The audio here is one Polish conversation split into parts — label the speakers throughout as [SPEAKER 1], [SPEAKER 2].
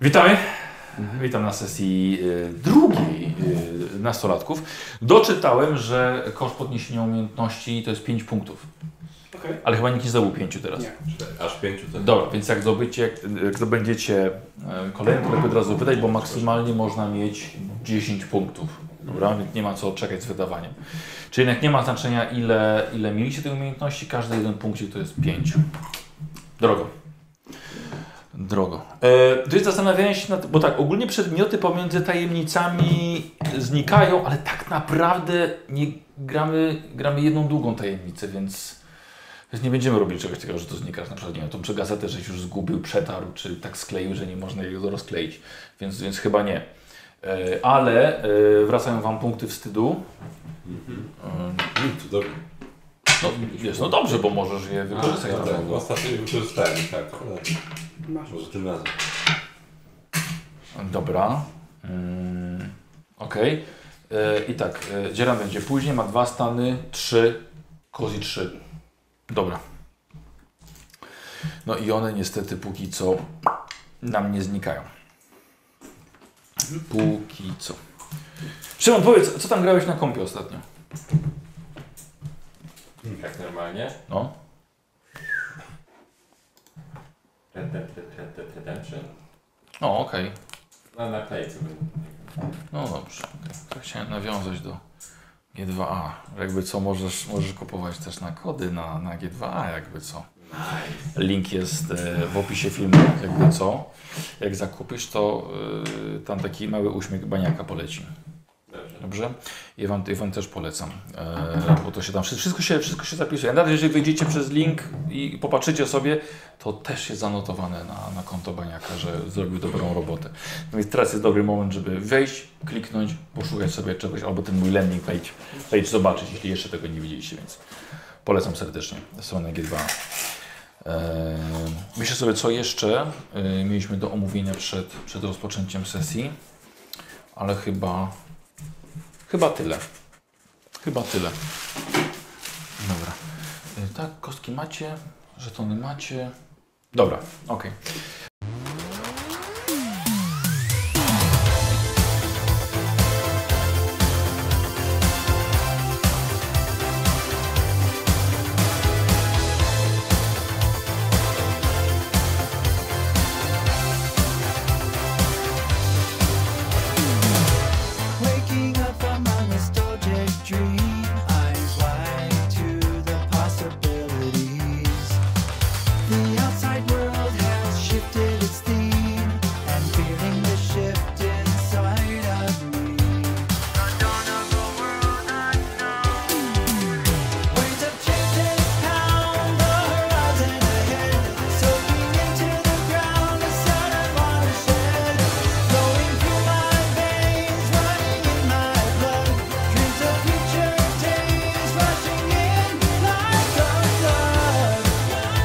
[SPEAKER 1] Witamy. Witam na sesji y, drugiej y, nastolatków. Doczytałem, że koszt podniesienia umiejętności to jest 5 punktów.
[SPEAKER 2] Okej.
[SPEAKER 1] Ale chyba nikt nie zdobył 5 teraz.
[SPEAKER 2] Nie.
[SPEAKER 3] Aż pięciu to
[SPEAKER 1] Dobra, więc jak zdobycie, jak zdobędziecie e, kolejny, to lepiej od razu wydać, bo maksymalnie można mieć 10 punktów. Dobra, więc nie ma co czekać z wydawaniem. Czyli jednak nie ma znaczenia, ile, ile mieliście tej umiejętności, każdy jeden punkcik to jest 5. Drogo. Drogo. E, to jest zastanawianie się nad, bo tak, ogólnie przedmioty pomiędzy tajemnicami znikają, ale tak naprawdę nie gramy, gramy jedną długą tajemnicę, więc... Więc nie będziemy robili czegoś takiego, że to znika. Na przykład nie wiem, tą czy gazetę żeś już zgubił, przetarł, czy tak skleił, że nie można jej rozkleić. Więc, więc chyba nie. E, Ale e, wracają Wam punkty wstydu.
[SPEAKER 3] Mhm.
[SPEAKER 1] E,
[SPEAKER 3] Mm, cudownie.
[SPEAKER 1] No, jest, no dobrze, bo możesz je wykorzystać.
[SPEAKER 3] No tak, ostatnio wykorzystałem, tak.
[SPEAKER 2] Masz.
[SPEAKER 3] Może tym razem.
[SPEAKER 1] Dobra. Mm, Okej. E, I tak, e, Dzieran będzie później, ma dwa stany, trzy, kozi trzy. Dobra. No i one niestety póki co nam nie znikają. Póki co. Szymon, powiedz, co tam grałeś na kompie ostatnio?
[SPEAKER 4] Tak normalnie?
[SPEAKER 1] No.
[SPEAKER 4] Ten, ten, ten, ten, ten, ten, ten, czy?
[SPEAKER 1] O, okej.
[SPEAKER 4] Na naklejce będę.
[SPEAKER 1] No dobrze. Okay. Chciałem nawiązać do G2A. Jakby co, możesz, możesz kupować też na kody na, na G2A, jakby co. Link jest e, w opisie filmu, jakby co. Jak zakupisz, to e, tam taki mały uśmiech baniaka poleci.
[SPEAKER 4] Dobrze.
[SPEAKER 1] Dobrze? Ja wam, ja wam też polecam, e, bo to się tam wszy- wszystko się, wszystko się zapisuje. Nawet jeżeli wejdziecie przez link i popatrzycie sobie, to też jest zanotowane na, na konto Baniaka, że zrobił dobrą robotę. No więc teraz jest dobry moment, żeby wejść, kliknąć, poszukać sobie czegoś, albo ten mój landing page, page zobaczyć, jeśli jeszcze tego nie widzieliście, więc polecam serdecznie stronę G2. E, myślę sobie, co jeszcze e, mieliśmy do omówienia przed, przed rozpoczęciem sesji, ale chyba Chyba tyle. Chyba tyle. Dobra. Y, Tak, kostki macie, żetony macie. Dobra, okej.
[SPEAKER 5] Waking up from my nostalgic dream, eyes wide to the possibilities. The outside world has shifted its theme, and feeling the shift inside of me. Unknownable world unknown. Waves of changes pound the horizon ahead, soaking into the ground a sudden watershed. Flowing through my veins, running in my blood. Dreams of future days rushing in like a flood, like a flood.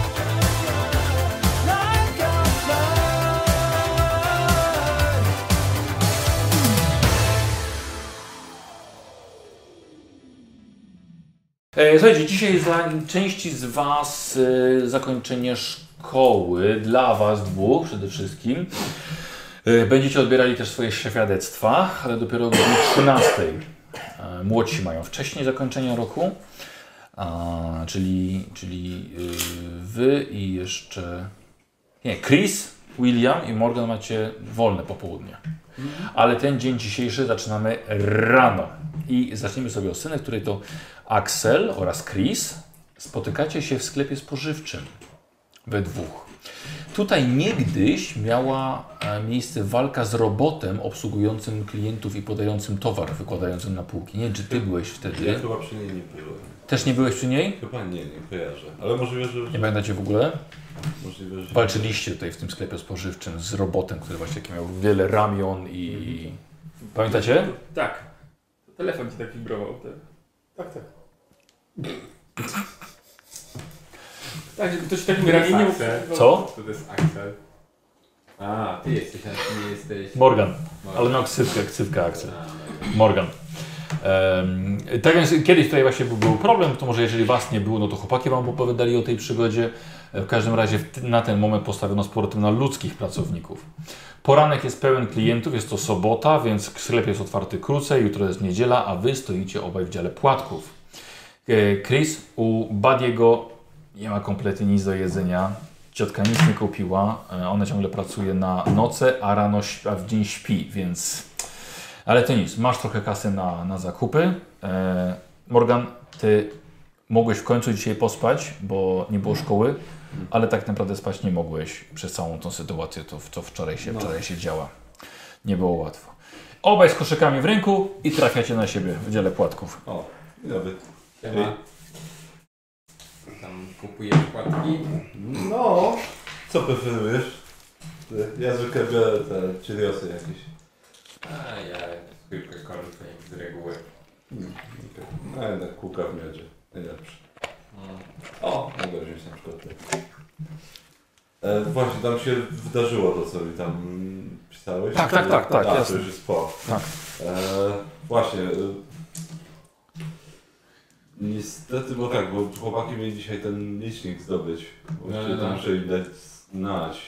[SPEAKER 1] E, Słuchajcie, dzisiaj dla części z Was e, zakończenie szkoły, dla Was dwóch przede wszystkim. E, Będziecie odbierali też swoje świadectwa, ale dopiero o godzinie 13. E, Młodsi mają wcześniej zakończenie roku, a, czyli, czyli y, Wy i jeszcze... Nie, Chris, William i Morgan macie wolne popołudnie. Ale ten dzień dzisiejszy zaczynamy rano. I zaczniemy sobie od sceny, w której to Axel oraz Chris spotykacie się w sklepie spożywczym. We dwóch. Tutaj niegdyś miała e, miejsce walka z robotem obsługującym klientów i podającym towar, wykładającym na półki. Nie wiem, czy ty byłeś
[SPEAKER 3] Ja
[SPEAKER 1] wtedy.
[SPEAKER 3] chyba przy niej nie byłem.
[SPEAKER 1] Też nie byłeś przy niej?
[SPEAKER 3] Chyba nie, nie kojarzę. Ale możliwe, że...
[SPEAKER 1] Nie pamiętacie w ogóle?
[SPEAKER 3] Możliwe, że...
[SPEAKER 1] Walczyliście tutaj w tym sklepie spożywczym z robotem, który właśnie taki miał wiele ramion i... Pamiętacie?
[SPEAKER 4] Tak. Telefon ci tak wibrował. Te.
[SPEAKER 2] Tak, tak.
[SPEAKER 4] Tak, że ktoś w takim
[SPEAKER 2] ramieniu-
[SPEAKER 1] Co?
[SPEAKER 4] To jest Axel. A, ty jesteś, a ty nie jesteś.
[SPEAKER 1] Morgan.
[SPEAKER 4] Morgan.
[SPEAKER 1] Ale no ksywka, ksywka akcja.
[SPEAKER 4] A, dobra.
[SPEAKER 1] Morgan. Em, tak więc kiedyś tutaj właśnie był, był problem, to może jeżeli was nie było, no to chłopaki wam opowiadali o tej przygodzie. E, W każdym razie w- na ten moment postawiono z powrotem na ludzkich pracowników. Poranek jest pełen klientów, jest to sobota, więc sklep jest otwarty krócej, jutro jest niedziela, a wy stoicie obaj w dziale płatków. E, Chris, u Badiego nie ma kompletnie nic do jedzenia. Ciotka nic nie kupiła, e, ona ciągle pracuje na noce, a rano, śp- a w dzień śpi, więc... Ale to nic, masz trochę kasy na, na zakupy. E, Morgan, ty mogłeś w końcu dzisiaj pospać, bo nie było szkoły, ale tak naprawdę spać nie mogłeś przez całą tą sytuację, to co wczoraj się, wczoraj się działa. Nie było łatwo. Obaj z koszykami w ręku i trafiacie na siebie w dziale płatków.
[SPEAKER 3] O, i nawet.
[SPEAKER 4] Siema. Tam kupujesz płatki.
[SPEAKER 3] No, co preferujesz? Ty, Ja zwykle biorę te chiliosy jakieś.
[SPEAKER 4] A ja tylko kornflake z reguły.
[SPEAKER 3] Okej. No jednak kółka w miodzie. Najlepsze.
[SPEAKER 4] No.
[SPEAKER 3] O, mogę wziąć na przykład te. E, właśnie, tam się wydarzyło to, co mi tam mm, pisałeś.
[SPEAKER 1] Tak, tak, tak, tak,
[SPEAKER 3] A, to
[SPEAKER 1] jasne.
[SPEAKER 3] już jest po.
[SPEAKER 1] Tak.
[SPEAKER 3] E, właśnie. E, niestety, bo tak, bo chłopaki mieli dzisiaj ten licznik zdobyć. Bo
[SPEAKER 4] No,
[SPEAKER 3] się
[SPEAKER 4] no,
[SPEAKER 3] tam
[SPEAKER 4] no.
[SPEAKER 3] muszę im dać znać.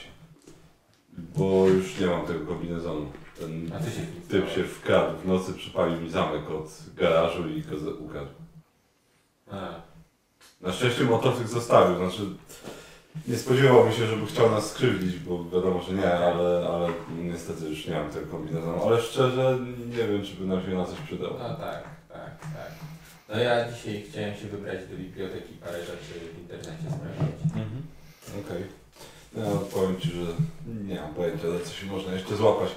[SPEAKER 3] Bo już nie mam tego kombinezonu. Ten
[SPEAKER 4] A ty się
[SPEAKER 3] typ się wkradł. W nocy przypalił mi zamek od garażu i go za- ukradł.
[SPEAKER 4] A,
[SPEAKER 3] Na szczęście motocykl zostawił, znaczy nie spodziewałbym się, żeby chciał nas skrzywdzić, bo wiadomo, że nie, ale, ale niestety już nie mam tego kombinezonu. Ale szczerze nie wiem, czy by nam się na coś przydało.
[SPEAKER 4] no tak, tak, tak. No ja dzisiaj chciałem się wybrać do biblioteki parę rzeczy w internecie sprawdzić.
[SPEAKER 3] Okej. No, powiem Ci, że nie mam pojęcia, za co się można jeszcze złapać.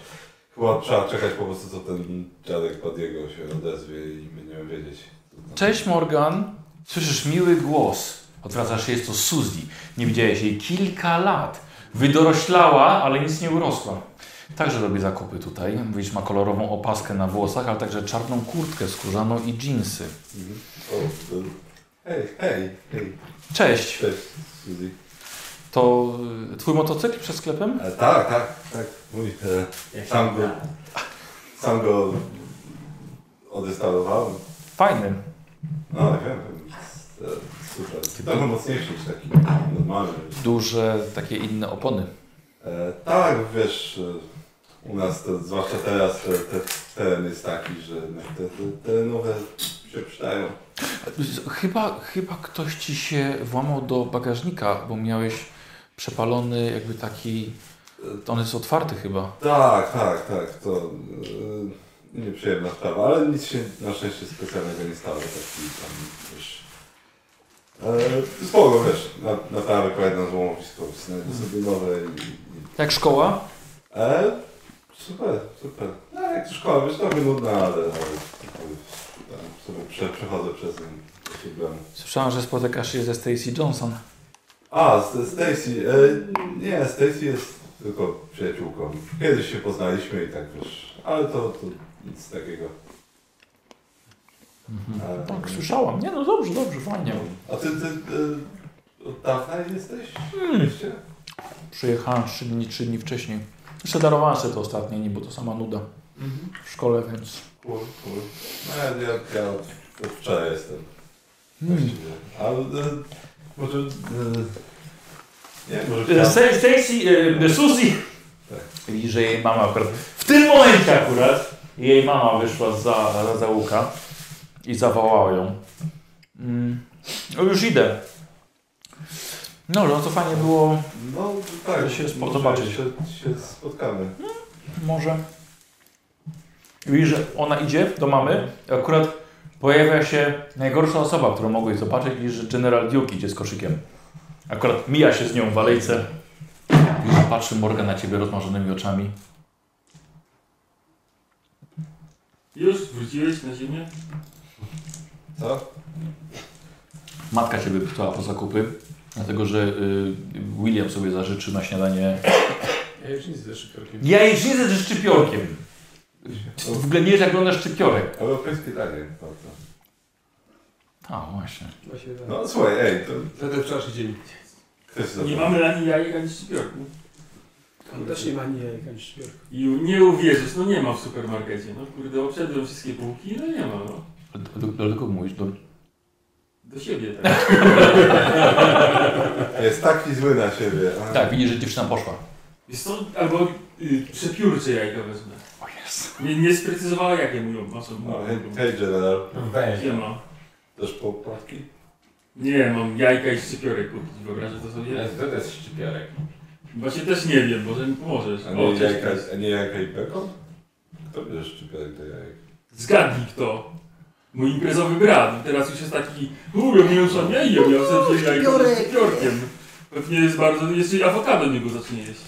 [SPEAKER 3] Chyba trzeba czekać po prostu, co ten dziadek Padiego się odezwie i będziemy wiedzieć.
[SPEAKER 1] Cześć Morgan, słyszysz miły głos. Odwracasz się, jest to Suzy. Nie widziałeś jej kilka lat. Wydoroślała, ale nic nie urosła. Także robi zakupy tutaj. Widzisz, ma kolorową opaskę na włosach, ale także czarną kurtkę skórzaną i dżinsy.
[SPEAKER 3] O, to... Hej, hej, hej.
[SPEAKER 1] Cześć,
[SPEAKER 3] Cześć, Suzy.
[SPEAKER 1] to y, twój motocykl przed sklepem?
[SPEAKER 3] E, tak, tak, tak. Mój... E...
[SPEAKER 4] Jak się
[SPEAKER 3] Tam go-
[SPEAKER 4] da.
[SPEAKER 3] Sam go odestalowałem.
[SPEAKER 1] Fajny.
[SPEAKER 3] No, wiem, wiem. E, Super. Trochę mocniejszy niż taki normalny.
[SPEAKER 1] Duże, takie inne opony.
[SPEAKER 3] E, tak, wiesz, e, u nas to, zwłaszcza teraz, te, te, teren jest taki, że no, te, te, te nowe się przydają.
[SPEAKER 1] Chyba, chyba ktoś ci się włamał do bagażnika, bo miałeś przepalony jakby taki... y, On jest otwarty chyba.
[SPEAKER 3] Tak, tak, tak, to e, nieprzyjemna sprawa, ale nic się na szczęście specjalnego nie stało. Taki tam, wiesz... E, spoko, wiesz, na, naprawę po jedno złomowisko, znajdę no, sobie nowe i, i
[SPEAKER 1] Jak szkoła?
[SPEAKER 3] E, super, super. No, jak to szkoła, wiesz, trochę nudna, ale, ale, ale tam sobie prze, przechodzę przez nią. bez problemu.
[SPEAKER 1] Słyszałem, że spotykasz się ze Stacy Johnson.
[SPEAKER 3] A, St- Stacy. E, nie, Stacy jest tylko przyjaciółką. Kiedyś się poznaliśmy i tak wiesz, ale to, to nic takiego. E,
[SPEAKER 1] Tak, słyszałam. Nie, no dobrze, dobrze, fajnie.
[SPEAKER 3] A ty, ty e, od dawna jesteś? Wiecie?
[SPEAKER 1] Przyjechałem trzy dni, trzy dni wcześniej. Jeszcze darowałem sobie to ostatnie dni, bo to sama nuda
[SPEAKER 2] Mhm.
[SPEAKER 1] w szkole, więc...
[SPEAKER 3] Cool, cool. No ja, ja, ja od, od wczoraj jestem.
[SPEAKER 1] Hmm.
[SPEAKER 3] Właściwie. Ale e, może... E, nie, może...
[SPEAKER 1] Stacy, e, Suzy!
[SPEAKER 3] Tak.
[SPEAKER 1] Widzi, że jej mama akurat... W tym momencie akurat jej mama wyszła za, za łuka i zawołała ją. Mm, no już idę. No, no to fajnie było.
[SPEAKER 3] No tak,
[SPEAKER 1] To się spo-
[SPEAKER 3] może
[SPEAKER 1] zobaczyć.
[SPEAKER 3] Się, się spotkamy.
[SPEAKER 1] Może. Widzisz, że ona idzie do mamy. Akurat pojawia się najgorsza osoba, którą mogłeś zobaczyć. Widzisz, że General Duke idzie z koszykiem. Akurat mija się z nią w alejce. Widzisz, że patrzy Morgan na ciebie rozmarzonymi oczami.
[SPEAKER 2] Już wróciłeś na ziemię?
[SPEAKER 3] Co?
[SPEAKER 1] Matka ciebie pytała po zakupy, dlatego że y, William sobie zażyczy na śniadanie
[SPEAKER 5] Ja już nic ze szybkim.
[SPEAKER 1] jajecznicę ze szczypiorkiem. W ogóle nie wiesz, jak wygląda szczypiorek.
[SPEAKER 3] Europejskie danie. bardzo.
[SPEAKER 1] A, właśnie.
[SPEAKER 3] No słuchaj, ej, to
[SPEAKER 4] To ten wczorajszy dzień.
[SPEAKER 3] ktoś zapomniał.
[SPEAKER 2] Nie mamy ani jajek, ani szczypiorku.
[SPEAKER 5] Tam też nie ma ani jajek, ani szpiorka.
[SPEAKER 2] I nie uwierzysz, no nie ma w supermarkecie. No kurde, obszedłem wszystkie półki, no nie ma, no.
[SPEAKER 1] Do, do, do kogo mówisz? Do...
[SPEAKER 2] Do siebie tak.
[SPEAKER 3] Jest taki zły na siebie. a-
[SPEAKER 1] Tak, widzisz, że Tak, dziewczyna poszła.
[SPEAKER 2] Wiesz co, albo Y, przepiórcze jajka wezmę.
[SPEAKER 6] O jest.
[SPEAKER 2] Nie, nie sprecyzowała jakie mówią, ma co
[SPEAKER 3] No,
[SPEAKER 2] mówią.
[SPEAKER 3] hej General,
[SPEAKER 4] Weź.
[SPEAKER 2] Nie ma.
[SPEAKER 3] też po płatki?
[SPEAKER 2] Nie, mam jajka i szczypiorek kupić, wyobrażasz to sobie?
[SPEAKER 4] Jest, to jest szczypiorek.
[SPEAKER 2] Właśnie też nie wiem, może mi pomożesz.
[SPEAKER 3] A nie,
[SPEAKER 2] O, cześć.
[SPEAKER 3] jajka, a nie jajka i bekon? Kto bierze szczypiorek do jajek?
[SPEAKER 2] Zgadnij kto. Mój imprezowy brat. Teraz już jest taki, uuu, ja miałem sam jajo, ja chcę wziąć jajko z szczypiorkiem. Pewnie jest bardzo, jeszcze awokado niego zacznie jeść.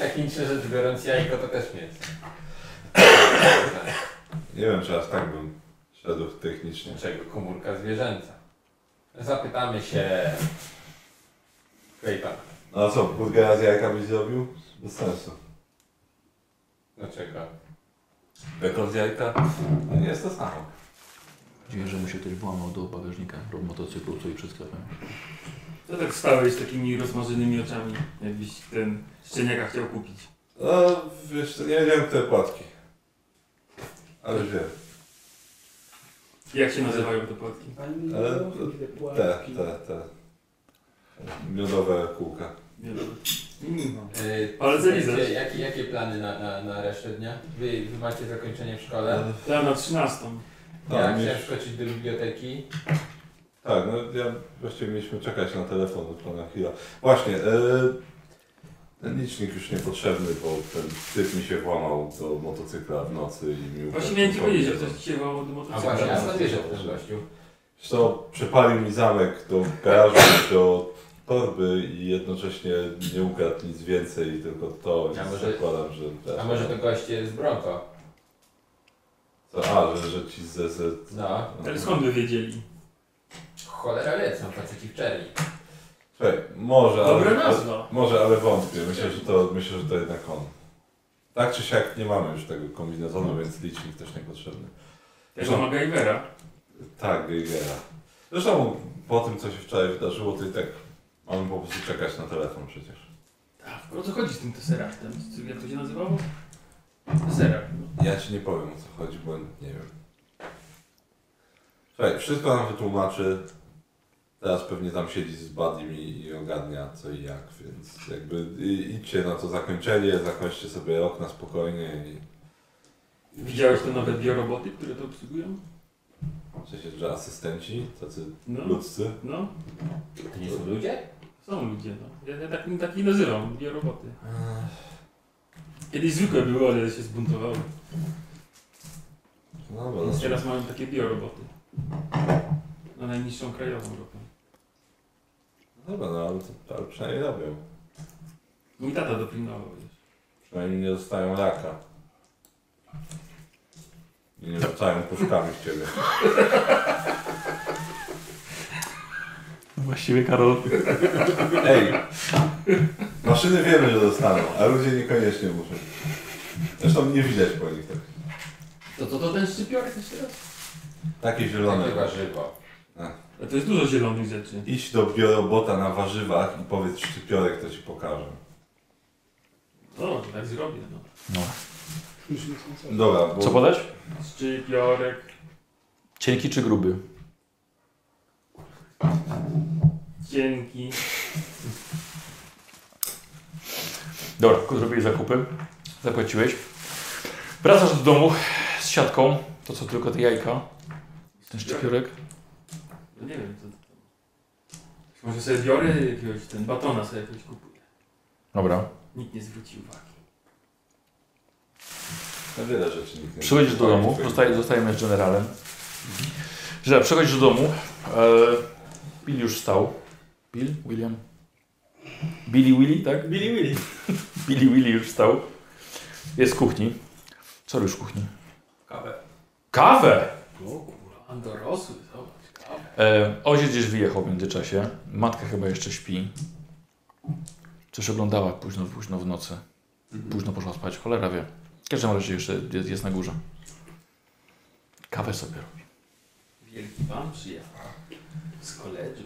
[SPEAKER 3] E,
[SPEAKER 4] Technicznie rzecz biorąc, jajko to też mięso.
[SPEAKER 3] Nie wiem, czy aż tak bym szedł technicznie.
[SPEAKER 4] Czego komórka zwierzęca? Zapytamy się... Klejpana.
[SPEAKER 3] No a co, burgera z jajka byś zrobił? Bez sensu.
[SPEAKER 4] Dlaczego?
[SPEAKER 3] Bekon z jajka? No nie jest to samo.
[SPEAKER 6] Dziwię, że mu się ktoś włamał do bagażnika motocyklu, który przed sklepem.
[SPEAKER 2] To tak stałeś z takimi rozmarzonymi oczami, jakbyś ten szczeniaka chciał kupić.
[SPEAKER 3] No, wiesz, co, nie wiedziałem, które płatki. Ale wiem.
[SPEAKER 2] Jak się nazywają te płatki?
[SPEAKER 7] Ani
[SPEAKER 3] Ale-
[SPEAKER 7] trochę te
[SPEAKER 3] Te,
[SPEAKER 7] płatki.
[SPEAKER 3] te, te. Miodowe kółka.
[SPEAKER 2] Nie wiem. Mm.
[SPEAKER 4] Yy,
[SPEAKER 2] Ale zelizasz.
[SPEAKER 4] słuchajcie, jakie, jakie plany na, na, na resztę dnia? Wy, wy macie zakończenie w szkole?
[SPEAKER 3] E,
[SPEAKER 2] To ja na 13.
[SPEAKER 4] Ja
[SPEAKER 3] A,
[SPEAKER 4] chciałem
[SPEAKER 3] mieliśmy-
[SPEAKER 4] wskoczyć do biblioteki.
[SPEAKER 3] Tak, no ja właściwie mieliśmy czekać na telefon od pana Hila. Właśnie, e, ten licznik już niepotrzebny, bo ten typ mi się włamał do motocykla w nocy i
[SPEAKER 2] Właśnie
[SPEAKER 3] mi ukradł
[SPEAKER 2] miałem ci powiedzieć, że
[SPEAKER 3] telefon.
[SPEAKER 2] coś ci się wołało do motocykla.
[SPEAKER 4] A właśnie, a
[SPEAKER 3] wiesz?
[SPEAKER 4] co bierze ten gościu?
[SPEAKER 3] Wiesz Co, przepalił mi zamek do garażu, do torby i jednocześnie nie ukradł nic więcej, tylko to,
[SPEAKER 4] A
[SPEAKER 3] więc
[SPEAKER 4] może-
[SPEAKER 3] zakładam, że...
[SPEAKER 4] A może to goście z Bronco?
[SPEAKER 3] Co, a, że, że ci ze... ze...
[SPEAKER 4] No.
[SPEAKER 2] Ale skąd by wiedzieli?
[SPEAKER 4] Cholera wie, są faceci w czerni.
[SPEAKER 3] Czekaj, może,
[SPEAKER 2] Dobra
[SPEAKER 3] ale...
[SPEAKER 2] nazwa.
[SPEAKER 3] Może, ale wątpię. Myślę, że to, myślę, że to jednak on. Tak czy siak nie mamy już tego
[SPEAKER 4] No.
[SPEAKER 3] kombinezonu, więc licznik też niepotrzebny.
[SPEAKER 2] Tego MacGyvera.
[SPEAKER 3] Tak, Geigera. Zresztą po tym, co się wczoraj wydarzyło, to i tak mamy po prostu czekać na telefon przecież.
[SPEAKER 2] Tak, o co chodzi z tym Tesseractem? Z- Jak to się nazywało? Tesseract. no.
[SPEAKER 3] Ja ci nie powiem o co chodzi, bo nie wiem. Słuchaj, wszystko nam wytłumaczy. Teraz pewnie tam siedzi z Badim i, i ogarnia co i jak, więc jakby i, idźcie na to zakończenie, zakończcie sobie okna spokojnie i... i
[SPEAKER 2] Widziałeś te nowe bioroboty, które to obsługują?
[SPEAKER 3] W sensie, że asystenci, tacy
[SPEAKER 2] No,
[SPEAKER 3] ludzcy.
[SPEAKER 2] no.
[SPEAKER 4] To nie są ludzie?
[SPEAKER 2] Są ludzie, no. Ja, ja tak, tak ich nazywam, bioroboty. Eee, Kiedyś zwykłe były, ale się zbuntowały.
[SPEAKER 3] No dobra,
[SPEAKER 2] Więc
[SPEAKER 3] no,
[SPEAKER 2] teraz mamy takie bioroboty. Na najniższą krajową grupę.
[SPEAKER 3] dobra, no ale, to, ale przynajmniej robią.
[SPEAKER 2] Mój tata dopilnował wiesz.
[SPEAKER 3] Przynajmniej nie dostają raka. I nie rzucają puszkami w ciebie.
[SPEAKER 6] No
[SPEAKER 8] Właściwie Karol,
[SPEAKER 3] Ej! Maszyny wiemy, że dostaną, a ludzie niekoniecznie muszą. Zresztą nie widać po nich tak.
[SPEAKER 2] To to, to ten szczypiorek jeszcze raz?
[SPEAKER 3] Takie zielone.
[SPEAKER 4] Takie warzywo.
[SPEAKER 2] A to jest dużo zielonych rzeczy.
[SPEAKER 3] Idź do biorobota na warzywach i powiedz szczypiorek, to ci pokażę.
[SPEAKER 2] No, tak zrobię, no.
[SPEAKER 7] Już nie są same.
[SPEAKER 3] Dobra, bo...
[SPEAKER 6] Co podać?
[SPEAKER 2] Szczypiorek.
[SPEAKER 6] Cienki czy gruby?
[SPEAKER 2] Cienki.
[SPEAKER 6] Dobra, zrobiłeś zakupy, zapłaciłeś. Wracasz do domu z siatką, to co tylko te jajka, ten szczypiorek.
[SPEAKER 2] No nie wiem, co to tam. Może sobie biorę jakiegoś, ten batona sobie jakoś kupuję.
[SPEAKER 6] Dobra.
[SPEAKER 2] Nikt nie zwróci uwagi.
[SPEAKER 3] Na wiele rzeczy nikt nie
[SPEAKER 6] Przychodzisz do domu,
[SPEAKER 3] Twoich-
[SPEAKER 6] zostaje, zostajemy z generalem. Że przychodzisz do domu, e, Bill już stał. Bill? William? Billy Willy, tak?
[SPEAKER 8] Billy Willy.
[SPEAKER 6] Billy Willy już wstał. Jest w kuchni. Co robisz w kuchni?
[SPEAKER 4] Kawę.
[SPEAKER 6] Kawę!
[SPEAKER 2] O kurwa, on dorosły, zobacz, kawę.
[SPEAKER 6] E, ojciec gdzieś wyjechał w międzyczasie. Matka chyba jeszcze śpi. Coś oglądała późno, późno w nocy.
[SPEAKER 1] Mhm.
[SPEAKER 6] Późno poszła spać, cholera wie. W każdym razie jeszcze jest, jest na górze. Kawę sobie robi.
[SPEAKER 2] Wielki pan przyjechał. Z koledżu.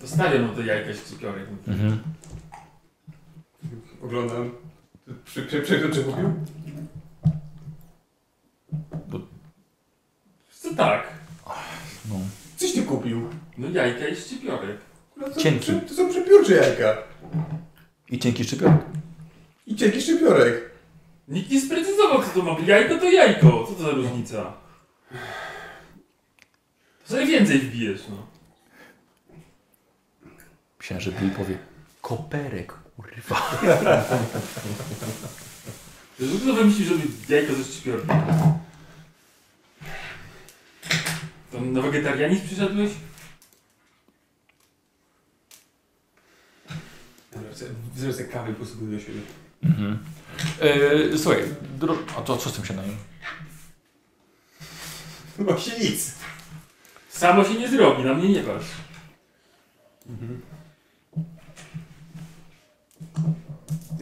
[SPEAKER 2] To stawiam mu to jajka szczypiorek.
[SPEAKER 6] Mhm.
[SPEAKER 8] Oglądam. Przy, przy, przy, czy kupił?
[SPEAKER 2] Co tak?
[SPEAKER 6] No.
[SPEAKER 8] Coś ty kupił.
[SPEAKER 2] tak? No jajka i No szczypiorek.
[SPEAKER 3] No to,
[SPEAKER 1] Cienki.
[SPEAKER 3] przy- to są przepiórcze jajka.
[SPEAKER 1] I cienki szczypiorek.
[SPEAKER 3] I cienki szczypiorek.
[SPEAKER 2] Nikt nie sprecyzował, co to ma być. Jajko to jajko. Co to za różnica? To sobie więcej wbijesz, no.
[SPEAKER 1] Myślałem, że Bill powie. Koperek, kurwa.
[SPEAKER 2] Kto wymyślił, żeby jajko ze szczypiorkiem? To na wegetarianizm przyszedłeś?
[SPEAKER 3] Zresztą sobie kawy posługuję do siebie.
[SPEAKER 1] Mhm. E, słuchaj, dro... a to co z tym się daje?
[SPEAKER 3] Właśnie nic.
[SPEAKER 2] Samo się nie zrobi, na mnie nie patrz.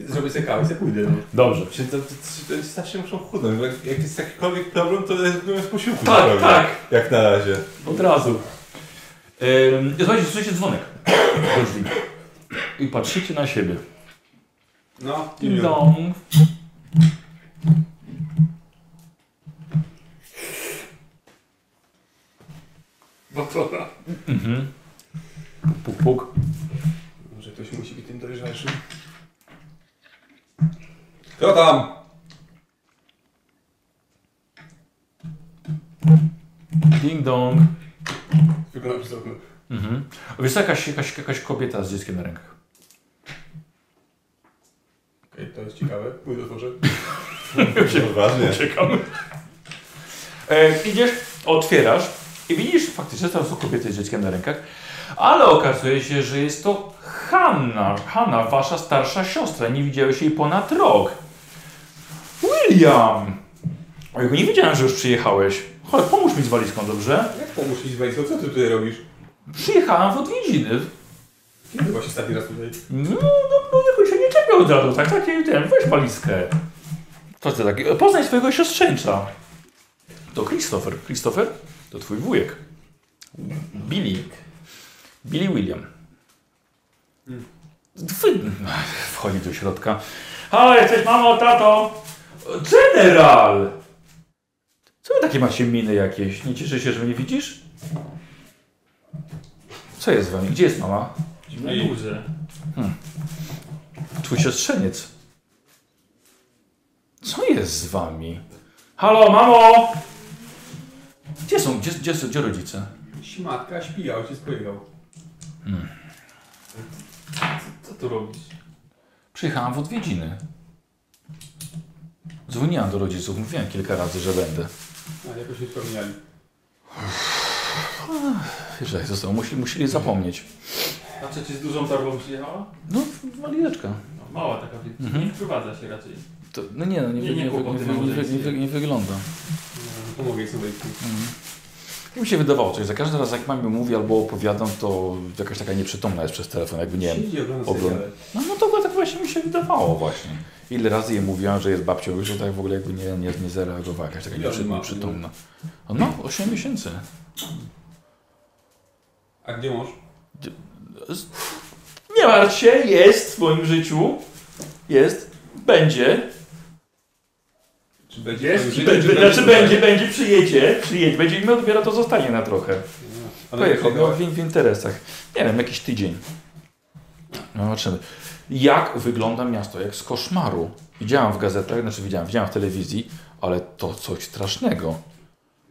[SPEAKER 3] Zrobię sobie kawę i sobie pójdę. No.
[SPEAKER 1] Dobrze.
[SPEAKER 9] Czy to, to, to, to strasznie muszą chudnąć. bo Jak, jak jest jakikolwiek problem, to rezygnują z posiłku.
[SPEAKER 1] Tak,
[SPEAKER 9] naprawdę.
[SPEAKER 1] tak.
[SPEAKER 9] Jak na razie.
[SPEAKER 1] Od razu.
[SPEAKER 6] E,
[SPEAKER 1] Ym, słuchajcie, słyszycie dzwonek. do drzwi. I patrzycie na siebie.
[SPEAKER 9] No,
[SPEAKER 1] Ding dong. No
[SPEAKER 2] Batora.
[SPEAKER 1] Mhm. Puk, puk.
[SPEAKER 3] Może ktoś musi być tym dojrzalszym.
[SPEAKER 9] Kto tam?
[SPEAKER 1] Ding dong.
[SPEAKER 3] Wygląda przez okno.
[SPEAKER 1] Mhm. A Wiesz, co, jakaś, jakaś, jakaś kobieta z dzieckiem na rękach.
[SPEAKER 3] Okej, to jest ciekawe. Pójdę otworzę.
[SPEAKER 9] Uważnie.
[SPEAKER 1] Czekamy. E, idziesz, otwierasz i widzisz faktycznie, że tam są kobiety z dzieckiem na rękach, ale okazuje się, że jest to Hanna, Hanna, wasza starsza siostra. Nie widziałeś jej ponad rok. William! O, ja nie wiedziałem, że już przyjechałeś. Chodź, pomóż mi z walizką, dobrze?
[SPEAKER 3] Jak to musisz wejść? Co ty tutaj robisz?
[SPEAKER 1] Przyjechałem w odwiedziny.
[SPEAKER 3] Kiedy właśnie ostatni raz tutaj?
[SPEAKER 1] No, no, no jakoś się nie czepiał od razu, tak? Takie, ten, weź walizkę. Co ty taki? e, Poznaj swojego siostrzeńca. To Christopher. Christopher to twój wujek. Billy. Billy William. Wy... Wchodzi do środka. Halo, jesteś mamo, tato. General! Co wy takie macie miny jakieś? Nie cieszy się, że mnie widzisz? Co jest z wami? Gdzie jest mama?
[SPEAKER 2] Na górze.
[SPEAKER 1] Twój siostrzeniec. Co jest z wami? Halo, mamo! Gdzie są, gdzie, gdzie, są- gdzie rodzice?
[SPEAKER 3] Śmatka śpi, a ojciec pojechał.
[SPEAKER 2] Co tu robisz?
[SPEAKER 1] Przyjechałam w odwiedziny. Dzwoniłam do rodziców, mówiłam kilka razy, że będę.
[SPEAKER 3] A jakoś nie wspomniali.
[SPEAKER 1] Wiesz, jak zostało, musieli, musieli zapomnieć.
[SPEAKER 2] A przecież z dużą torbą przyjechała?
[SPEAKER 1] No, walizeczka.
[SPEAKER 2] No, mała taka, więc
[SPEAKER 1] Mhm.
[SPEAKER 2] nie wprowadza się raczej.
[SPEAKER 1] To, no nie, no nie, nie,
[SPEAKER 2] Nie, nie,
[SPEAKER 1] nie, nie, wy-
[SPEAKER 2] kłopoty
[SPEAKER 1] nie, wy- nie, wy-
[SPEAKER 2] małżeńskie.
[SPEAKER 1] nie wygląda.
[SPEAKER 3] No, pomogę jej sobie.
[SPEAKER 1] I mi się wydawało coś, za każdym razem jak mamie mówię albo opowiadam, to jakaś taka nieprzytomna jest przez telefon, jakby nie wiem,
[SPEAKER 3] Siedzi, ogląda
[SPEAKER 1] Ogląd-
[SPEAKER 3] seriale.
[SPEAKER 1] No, no to tak właśnie mi się wydawało właśnie. Ile razy jej mówiłam, że jest babcią, że tak w ogóle jakby nie, nie, nie zareagowała, jakaś taka
[SPEAKER 3] Ile on
[SPEAKER 1] nieprzy,
[SPEAKER 3] ma?
[SPEAKER 1] nieprzytomna. O, No, 8 miesięcy.
[SPEAKER 3] A gdzie mąż?
[SPEAKER 1] Nie martw się, jest w swoim życiu. Jest, będzie.
[SPEAKER 3] Czy będzie?
[SPEAKER 2] Jest?
[SPEAKER 3] Czy
[SPEAKER 1] Znaczy, będzie, przyjedzie, przyjedzie, będzie i my odbiera to zostanie na trochę.
[SPEAKER 3] Ale
[SPEAKER 1] Pojechał, no,
[SPEAKER 3] przyjechała.
[SPEAKER 1] w, w interesach. Nie wiem, jakiś tydzień. No zobaczymy. Jak wygląda miasto, jak z koszmaru. Widziałam w gazetach, znaczy widziałam, widziałam w telewizji, ale to coś strasznego.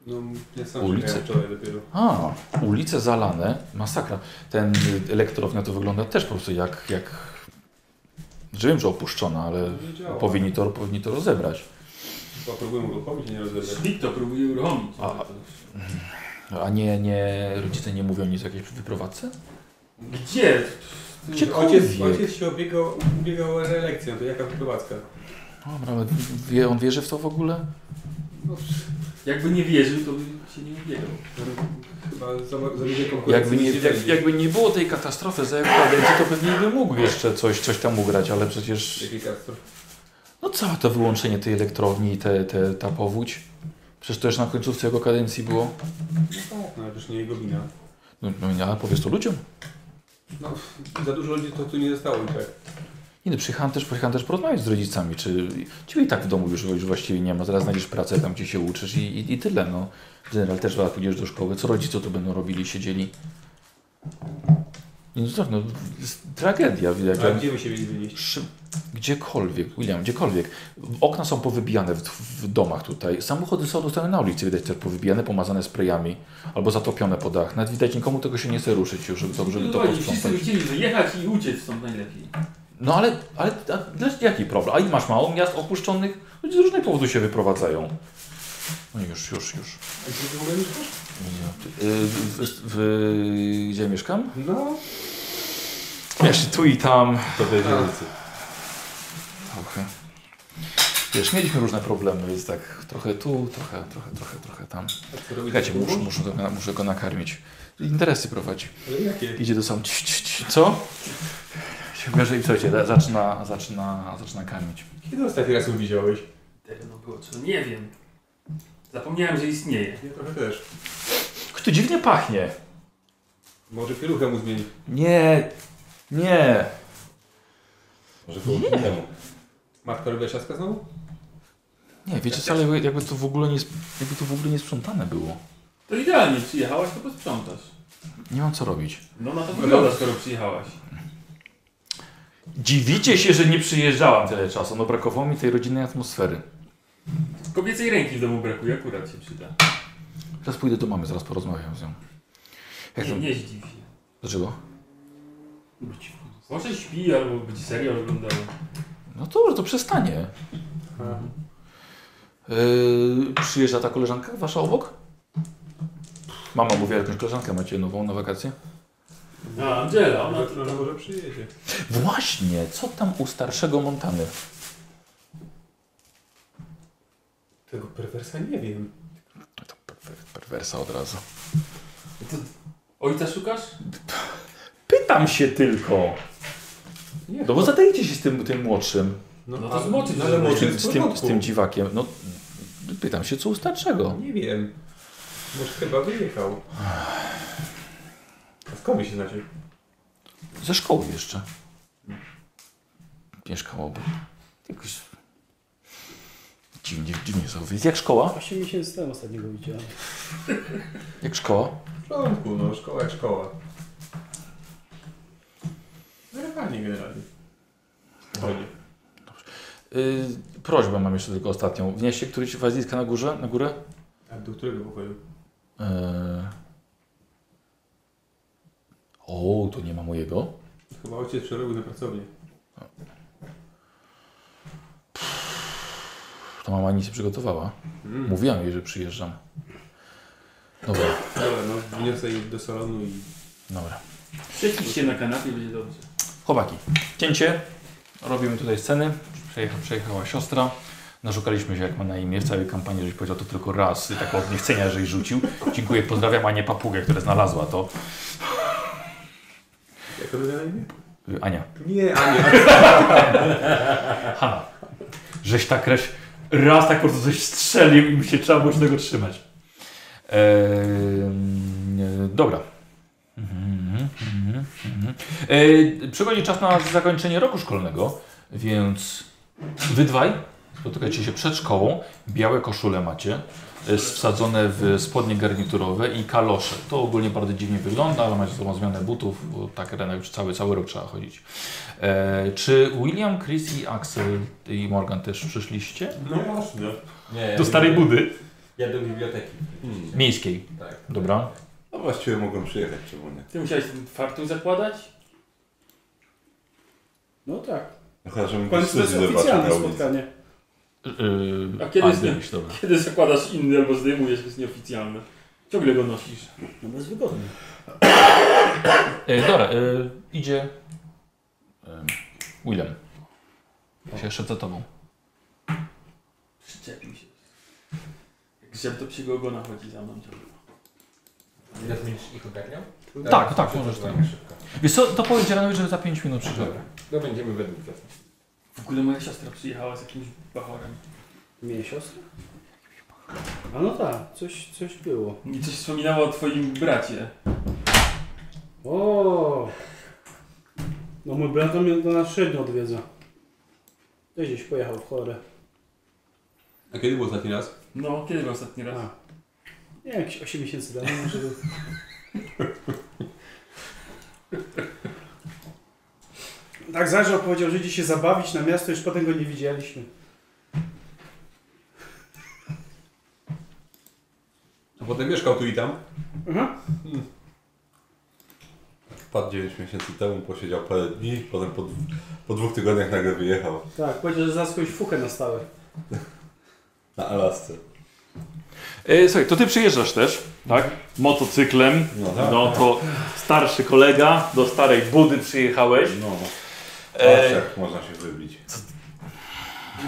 [SPEAKER 3] No, ja sam
[SPEAKER 1] Ulicy.
[SPEAKER 3] Ulicy. wczoraj dopiero.
[SPEAKER 1] A, ulice zalane, masakra. Ten y, elektrownia to wygląda też po prostu jak, jak... Że wiem, że opuszczona, ale
[SPEAKER 3] Nie działa.
[SPEAKER 1] powinni to, powinni to rozebrać.
[SPEAKER 3] Chyba próbuję uruchomić, a nie rozebrać.
[SPEAKER 2] Nikt to próbuje uruchomić.
[SPEAKER 1] A-
[SPEAKER 2] ale to-
[SPEAKER 1] A nie, nie, rodzice nie mówią nic o jakiejś wyprowadzce?
[SPEAKER 2] Gdzie?
[SPEAKER 1] Gdziekolwiek.
[SPEAKER 3] Ojciec, ojciec się obiegał, obiegał o reelekcję, to jaka wyprowadzka?
[SPEAKER 1] Dobra, ale wie, on wierzy w to w ogóle?
[SPEAKER 3] No,
[SPEAKER 2] Jakby nie wierzył, to by się nie ubiegał.
[SPEAKER 3] chyba za, za dużej konkurencji
[SPEAKER 1] Jakby nie,
[SPEAKER 3] nic
[SPEAKER 1] jak,
[SPEAKER 3] będzie.
[SPEAKER 1] jakby nie było tej katastrofy za jego kadencji, to pewnie by mógł jeszcze coś, coś tam ugrać, ale przecież...
[SPEAKER 3] Jakiej katastrofy?
[SPEAKER 1] No całe to wyłączenie tej elektrowni, i te, te, ta powódź. Przecież to już na końcówce jego kadencji było.
[SPEAKER 3] No tak, no ale już nie jego wina.
[SPEAKER 1] No, no nie, ale powiesz to ludziom.
[SPEAKER 3] No, za dużo ludzi to tu nie zostało i tak.
[SPEAKER 1] Nie, no przyjechałem też, przyjechałem też porozmawiać z rodzicami, czy ciebie i tak w domu już, już właściwie nie ma, zaraz znajdziesz pracę, tam gdzie się uczysz i, i, i tyle, no. General też zaraz pójdziesz do szkoły, co rodzice tu będą robili, siedzieli. No tak, no, jest tragedia. widać.
[SPEAKER 3] A gdzie my się mieli wynieść?
[SPEAKER 1] Szy- Gdziekolwiek, William, gdziekolwiek. Okna są powybijane w, w domach tutaj. Samochody są dostane na ulicy, widać też powybijane, pomazane sprayami albo zatopione po dach. Nawet widać, nikomu tego się nie chce ruszyć już, żeby to, żeby to
[SPEAKER 2] No i wszyscy by
[SPEAKER 1] posprzątać.
[SPEAKER 2] chcieli wyjechać i uciec stąd najlepiej.
[SPEAKER 1] No ale, ale a, dla- jaki problem? A i masz mało miast opuszczonych? Ludzie z różnych powodów się wyprowadzają. No już, już, już.
[SPEAKER 3] A gdzie ty w ogóle mieszkasz?
[SPEAKER 1] Yy, w, w, gdzie mieszkam?
[SPEAKER 3] No.
[SPEAKER 1] Wiesz, tu i tam.
[SPEAKER 10] To tej
[SPEAKER 3] Tak.
[SPEAKER 10] dzielnicy.
[SPEAKER 1] Trochę. Wiesz, mieliśmy różne problemy, więc tak trochę tu, trochę, trochę, trochę, trochę tam.
[SPEAKER 3] A co robisz?
[SPEAKER 1] Czekajcie, muszę, muszę, go- muszę go nakarmić. Interesy prowadzi.
[SPEAKER 3] Ale jakie?
[SPEAKER 1] Idzie do sam. Ci, ci, ci. Co? Się bierze i słuchajcie, da- zaczyna, zaczyna, zaczyna karmić.
[SPEAKER 3] Kiedy ostatni raz ją widziałeś?
[SPEAKER 2] Dawno było co? Nie wiem. Zapomniałem, że istnieje.
[SPEAKER 3] Ja trochę też.
[SPEAKER 1] Kto dziwnie pachnie.
[SPEAKER 3] Może pieluchę mu zmieni.
[SPEAKER 1] Nie, nie.
[SPEAKER 10] Może koło temu.
[SPEAKER 3] Matka robiła ciastka znowu?
[SPEAKER 1] Nie, wiecie co, ale jakby- jakby to w ogóle nie, sp- jakby to w ogóle nie sprzątane było.
[SPEAKER 2] To idealnie, przyjechałaś, to posprzątasz.
[SPEAKER 1] Nie mam co robić.
[SPEAKER 2] No na to wygląda, skoro przyjechałaś.
[SPEAKER 1] Dziwicie się, że nie przyjeżdżałam tyle czasu. No brakowało mi tej rodzinnej atmosfery.
[SPEAKER 2] Kobiecej ręki w domu brakuje, akurat się przyda.
[SPEAKER 1] Teraz pójdę do mamy, zaraz porozmawiam z nią. Jak
[SPEAKER 2] Nie,
[SPEAKER 1] tam?
[SPEAKER 2] nie zdziw się.
[SPEAKER 1] Dlaczego?
[SPEAKER 2] Być- Może śpi albo będzie serial oglądał.
[SPEAKER 1] No dobrze, to przestanie. Yy, przyjeżdża ta koleżanka wasza obok? Mama mówiła jakąś koleżankę, macie nową na wakacje?
[SPEAKER 2] A, Angela, ona to...
[SPEAKER 3] Ona może przyjedzie.
[SPEAKER 1] Właśnie, co tam u starszego Montany?
[SPEAKER 3] Tego perwersa nie wiem.
[SPEAKER 1] To perwer- perwersa od razu.
[SPEAKER 2] Ojca szukasz?
[SPEAKER 1] Pytam się tylko.
[SPEAKER 3] Nie.
[SPEAKER 1] No bo zadajcie się z tym, tym młodszym,
[SPEAKER 2] No to zmoczy,
[SPEAKER 3] no, ale
[SPEAKER 2] żeby-
[SPEAKER 1] z
[SPEAKER 3] młodszy
[SPEAKER 1] tym,
[SPEAKER 3] jest
[SPEAKER 1] z,
[SPEAKER 3] w
[SPEAKER 1] tym, z
[SPEAKER 3] porządku.
[SPEAKER 1] tym dziwakiem. No, pytam się, co u starszego.
[SPEAKER 3] Nie wiem. Może chyba wyjechał. A skąd wy się znacie?
[SPEAKER 1] Ze szkoły jeszcze. Mieszkał obok. Jakoś... Dziwnie, dziwnie są. Jak szkoła?
[SPEAKER 11] 8 miesięcy temu ostatnio go widziałem.
[SPEAKER 1] Jak szkoła?
[SPEAKER 3] W porządku, no szkoła jak szkoła. Zerwanie generalnie. Chodzi.
[SPEAKER 1] Y, prośbę mam jeszcze tylko ostatnią. Wnieście któryś walizka na górze, na górę?
[SPEAKER 3] A do którego pokoju?
[SPEAKER 1] Yy. O, to nie ma mojego.
[SPEAKER 3] Chyba ojciec przerobił na pracownię.
[SPEAKER 1] To mama nic nie przygotowała.
[SPEAKER 3] Mm.
[SPEAKER 1] Mówiłam jej, że przyjeżdżam. Dobra,
[SPEAKER 3] Dobra, no wniosę ich do salonu i...
[SPEAKER 1] dobra.
[SPEAKER 2] Przejdź się na kanapie, będzie dobrze.
[SPEAKER 1] Chłopaki, cięcie. Robimy tutaj sceny. Przejecha, przejechała siostra. Narzukaliśmy się, jak ma na imię w całej kampanii, żeś powiedział to tylko raz i tak od niechcenia, żeś rzucił. Dziękuję, pozdrawiam, a nie papugę, która znalazła to.
[SPEAKER 3] Jak to na imię?
[SPEAKER 1] Y, Ania.
[SPEAKER 3] Nie, Ania.
[SPEAKER 1] Ha! Żeś tak reś, raz tak po prostu coś strzelił i mi się trzeba było się tego trzymać. Eee, dobra. Mhm, mhm, mhm. Eee, przychodzi czas na zakończenie roku szkolnego, więc wy dwaj spotykacie się przed szkołą. Białe koszule macie, e, wsadzone w spodnie garniturowe i kalosze. To ogólnie bardzo dziwnie wygląda, ale macie ze sobą zmianę butów, bo tak rena już cały, cały rok trzeba chodzić. E, czy William, Chris i Axel i Morgan też przyszliście?
[SPEAKER 3] No jasne.
[SPEAKER 4] Nie, ja
[SPEAKER 1] Do starej budy.
[SPEAKER 4] Ja do biblioteki.
[SPEAKER 1] Miejskiej.
[SPEAKER 4] Tak.
[SPEAKER 1] Dobra.
[SPEAKER 10] No właściwie mogą przyjechać, czemu nie?
[SPEAKER 2] Ty musiałeś ten fartuch zakładać?
[SPEAKER 11] No tak.
[SPEAKER 10] No chyba, żebym
[SPEAKER 11] Pan
[SPEAKER 10] go
[SPEAKER 11] to
[SPEAKER 10] studzi
[SPEAKER 11] jest
[SPEAKER 10] zobaczył
[SPEAKER 11] oficjalne
[SPEAKER 10] na ulicy.
[SPEAKER 11] spotkanie.
[SPEAKER 1] Yy,
[SPEAKER 2] A kiedy
[SPEAKER 1] a,
[SPEAKER 2] jest-
[SPEAKER 1] byliście, dobra.
[SPEAKER 2] Kiedy zakładasz inny albo zdejmujesz, to jest nieoficjalne. Ciągle go nosisz.
[SPEAKER 11] No bez wygodnie.
[SPEAKER 1] E, dobra, e, idzie e, William. Się jeszcze za tobą.
[SPEAKER 2] Przyczepił się. Jak Grzeb do psiego ogona chodzi za mną ciągle.
[SPEAKER 4] Ile zmienisz ich ogarniał?
[SPEAKER 1] Tak, tak, możesz tak.
[SPEAKER 4] Szybko.
[SPEAKER 1] Wiesz co, to powiedzieć Ranowi, żeby za 5 minut przyszedł.
[SPEAKER 4] Dobra. No będziemy według was.
[SPEAKER 2] W ogóle moja siostra przyjechała z jakimś bachorem.
[SPEAKER 11] Miej siostrę? A no tak, coś, coś było.
[SPEAKER 2] I coś wspominała o twoim bracie.
[SPEAKER 11] O. No mój brat to mnie do nas średnio odwiedza. Też gdzieś pojechał w chore.
[SPEAKER 3] A kiedy był ostatni raz?
[SPEAKER 2] No, kiedy był ostatni raz?
[SPEAKER 11] A. no, Nie, jakieś 8 miesięcy temu, żeby... tak zajrzał, powiedział, że idzie się zabawić na miasto, już potem go nie widzieliśmy.
[SPEAKER 2] A potem mieszkał tu i tam.
[SPEAKER 11] Mhm.
[SPEAKER 3] Wpadł 9 miesięcy temu, posiedział parę dni, potem po, dw- po dwóch tygodniach nagle wyjechał
[SPEAKER 11] Tak, powiedział, że znalazł jakąś fuchę na stałe.
[SPEAKER 3] na Alasce.
[SPEAKER 12] E, słuchaj, to ty przyjeżdżasz też, tak? Motocyklem.
[SPEAKER 3] No tak.
[SPEAKER 12] No to starszy kolega, do starej budy przyjechałeś.
[SPEAKER 3] No, patrz
[SPEAKER 12] E,
[SPEAKER 3] jak można się wybić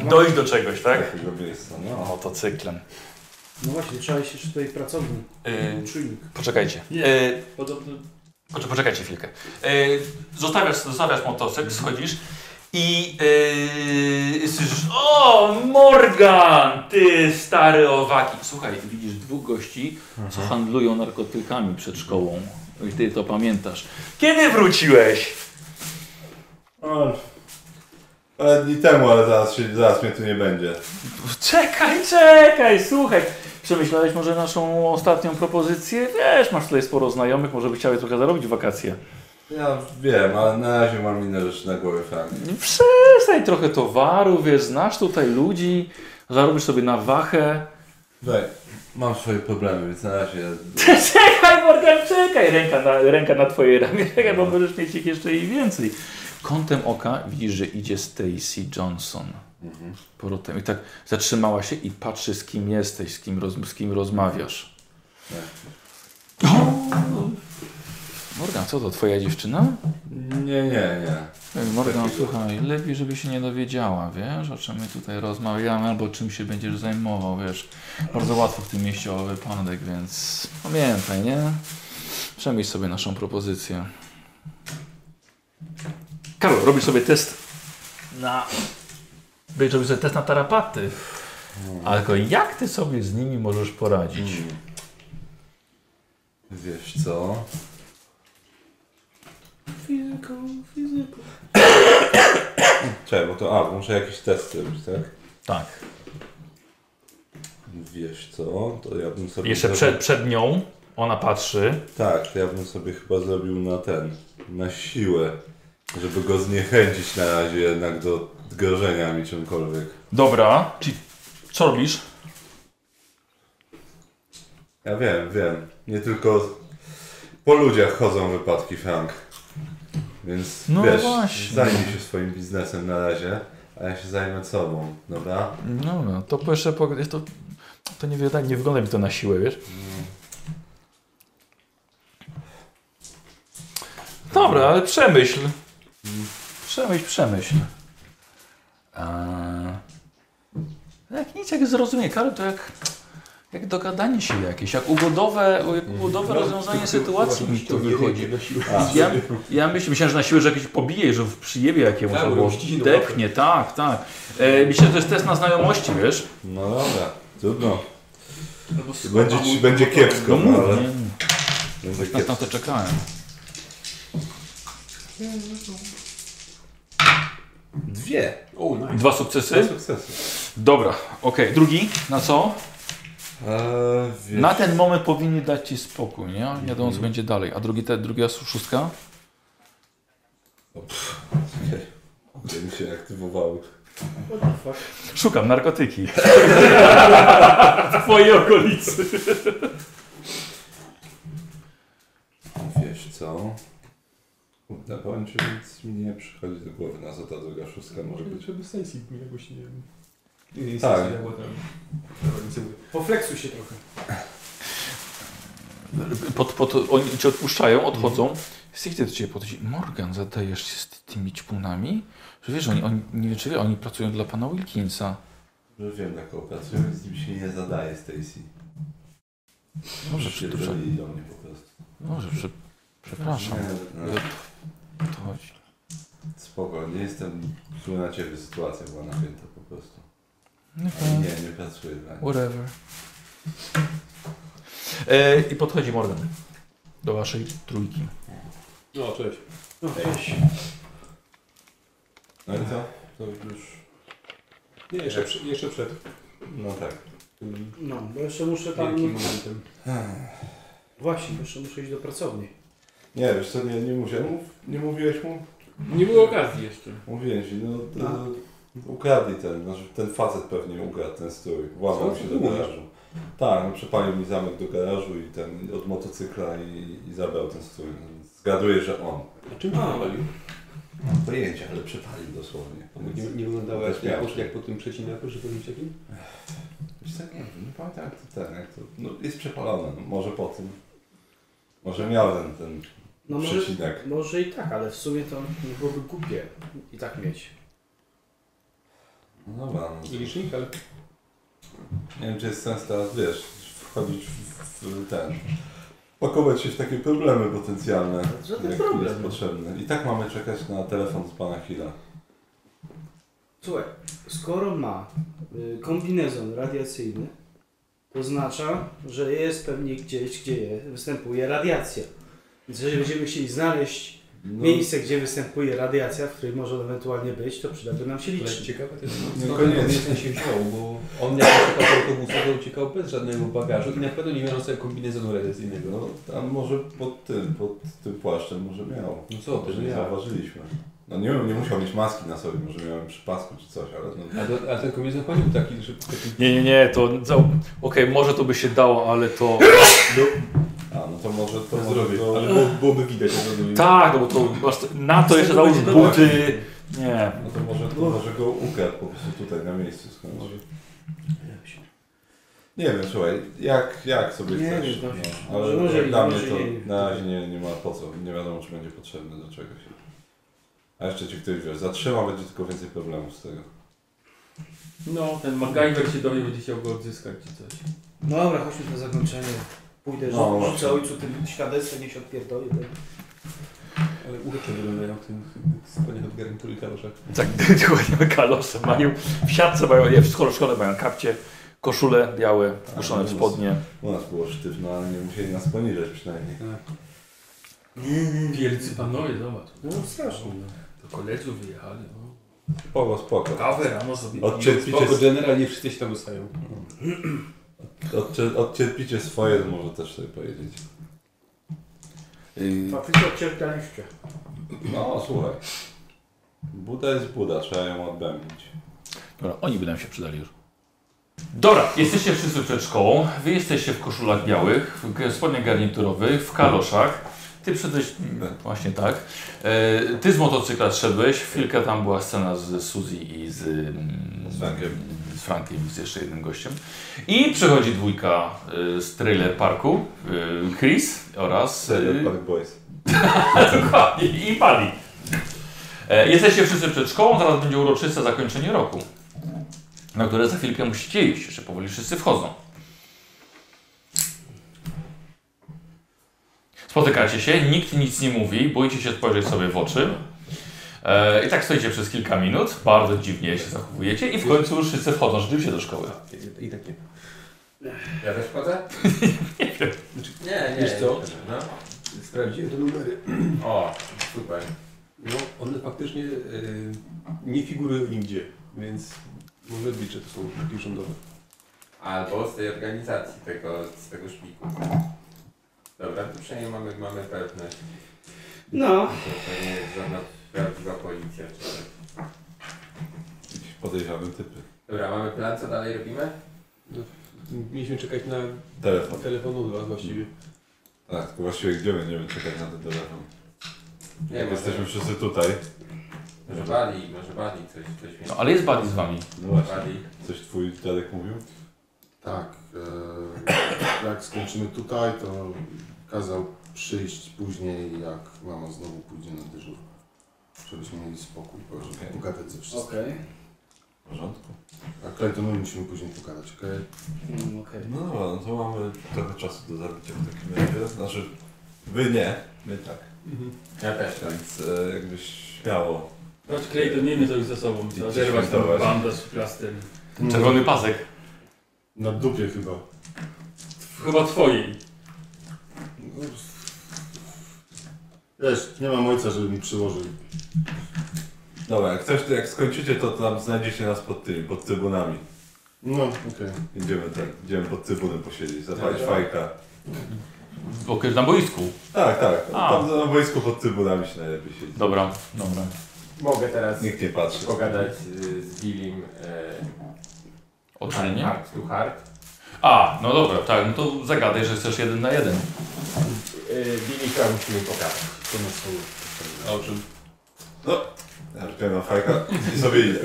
[SPEAKER 12] dojść do czegoś,
[SPEAKER 3] z
[SPEAKER 12] tak?
[SPEAKER 3] takiego miejsca. No.
[SPEAKER 12] Motocyklem.
[SPEAKER 11] No właśnie, trzeba się tutaj pracowni,
[SPEAKER 12] E,
[SPEAKER 11] czujnik.
[SPEAKER 12] poczekajcie.
[SPEAKER 13] Nie.
[SPEAKER 12] E,
[SPEAKER 13] Podobno
[SPEAKER 12] Poczek- Poczekajcie chwilkę. E, zostawiasz, zostawiasz motocykl, schodzisz i e, słyszysz O, Morgan! Ty stary owaki!
[SPEAKER 1] Słuchaj, widzisz dwóch gości,
[SPEAKER 12] Mhm.
[SPEAKER 1] co handlują narkotykami przed szkołą. I ty to pamiętasz.
[SPEAKER 12] Kiedy wróciłeś?
[SPEAKER 3] Ale- Ale dni temu, ale zaraz, się, zaraz mnie tu nie będzie.
[SPEAKER 1] Czekaj, czekaj, słuchaj. Przemyślałeś może naszą ostatnią propozycję? Wiesz, masz tutaj sporo znajomych, może by chciały trochę zarobić w wakacje.
[SPEAKER 3] Ja wiem, ale na razie mam inne rzeczy na głowie, Frank.
[SPEAKER 1] No Przestań trochę towaru, wiesz, znasz tutaj ludzi, zarobisz sobie na wachę.
[SPEAKER 3] Daj, mam swoje problemy, więc na razie...
[SPEAKER 1] Czekaj, Morgan, czekaj! Ręka na, ręka na twojej ramię, czekaj, bo możesz mieć ich jeszcze i więcej. Kątem oka widzisz, że idzie Stacy Johnson. Powrotem. I tak zatrzymała się i patrzy, z kim jesteś, z kim, roz, z kim rozmawiasz. Tak. O! Morgan, co to, twoja dziewczyna?
[SPEAKER 3] Nie, nie, nie.
[SPEAKER 1] Ej, Morgan, słuchaj, lepiej, żeby się nie dowiedziała, wiesz, o czym my tutaj rozmawiamy, albo czym się będziesz zajmował, wiesz. Bardzo łatwo w tym mieście o wypadek, więc pamiętaj, nie? Przemyśl sobie naszą propozycję. Karol, robisz sobie test na... Będziesz robił sobie test na tarapaty. Ale tylko jak ty sobie z nimi możesz poradzić?
[SPEAKER 3] Hmm. Mm. Wiesz co?
[SPEAKER 11] Fizyko, fizyko.
[SPEAKER 3] Czekaj, bo to... A, muszę jakieś testy robić, tak?
[SPEAKER 1] Tak.
[SPEAKER 3] Wiesz co? To ja bym sobie...
[SPEAKER 12] Jeszcze
[SPEAKER 3] zrobił-
[SPEAKER 12] przed, przed nią ona patrzy.
[SPEAKER 3] Tak, to ja bym sobie chyba zrobił na ten... Na siłę. Żeby go zniechęcić na razie jednak do grożenia mi czymkolwiek.
[SPEAKER 12] Dobra, czyli co robisz?
[SPEAKER 3] Ja wiem, wiem. Nie tylko po ludziach chodzą wypadki, Frank. Więc
[SPEAKER 1] No
[SPEAKER 3] wiesz,
[SPEAKER 1] właśnie.
[SPEAKER 3] zajmij się swoim biznesem na razie, a ja się zajmę sobą, dobra?
[SPEAKER 1] No, no, to po jeszcze... Po, to, to nie, wyda- nie wygląda mi to na siłę, wiesz?
[SPEAKER 12] Dobra, ale przemyśl.
[SPEAKER 1] Przemyśl, przemyśl. Eee, jak nic, jak zrozumie, Karol, to jak, jak dogadanie się jakieś, jak ugodowe, jak ugodowe rozwiązanie sytuacji mi tu wychodzi. Ja, ja myślę, myślałem, że na siłę, że jakieś pobije, że w przyjebie jakiemuś,
[SPEAKER 2] Tak,
[SPEAKER 1] albo
[SPEAKER 2] bo ściśnie
[SPEAKER 1] depchnie, tak, tak. E, myślę, że to jest test na znajomości, wiesz?
[SPEAKER 3] No dobra, trudno.
[SPEAKER 13] albo z-
[SPEAKER 3] Będzie, ci, będzie kiepsko, no, ale będzie
[SPEAKER 1] Na, na No to
[SPEAKER 3] kiepsko.
[SPEAKER 1] czekałem.
[SPEAKER 3] Dwie.
[SPEAKER 2] O, nice.
[SPEAKER 1] Dwa
[SPEAKER 3] Dwa
[SPEAKER 1] sukcesy?
[SPEAKER 3] sukcesy.
[SPEAKER 1] Dobra, okej. Drugi, na co?
[SPEAKER 3] Eee, wiesz,
[SPEAKER 1] Na ten moment powinni dać ci spokój, nie? Nie wiadomo, co będzie dalej. A drugi, te, druga szóstka?
[SPEAKER 3] gdzie mi się aktywowały.
[SPEAKER 1] Szukam narkotyki.
[SPEAKER 12] W twojej okolicy.
[SPEAKER 3] Wiesz co? Kurde, powiem ci, nic mi nie przychodzi do głowy, na co ta druga szóstka może być.
[SPEAKER 2] żeby sensi jakoś, nie wiem.
[SPEAKER 3] Tak.
[SPEAKER 2] Tak.
[SPEAKER 11] Pofleksuj się trochę.
[SPEAKER 1] Pod, pod, oni cię odpuszczają, odchodzą. Stricte do ciebie podchodzi. Morgan, zadajesz się z tymi ćpunami? Że wiesz, oni, oni, nie wiem, czy wie, oni pracują dla pana Wilkinsa.
[SPEAKER 3] Że No wiem, na kogo pracuję, więc nim się nie zadaje Stacy.
[SPEAKER 1] Dobrze,
[SPEAKER 3] Się
[SPEAKER 1] dobrze,
[SPEAKER 3] żali do mnie po prostu.
[SPEAKER 1] dobrze, prze, przepraszam.
[SPEAKER 3] Nie, no,
[SPEAKER 1] To chodzi.
[SPEAKER 3] spoko, nie jestem zły na ciebie, sytuacja była napięta po prostu.
[SPEAKER 1] No,
[SPEAKER 3] Ale nie, nie pracuję dla niej.
[SPEAKER 1] whatever. E, I podchodzi Morgan do waszej trójki.
[SPEAKER 2] No, cześć.
[SPEAKER 3] No i co? To już...
[SPEAKER 2] Nie, jeszcze, przy, jeszcze przed
[SPEAKER 3] No tak.
[SPEAKER 2] tym
[SPEAKER 11] No, bo jeszcze muszę tam...
[SPEAKER 2] wielkim momentem.
[SPEAKER 11] Właśnie, bo jeszcze muszę iść do pracowni.
[SPEAKER 3] Nie, wiesz co, nie, nie, musiałem, nie mówiłeś mu?
[SPEAKER 2] Nie było okazji jeszcze.
[SPEAKER 3] Mówiłem ci, no to,
[SPEAKER 8] No.
[SPEAKER 3] ukradli ten, znaczy ten facet pewnie ukradł ten strój,
[SPEAKER 8] Co
[SPEAKER 3] włamał
[SPEAKER 8] ty
[SPEAKER 3] się do
[SPEAKER 8] mówisz?
[SPEAKER 3] garażu. Tak, no, przepalił mi zamek do garażu i ten od motocykla i, i zabrał ten strój. No, Zgaduję, że on.
[SPEAKER 8] A czym pan walił?
[SPEAKER 3] Pojęcie, ale przepalił dosłownie.
[SPEAKER 8] Nie, nie wyglądało jak, jak, jak po tym przecinaku, że powiem takim?
[SPEAKER 3] Wiesz co, nie wiem, nie pamiętam jak to ten, jak to, no jest przepalone, no, może po tym. Może miał ten, ten
[SPEAKER 11] No może,
[SPEAKER 3] przecinek.
[SPEAKER 11] może i tak, ale w sumie to nie byłoby głupie i tak mieć.
[SPEAKER 3] No dobra, no.
[SPEAKER 8] I licznik, ale
[SPEAKER 3] Nie wiem, czy jest sens teraz, wiesz, wchodzić w, w ten. Pakować się w takie problemy potencjalne,
[SPEAKER 11] Żaden
[SPEAKER 3] jak
[SPEAKER 11] problem.
[SPEAKER 3] jest potrzebne. I tak mamy czekać na telefon z pana Hilla.
[SPEAKER 11] Słuchaj, skoro ma y, kombinezon radiacyjny, to oznacza, że jest pewnie gdzieś, gdzie je, występuje radiacja. Więc jeżeli będziemy chcieli znaleźć
[SPEAKER 3] No,
[SPEAKER 11] miejsce, gdzie występuje radiacja, w której może on ewentualnie być, to przydałby nam się
[SPEAKER 8] ale
[SPEAKER 11] licznik.
[SPEAKER 8] ciekawe No, to jest,
[SPEAKER 3] Nie,
[SPEAKER 8] skąd
[SPEAKER 3] koniec.
[SPEAKER 8] ten kombinezon się wziął, bo on jak uciekał z autobusu, to uciekał bez żadnego bagażu i na pewno nie miał sobie kombinezonu radiacyjnego.
[SPEAKER 3] no tam może pod tym, pod tym płaszczem może miał.
[SPEAKER 8] No co ty,
[SPEAKER 3] Może
[SPEAKER 8] że
[SPEAKER 3] nie
[SPEAKER 8] ja.
[SPEAKER 3] zauważyliśmy. No nie wiem, nie musiał mieć maski na sobie, może miałem przy pasku czy coś, ale no,
[SPEAKER 8] A, to, a ten kombinezon chodził taki, że taki
[SPEAKER 1] Nie, nie, nie, to. za- Okej, może to by się dało, ale to.
[SPEAKER 3] A, no to może to
[SPEAKER 8] to
[SPEAKER 3] może
[SPEAKER 8] zrobię,
[SPEAKER 3] to...
[SPEAKER 8] ale było, byłoby widać. że zrobił.
[SPEAKER 1] Tak, no bo to. masz- Na to jeszcze załóż buty. Nie.
[SPEAKER 3] No to może, to może go ukradł po prostu tutaj na miejscu skądś. Nie wiem, słuchaj, jak, jak sobie
[SPEAKER 11] Nie
[SPEAKER 3] chcesz.
[SPEAKER 11] wiem,
[SPEAKER 3] no, ale
[SPEAKER 11] może może i
[SPEAKER 3] dla mnie
[SPEAKER 11] może
[SPEAKER 3] to
[SPEAKER 11] nie.
[SPEAKER 3] na razie nie, nie ma po co. Nie wiadomo, czy będzie potrzebne do czegoś. A jeszcze ci ktoś wiesz, zatrzyma, będzie tylko więcej problemów z tego.
[SPEAKER 2] No, ten MacGyver się do mnie będzie chciał go odzyskać czy coś.
[SPEAKER 11] No dobra, chodźmy na zakończenie. Pójdę,
[SPEAKER 3] No,
[SPEAKER 11] no,
[SPEAKER 3] właśnie.
[SPEAKER 11] rzucę ojcu tym świadectwem, niech się odpierdoli. tak? ten-
[SPEAKER 8] Ale urocze wyglądają w tym wspaniałym od garnitury kaloszach.
[SPEAKER 1] Tak, dokładnie kalosy mają. W siatce mają, nie, w szkole, w szkole mają kapcie, koszule białe, puszczone w spodnie.
[SPEAKER 3] U nas było sztywno, ale nie musieli nas poniżać przynajmniej.
[SPEAKER 2] Wielcy panowie, zobacz.
[SPEAKER 11] No strasznie. No.
[SPEAKER 2] Do koleżu wyjechali. No.
[SPEAKER 3] Spoko, spoko.
[SPEAKER 2] Kawę rano sobie.
[SPEAKER 3] Odcierpicie,
[SPEAKER 8] Spoko, generalnie wszyscy się tam dostają.
[SPEAKER 3] odcier, odcierpicie swoje, to może też sobie powiedzieć.
[SPEAKER 6] Yy,
[SPEAKER 11] Faktycznie odcierpialiście.
[SPEAKER 3] No, słuchaj. Buda jest Buda, trzeba ją odbębnić.
[SPEAKER 6] Dobra, oni by nam się przydali już. Dobra, jesteście wszyscy przed szkołą. Wy jesteście w koszulach białych, w g- spodniach garniturowych, w kaloszach. Ty przyszedłeś, mm, właśnie tak. E, ty z motocykla szedłeś. Chwilkę tam była scena z Suzy i z, mm,
[SPEAKER 3] Z Frankiem.
[SPEAKER 6] Z Frankiem, i z jeszcze jednym gościem. I przychodzi dwójka e, z trailer parku. E, Chris oraz...
[SPEAKER 3] Serio,
[SPEAKER 8] Y-
[SPEAKER 6] e,
[SPEAKER 3] Park Boys.
[SPEAKER 6] Dokładnie, i pali. E, Jesteście wszyscy przed szkołą, zaraz będzie uroczyste zakończenie roku, na które za chwilkę musicie iść, jeszcze powoli wszyscy wchodzą. Spotykacie się, nikt nic nie mówi, boicie się spojrzeć sobie w oczy. E, I tak stoicie przez kilka minut, bardzo dziwnie się zachowujecie i w końcu już wszyscy wchodzą rzeczywiście do szkoły.
[SPEAKER 8] I tak takie.
[SPEAKER 4] Ja też wchodzę? nie, nie.
[SPEAKER 8] Wiesz co?
[SPEAKER 4] No.
[SPEAKER 8] Sprawdziłem te numery.
[SPEAKER 4] O, super.
[SPEAKER 8] No, one faktycznie e, nie figurują nigdzie, więc może być, że to są sztuki rządowe.
[SPEAKER 4] Albo z tej organizacji, tego, z tego szpiku. Dobra, to przynajmniej mamy, mamy pewność,
[SPEAKER 11] No,
[SPEAKER 4] że to nie jest żadna prawdziwa policja. czy coś.
[SPEAKER 3] Jakieś podejrzane typy.
[SPEAKER 4] Dobra, mamy plan, co dalej robimy?
[SPEAKER 8] Mieliśmy czekać na
[SPEAKER 3] Telefon.
[SPEAKER 8] telefon od was właściwie.
[SPEAKER 3] Tak, tylko właściwie gdzie będziemy czekać na ten telefon?
[SPEAKER 4] Nie,
[SPEAKER 3] Jak
[SPEAKER 4] może,
[SPEAKER 3] jesteśmy wszyscy tutaj.
[SPEAKER 4] może bali, może bali coś, coś mi...
[SPEAKER 6] No, ale jest Buddy z wami.
[SPEAKER 3] No właśnie.
[SPEAKER 4] Bali.
[SPEAKER 3] Coś twój dziadek mówił?
[SPEAKER 14] Tak. E, jak skończymy tutaj, to kazał przyjść później, jak mama znowu pójdzie na dyżur. Żebyśmy mieli spokój, bo żeby
[SPEAKER 3] Okej.
[SPEAKER 14] pogadać ze wszystkim.
[SPEAKER 11] okej.
[SPEAKER 3] W porządku.
[SPEAKER 14] A Clayton, my musimy później pogadać, okej?
[SPEAKER 11] Mm, okej.
[SPEAKER 3] No dobra, no to mamy trochę czasu do zabicia w takim razie. Znaczy, wy nie, my tak.
[SPEAKER 2] Mhm.
[SPEAKER 4] Ja też.
[SPEAKER 3] Więc e, jakbyś śmiało.
[SPEAKER 2] Chodź Klej, to nie wiem co jest za sobą. Trzeba zerwać ten
[SPEAKER 3] Świętować.
[SPEAKER 2] bandaż i plaster.
[SPEAKER 14] Mm.
[SPEAKER 6] Czerwony pasek.
[SPEAKER 14] Na dupie chyba.
[SPEAKER 2] Chyba twojej.
[SPEAKER 14] No, Wiesz, nie mam ojca, żeby mi przyłożył.
[SPEAKER 3] Dobra, jak chcesz, to jak skończycie, to tam znajdziecie nas pod tymi, pod trybunami.
[SPEAKER 14] No, okej.
[SPEAKER 3] Idziemy tak, idziemy pod trybunem posiedzieć, zapalić fajka.
[SPEAKER 1] okres na boisku.
[SPEAKER 3] Tak, tak.
[SPEAKER 1] A.
[SPEAKER 3] Tam na boisku pod trybunami się najlepiej siedzi.
[SPEAKER 1] Dobra, dobra.
[SPEAKER 4] Mogę teraz
[SPEAKER 3] Nikt nie patrzy.
[SPEAKER 4] pogadać y, z Billim e,
[SPEAKER 1] O czym nie?
[SPEAKER 4] heart to heart.
[SPEAKER 1] A, no dobra, tak, no to zagadaj, że chcesz jeden na jeden.
[SPEAKER 4] Y, Billy chciałbym ci mi pokazać.
[SPEAKER 14] To na słowo.
[SPEAKER 1] A o czym?
[SPEAKER 3] No, ja już mam fajka i sobie idę.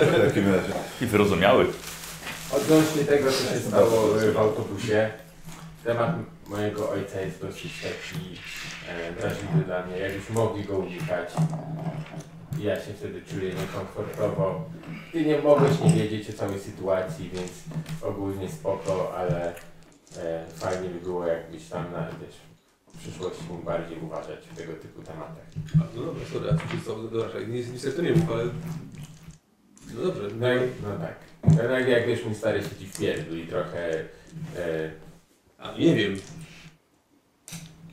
[SPEAKER 3] W takim razie.
[SPEAKER 1] I wyrozumiały.
[SPEAKER 4] Odnośnie tego, co się stało y, w autobusie, temat mojego ojca jest dosyć taki e, drażliwy dla mnie. Jakbyśmy mogli go unikać, ja się wtedy czuję niekomfortowo. Ty nie mogłeś nie wiedzieć o całej sytuacji, więc ogólnie spoko, ale e, fajnie by było, jakbyś tam na, wiesz, w przyszłości mógł bardziej uważać w tego typu tematach.
[SPEAKER 8] A, no dobra, sorry, a ty się cały dorażaj. Nie, nie startuję mu, ale... No dobrze.
[SPEAKER 4] No, i- no tak. Jednak jak wiesz, mój stary siedzi w pierdlu i trochę... E,
[SPEAKER 8] A, nie wiem.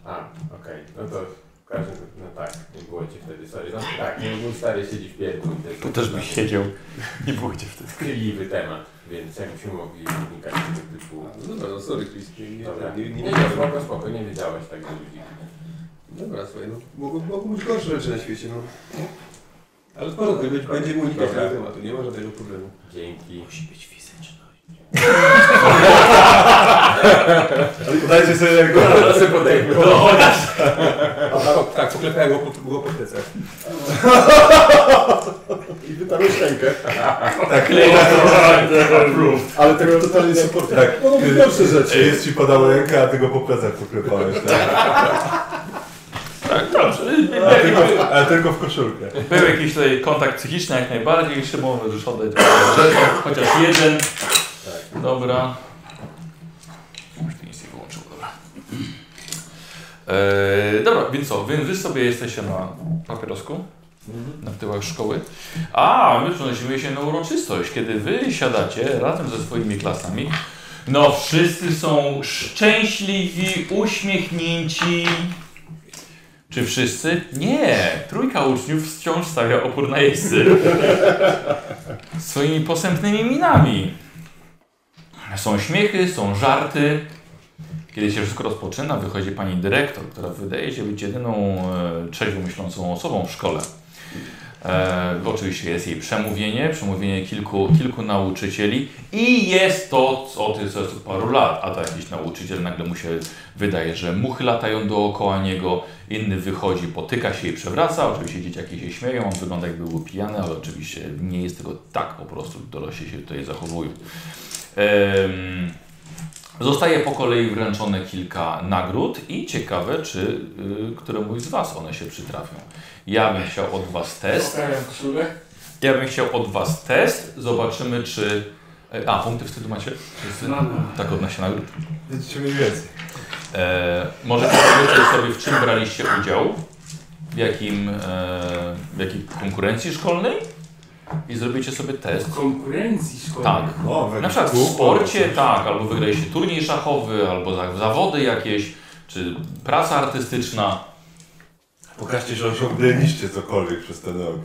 [SPEAKER 4] A, okej, no to w każdym no tak, nie było cię wtedy, sorry. No tak, nie, mój stary siedzi w pierdlu i jest taki
[SPEAKER 1] siedział. Nie było gdzie wtedy.
[SPEAKER 4] chwytliwy temat, więc jakbyśmy mogli unikać tego typu...
[SPEAKER 8] A, no dobra, no sorry, Chris. Nie, nie,
[SPEAKER 4] Dobra,
[SPEAKER 8] nie, nie,
[SPEAKER 4] nie,
[SPEAKER 8] nie, wiedziałem.
[SPEAKER 4] spoko, spoko, nie wiedziałeś tak do ludzi.
[SPEAKER 8] Dobra, słuchaj, no mogą, mogą być gorsze rzeczy na świecie, no. Ale w porządku, będzie- będziemy unikać
[SPEAKER 4] Dobra.
[SPEAKER 8] tego tematu, nie ma żadnego problemu.
[SPEAKER 4] Dzięki. Musi być
[SPEAKER 3] Dajcie sobie jak
[SPEAKER 4] fizyczny. podejmę.
[SPEAKER 8] A, tak, tak, poklepałem go po, go po plecach.
[SPEAKER 14] I wytarłeś rękę.
[SPEAKER 3] Tak,
[SPEAKER 14] Ale tego totalnie supportuję.
[SPEAKER 3] tak.
[SPEAKER 14] No, no, gorsze rzeczy.
[SPEAKER 3] Jest ci podał rękę, a ty go po plecach poklepałeś, tak?
[SPEAKER 1] Tak, dobrze.
[SPEAKER 3] A tylko, a tylko w koszulkę.
[SPEAKER 1] Był jakiś tutaj kontakt psychiczny jak najbardziej, Szymon możesz oddać rzeczą, chociaż jeden. Dobra. Już mi nic nie wyłączyło, dobra. Eee, dobra, więc co, więc wy sobie jesteście na papierosku, na tyłach szkoły, a my przenosimy się na uroczystość, kiedy wy siadacie razem ze swoimi klasami. No, wszyscy są szczęśliwi, uśmiechnięci, czy wszyscy? Nie! Trójka uczniów wciąż stawia opór na jeźdźcy. Swoimi posępnymi minami. Są śmiechy, są żarty. Kiedy się wszystko rozpoczyna, wychodzi pani dyrektor, która wydaje się być jedyną e, trzeźwo myślącą osobą w szkole. E, oczywiście jest jej przemówienie, przemówienie kilku, kilku nauczycieli i jest to co- od, jest od paru lat, a to jakiś nauczyciel nagle mu się wydaje, że muchy latają dookoła niego, inny wychodzi, potyka się i przewraca, oczywiście dzieciaki się śmieją, on wygląda jakby był pijany, ale oczywiście nie jest tego tak po prostu, dorośli się tutaj zachowują. Em, Zostaje po kolei wręczone kilka nagród i ciekawe, czy y, któremuś z Was one się przytrafią. Ja bym chciał od Was test.
[SPEAKER 2] Zostawiam koszulę.
[SPEAKER 1] Ja bym chciał od Was test. Zobaczymy, czy. e, A, punkty wstydu macie? Wszyscy? Tak, odnośnie nagród.
[SPEAKER 3] Będziecie mieli więcej.
[SPEAKER 1] E, możecie powiedzieć sobie, w czym braliście udział, w, jakim, e, w jakiej konkurencji szkolnej i zrobicie sobie test.
[SPEAKER 2] W konkurencji szkolnej.
[SPEAKER 1] Tak.
[SPEAKER 3] No,
[SPEAKER 1] Na przykład w
[SPEAKER 3] kółko,
[SPEAKER 1] sporcie,
[SPEAKER 3] coś.
[SPEAKER 1] tak, albo wygraliście turniej szachowy, albo za- zawody jakieś, czy praca artystyczna.
[SPEAKER 3] Pokażcie, że osiągnęliście cokolwiek przez ten rok.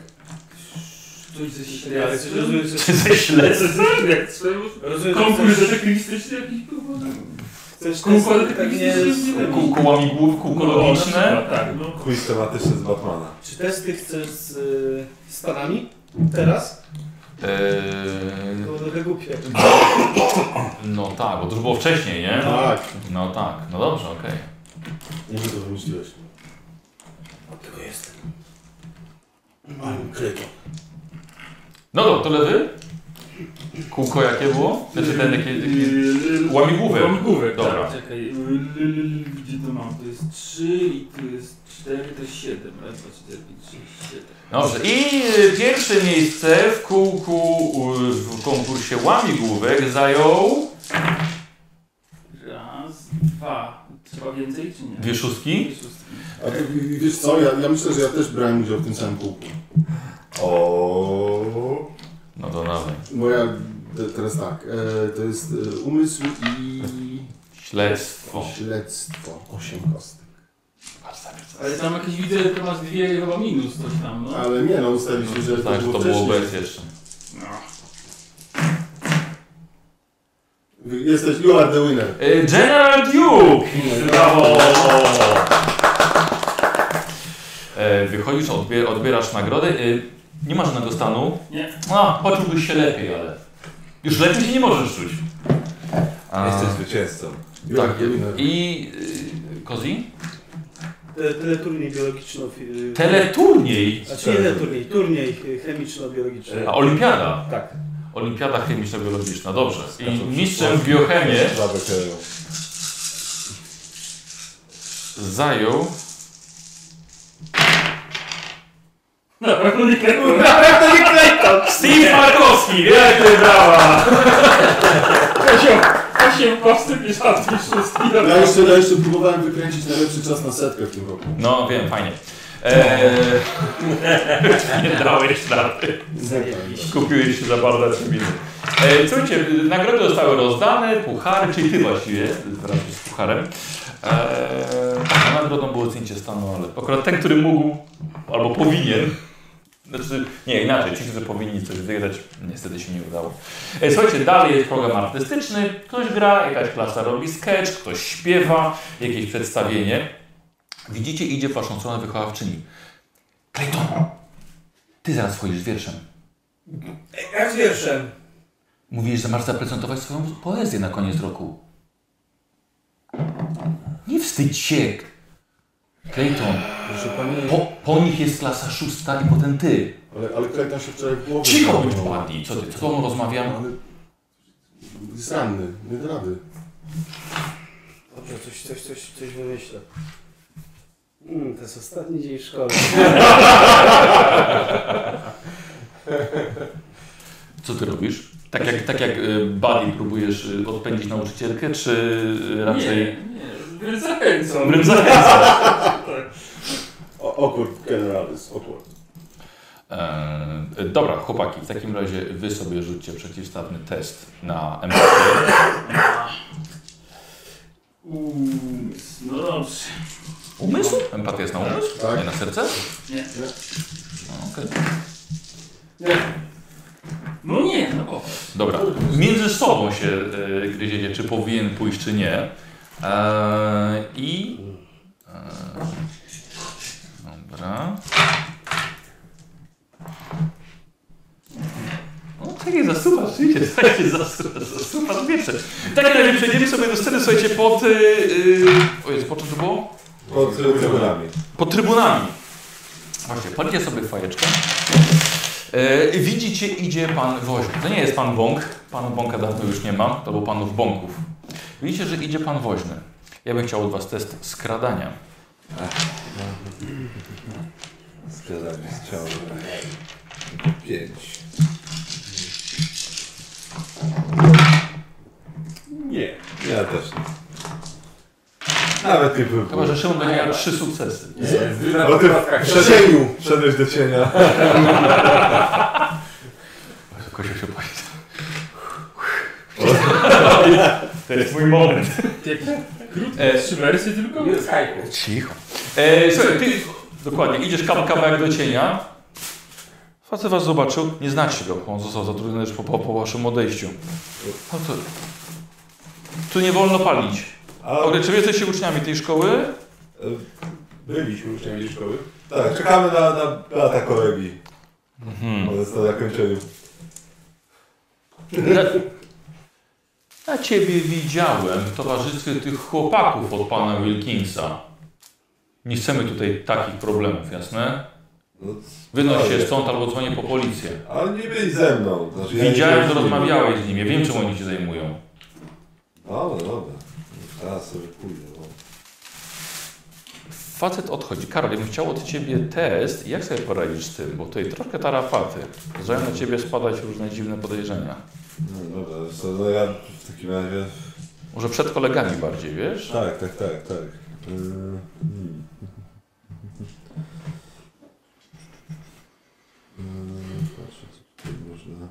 [SPEAKER 2] Coś ze
[SPEAKER 11] Ale czy rozumiem, że
[SPEAKER 1] Czy ze śledztw?
[SPEAKER 2] śledztwem?
[SPEAKER 11] Rozumiem, że
[SPEAKER 2] Konkurs
[SPEAKER 11] chcesz-
[SPEAKER 2] detektywistyczny jakiś kurwa?
[SPEAKER 11] chcesz
[SPEAKER 2] Konkurs
[SPEAKER 11] testy pewnie...
[SPEAKER 2] detektywistyczny?
[SPEAKER 11] z-
[SPEAKER 1] Kół, kołami głów,
[SPEAKER 2] No, na
[SPEAKER 1] kółkologiczne.
[SPEAKER 2] przykład, Tak, no.
[SPEAKER 3] Quiz tematyczny z Batmana.
[SPEAKER 11] Czy testy chcesz z, y, z panami? Teraz?
[SPEAKER 2] no.
[SPEAKER 1] Eee,
[SPEAKER 11] To trochę głupie.
[SPEAKER 1] no tak, bo to już było wcześniej, nie?
[SPEAKER 14] Tak.
[SPEAKER 1] No tak, no dobrze, okej.
[SPEAKER 14] Nie wiem, co wymyśliłeś.
[SPEAKER 11] Tego jestem.
[SPEAKER 14] Mam kryto.
[SPEAKER 1] No dobra, to lewy? Kółko jakie było? Znaczy ten jaki... jaki... łamigłówek.
[SPEAKER 2] Yy, Łamigłówek,
[SPEAKER 1] Dobra.
[SPEAKER 2] Tak, czekaj. y, l- l- l- Gdzie to mam? To jest 3 i tu jest 4, to jest 7. Raz, dwa, cztery, pięć, sześć, siedem.
[SPEAKER 1] Dobrze, i y, pierwsze miejsce w kółku y, w konkursie łamigłówek zajął...
[SPEAKER 2] Raz, dwa. Trzeba więcej czy nie?
[SPEAKER 1] Dwie szóstki?
[SPEAKER 2] Dwie szóstki.
[SPEAKER 14] A ty, wiesz co, ja, ja myślę, że ja też brałem udział w tym samym kółku.
[SPEAKER 3] O.
[SPEAKER 1] No to dawaj.
[SPEAKER 14] Bo ja te, teraz tak, e, to jest e, umysł i
[SPEAKER 1] Śledztwo.
[SPEAKER 14] śledztwo. Osiem kostek.
[SPEAKER 2] Ale tam jakieś widzę, że to masz dwie chyba minus coś tam, no.
[SPEAKER 14] Ale nie no, ustaliliśmy, że
[SPEAKER 1] Tak,
[SPEAKER 14] to było
[SPEAKER 1] to było
[SPEAKER 14] wcześniej.
[SPEAKER 1] bez jeszcze.
[SPEAKER 2] no.
[SPEAKER 14] Jesteś, you are the winner.
[SPEAKER 1] Y, General Duke! Brawo! E, Wychodzisz, odbier odbierasz nagrodę. Y, Nie masz żadnego stanu.
[SPEAKER 2] Nie.
[SPEAKER 1] A, poczułbyś się lepiej, ale. Już lepiej się nie możesz czuć. A,
[SPEAKER 3] Jesteś zwycięzcą.
[SPEAKER 14] You
[SPEAKER 1] Tak,
[SPEAKER 14] are the winner.
[SPEAKER 1] I. y, Kozi?
[SPEAKER 11] Te- Teleturniej biologiczno... y,
[SPEAKER 1] Teleturniej!
[SPEAKER 11] Znaczy nie teleturniej, turniej y, chemiczno-biologiczny.
[SPEAKER 1] A olimpiada.
[SPEAKER 11] Tak.
[SPEAKER 1] Olimpiada chemiczno-biologiczna, dobrze. I mistrzem w biochemie
[SPEAKER 3] Zabekeją.
[SPEAKER 1] zajął.
[SPEAKER 2] Na pewno No, nie kręgło.
[SPEAKER 1] Steve Markowski! Wielkie brawa!
[SPEAKER 2] Osiem, osiem kostek i żadnej szóstki.
[SPEAKER 14] Ja jeszcze, ja jeszcze próbowałem wykręcić najlepszy czas na setkę w tym roku.
[SPEAKER 1] No wiem, fajnie. Eee, nie dałeś rady. Kupiłeś się za bardzo czy minut. Eee, słuchajcie, nagrody zostały rozdane, puchary, czyli ty właściwie, razem z pucharem. Eee, a nagrodą było zdjęcie stanu, ale akurat ten, który mógł, albo powinien, znaczy, nie, inaczej, ci, którzy powinni coś wygrać, niestety się nie udało. E, Słuchajcie, dalej jest program artystyczny, ktoś gra, jakaś klasa robi sketch, ktoś śpiewa, jakieś przedstawienie. Widzicie, idzie w waszą stronę wychowawczyni. Clayton, ty zaraz wchodzisz z wierszem.
[SPEAKER 11] Jak z wierszem?
[SPEAKER 1] Mówisz, że masz zaprezentować swoją poezję na koniec roku. Nie wstydź się. Clayton,
[SPEAKER 14] Proszę pani,
[SPEAKER 1] po, po nich jest klasa szósta i potem ty.
[SPEAKER 14] ale, ale Clayton się wczoraj w głowę...
[SPEAKER 1] Cicho bądź
[SPEAKER 14] zamknął.
[SPEAKER 1] ładniej, co ty, z tobą rozmawiam?
[SPEAKER 14] Ale... Jest ranny, nie da rady.
[SPEAKER 11] Dobrze, coś, coś, coś, coś wymyślę. Mm, to jest ostatni dzień w szkole.
[SPEAKER 1] Co ty robisz? Tak jak, tak jak y, Buddy próbujesz y, odpędzić nauczycielkę, czy y, raczej...
[SPEAKER 2] Nie, nie. Wręcz zachęcam.
[SPEAKER 1] Wręcz zachęcasz.
[SPEAKER 14] O, awkward generalis, awkward.
[SPEAKER 1] E, dobra, chłopaki, w takim razie wy sobie rzućcie przeciwstawny test na empatię.
[SPEAKER 2] Umysł, no dobrze.
[SPEAKER 1] Umysł? Empatia jest na umysł?
[SPEAKER 14] Tak.
[SPEAKER 1] Nie na serce?
[SPEAKER 2] Nie.
[SPEAKER 1] No, okej.
[SPEAKER 2] No nie, no bo.
[SPEAKER 1] Dobra, między sobą się e, gryziecie, czy powinien pójść, czy nie. E, I... E, dobra. No czekaj, zasuwasz, idzie, słuchajcie, zasuwasz, zasuwasz wieprze. Tak, ale przejdziemy sobie do sceny, słuchajcie, pod... Y, y, o Jezu, po czym to było?
[SPEAKER 3] Pod trybunami.
[SPEAKER 1] pod trybunami. Właśnie, palcie sobie fajeczkę. E, widzicie, idzie pan Woźny. To nie jest pan Bąk. Panu Bąka dawno już nie ma. To był panów Bąków. Widzicie, że idzie pan Woźny. Ja bym chciał od was test skradania.
[SPEAKER 3] Skradanie z ciała. Pięć.
[SPEAKER 2] Nie.
[SPEAKER 3] Ja też nie. Nawet nie
[SPEAKER 1] Chyba,
[SPEAKER 3] próbuję.
[SPEAKER 1] że Szymon będzie miał trzy sukcesy.
[SPEAKER 3] Bo ty w cieniu. Wszedłeś do cienia.
[SPEAKER 1] Kozio się boję. E,
[SPEAKER 2] Krótkie trzy wersje tylko?
[SPEAKER 4] Nie z hajku.
[SPEAKER 1] Cicho. E, słuchaj, ty dokładnie, idziesz kawa kawałek do cienia. Facet was zobaczył, nie znacie go, bo on został zatrudniony już po, po, po waszym odejściu. No to... Tu nie wolno palić.
[SPEAKER 3] A,
[SPEAKER 1] Dobry, czy wy jesteście uczniami tej szkoły?
[SPEAKER 3] e,
[SPEAKER 14] Byliśmy uczniami szkoły.
[SPEAKER 3] tak, czekamy na, na lata kolegi.
[SPEAKER 1] Mhm.
[SPEAKER 3] On jest na zakończeniu.
[SPEAKER 1] Na, na ciebie widziałem w towarzystwie tych chłopaków od pana Wilkinsa. Nie chcemy tutaj takich problemów, jasne?
[SPEAKER 3] No,
[SPEAKER 1] Wynoś się
[SPEAKER 3] Ale-
[SPEAKER 1] stąd albo dzwonię po policję.
[SPEAKER 3] Ale nie byli ze mną. Znaczy, ja nie
[SPEAKER 1] Widziałem,
[SPEAKER 3] byłem
[SPEAKER 1] że
[SPEAKER 3] z nimi.
[SPEAKER 1] rozmawiałeś z nimi, wiem czym oni się zajmują.
[SPEAKER 3] Dobra, dobra. Teraz sobie pójdę. Bo...
[SPEAKER 1] Facet odchodzi. Karol, ja bym chciał od ciebie test. Jak sobie poradzisz z tym? Bo tutaj troszkę tarafaty. Zaczynają na ciebie spadać różne dziwne podejrzenia.
[SPEAKER 3] No, dobra, wiesz co, no ja w takim razie...
[SPEAKER 1] Może przed kolegami bardziej, wiesz?
[SPEAKER 3] Tak, tak, tak, tak. Yy, hmm. Yy, patrzę, co tutaj można...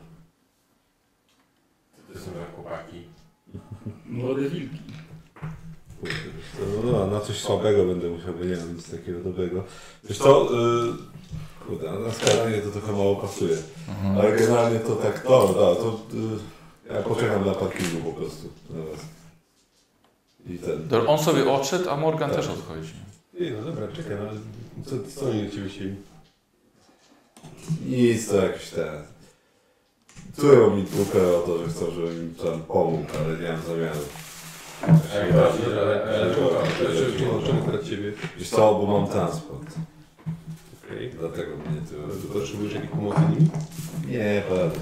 [SPEAKER 4] To są jak chłopaki.
[SPEAKER 2] Młode wilki.
[SPEAKER 3] Kurde, wiesz co, No dobra, na coś słabego będę musiał, bo nie mam nic takiego dobrego. Wiesz co, yy, kurde, na skalanie to trochę mało pasuje.
[SPEAKER 1] Mhm.
[SPEAKER 3] Ale generalnie to tak, to, da, to... Yy, Ja poczekam na parkingu po prostu. Na was. I ten.
[SPEAKER 1] To On sobie odszedł, a Morgan też odchodzi.
[SPEAKER 8] Ej, no dobra, czekaj, no, ale co, co oni do ciebie chcieli?
[SPEAKER 3] Nic, to jakiś ten. Czują mi dupę o to, że chcą, żebym im tam pomógł, ale nie mam zamiaru.
[SPEAKER 4] Ej, dobrze, ale- ale-
[SPEAKER 8] Dlaczego- Dlaczego czemu akurat ciebie?
[SPEAKER 3] Wiesz co, bo mam transport.
[SPEAKER 8] Okej.
[SPEAKER 3] Dlatego mnie tu...
[SPEAKER 8] Okay. Potrzebujesz jakiejś pomocy nimi?
[SPEAKER 3] Nie, prawda.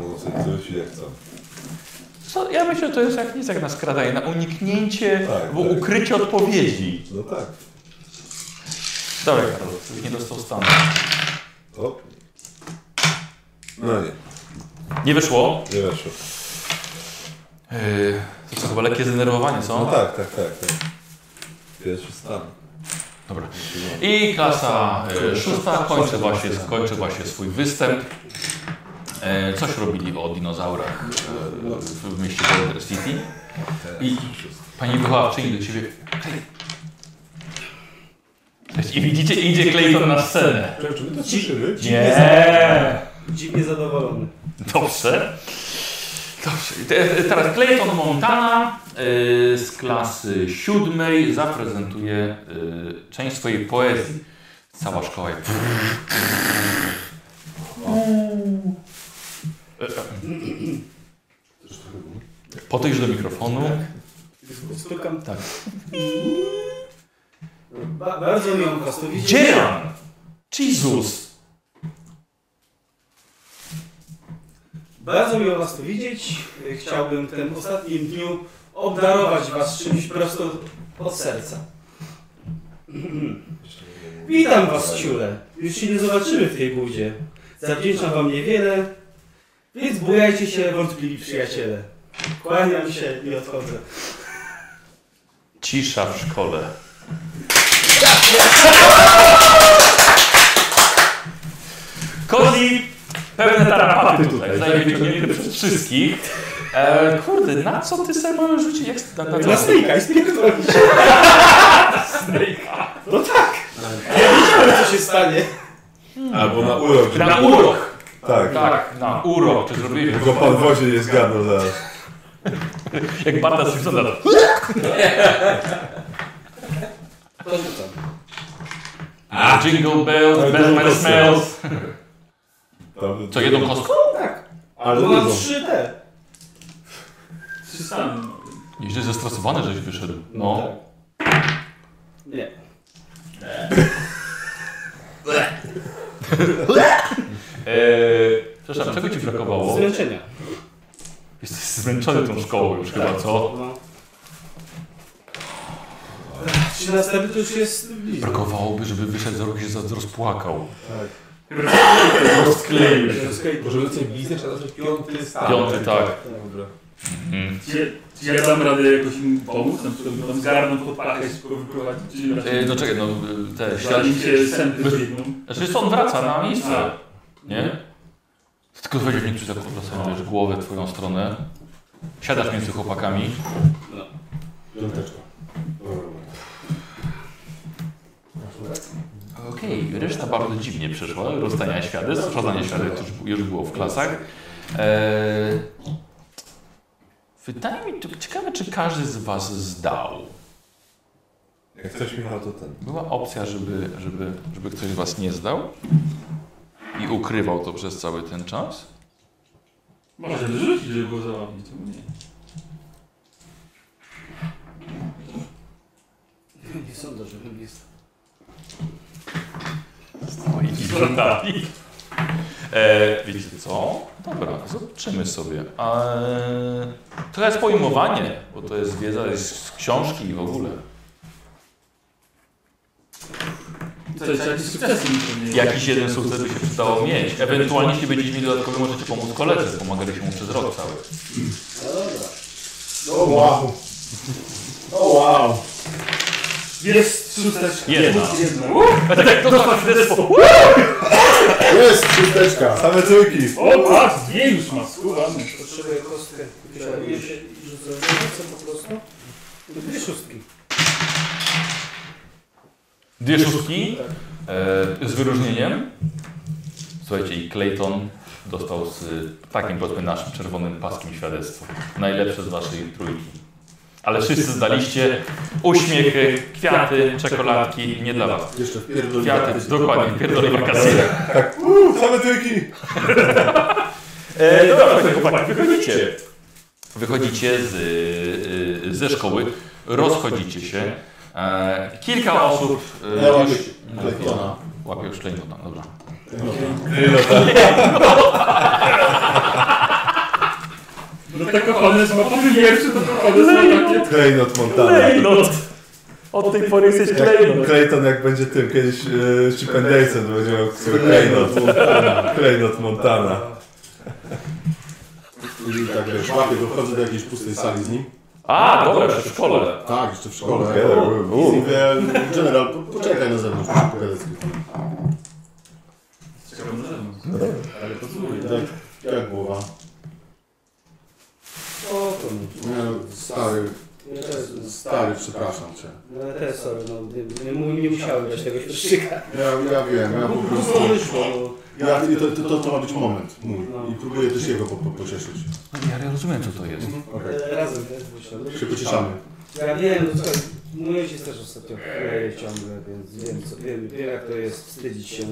[SPEAKER 3] Mogą sobie wrócić jak chcą.
[SPEAKER 1] Co? Ja myślę, że to jest jak nic jak na skradanie, na uniknięcie,
[SPEAKER 3] Tak,
[SPEAKER 1] bo
[SPEAKER 3] tak.
[SPEAKER 1] ukrycie odpowiedzi.
[SPEAKER 3] No tak.
[SPEAKER 1] Dobra, Karol, nie dostał stanu.
[SPEAKER 3] O. No nie,
[SPEAKER 1] Nie wyszło?
[SPEAKER 3] nie weszło.
[SPEAKER 1] Yy, to co, chyba lekkie zdenerwowanie,
[SPEAKER 3] No
[SPEAKER 1] co?
[SPEAKER 3] tak, tak, tak. tak. Pierwszy stan.
[SPEAKER 1] Dobra. I klasa e, szósta kończy właśnie, kończy właśnie swój występ. E, Coś robili o dinozaurach e, w mieście Boulder City. I pani wychowawczyni do ciebie. Clay. Cześć. I widzicie, idzie Clayton na scenę.
[SPEAKER 8] Czy my to słyszymy?
[SPEAKER 1] Nie!
[SPEAKER 11] Dziwnie zadowolony.
[SPEAKER 1] Dobrze. Dobrze. I te- Teraz Clayton Montana y, z klasy siódmej zaprezentuje y, część swojej poezji. Cała szkoła. jak- E, Podejdź do mikrofonu.
[SPEAKER 11] Stukam.
[SPEAKER 1] Tak.
[SPEAKER 11] Ba bardzo mi ją to widzisz?
[SPEAKER 1] Dzieran! Jezus!
[SPEAKER 11] Bardzo miło Was tu widzieć. Chciałbym w tym ostatnim dniu obdarować Was czymś prosto od serca. Witam Was, ciule. Już się nie zobaczymy w tej budzie. Zawdzięczam Wam niewiele, więc bujajcie się, wątpliwi przyjaciele. Kłaniam się i odchodzę.
[SPEAKER 1] Cisza w szkole. Kozi, pewne tarapaty tutaj, tak, zajmie wyciągnięte przez wszystkich. E, kurde, na co ty sobie możesz rzucić? Jak, na, na,
[SPEAKER 11] Na
[SPEAKER 1] co?
[SPEAKER 11] Snake'a i spierdolić. No tak. Ja wiedziałem, co się stanie.
[SPEAKER 3] Albo na urok.
[SPEAKER 1] na urok!
[SPEAKER 3] Hmm. Tak.
[SPEAKER 1] Tak, na urok. Czy zrobiłeś
[SPEAKER 3] Tylko pan Wozie nie zgadnął zaraz.
[SPEAKER 1] jak Barta Simpsona?
[SPEAKER 11] To rzucam.
[SPEAKER 1] Jingle bells, bell bell smells.
[SPEAKER 3] Tam-
[SPEAKER 1] Co, jedną kostką?
[SPEAKER 3] Ale
[SPEAKER 11] Bo mam
[SPEAKER 3] dużo.
[SPEAKER 11] 3D.
[SPEAKER 2] Trzy stany.
[SPEAKER 1] Nieźle zestresowany żeś wyszedł. No.
[SPEAKER 11] Nie.
[SPEAKER 1] E, przepraszam, czego ci brakowało?
[SPEAKER 11] Zmęczenia.
[SPEAKER 1] Jesteś zmęczony tą szkołą już chyba, co?
[SPEAKER 11] No. Czy następny to już jest blisko.
[SPEAKER 1] Brakowałoby, żeby wyszedł za rok i się za- rozpłakał.
[SPEAKER 2] Rozkleił się.
[SPEAKER 8] Możemy coś bliznę, trzeba zacząć piąty stan.
[SPEAKER 1] Piąty, tak.
[SPEAKER 8] Dobra.
[SPEAKER 1] Mhm.
[SPEAKER 2] Czy, czy ja dam radę jakoś im pomóc? Na przykład tam zgarną pod pachę i szybko wyprowadzić? Czy
[SPEAKER 1] E,
[SPEAKER 2] raczej-
[SPEAKER 1] no czekaj, no e, te
[SPEAKER 2] Zanim
[SPEAKER 1] ślady...
[SPEAKER 2] się sępy zbiegną.
[SPEAKER 1] Znaczy stąd wraca na miejsce,
[SPEAKER 2] A,
[SPEAKER 1] nie? Tylko weź mnie przy tak odwracaniu, wiesz, głowę w twoją stronę. Siadasz między chłopakami.
[SPEAKER 14] Piąteczka. Dobra.
[SPEAKER 1] Okej, reszta bardzo dziwnie przeszła. Rozdania świadectw, rozdanie świadectw już, już było w klasach. Eee, wydaje mi się, ciekawe czy każdy z was zdał.
[SPEAKER 3] Jak ktoś Michał to ten.
[SPEAKER 1] Była opcja, żeby, żeby, żeby ktoś z Was nie zdał i ukrywał to przez cały ten czas.
[SPEAKER 2] Może wyrzucić, żeby było zabawnie, czemu nie?
[SPEAKER 11] Nie sądzę, żebym jest.
[SPEAKER 1] Stoi i
[SPEAKER 2] Tak.
[SPEAKER 1] żądali. E, wiecie co? Dobra, zobaczymy sobie. Eee, to jest pojmowanie, bo to jest wiedza jest z książki i w ogóle.
[SPEAKER 2] To jest jakieś sukcesy mi to nie
[SPEAKER 1] Jakiś jeden sukces by się przydało mieć. Ewentualnie, jeśli będziecie mieli dodatkowy, możecie pomóc koledze. Pomagaliście mu przez rok cały.
[SPEAKER 11] No dobra.
[SPEAKER 14] O wow! O wow!
[SPEAKER 2] Jest sukces!
[SPEAKER 1] Jedna.
[SPEAKER 2] Jedna.
[SPEAKER 1] Tak, to jest zespół.
[SPEAKER 14] Jest szósteczka!
[SPEAKER 3] Same trójki!
[SPEAKER 2] O, patrz, dwie już ma, skuwamy.
[SPEAKER 11] Potrzebuję kostkę. Przeładuję się i rzucę ręce po prostu. Dwie szóstki.
[SPEAKER 1] Dwie szóstki e, z wyróżnieniem. Słuchajcie, i Clayton dostał z y, takim powiedzmy naszym czerwonym paskiem świadectwo. Najlepsze z waszej trójki. Ale wszyscy zdaliście uśmiechy, kwiaty, czekoladki, nie dla was.
[SPEAKER 14] Jeszcze wpierdolę.
[SPEAKER 1] Kwiaty, dokładnie, pierdolę wakacje.
[SPEAKER 14] Uuu, same tyki!
[SPEAKER 1] E, dobra, słuchajcie, chłopaki, wychodzicie. Wychodzicie z, y, y, ze szkoły, rozchodzicie się. E, kilka osób e,
[SPEAKER 14] Ja łapię
[SPEAKER 1] już
[SPEAKER 14] się. Klejtona.
[SPEAKER 1] łapie już klejnota, dobra.
[SPEAKER 2] No tak kochany ma po tym wierszu, to kochany ma takie...
[SPEAKER 3] Klejnot Montana.
[SPEAKER 1] Klejnot! Od tej pory jesteś
[SPEAKER 3] Jak Clayton jak będzie tym kiedyś e, Chip and Dale'sem, to będzie miał swój klejnot. Klejnot Montana.
[SPEAKER 14] I tak wiesz, łapię go, wchodzę do jakiejś pustej sali z nim.
[SPEAKER 1] A, dobra, przy szkole.
[SPEAKER 14] Tak, jeszcze w szkole.
[SPEAKER 3] Together we will.
[SPEAKER 14] I mówię, general, po- poczekaj na zewnątrz, muszę pogadać z kimś.
[SPEAKER 2] Ale posłuchaj.
[SPEAKER 14] I tak, jak głowa?
[SPEAKER 11] O, to nie.
[SPEAKER 14] Nie, no, stary,
[SPEAKER 11] Ja też-
[SPEAKER 14] stary, przepraszam cię.
[SPEAKER 11] No ale też, sorry, no, nie, nie, mu- nie musiałem dać tego śmieszczyka.
[SPEAKER 14] Ja, ja wiem, ja po prostu...
[SPEAKER 11] No, wyszło, no.
[SPEAKER 14] Ja, to, to, to, to ma być moment mój. I próbuję też jego po, po, pocieszyć.
[SPEAKER 1] No, Ja rozumiem, co to jest.
[SPEAKER 14] Okej,
[SPEAKER 11] E, Razem też wyszło. no.
[SPEAKER 14] się pocieszamy.
[SPEAKER 11] Ja wiem, no słuchaj, mój ojciec też ostatnio chleje ciągle, więc wiem, co, wiem, wiem jak to jest wstydzić się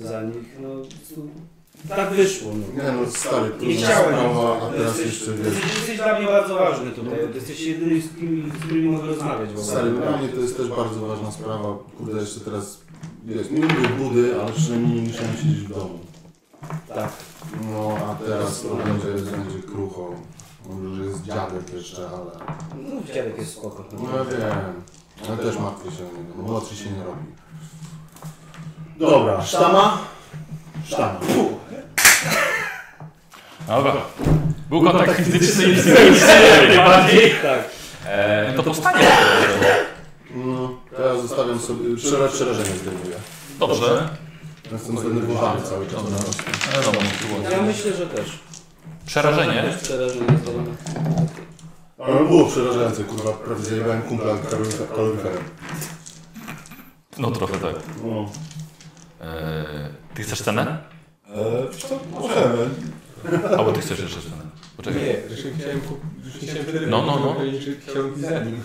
[SPEAKER 11] za nich. No, tu- tak wyszło. No.
[SPEAKER 14] Nie no, stary,
[SPEAKER 11] Nie
[SPEAKER 14] trudna
[SPEAKER 11] chciałem.
[SPEAKER 14] sprawa, a
[SPEAKER 11] Ty
[SPEAKER 14] teraz
[SPEAKER 11] jesteś-
[SPEAKER 14] jeszcze
[SPEAKER 11] ty
[SPEAKER 14] wiesz.
[SPEAKER 11] Jesteś dla mnie bardzo ważny tutaj. Ty jesteś jedyny, z kim, z którym mogę rozmawiać. w ogóle. Tak.
[SPEAKER 14] Stary, no. dla mnie to jest też bardzo ważna sprawa. Kurde, jeszcze teraz, wiesz, nie lubię budy, ale przynajmniej nie musiałem siedzieć w domu.
[SPEAKER 11] Tak.
[SPEAKER 14] No, a teraz to będzie, będzie krucho. Może, że jest dziadek jeszcze, ale...
[SPEAKER 11] No, dziadek jest spoko.
[SPEAKER 14] No ja wiem, ale też martwię się o niego, młodszy się nie robi. Dobra, sztama? Sztama.
[SPEAKER 1] Dobra. Był kontakt fizyczny i psychiczny najbardziej.
[SPEAKER 11] Tak.
[SPEAKER 1] E, to powstanie.
[SPEAKER 14] No, to ja zostawiam sobie, przera- przerażenie zdejmuję.
[SPEAKER 1] Dobrze.
[SPEAKER 14] Jestem zdenerwowany cały czas.
[SPEAKER 1] Dobra. E, dobra, było.
[SPEAKER 11] Ja myślę, że też.
[SPEAKER 1] Przerażenie.
[SPEAKER 11] Przerażenie zdolne.
[SPEAKER 14] Ale było przerażające, kurwa, prawie zajebałem kumpla kaloryfer- kaloryferem.
[SPEAKER 1] No trochę tak.
[SPEAKER 14] No.
[SPEAKER 1] E, ty chcesz cenę?
[SPEAKER 3] E, to możemy.
[SPEAKER 1] Albo ty chcesz jeszcze cenę. Poczekaj.
[SPEAKER 8] Nie, że się chciałem kupić, że się chciałem wyrywać.
[SPEAKER 1] No, no, no.
[SPEAKER 8] Chciałem iść za nim.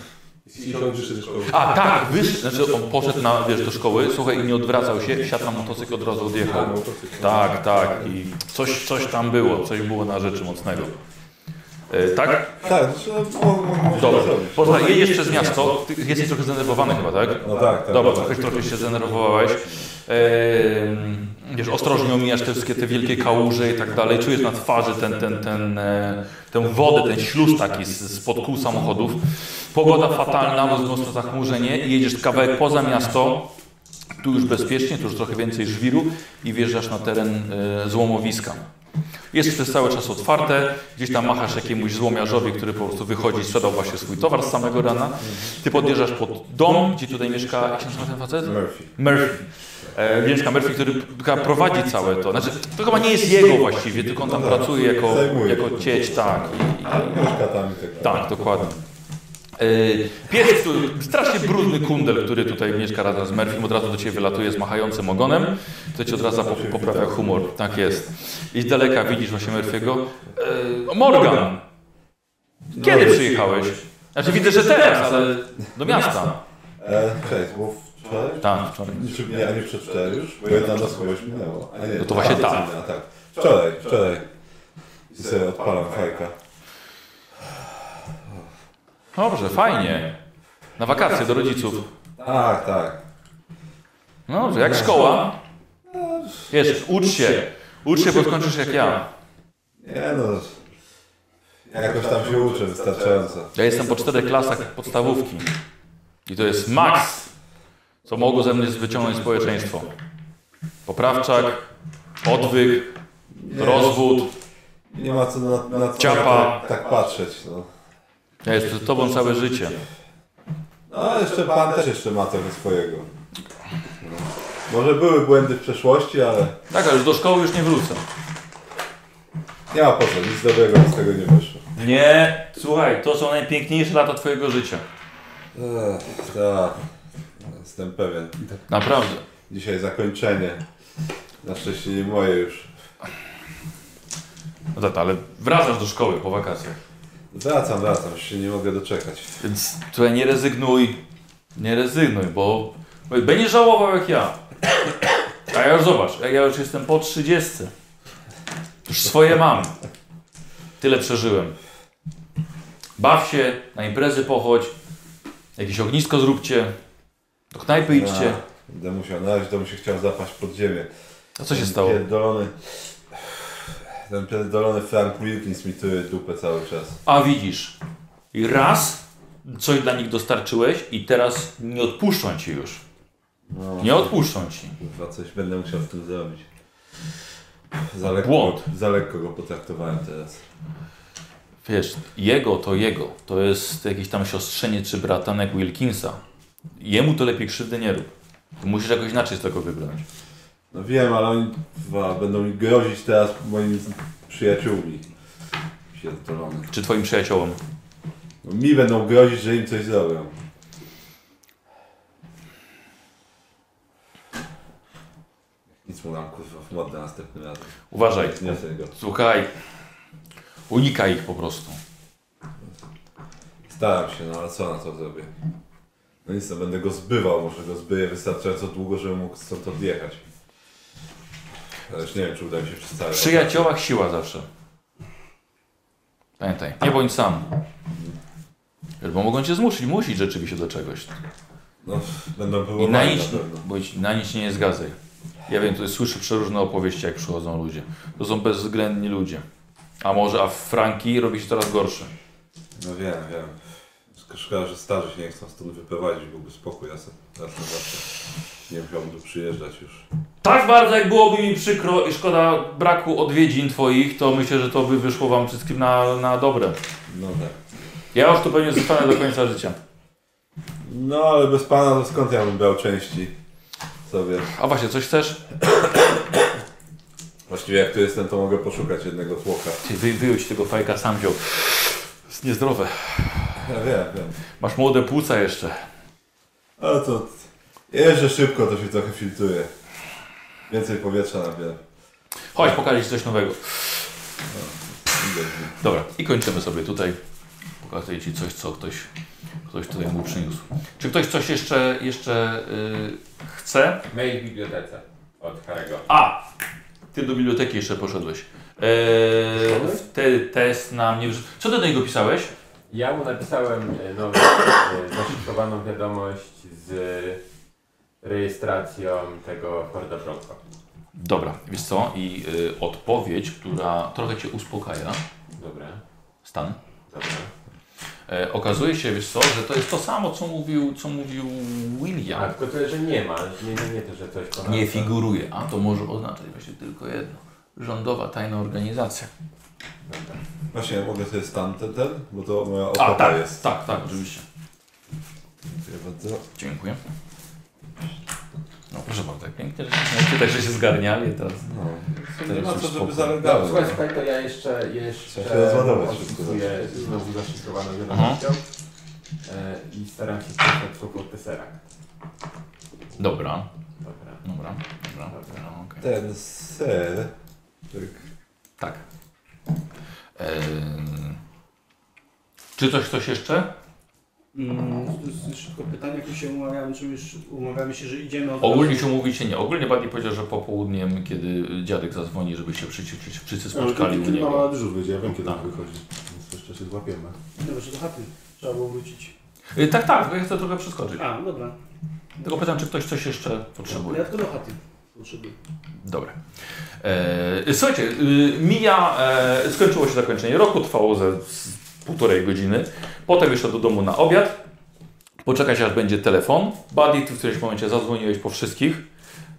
[SPEAKER 8] Jeśli on wyszedł ze szkoły.
[SPEAKER 1] A tak, wysz, znaczy on poszedł na, wiesz, do szkoły, słuchaj, i nie odwracał się, siadł na motocykl, od razu odjechał. Tak, tak. I coś, coś tam było, coś było na rzeczy mocnego. E, tak?
[SPEAKER 3] Tak, że mo- mo- możemy
[SPEAKER 1] Dobra.
[SPEAKER 3] zrobić.
[SPEAKER 1] Poza, jedziesz przez miasto, ty jesteś trochę zdenerwowany chyba, tak?
[SPEAKER 3] No tak, tak.
[SPEAKER 1] Dobra,
[SPEAKER 3] tak.
[SPEAKER 1] trochę, trochę się zdenerwowałeś. Em, Wiesz, ostrożnie omijasz te wszystkie te wielkie kałuże i tak dalej. Czujesz na twarzy ten, ten, ten, e, tę wodę, ten śluz taki z- spod kół samochodów. Pogoda fatalna, mocno zachmurzenie. Jedziesz kawałek poza miasto, tu już bezpiecznie, tu już trochę więcej żwiru i wjeżdżasz na teren e, złomowiska. Jest przez cały czas otwarte, gdzieś tam machasz jakiemuś złomiarzowi, który po prostu wychodzi, sprzedał właśnie swój towar z samego rana. Ty podjeżdżasz pod dom, gdzie tutaj mieszka, jak się nazywa ten facet?
[SPEAKER 3] Murphy.
[SPEAKER 1] Murphy. E, Mieszka Murphy, który p- która prowadzi całe to. Znaczy, to chyba nie jest jego właściwie, tylko on tam
[SPEAKER 3] No tak,
[SPEAKER 1] pracuje jako,
[SPEAKER 3] zajmuje.
[SPEAKER 1] jako cieć, tak. I,
[SPEAKER 3] Mieszka tam i tak dalej.
[SPEAKER 1] tak, dokładnie. Yy, Pies, który, strasznie brudny kundel, który tutaj mieszka razem z Murphym, od razu do Ciebie wylatuje z machającym ogonem, to Ci od razu po- poprawia humor, tak jest. I z daleka widzisz właśnie Murphy'ego. Yy, Morgan! Kiedy przyjechałeś? Znaczy widzę, że teraz, ale do miasta.
[SPEAKER 3] E, cześć, bo wczoraj?
[SPEAKER 1] Tak, wczoraj.
[SPEAKER 3] Czy nie, a nie przedwczoraj już? Bo jedna noc kogoś minęło. A nie,
[SPEAKER 1] No to właśnie
[SPEAKER 3] a,
[SPEAKER 1] tak.
[SPEAKER 3] a, tak. Wczoraj, wczoraj. I sobie odpalam fajka.
[SPEAKER 1] Dobrze, fajnie. Na wakacje do rodziców.
[SPEAKER 3] Tak, tak.
[SPEAKER 1] No dobrze, jak szkoła? Wiesz, ucz się. Ucz się, bo skończysz jak ja.
[SPEAKER 3] Nie no. Jakoś tam się uczę wystarczająco.
[SPEAKER 1] Ja jestem po czterech klasach podstawówki. I to jest maks, co mogło ze mnie wyciągnąć społeczeństwo. Poprawczak, odwyk,
[SPEAKER 3] Nie,
[SPEAKER 1] rozwód.
[SPEAKER 3] Nie ma co na, na co
[SPEAKER 1] Ciapa.
[SPEAKER 3] tak, tak patrzeć. No.
[SPEAKER 1] Ja jestem z tobą całe życie.
[SPEAKER 3] no jeszcze pan też jeszcze ma trochę swojego. No. Może były błędy w przeszłości, ale
[SPEAKER 1] Tak, ale już do szkoły już nie wrócę.
[SPEAKER 3] nie ma po co, nic dobrego z tego nie wyszło.
[SPEAKER 1] Nie, słuchaj, to są najpiękniejsze lata twojego życia.
[SPEAKER 3] Ech, tak. Jestem pewien.
[SPEAKER 1] Naprawdę.
[SPEAKER 3] Dzisiaj zakończenie. Na szczęście nie moje już.
[SPEAKER 1] No tak, ale wracasz do szkoły po wakacjach.
[SPEAKER 3] Wracam, wracam, już się nie mogę doczekać.
[SPEAKER 1] Więc tutaj nie rezygnuj. Nie rezygnuj, bo będziesz żałował jak ja. A ja już zobacz, jak ja już jestem po 30. Już swoje mam. Tyle przeżyłem. Baw się, na imprezy pochodź. Jakieś ognisko zróbcie. Do knajpy idźcie.
[SPEAKER 3] A, Będę musiał, na razie to bym się chciał zapaść pod ziemię.
[SPEAKER 1] A co się
[SPEAKER 3] Ten
[SPEAKER 1] stało?
[SPEAKER 3] Pierdolony... Ten pierdolony Frank Wilkins mi tyły dupę cały czas.
[SPEAKER 1] A widzisz, i raz coś dla nich dostarczyłeś i teraz nie odpuszczą ci już.
[SPEAKER 3] No,
[SPEAKER 1] Nie odpuszczą ci.
[SPEAKER 3] Chyba coś będę musiał z tym zrobić. Za lekko,
[SPEAKER 1] Błąd.
[SPEAKER 3] za lekko go potraktowałem teraz.
[SPEAKER 1] Wiesz, jego to jego. To jest jakiś tam siostrzenie czy bratanek Wilkinsa. Jemu to lepiej krzywdy nie rób. Ty musisz jakoś inaczej z tego wybrać.
[SPEAKER 3] No wiem, ale oni dwa, będą mi grozić teraz moimi z- przyjaciółmi. Pierdolony.
[SPEAKER 1] Czy twoim przyjaciołom.
[SPEAKER 3] No, mi będą grozić, że im coś zrobią. Nic mu nam kurwa w mordę następnym razem.
[SPEAKER 1] Uważaj.
[SPEAKER 3] Zniosę go.
[SPEAKER 1] Słuchaj, unikaj ich po prostu.
[SPEAKER 3] Staram się, no ale co na to zrobię? No nic, no będę go zbywał, może go zbyję wystarczająco długo, żebym mógł stąd odjechać. Ale już nie wiem, czy uda mi się przez cały
[SPEAKER 1] W przyjaciołach siła zawsze. Pamiętaj, nie bądź sam. Wiesz, Bo mogą cię zmusić, musić rzeczywiście do czegoś.
[SPEAKER 3] No, będą
[SPEAKER 1] I
[SPEAKER 3] próbowali
[SPEAKER 1] na
[SPEAKER 3] na
[SPEAKER 1] nic,
[SPEAKER 3] pewno.
[SPEAKER 1] bądź, na nic się nie zgadzaj. Ja wiem, to słyszę przeróżne opowieści, jak przychodzą ludzie. To są bezwzględni ludzie. A może, a Franki robi się coraz gorszy.
[SPEAKER 3] No wiem, wiem. Tylko Szkoda, że starzy się nie chcą stąd wyprowadzić, byłby spokój, ja se- raz na zawsze nie musiałbym tu przyjeżdżać już.
[SPEAKER 1] Tak bardzo, jak byłoby mi przykro i szkoda braku odwiedzin twoich, to myślę, że to by wyszło wam wszystkim na, na dobre.
[SPEAKER 3] No tak.
[SPEAKER 1] Ja już tu pewnie zostanę do końca życia.
[SPEAKER 3] No ale bez pana to skąd ja bym brał części sobie?
[SPEAKER 1] A właśnie, coś chcesz?
[SPEAKER 3] Właściwie jak tu jestem, to mogę poszukać jednego tłoka.
[SPEAKER 1] Ty wy, wyjąć tego fajka sam wziął. Jest niezdrowe.
[SPEAKER 3] Ja wiem, wiem.
[SPEAKER 1] Masz młode płuca jeszcze.
[SPEAKER 3] Ale to... Jeżdżę szybko, to się trochę filtruje. Więcej powietrza nabieram.
[SPEAKER 1] Chodź, pokażę ci coś nowego.
[SPEAKER 3] Idę.
[SPEAKER 1] Dobra, i kończymy sobie tutaj. Pokazuję Ci coś, co ktoś, ktoś tutaj mu przyniósł. Czy ktoś coś jeszcze, jeszcze yy, chce?
[SPEAKER 4] Mail w bibliotece od Harego.
[SPEAKER 1] A! Ty do biblioteki jeszcze poszedłeś. Eee, wtedy test nam nie wrzu- Co ty do niego pisałeś?
[SPEAKER 4] Ja mu napisałem e, nową, e, zaszyfrowaną wiadomość z rejestracją tego Horda Bronco.
[SPEAKER 1] Dobra, wiesz co? I yy, odpowiedź, która trochę Cię uspokaja,
[SPEAKER 4] Dobra,
[SPEAKER 1] stan.
[SPEAKER 4] dobra.
[SPEAKER 1] E, okazuje się, wiesz co, że to jest to samo, co mówił, co mówił William.
[SPEAKER 4] A tylko to, że nie ma, nie, nie, nie to, że coś kocha.
[SPEAKER 1] nie figuruje, a to może oznaczać właśnie tylko jedno. Rządowa tajna organizacja.
[SPEAKER 3] Właśnie, ja mogę sobie stan ten, ten, bo to moja
[SPEAKER 1] A,
[SPEAKER 3] opłata
[SPEAKER 1] tak,
[SPEAKER 3] jest.
[SPEAKER 1] tak, tak, oczywiście.
[SPEAKER 3] Dziękuję bardzo.
[SPEAKER 1] Dziękuję. No proszę bardzo, jak pięknie, No, że się, także się zgarniali teraz.
[SPEAKER 3] No.
[SPEAKER 1] Teraz
[SPEAKER 3] Nie ma
[SPEAKER 1] już
[SPEAKER 3] co, żeby
[SPEAKER 1] spoko.
[SPEAKER 4] No,
[SPEAKER 3] zalegały.
[SPEAKER 4] słuchaj, słuchaj, to ja jeszcze, jeszcze
[SPEAKER 3] Trzeba się rozładować szybko.
[SPEAKER 4] odpisuję znowu zaszyfrowaną wiadomością e, i staram się pisać słowo Tesseract.
[SPEAKER 1] Dobra,
[SPEAKER 4] Dobra,
[SPEAKER 1] dobra, dobra.
[SPEAKER 4] dobra.
[SPEAKER 1] No, okej.
[SPEAKER 3] Ten ser... Tak.
[SPEAKER 1] Tak. Em, czy coś, coś jeszcze?
[SPEAKER 11] Mm, s- s- szybko pytanie, jak my się umawiamy, czy już umawiamy się, że idziemy od
[SPEAKER 1] Ogólnie się mówicie nie. Ogólnie Buddy powiedział, że popołudniem, kiedy dziadek zadzwoni, żeby się wszyscy, wszyscy
[SPEAKER 14] Ale
[SPEAKER 1] spotkali
[SPEAKER 14] kiedy,
[SPEAKER 1] u
[SPEAKER 14] kiedy
[SPEAKER 1] niego.
[SPEAKER 14] mama dyżur wyjdzie, ja wiem kiedy ona wychodzi. Więc jeszcze się złapiemy.
[SPEAKER 11] Dobra, że do chaty. Trzeba było wrócić.
[SPEAKER 1] Y, Tak, tak, ja chcę trochę przeskoczyć.
[SPEAKER 11] A, dobra.
[SPEAKER 1] Tylko pytam, czy ktoś coś jeszcze potrzebuje.
[SPEAKER 11] Ja tylko do chaty potrzebuję.
[SPEAKER 1] Dobra. E, słuchajcie, y, mija, e, skończyło się zakończenie roku, trwało ze z półtorej godziny. Potem jeszcze do domu na obiad. Poczekać aż będzie telefon. Buddy, ty w którymś momencie zadzwoniłeś po wszystkich.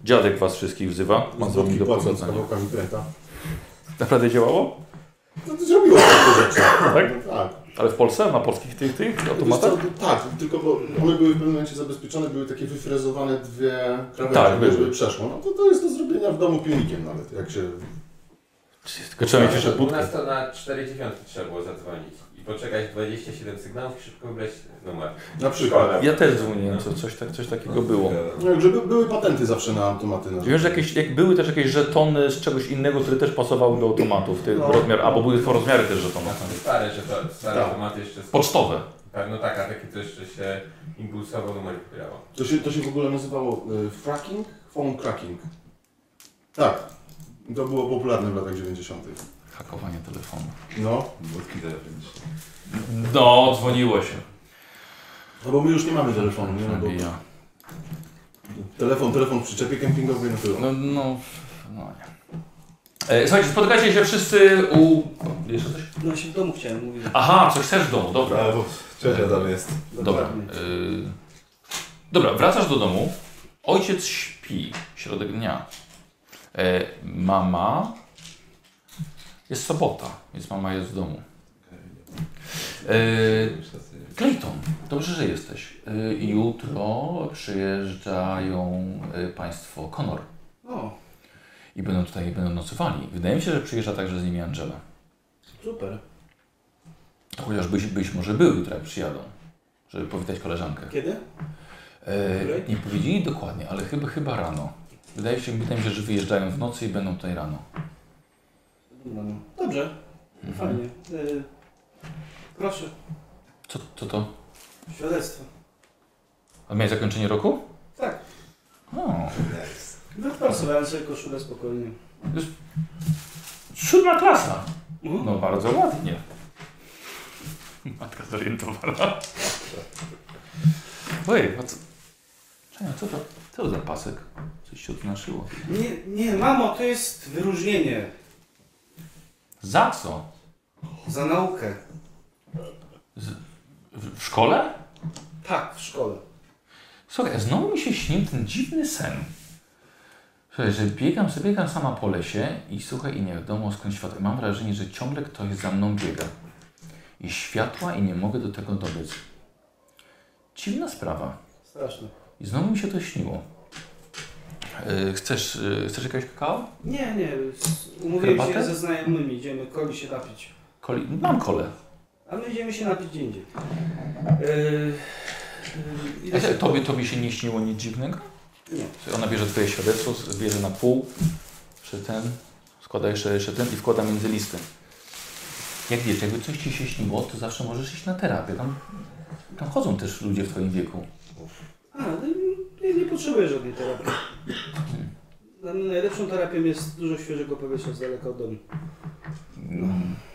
[SPEAKER 1] Dziadek was wszystkich wzywa. Mam z wami
[SPEAKER 14] Złotki
[SPEAKER 1] do
[SPEAKER 14] płacą tak. z
[SPEAKER 1] pogodzenia.
[SPEAKER 14] kawałkami kreta.
[SPEAKER 1] Naprawdę działało?
[SPEAKER 14] No to zrobiło takie rzeczy.
[SPEAKER 1] Tak?
[SPEAKER 14] No, tak.
[SPEAKER 1] Ale w Polsce? Na polskich tych, tych
[SPEAKER 14] Wiesz
[SPEAKER 1] automatach?
[SPEAKER 14] co, tak, tylko bo one były w pewnym momencie zabezpieczone, były takie wyfrezowane dwie krawędzie,
[SPEAKER 1] Tak, były.
[SPEAKER 14] żeby przeszło. No to, to jest do zrobienia w domu pilnikiem nawet, jak się... tak,
[SPEAKER 1] Tylko trzeba mieć jeszcze
[SPEAKER 4] U
[SPEAKER 1] budkę.
[SPEAKER 4] nas to na 4,9 trzeba było zadzwonić i i poczekać 27 sygnałów i szybko wybrać no, numer.
[SPEAKER 14] Na przykład.
[SPEAKER 4] Szkoda.
[SPEAKER 1] Ja też dzwoniłem, co, coś, tak, coś takiego było.
[SPEAKER 14] No, jakże by, były patenty zawsze na automaty. Na
[SPEAKER 1] Wiem, że jakieś, jak były też jakieś żetony z czegoś innego, które też pasowały do automatów, ty,
[SPEAKER 11] No.
[SPEAKER 1] rozmiar, albo były rozmiary też żetonów.
[SPEAKER 4] Stare, że to stare
[SPEAKER 14] Tak.
[SPEAKER 4] automaty jeszcze są.
[SPEAKER 1] Pocztowe.
[SPEAKER 4] No tak, a takie to jeszcze się impulsowo numer wybierało.
[SPEAKER 14] To się, to się w ogóle nazywało y, fracking? Phone cracking. Tak. To było popularne w latach 90.
[SPEAKER 1] Hakowanie telefonu.
[SPEAKER 14] No.
[SPEAKER 3] Budki telefoniczne.
[SPEAKER 1] No, dzwoniło się.
[SPEAKER 14] No bo my już nie mamy telefonu, nie? No, bo
[SPEAKER 1] Nabija.
[SPEAKER 14] telefon, telefon w przyczepie kempingowej na tyle.
[SPEAKER 1] No, no, no nie. E, słuchajcie, spotykacie się wszyscy u... o, Jeszcze coś?
[SPEAKER 11] No się w domu chciałem mówić.
[SPEAKER 1] Aha, coś też w domu, dobra.
[SPEAKER 3] No, bo ciocia tam jest.
[SPEAKER 1] Dobra. y, Dobra, wracasz do domu. Ojciec śpi, środek dnia. E, mama. Jest sobota, więc mama jest w domu. E, Clayton, dobrze, że jesteś. E, jutro przyjeżdżają e, Państwo Konor
[SPEAKER 11] O,
[SPEAKER 1] i będą tutaj będą nocowali. Wydaje mi się, że przyjeżdża także z nimi Angela.
[SPEAKER 11] super.
[SPEAKER 1] To chociaż byś, byś może był jutro, jak przyjadą, żeby powitać koleżankę.
[SPEAKER 11] Kiedy?
[SPEAKER 1] E, nie powiedzieli dokładnie, ale chyba, chyba rano. Wydaje się, wydaje mi się, że wyjeżdżają w nocy i będą tutaj rano.
[SPEAKER 11] Dobra, no. Dobrze,
[SPEAKER 1] Mhm.
[SPEAKER 11] fajnie. Y, proszę,
[SPEAKER 1] Co, co to?
[SPEAKER 11] świadectwo.
[SPEAKER 1] A miałeś zakończenie roku?
[SPEAKER 11] Tak.
[SPEAKER 1] O.
[SPEAKER 11] Wyprasowałem sobie koszulę spokojnie.
[SPEAKER 1] Siódma klasa.
[SPEAKER 11] Mhm.
[SPEAKER 1] No bardzo ładnie. Matka zorientowana. Ojej, a co, Czekaj, co, to, co to za pasek? Coś się odnaszyło.
[SPEAKER 11] Nie, nie, mamo, to jest wyróżnienie
[SPEAKER 1] Za co?
[SPEAKER 11] za naukę.
[SPEAKER 1] W, w szkole?
[SPEAKER 11] Tak, w szkole.
[SPEAKER 1] Słuchaj, znowu mi się śni ten dziwny sen. Słuchaj, że biegam sobie, biegam sama po lesie i słuchaj, i nie wiadomo skąd światło. Mam wrażenie, że ciągle ktoś za mną biega. I światła i nie mogę do tego dobyć. Dziwna sprawa.
[SPEAKER 11] Straszne.
[SPEAKER 1] I znowu mi się to śniło. Yy, chcesz, yy, chcesz jakiegoś kakao?
[SPEAKER 11] Nie, nie, s- umówiłem
[SPEAKER 1] Herbatę?
[SPEAKER 11] się ze znajomymi, idziemy koli się napić.
[SPEAKER 1] Koli? Mam kole.
[SPEAKER 11] A my idziemy się napić gdzie indziej. Yy, yy,
[SPEAKER 1] A
[SPEAKER 11] ile
[SPEAKER 1] się-
[SPEAKER 11] się-
[SPEAKER 1] Tobie, tobie się nie śniło nic dziwnego?
[SPEAKER 11] Nie.
[SPEAKER 1] Słuchaj, Ona bierze twoje świadectwo, bierze na pół, jeszcze ten, składa jeszcze, jeszcze ten i wkłada między listy. Jak wiesz, jakby coś ci się śniło, to zawsze możesz iść na terapię. Tam, tam chodzą też ludzie w twoim wieku.
[SPEAKER 11] A, no, nie, nie potrzebuję żadnej terapii. Dla mnie najlepszą terapią jest dużo świeżego powietrza z daleka od domu.
[SPEAKER 1] Y,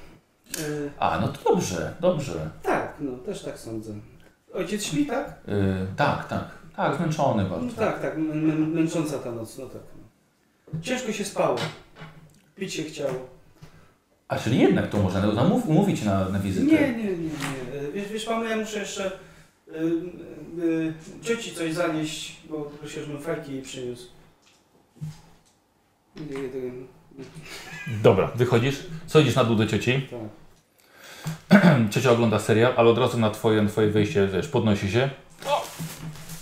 [SPEAKER 11] Yy,
[SPEAKER 1] A, no to dobrze, dobrze.
[SPEAKER 11] tak, no, też tak sądzę. Ojciec śpi, tak?
[SPEAKER 1] Yy, tak, tak. Tak, zmęczony
[SPEAKER 11] No,
[SPEAKER 1] bardzo.
[SPEAKER 11] tak, tak, m- m- męcząca ta noc, no tak. No. Ciężko się spało. Pić się chciało.
[SPEAKER 1] A czyli jednak to można zamów, umówić na, na wizytę.
[SPEAKER 11] Nie, nie, nie, nie. E, Wiesz, wiesz mamo, ja muszę jeszcze y, y, cioci coś zanieść, bo prosił, żebym fajki jej przyniósł. Nie, nie, tego-
[SPEAKER 1] Dobra, wychodzisz, schodzisz na dół do cioci.
[SPEAKER 11] Tak.
[SPEAKER 1] Ciocia ogląda serial, ale od razu na twoje, na twoje wyjście, wiesz, podnosi się. O!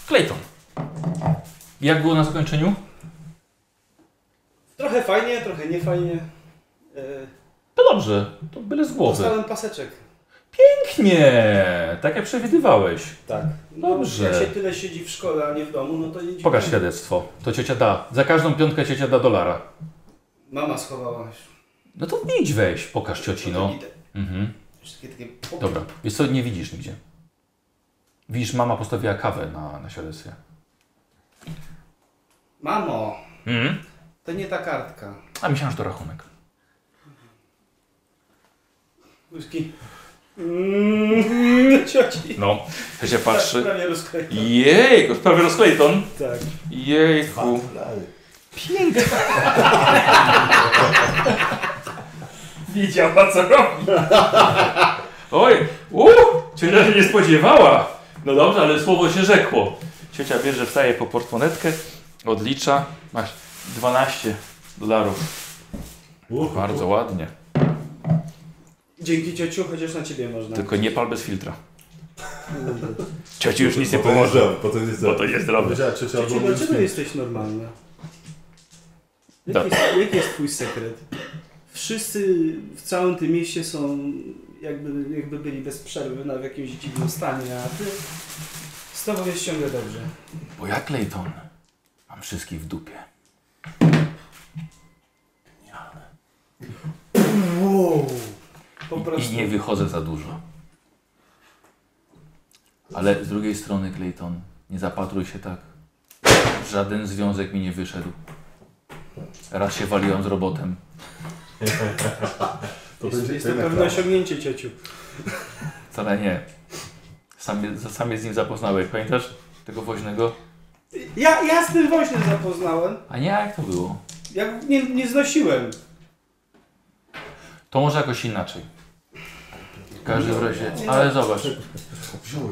[SPEAKER 1] Clayton. Jak było na zakończeniu?
[SPEAKER 11] Trochę fajnie, trochę niefajnie. E,
[SPEAKER 1] To dobrze, to byle z głowy.
[SPEAKER 11] Dostałem paseczek.
[SPEAKER 1] Pięknie, tak jak przewidywałeś.
[SPEAKER 11] Tak.
[SPEAKER 1] Dobrze.
[SPEAKER 11] Jak się tyle siedzi w szkole, a nie w domu, no to nie dziwi.
[SPEAKER 1] Pokaż świadectwo, to ciocia da. Za każdą piątkę ciocia da dolara.
[SPEAKER 11] Mama schowała.
[SPEAKER 1] No to idź weź, pokaż cioci,
[SPEAKER 11] No to
[SPEAKER 1] no.
[SPEAKER 11] idę.
[SPEAKER 1] Mhm.
[SPEAKER 11] Już Takie, takie...
[SPEAKER 1] Dobra, wiesz co, nie widzisz nigdzie. Widzisz, mama postawiła kawę na, na świadectwie.
[SPEAKER 11] Mamo,
[SPEAKER 1] Mhm.
[SPEAKER 11] to nie ta kartka.
[SPEAKER 1] A myślałem, że to rachunek.
[SPEAKER 11] Łyski. Mm, cioci.
[SPEAKER 1] No, się patrzy.
[SPEAKER 11] Prawie rozkleiłam.
[SPEAKER 1] Jejku, prawie rozklejton.
[SPEAKER 11] Tak.
[SPEAKER 1] Jejku. Pięknie.
[SPEAKER 2] Wiedziała co robi.
[SPEAKER 1] Oj, uuu, ciocia się nie spodziewała. No dobrze, ale słowo się rzekło. Ciocia bierze, wstaje po portmonetkę, odlicza. Masz 12 dolarów. Bardzo ładnie.
[SPEAKER 11] Dzięki ciociu, chociaż na ciebie można.
[SPEAKER 1] Tylko nie pal bez filtra. Ciociu już nic nie pomoże,
[SPEAKER 3] Potem jest
[SPEAKER 1] bo to nie zdrowe.
[SPEAKER 14] Powiedziała ciocia
[SPEAKER 11] Ciociu,
[SPEAKER 14] albo
[SPEAKER 11] dlaczego jesteś normalna?
[SPEAKER 1] Tak.
[SPEAKER 11] Jaki jest, jaki jest twój sekret? Wszyscy w całym tym mieście są jakby, jakby byli bez przerwy na, w jakimś dziwnym stanie, a ty z tobą jest ciągle dobrze.
[SPEAKER 1] Bo ja, Clayton, mam wszystkich w dupie.
[SPEAKER 11] Wow. Po
[SPEAKER 1] I,
[SPEAKER 11] prostu.
[SPEAKER 1] I nie wychodzę za dużo. Ale z drugiej strony, Clayton, nie zapatruj się tak. Żaden związek mi nie wyszedł. Raz się waliłem z robotem.
[SPEAKER 14] To
[SPEAKER 11] jest,
[SPEAKER 14] będzie
[SPEAKER 11] jest to
[SPEAKER 14] tyle
[SPEAKER 11] pewne
[SPEAKER 14] prawa.
[SPEAKER 11] osiągnięcie ciociu.
[SPEAKER 1] Wcale nie. Sam, je- sam je z nim zapoznałeś. Pamiętasz tego woźnego?
[SPEAKER 11] Ja, ja z tym woźnym zapoznałem.
[SPEAKER 1] A nie, jak to było?
[SPEAKER 11] Ja nie, nie znosiłem.
[SPEAKER 1] To może jakoś inaczej. W każdym razie, ale zobacz.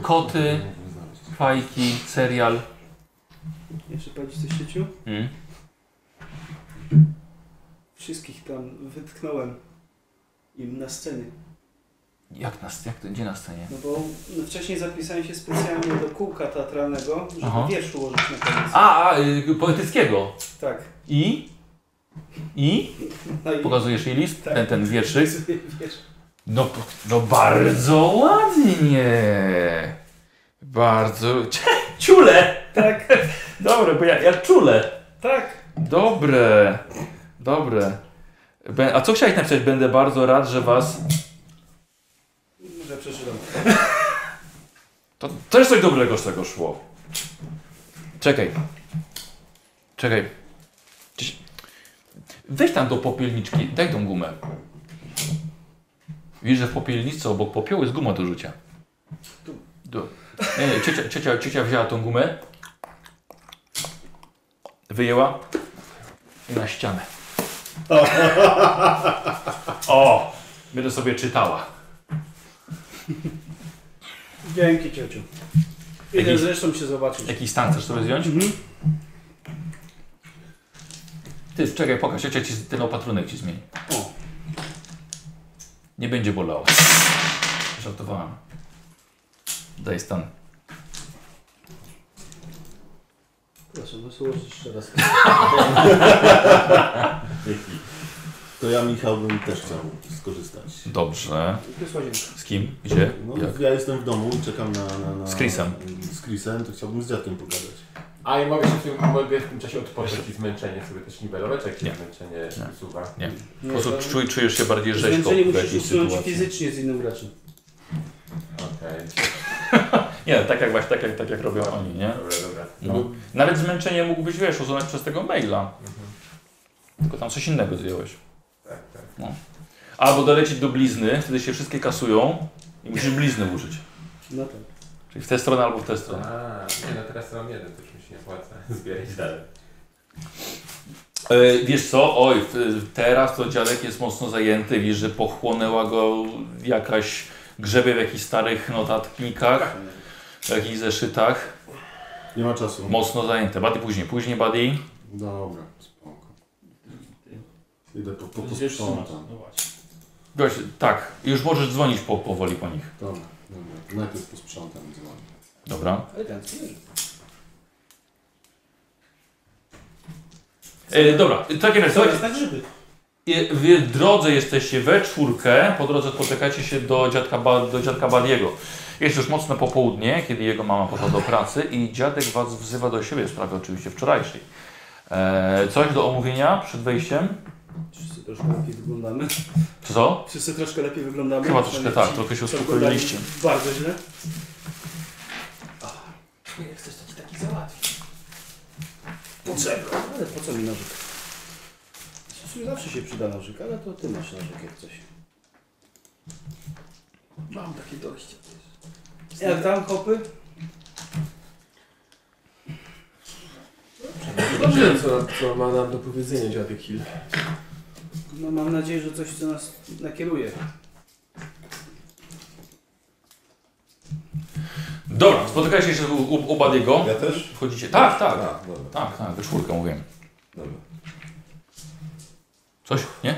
[SPEAKER 1] Koty, fajki, serial.
[SPEAKER 11] Jeszcze powiedzieć coś ciociu?
[SPEAKER 1] Mm.
[SPEAKER 11] Wszystkich tam wytknąłem im na scenie.
[SPEAKER 1] Jak na, jak, to- gdzie na scenie?
[SPEAKER 11] No bo no, wcześniej zapisałem się specjalnie do kółka teatralnego, żeby
[SPEAKER 1] Aha.
[SPEAKER 11] wiersz ułożyć na koniec.
[SPEAKER 1] A, a y, poetyckiego.
[SPEAKER 11] Tak.
[SPEAKER 1] I? I?
[SPEAKER 11] No i
[SPEAKER 1] Pokazujesz jej list?
[SPEAKER 11] Tak.
[SPEAKER 1] Ten, ten wierszyk?
[SPEAKER 11] wiersz.
[SPEAKER 1] No, p- no bardzo ładnie. Bardzo... Ciule!
[SPEAKER 11] Tak,
[SPEAKER 1] Dobre, bo ja, ja czule.
[SPEAKER 11] tak.
[SPEAKER 1] Dobre. Dobre. Bę- A co chciałeś napisać? Będę bardzo rad, że was...
[SPEAKER 11] Może przeczytam.
[SPEAKER 1] To też coś dobrego z tego szło. Czekaj. Czekaj. Gdzieś- Weź tam do popielniczki, daj tą gumę. Widzisz, że w popielnicy obok popiołu jest guma do rzucia. Tu. Nie, nie, ciocia, ciocia, ciocia wzięła tą gumę. Wyjęła. I na ścianę. O! Będę sobie czytała.
[SPEAKER 11] Dzięki ciociu. Idę
[SPEAKER 1] Jakiś-
[SPEAKER 11] zresztą się zobaczyć.
[SPEAKER 1] Jakiś stan chcesz sobie zdjąć?
[SPEAKER 11] Mhm.
[SPEAKER 1] Ty, czekaj, pokaż, ciocia ci ten opatrunek ci zmieni.
[SPEAKER 11] O.
[SPEAKER 1] Nie będzie bolało. Żartowałem. Daj stan.
[SPEAKER 11] Proszę, no słuchasz jeszcze raz.
[SPEAKER 14] To ja, Michał, bym też chciał skorzystać.
[SPEAKER 1] Dobrze.
[SPEAKER 11] Tu jest łazienka.
[SPEAKER 1] Z kim? Gdzie?
[SPEAKER 14] No,
[SPEAKER 1] Jak?
[SPEAKER 14] ja jestem w domu i czekam na... na, na
[SPEAKER 1] Z Chrisem.
[SPEAKER 14] Z Chrisem, to chciałbym z dziadkiem pogadać.
[SPEAKER 4] A i mogę się w tym, mogę w tym czasie odpocząć i zmęczenie sobie też niwelować, jak się
[SPEAKER 1] Nie.
[SPEAKER 4] zmęczenie usuwa.
[SPEAKER 1] Nie. Po
[SPEAKER 11] Nie,
[SPEAKER 1] prostu
[SPEAKER 11] to-
[SPEAKER 1] czuj, czujesz się bardziej rzeźko
[SPEAKER 11] Zmęczenie
[SPEAKER 1] w
[SPEAKER 11] musisz
[SPEAKER 1] jakiejś
[SPEAKER 11] usunąć
[SPEAKER 1] sytuacji.
[SPEAKER 11] fizycznie z innym graczem.
[SPEAKER 4] Okej,
[SPEAKER 1] Nie, tak jak właśnie, tak jak, tak jak robią oni, nie?
[SPEAKER 4] dobra, dobra.
[SPEAKER 1] No.
[SPEAKER 11] Mhm.
[SPEAKER 1] Nawet zmęczenie mógłbyś, wiesz, usunąć przez tego maila. Tylko tam coś innego zdjąłeś.
[SPEAKER 4] Tak, tak.
[SPEAKER 1] Albo dolecieć do blizny, wtedy się wszystkie kasują i musisz blizny użyć.
[SPEAKER 11] No tak.
[SPEAKER 1] Czyli w tę stronę albo w tę stronę.
[SPEAKER 4] A, nie no teraz mam jeden, to już mi się nie płaca zbierać dalej.
[SPEAKER 1] E, wiesz co, oj, w- teraz to dziadek jest mocno zajęty, wiesz, że pochłonęła go jakaś grzebie w jakichś starych notatnikach, w jakichś zeszytach.
[SPEAKER 14] Nie ma czasu.
[SPEAKER 1] Mocno zajęte. Buddy później, później Buddy.
[SPEAKER 14] Dobra, spoko. Idę po, po, po
[SPEAKER 2] Gdzieś trzymasz.
[SPEAKER 14] sprzątam.
[SPEAKER 2] No właśnie.
[SPEAKER 1] Gość, tak, już możesz dzwonić po, powoli po nich.
[SPEAKER 14] Dobra, dobra. Najpierw posprzątam i dzwonię.
[SPEAKER 1] Dobra.
[SPEAKER 11] Ale ten, co wiesz?
[SPEAKER 1] E, dobra, takie razie,
[SPEAKER 11] To
[SPEAKER 1] słuchajcie,
[SPEAKER 11] jest tak, na grzyby.
[SPEAKER 1] I W drodze jesteście we czwórkę, po drodze spotykacie się do dziadka, ba, do dziadka Badiego. Jest już mocne popołudnie, kiedy jego mama poszła do pracy i dziadek was wzywa do siebie w sprawie oczywiście wczorajszej. E, coś do omówienia przed wejściem?
[SPEAKER 11] Wszyscy troszkę lepiej wyglądamy.
[SPEAKER 1] Co?
[SPEAKER 11] Wszyscy troszkę lepiej wyglądamy.
[SPEAKER 1] Chyba troszkę
[SPEAKER 11] Przynajmniej
[SPEAKER 1] tak,
[SPEAKER 11] ci,
[SPEAKER 1] trochę się
[SPEAKER 11] co
[SPEAKER 1] uspokoiliście.
[SPEAKER 11] oglądali Bardzo źle.
[SPEAKER 5] Nie chcesz, to ci taki załatwi.
[SPEAKER 11] Potrzebne. Ale po co mi nożyk? W sumie zawsze się przyda nożyk, ale to ty masz nożyk jak coś.
[SPEAKER 5] Mam takie dojście.
[SPEAKER 11] Jak tam hopy?
[SPEAKER 4] Dobrze.
[SPEAKER 8] Co, co ma nam do powiedzenia dziadek Hill?
[SPEAKER 11] No mam nadzieję, że coś co nas nakieruje.
[SPEAKER 1] Dobra, spotykacie się u, u, u Badiego.
[SPEAKER 3] Ja też?
[SPEAKER 1] Wchodzicie. Tak, tak.
[SPEAKER 3] A, dobra,
[SPEAKER 1] Tak, tak, we czwórkę mówiłem.
[SPEAKER 3] dobra.
[SPEAKER 1] Coś? Nie?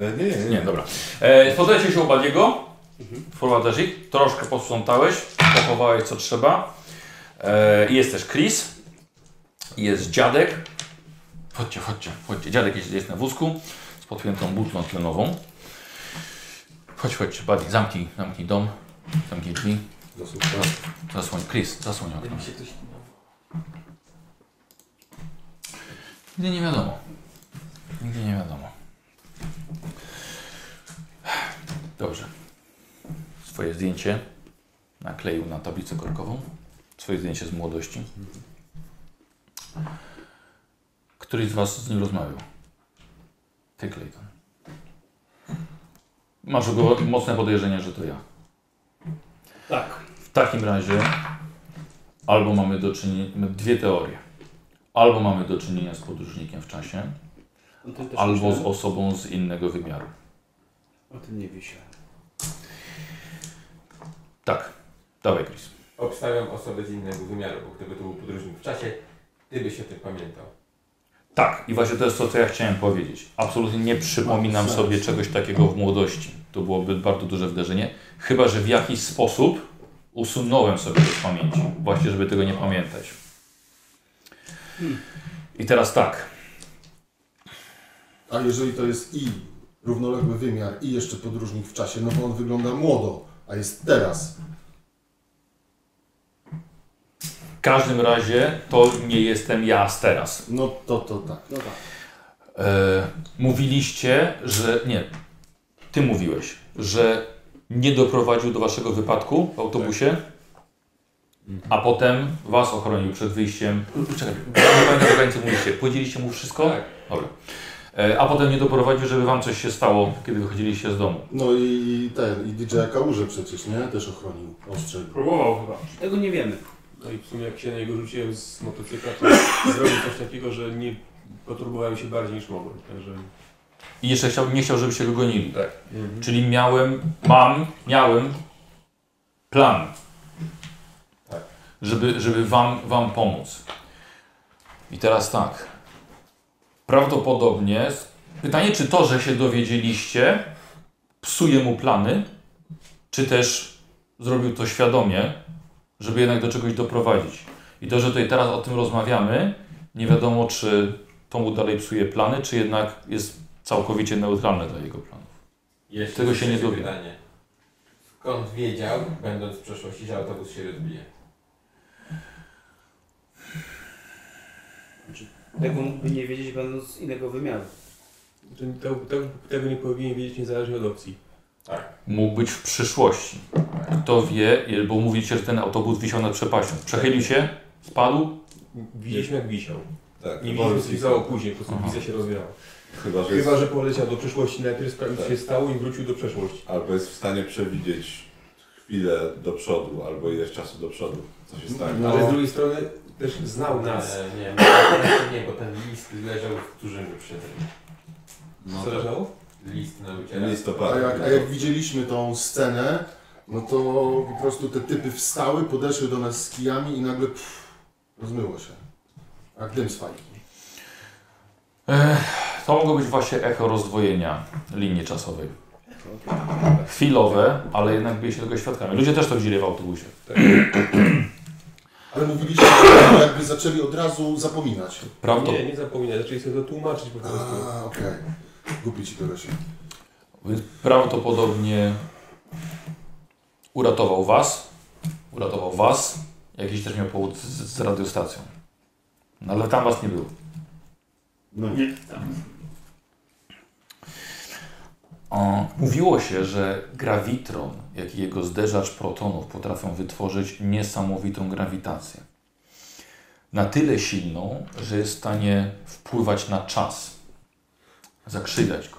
[SPEAKER 3] E, nie, nie, nie.
[SPEAKER 1] Nie, dobra. E, spotkajcie się u Badiego. Wprowadzasz ich. Troszkę posprzątałeś, pochowałeś co trzeba. E, jest też Chris. Jest dziadek. Chodźcie, chodźcie, chodźcie. Dziadek jest, jest na wózku z podpiętą butlą tlenową. Chodź, chodź, bardziej. Zamknij, zamknij dom, zamknij drzwi.
[SPEAKER 14] Zasłuchaj.
[SPEAKER 1] Zasłoń, Chris, zasłoń okno.
[SPEAKER 2] Jakby się ktoś...
[SPEAKER 1] Nigdy nie wiadomo. Nigdy nie wiadomo. Dobrze. Swoje zdjęcie nakleił na tablicę korkową. Swoje zdjęcie z młodości. Któryś z Was z nim rozmawiał? Ty, Clayton. Masz go mocne podejrzenie, że to ja.
[SPEAKER 11] Tak.
[SPEAKER 1] W takim razie albo mamy do czynienia, mamy dwie teorie. Albo mamy do czynienia z podróżnikiem w czasie,
[SPEAKER 11] O tym też
[SPEAKER 1] albo z
[SPEAKER 11] myślałem.
[SPEAKER 1] osobą z innego wymiaru.
[SPEAKER 11] O tym nie myślałem.
[SPEAKER 1] Tak. Dawaj, Chris.
[SPEAKER 4] Obstawiam osobę z innego wymiaru, bo gdyby to był podróżnik w czasie, ty byś o tym pamiętał.
[SPEAKER 1] Tak, i właśnie to jest to, co ja chciałem powiedzieć. Absolutnie nie przypominam sobie czegoś takiego w młodości. To byłoby bardzo duże wderzenie. Chyba, że w jakiś sposób usunąłem sobie to z pamięci. Właśnie, żeby tego nie pamiętać. I teraz tak.
[SPEAKER 14] A jeżeli to jest i równoległy wymiar, i jeszcze podróżnik w czasie, no bo on wygląda młodo, a jest teraz.
[SPEAKER 1] W każdym razie to nie jestem ja z teraz.
[SPEAKER 14] No to to tak.
[SPEAKER 11] No tak.
[SPEAKER 1] E, mówiliście, że. Nie, ty mówiłeś, że nie doprowadził do waszego wypadku w autobusie, a potem was ochronił przed wyjściem. Czekaj, nie pamiętam do końca mówiliście. Powiedzieliście mu wszystko?
[SPEAKER 4] Tak.
[SPEAKER 1] Dobra. E, a potem nie doprowadził, żeby wam coś się stało, kiedy wychodziliście z domu.
[SPEAKER 14] No i ten, i DJ Kałuże przecież, nie? Też ochronił ostrzeg.
[SPEAKER 2] Próbował chyba.
[SPEAKER 11] Tego nie wiemy.
[SPEAKER 8] No i w sumie jak się na niego rzuciłem z motocykla, to zrobił coś takiego, że nie poturbowałem się bardziej niż mogłem. Także
[SPEAKER 1] I jeszcze chciał, nie chciał, żebyście go gonili.
[SPEAKER 8] Tak.
[SPEAKER 1] Czyli miałem, mam, miałem plan,
[SPEAKER 4] Tak.
[SPEAKER 1] żeby, żeby wam, wam pomóc. I teraz tak. Prawdopodobnie pytanie, czy to, że się dowiedzieliście, psuje mu plany, czy też zrobił to świadomie, żeby jednak do czegoś doprowadzić. I to, że tutaj teraz o tym rozmawiamy, nie wiadomo, czy to mu dalej psuje plany, czy jednak jest całkowicie neutralne dla jego planów.
[SPEAKER 4] Jeśli
[SPEAKER 1] Tego się nie
[SPEAKER 4] chcecie
[SPEAKER 1] dowiem.
[SPEAKER 4] pytanie. Skąd wiedział, będąc w przeszłości, że autobus się rozbije?
[SPEAKER 11] Tego mógłby nie wiedzieć będąc z innego wymiaru.
[SPEAKER 8] że to, to, tego nie powinien wiedzieć niezależnie od opcji.
[SPEAKER 1] Mógł być w przyszłości. Kto wie, bo mówiliście, że ten autobus wisiał nad przepaścią. Przechylił się, spadł.
[SPEAKER 8] Widzieliśmy jak wisiał.
[SPEAKER 3] Tak,
[SPEAKER 8] Nie
[SPEAKER 3] Borys
[SPEAKER 8] widzieliśmy co się
[SPEAKER 3] i-
[SPEAKER 8] stało później, po prostu
[SPEAKER 1] Aha.
[SPEAKER 8] wizja się rozwiała.
[SPEAKER 3] Chyba, że jest,
[SPEAKER 8] Chyba, że poleciał do przyszłości najpierw, sprawdził co
[SPEAKER 3] Tak.
[SPEAKER 8] się stało i wrócił do przeszłości.
[SPEAKER 3] albo jest w stanie przewidzieć chwilę do przodu, albo ileś czasu do przodu, co się stanie.
[SPEAKER 14] No.
[SPEAKER 8] Ale z drugiej strony też znał
[SPEAKER 1] No,
[SPEAKER 8] nas.
[SPEAKER 4] E, nie, nie, nie, bo ten list leżał w dużym wyprzedzeniu.
[SPEAKER 3] No,
[SPEAKER 8] Co leżało?
[SPEAKER 4] List na uciele.
[SPEAKER 3] listopad.
[SPEAKER 14] A jak, a jak widzieliśmy tą scenę, no to po prostu te typy wstały, podeszły do nas z kijami i nagle pff, rozmyło się. Jak dym z fajki.
[SPEAKER 1] Ech, to mogło być właśnie echo rozdwojenia linii czasowej. Chwilowe, ale jednak byliście tego świadkami. Ludzie też to widzieli w autobusie.
[SPEAKER 14] Ale mówiliśmy, że jakby zaczęli od razu zapominać.
[SPEAKER 1] Prawda?
[SPEAKER 8] Nie, nie zapominaj, zaczęli sobie to tłumaczyć po prostu.
[SPEAKER 14] A, okej. Gubi ci to się.
[SPEAKER 1] Więc prawdopodobnie uratował was. Uratował was. Jakiś też miał powód z, z radiostacją. No ale tam was nie było.
[SPEAKER 14] No nie.
[SPEAKER 2] Nie, tam.
[SPEAKER 1] O, mówiło się, że grawitron, jak i jego zderzacz protonów potrafią wytworzyć niesamowitą grawitację. Na tyle silną, że jest w stanie wpływać na czas, zakrzywiać go.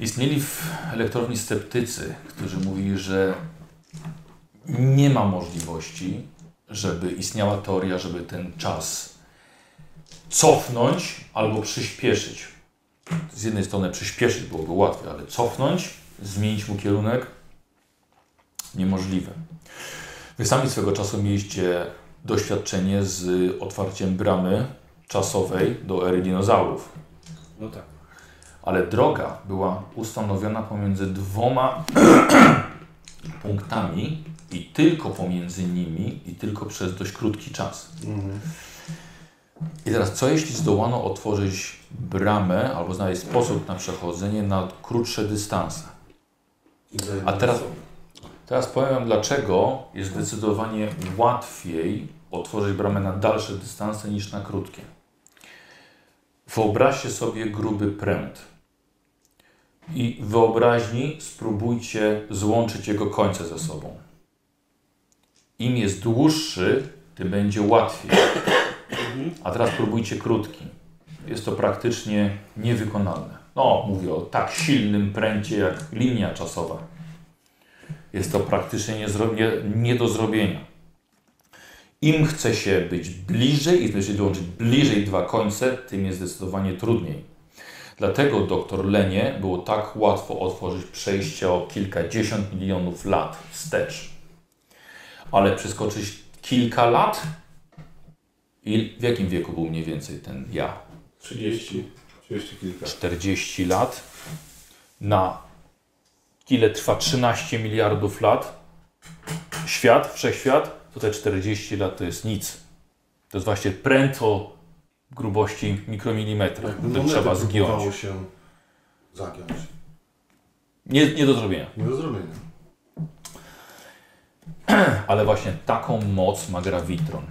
[SPEAKER 1] Istnieli w elektrowni sceptycy, którzy mówili, że nie ma możliwości, żeby istniała teoria, żeby ten czas cofnąć albo przyspieszyć z jednej strony przyspieszyć byłoby łatwiej, ale cofnąć, zmienić mu kierunek niemożliwe. Wy sami swego czasu mieliście doświadczenie z otwarciem bramy czasowej do ery dinozaurów,
[SPEAKER 11] No tak.
[SPEAKER 1] ale droga była ustanowiona pomiędzy dwoma punktami i tylko pomiędzy nimi i tylko przez dość krótki czas.
[SPEAKER 14] Mhm.
[SPEAKER 1] I teraz, co jeśli zdołano otworzyć bramę albo znaleźć sposób na przechodzenie na krótsze dystanse?
[SPEAKER 14] I zajmę
[SPEAKER 1] A teraz,
[SPEAKER 14] się sobą.
[SPEAKER 1] teraz powiem wam, dlaczego jest zdecydowanie łatwiej otworzyć bramę na dalsze dystanse niż na krótkie. Wyobraźcie sobie gruby pręt. I w wyobraźni spróbujcie złączyć jego końce ze sobą. Im jest dłuższy, tym będzie łatwiej. A teraz próbujcie krótki. Jest to praktycznie niewykonalne. No, mówię o tak silnym pręcie jak linia czasowa. Jest to praktycznie nie, zro- nie, nie do zrobienia. Im chce się być bliżej i chce się dołączyć bliżej dwa końce, tym jest zdecydowanie trudniej. Dlatego doktor Lenie było tak łatwo otworzyć przejście o kilkadziesiąt milionów lat wstecz. Ale przeskoczyć kilka lat? I w jakim wieku był mniej więcej ten ja?
[SPEAKER 8] 30.
[SPEAKER 3] 30 kilka.
[SPEAKER 1] 40 lat na ile trwa 13 miliardów lat świat, wszechświat, to te 40 lat to jest nic. To jest właśnie pręt o grubości mikromilimetra,
[SPEAKER 14] Jakby
[SPEAKER 1] który
[SPEAKER 14] monetę
[SPEAKER 1] trzeba
[SPEAKER 14] próbowało
[SPEAKER 1] zgiąć.
[SPEAKER 14] się zagiąć.
[SPEAKER 1] Nie, nie do zrobienia.
[SPEAKER 14] Nie do zrobienia.
[SPEAKER 1] Ale właśnie taką moc ma grawitron.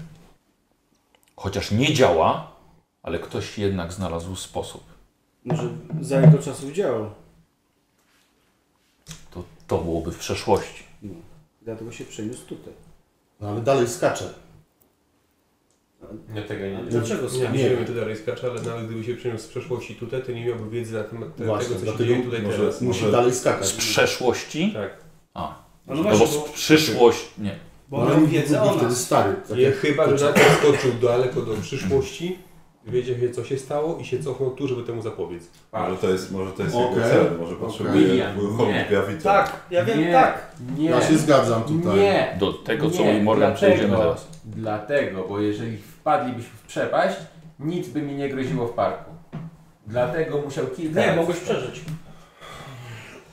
[SPEAKER 1] Chociaż nie działa, ale ktoś jednak znalazł sposób.
[SPEAKER 11] Może za jego czasu działał.
[SPEAKER 1] To, to byłoby w przeszłości.
[SPEAKER 11] No. Dlatego się przeniósł tutaj.
[SPEAKER 14] No ale dalej skacze.
[SPEAKER 4] Ja No tego
[SPEAKER 1] No
[SPEAKER 4] nie wiem.
[SPEAKER 11] Dlaczego
[SPEAKER 8] Nie,
[SPEAKER 11] skąd?
[SPEAKER 8] nie wiem, to dalej skacze, ale nawet gdyby się przeniósł z przeszłości tutaj, to nie miałby wiedzy na temat te-
[SPEAKER 14] Właśnie,
[SPEAKER 8] tego, co się
[SPEAKER 14] dlatego
[SPEAKER 8] dzieje tutaj
[SPEAKER 3] może-
[SPEAKER 8] teraz.
[SPEAKER 14] Musi
[SPEAKER 3] Może-
[SPEAKER 14] dalej
[SPEAKER 1] Z
[SPEAKER 14] skakać.
[SPEAKER 1] przeszłości?
[SPEAKER 8] Tak.
[SPEAKER 11] A No
[SPEAKER 1] No bo
[SPEAKER 11] właśnie,
[SPEAKER 1] z
[SPEAKER 11] bo,
[SPEAKER 1] przyszłości. Nie.
[SPEAKER 11] bo on miał
[SPEAKER 14] nie
[SPEAKER 11] wiedzę
[SPEAKER 14] byłby
[SPEAKER 11] o
[SPEAKER 14] No, wtedy
[SPEAKER 11] nas.
[SPEAKER 14] stary. Tak
[SPEAKER 8] Nie,
[SPEAKER 14] jak
[SPEAKER 8] chyba, że nagle skoczył daleko do przyszłości, wiedział się, co się stało i się cofnął tu, żeby temu zapobiec.
[SPEAKER 3] Może to jest, może to jest jego
[SPEAKER 14] Okej.
[SPEAKER 3] cel, może potrzebuje
[SPEAKER 4] William, nie.
[SPEAKER 3] okay. Gravity.
[SPEAKER 11] Tak, ja wiem,
[SPEAKER 4] Nie.
[SPEAKER 11] tak.
[SPEAKER 4] Nie.
[SPEAKER 14] Ja się zgadzam tutaj.
[SPEAKER 4] Nie.
[SPEAKER 1] Do tego, co
[SPEAKER 4] Nie,
[SPEAKER 1] mój Morgan
[SPEAKER 4] dlatego.
[SPEAKER 1] przejdziemy teraz.
[SPEAKER 4] Dlatego, bo jeżeli wpadlibyśmy w przepaść, nic by mi nie groziło w parku. Dlatego musiał kilka
[SPEAKER 11] Nie,
[SPEAKER 8] Tak.
[SPEAKER 4] razy-
[SPEAKER 11] mogłeś przeżyć.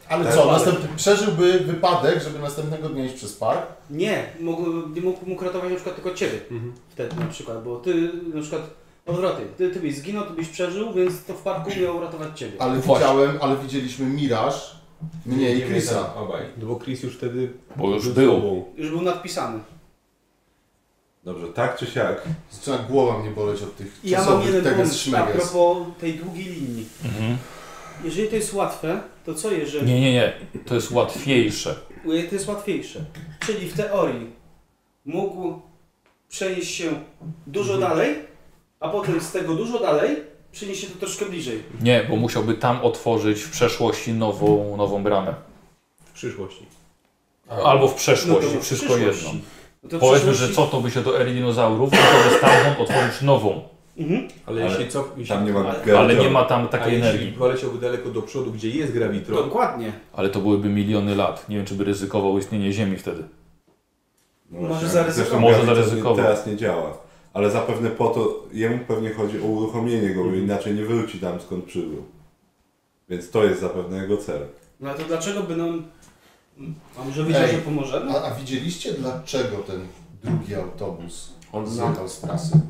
[SPEAKER 14] Ale
[SPEAKER 3] Tak,
[SPEAKER 14] co,
[SPEAKER 3] ale-
[SPEAKER 14] następny, przeżyłby wypadek, żeby następnego dnia iść przez park?
[SPEAKER 11] Nie, mógł, nie mógł, mógł ratować na przykład tylko ciebie
[SPEAKER 8] Mhm.
[SPEAKER 11] wtedy na przykład, bo ty na przykład odwrotnie, ty, ty byś zginął, ty byś przeżył, więc to w parku miał ratować ciebie.
[SPEAKER 14] Ale
[SPEAKER 1] Właśnie.
[SPEAKER 14] widziałem, ale widzieliśmy Miraż, mnie i
[SPEAKER 4] Nie
[SPEAKER 14] Chrisa.
[SPEAKER 4] wiem, Obaj.
[SPEAKER 8] No bo Chris już wtedy
[SPEAKER 1] Bo już
[SPEAKER 11] Mhm.
[SPEAKER 1] był.
[SPEAKER 8] sobą.
[SPEAKER 11] Już był nadpisany.
[SPEAKER 3] Dobrze, tak czy siak,
[SPEAKER 14] Zaczyna głowa mnie boleć od tych
[SPEAKER 11] I ja mam
[SPEAKER 14] czasowych
[SPEAKER 11] jeden
[SPEAKER 14] teges
[SPEAKER 11] pomysł a
[SPEAKER 14] szmeges.
[SPEAKER 11] propos tej długiej linii. Jeżeli to jest łatwe, to co jeżeli
[SPEAKER 1] Mhm. Nie, nie, nie. To jest łatwiejsze.
[SPEAKER 11] Jeżeli to jest łatwiejsze? Czyli w teorii mógł przenieść się dużo
[SPEAKER 1] Mhm.
[SPEAKER 11] dalej, a potem z tego dużo dalej przenieść się to troszkę bliżej.
[SPEAKER 1] Nie, bo musiałby tam otworzyć w przeszłości nową, nową bramę.
[SPEAKER 8] w przyszłości.
[SPEAKER 1] Albo w
[SPEAKER 11] No to
[SPEAKER 1] przeszłości,
[SPEAKER 11] w
[SPEAKER 1] wszystko
[SPEAKER 11] przyszłości.
[SPEAKER 1] jedno.
[SPEAKER 11] No to w
[SPEAKER 1] Powiedzmy, że
[SPEAKER 11] przyszłości-
[SPEAKER 1] co to by się do ery dinozaurów, no to by stamtąd otworzyć nową.
[SPEAKER 11] Mhm.
[SPEAKER 8] Ale,
[SPEAKER 3] Ale
[SPEAKER 8] jeśli co, jeśli,
[SPEAKER 3] tam nie ma
[SPEAKER 11] Ale-
[SPEAKER 3] gravity.
[SPEAKER 1] Ale nie ma tam
[SPEAKER 8] a
[SPEAKER 1] takiej
[SPEAKER 8] jeśli
[SPEAKER 1] energii.
[SPEAKER 8] poleciałby daleko do przodu, gdzie jest grawitron,
[SPEAKER 11] Dokładnie.
[SPEAKER 1] Ale to byłyby miliony lat. Nie wiem, czy by ryzykował istnienie Ziemi wtedy.
[SPEAKER 3] No
[SPEAKER 11] Może
[SPEAKER 3] właśnie,
[SPEAKER 11] zaryzykował.
[SPEAKER 3] zresztą
[SPEAKER 1] Może
[SPEAKER 3] gravity
[SPEAKER 1] zaryzykował.
[SPEAKER 3] Teraz nie działa. Ale zapewne po to, jemu pewnie chodzi o uruchomienie go, bo inaczej nie wróci tam skąd przybył. Więc to jest zapewne jego cel.
[SPEAKER 11] No ale to dlaczego by nam... A może wiedział,
[SPEAKER 14] Ej.
[SPEAKER 11] że pomoże? No.
[SPEAKER 14] A, a widzieliście dlaczego ten drugi autobus
[SPEAKER 3] On
[SPEAKER 14] zjechał z trasy?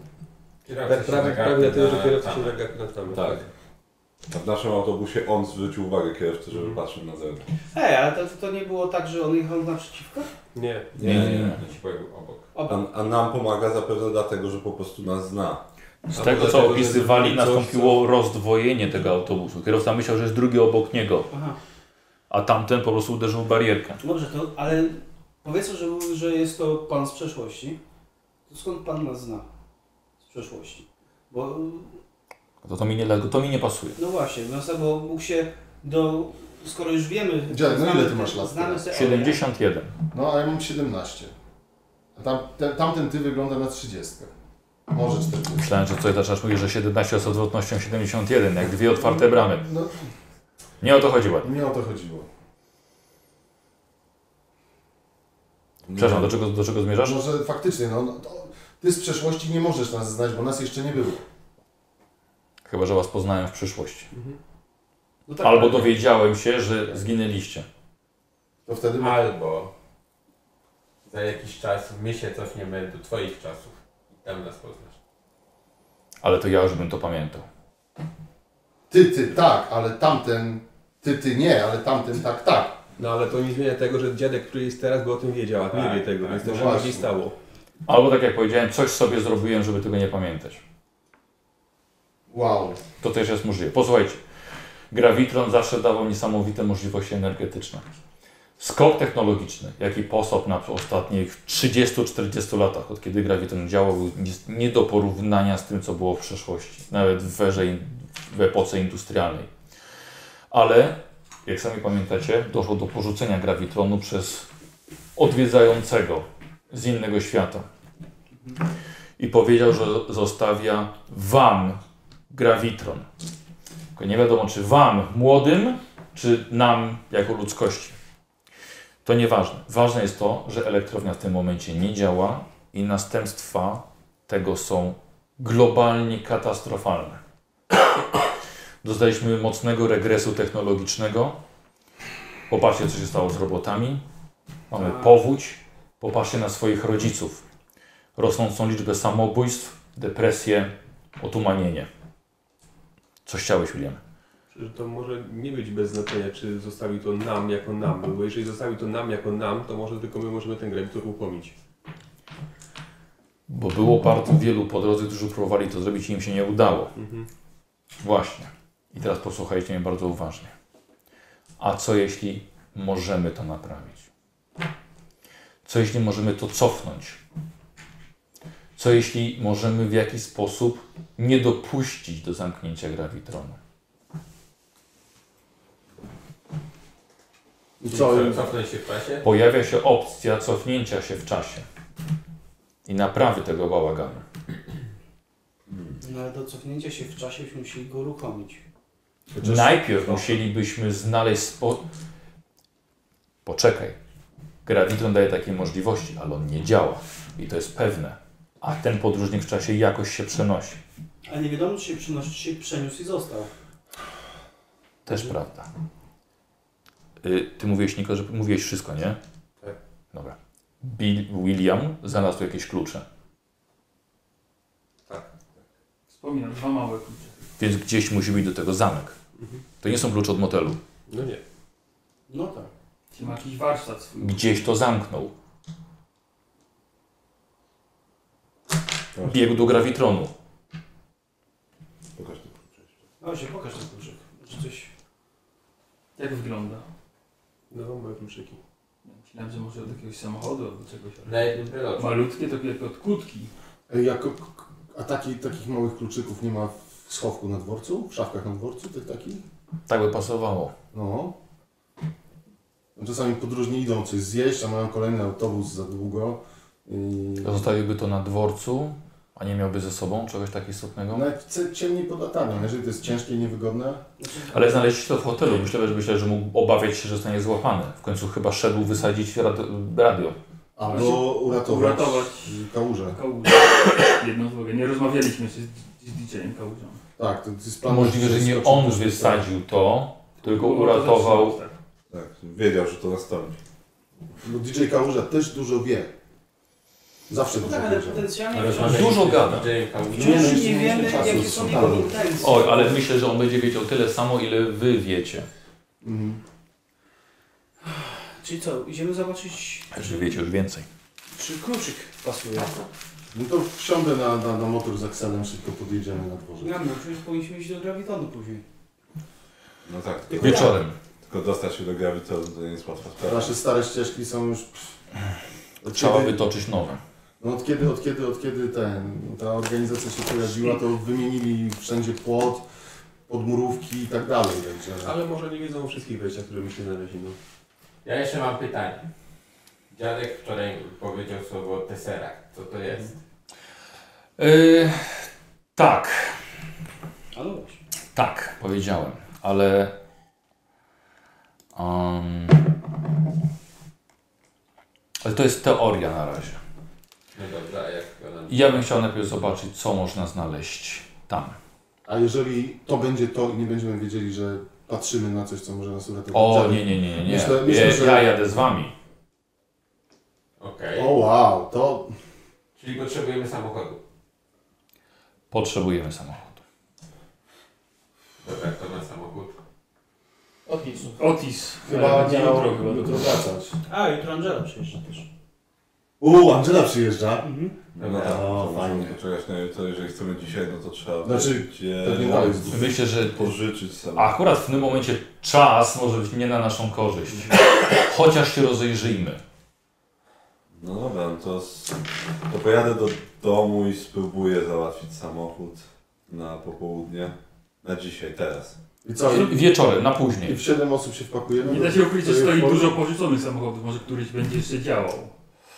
[SPEAKER 8] prawie, prawie, prawie tak na tyle, że kierowca się naga- natknął.
[SPEAKER 3] Tak. A w naszym autobusie on zwrócił uwagę kierowcy, żeby patrzył na zewnątrz.
[SPEAKER 11] Ej, ale to, to nie było tak, że on jechał naprzeciwko?
[SPEAKER 8] Nie.
[SPEAKER 1] Nie, nie, nie.
[SPEAKER 4] Ja ci powiem obok.
[SPEAKER 11] Obok.
[SPEAKER 3] A, a nam pomaga zapewne dlatego, że po prostu nas zna.
[SPEAKER 1] Z
[SPEAKER 8] A
[SPEAKER 1] tego,
[SPEAKER 8] poza
[SPEAKER 1] co
[SPEAKER 8] tego, że
[SPEAKER 1] opisywali,
[SPEAKER 8] zrobili coś,
[SPEAKER 1] nastąpiło rozdwojenie tego autobusu. Kierowca myślał, że jest drugi obok niego,
[SPEAKER 11] Aha.
[SPEAKER 1] a tamten po prostu uderzył w barierkę.
[SPEAKER 11] Dobrze, to ale powiedzmy, że, że jest to pan z przeszłości. To skąd pan nas zna? Z przeszłości. Bo
[SPEAKER 1] To, to, mi nie, to mi nie pasuje.
[SPEAKER 11] no właśnie, no sobie, bo mógł się do. Skoro już wiemy.
[SPEAKER 14] Dziadek, no
[SPEAKER 11] znamy
[SPEAKER 14] ile
[SPEAKER 11] te-
[SPEAKER 14] ty masz lat
[SPEAKER 11] Znamy
[SPEAKER 14] teraz?
[SPEAKER 11] te
[SPEAKER 1] 71.
[SPEAKER 14] No, a ja mam 17. A tam, te, tamten ty wygląda na 30. Może 40.
[SPEAKER 1] Myślałem, że coś zaczynasz mówić, że 17 z odwrotnością 71, jak dwie otwarte bramy.
[SPEAKER 14] No,
[SPEAKER 1] Nie o to chodziło.
[SPEAKER 14] nie o to chodziło.
[SPEAKER 1] Przepraszam, do czego, do czego zmierzasz?
[SPEAKER 14] Może faktycznie, no, no to, ty z przeszłości nie możesz nas znać, bo nas jeszcze nie było.
[SPEAKER 1] Chyba, że was poznałem w przyszłości.
[SPEAKER 11] Mhm. No tak,
[SPEAKER 1] Albo dowiedziałem się, że zginęliście.
[SPEAKER 14] To wtedy my...
[SPEAKER 4] Albo za jakiś czas my się cofniemy do twoich czasów i tam nas poznasz.
[SPEAKER 1] Ale to ja już bym to pamiętał.
[SPEAKER 14] Ty, ty, tak, ale tamten... Ty, ty, nie, ale tamten, tak, tak.
[SPEAKER 8] No ale to nie zmienia tego, że dziadek, który jest teraz, by o tym wiedział, a ty
[SPEAKER 4] Tak,
[SPEAKER 8] nie wie tego, więc to
[SPEAKER 14] no
[SPEAKER 8] się
[SPEAKER 14] właśnie.
[SPEAKER 8] bardziej stało.
[SPEAKER 1] Albo tak jak powiedziałem, coś sobie zrobiłem, żeby tego nie pamiętać.
[SPEAKER 14] Wow.
[SPEAKER 1] To też jest możliwe. Posłuchajcie, Gravitron zawsze dawał niesamowite możliwości energetyczne. Skok technologiczny, jaki posop na ostatnich 30-40 latach, od kiedy Gravitron działał, był nie- nie do porównania z tym, co było w przeszłości, nawet w, erze, in- w epoce industrialnej. Ale, jak sami pamiętacie, doszło do porzucenia Gravitronu przez odwiedzającego z innego świata. I powiedział, że zostawia wam Gravitron. Tylko nie wiadomo, czy wam, młodym, czy nam, jako ludzkości. To nieważne. Ważne jest to, że elektrownia w tym momencie nie działa i następstwa tego są globalnie katastrofalne. Dostaliśmy mocnego regresu technologicznego. Popatrzcie, co się stało z robotami. Mamy powódź. Popatrzcie na swoich rodziców. Rosnącą liczbę samobójstw, depresję, otumanienie. Coś chciałeś, William?
[SPEAKER 8] Że to może nie być bez znaczenia, czy zostawił to nam jako nam, bo jeżeli zostawił to nam jako nam, to może tylko my możemy ten gravitor upomnieć.
[SPEAKER 1] Bo było bardzo wielu po drodze, którzy próbowali to zrobić i im się nie udało.
[SPEAKER 8] Mhm.
[SPEAKER 1] Właśnie. I teraz posłuchajcie mnie bardzo uważnie. A co jeśli możemy to naprawić? Co jeśli możemy to cofnąć? Co jeśli możemy w jakiś sposób nie dopuścić do zamknięcia gravitronu?
[SPEAKER 14] I co?
[SPEAKER 4] Co? Cofnąć się w czasie?
[SPEAKER 1] Pojawia się opcja cofnięcia się w czasie i naprawy tego bałaganu.
[SPEAKER 11] No ale do cofnięcia się w czasie byśmy musieli go uruchomić.
[SPEAKER 14] Chociaż-
[SPEAKER 1] Najpierw musielibyśmy znaleźć spo... Poczekaj. Graviton daje takie możliwości, ale on nie działa. I to jest pewne. A ten podróżnik w czasie jakoś się przenosi.
[SPEAKER 11] A nie wiadomo, czy się przynosi, czy się przeniósł i został.
[SPEAKER 1] Też prawda. Y, ty mówiłeś, Niko, że mówiłeś wszystko, nie?
[SPEAKER 4] Tak.
[SPEAKER 1] Dobra. Bill William znalazł jakieś klucze.
[SPEAKER 2] Wspominam, dwa małe klucze.
[SPEAKER 1] Więc gdzieś musi być do tego zamek. To nie są klucze od motelu.
[SPEAKER 8] No nie.
[SPEAKER 11] No tak.
[SPEAKER 2] Czy ma jakiś warsztat swój?
[SPEAKER 1] Gdzieś to zamknął. Biegł do grawitronu.
[SPEAKER 3] Pokaż to.
[SPEAKER 11] Ale się No pokaż ten kluczyk. Czy coś...
[SPEAKER 2] Jak wygląda?
[SPEAKER 8] No, moje kluczyki.
[SPEAKER 2] Myślałem, że może od jakiegoś samochodu, od czegoś.
[SPEAKER 4] Na jednym pelocie.
[SPEAKER 2] Malutkie to jak od kutki.
[SPEAKER 14] Ej, jako, k- a taki, takich małych kluczyków nie ma w schowku na dworcu? W szafkach na dworcu? Tych takich?
[SPEAKER 1] Tak by pasowało.
[SPEAKER 14] No. Czasami podróżni idą coś zjeść, a mają kolejny autobus za długo. I...
[SPEAKER 1] Zostawiłby to na dworcu, a nie miałby ze sobą czegoś takiego istotnego.
[SPEAKER 14] Nawet c- ciemniej pod latarnią, jeżeli to jest ciężkie i niewygodne.
[SPEAKER 1] Ale znaleźć to w hotelu. Myślę, że myślę, że mógł obawiać się, że zostanie złapany. W końcu chyba szedł wysadzić radio. radio.
[SPEAKER 14] Albo uratować,
[SPEAKER 2] uratować.
[SPEAKER 14] kałużę.
[SPEAKER 2] Kałuża. Jedną z Nie rozmawialiśmy się z, z DJ-em Kałużą.
[SPEAKER 14] Tak, to jest plan.
[SPEAKER 1] Możliwe, że nie
[SPEAKER 14] skoczył
[SPEAKER 1] on
[SPEAKER 14] też-
[SPEAKER 1] wysadził to, tylko
[SPEAKER 2] Było
[SPEAKER 1] uratował.
[SPEAKER 2] No, to zawsze tak.
[SPEAKER 3] Tak, wiedział, że to nastąpi.
[SPEAKER 14] Bo DJ Kałuża też dużo wie. Zawsze
[SPEAKER 11] No
[SPEAKER 14] dużo
[SPEAKER 11] tak, ale
[SPEAKER 14] wie.
[SPEAKER 11] potencjalnie
[SPEAKER 4] Ale
[SPEAKER 11] wciąż,
[SPEAKER 4] rozmawialiśmy
[SPEAKER 1] Dużo
[SPEAKER 4] z
[SPEAKER 1] gada.
[SPEAKER 4] DJ-em Kałużą.
[SPEAKER 14] Nie, no,
[SPEAKER 11] wciąż nie
[SPEAKER 14] nie
[SPEAKER 11] wiemy,
[SPEAKER 14] mieliśmy czasu,
[SPEAKER 11] jakie są jego
[SPEAKER 14] spadło.
[SPEAKER 11] intencje.
[SPEAKER 1] Oj, ale myślę, że on będzie wiedział tyle samo, ile wy wiecie.
[SPEAKER 14] Mm.
[SPEAKER 11] Czyli co, idziemy zobaczyć,
[SPEAKER 1] Że wiecie już więcej.
[SPEAKER 11] czy kluczyk pasuje.
[SPEAKER 14] No to wsiądę na, na, na motor z Akselem, szybko podjedziemy na dworze.
[SPEAKER 11] Ja no, przecież powinniśmy iść do grawitonu później.
[SPEAKER 3] No tak, tylko,
[SPEAKER 1] Wieczorem.
[SPEAKER 3] tylko dostać się do grawitonu to nie jest łatwa sprawa.
[SPEAKER 14] Nasze stare ścieżki są już... pff, Od
[SPEAKER 1] Trzeba
[SPEAKER 14] kiedy-
[SPEAKER 1] wytoczyć nowe.
[SPEAKER 14] No od kiedy, od kiedy, od kiedy ten, ta organizacja się pojawiła, to wymienili wszędzie płot, podmurówki i tak dalej, także...
[SPEAKER 8] Ale może nie wiedzą o wszystkich wejściach, które mi się znaleźli. No.
[SPEAKER 4] Ja jeszcze mam pytanie. Dziadek wczoraj powiedział słowo Tesseract. Co to jest?
[SPEAKER 1] Yy, tak.
[SPEAKER 11] A no właśnie.
[SPEAKER 1] Tak, powiedziałem, ale. em, ale to jest teoria na razie.
[SPEAKER 4] No dobrze, a jak to nam...
[SPEAKER 1] Ja bym chciał najpierw zobaczyć, co można znaleźć tam.
[SPEAKER 14] A jeżeli to będzie to i nie będziemy wiedzieli, że patrzymy na coś, co może nas uratować...
[SPEAKER 1] O,
[SPEAKER 14] Dziadek-
[SPEAKER 1] nie, nie, nie, nie.
[SPEAKER 14] Myślę- myślę,
[SPEAKER 1] ja,
[SPEAKER 14] że-
[SPEAKER 1] ja jadę z wami.
[SPEAKER 4] Okej.
[SPEAKER 14] O wow, to...
[SPEAKER 4] Czyli potrzebujemy samochodu.
[SPEAKER 1] Potrzebujemy samochodu.
[SPEAKER 4] Dobra, kto ma samochód?
[SPEAKER 14] O,
[SPEAKER 11] Opisu.
[SPEAKER 2] Otis. Ale
[SPEAKER 14] Chyba
[SPEAKER 2] będzie
[SPEAKER 14] miał Tak.
[SPEAKER 2] jutro chyba.
[SPEAKER 14] jutro wracać.
[SPEAKER 11] A, jutro Angela przyjeżdża też.
[SPEAKER 14] U, Angela przyjeżdża.
[SPEAKER 3] No tak,
[SPEAKER 14] O, fajnie.
[SPEAKER 3] to czegoś na jutro, jeżeli chcemy dzisiaj, no to trzeba
[SPEAKER 14] Znaczy,
[SPEAKER 3] będzie
[SPEAKER 14] pewnie tak.
[SPEAKER 1] Myślę, że
[SPEAKER 3] pożyczyć sobie.
[SPEAKER 1] akurat w tym momencie czas może być nie na naszą korzyść. Chociaż się rozejrzyjmy.
[SPEAKER 3] No dobra, no to, s- to pojadę do domu i spróbuję załatwić samochód na popołudnie. Na dzisiaj, teraz.
[SPEAKER 14] I co? I,
[SPEAKER 1] Wieczorem, na
[SPEAKER 14] i
[SPEAKER 1] później.
[SPEAKER 14] w 7 osób się wpakujemy?
[SPEAKER 2] Nie da się ukryć, że
[SPEAKER 14] To
[SPEAKER 2] stoi
[SPEAKER 14] jest
[SPEAKER 2] dużo pożyczonych samochodów, może któryś będzie jeszcze działał.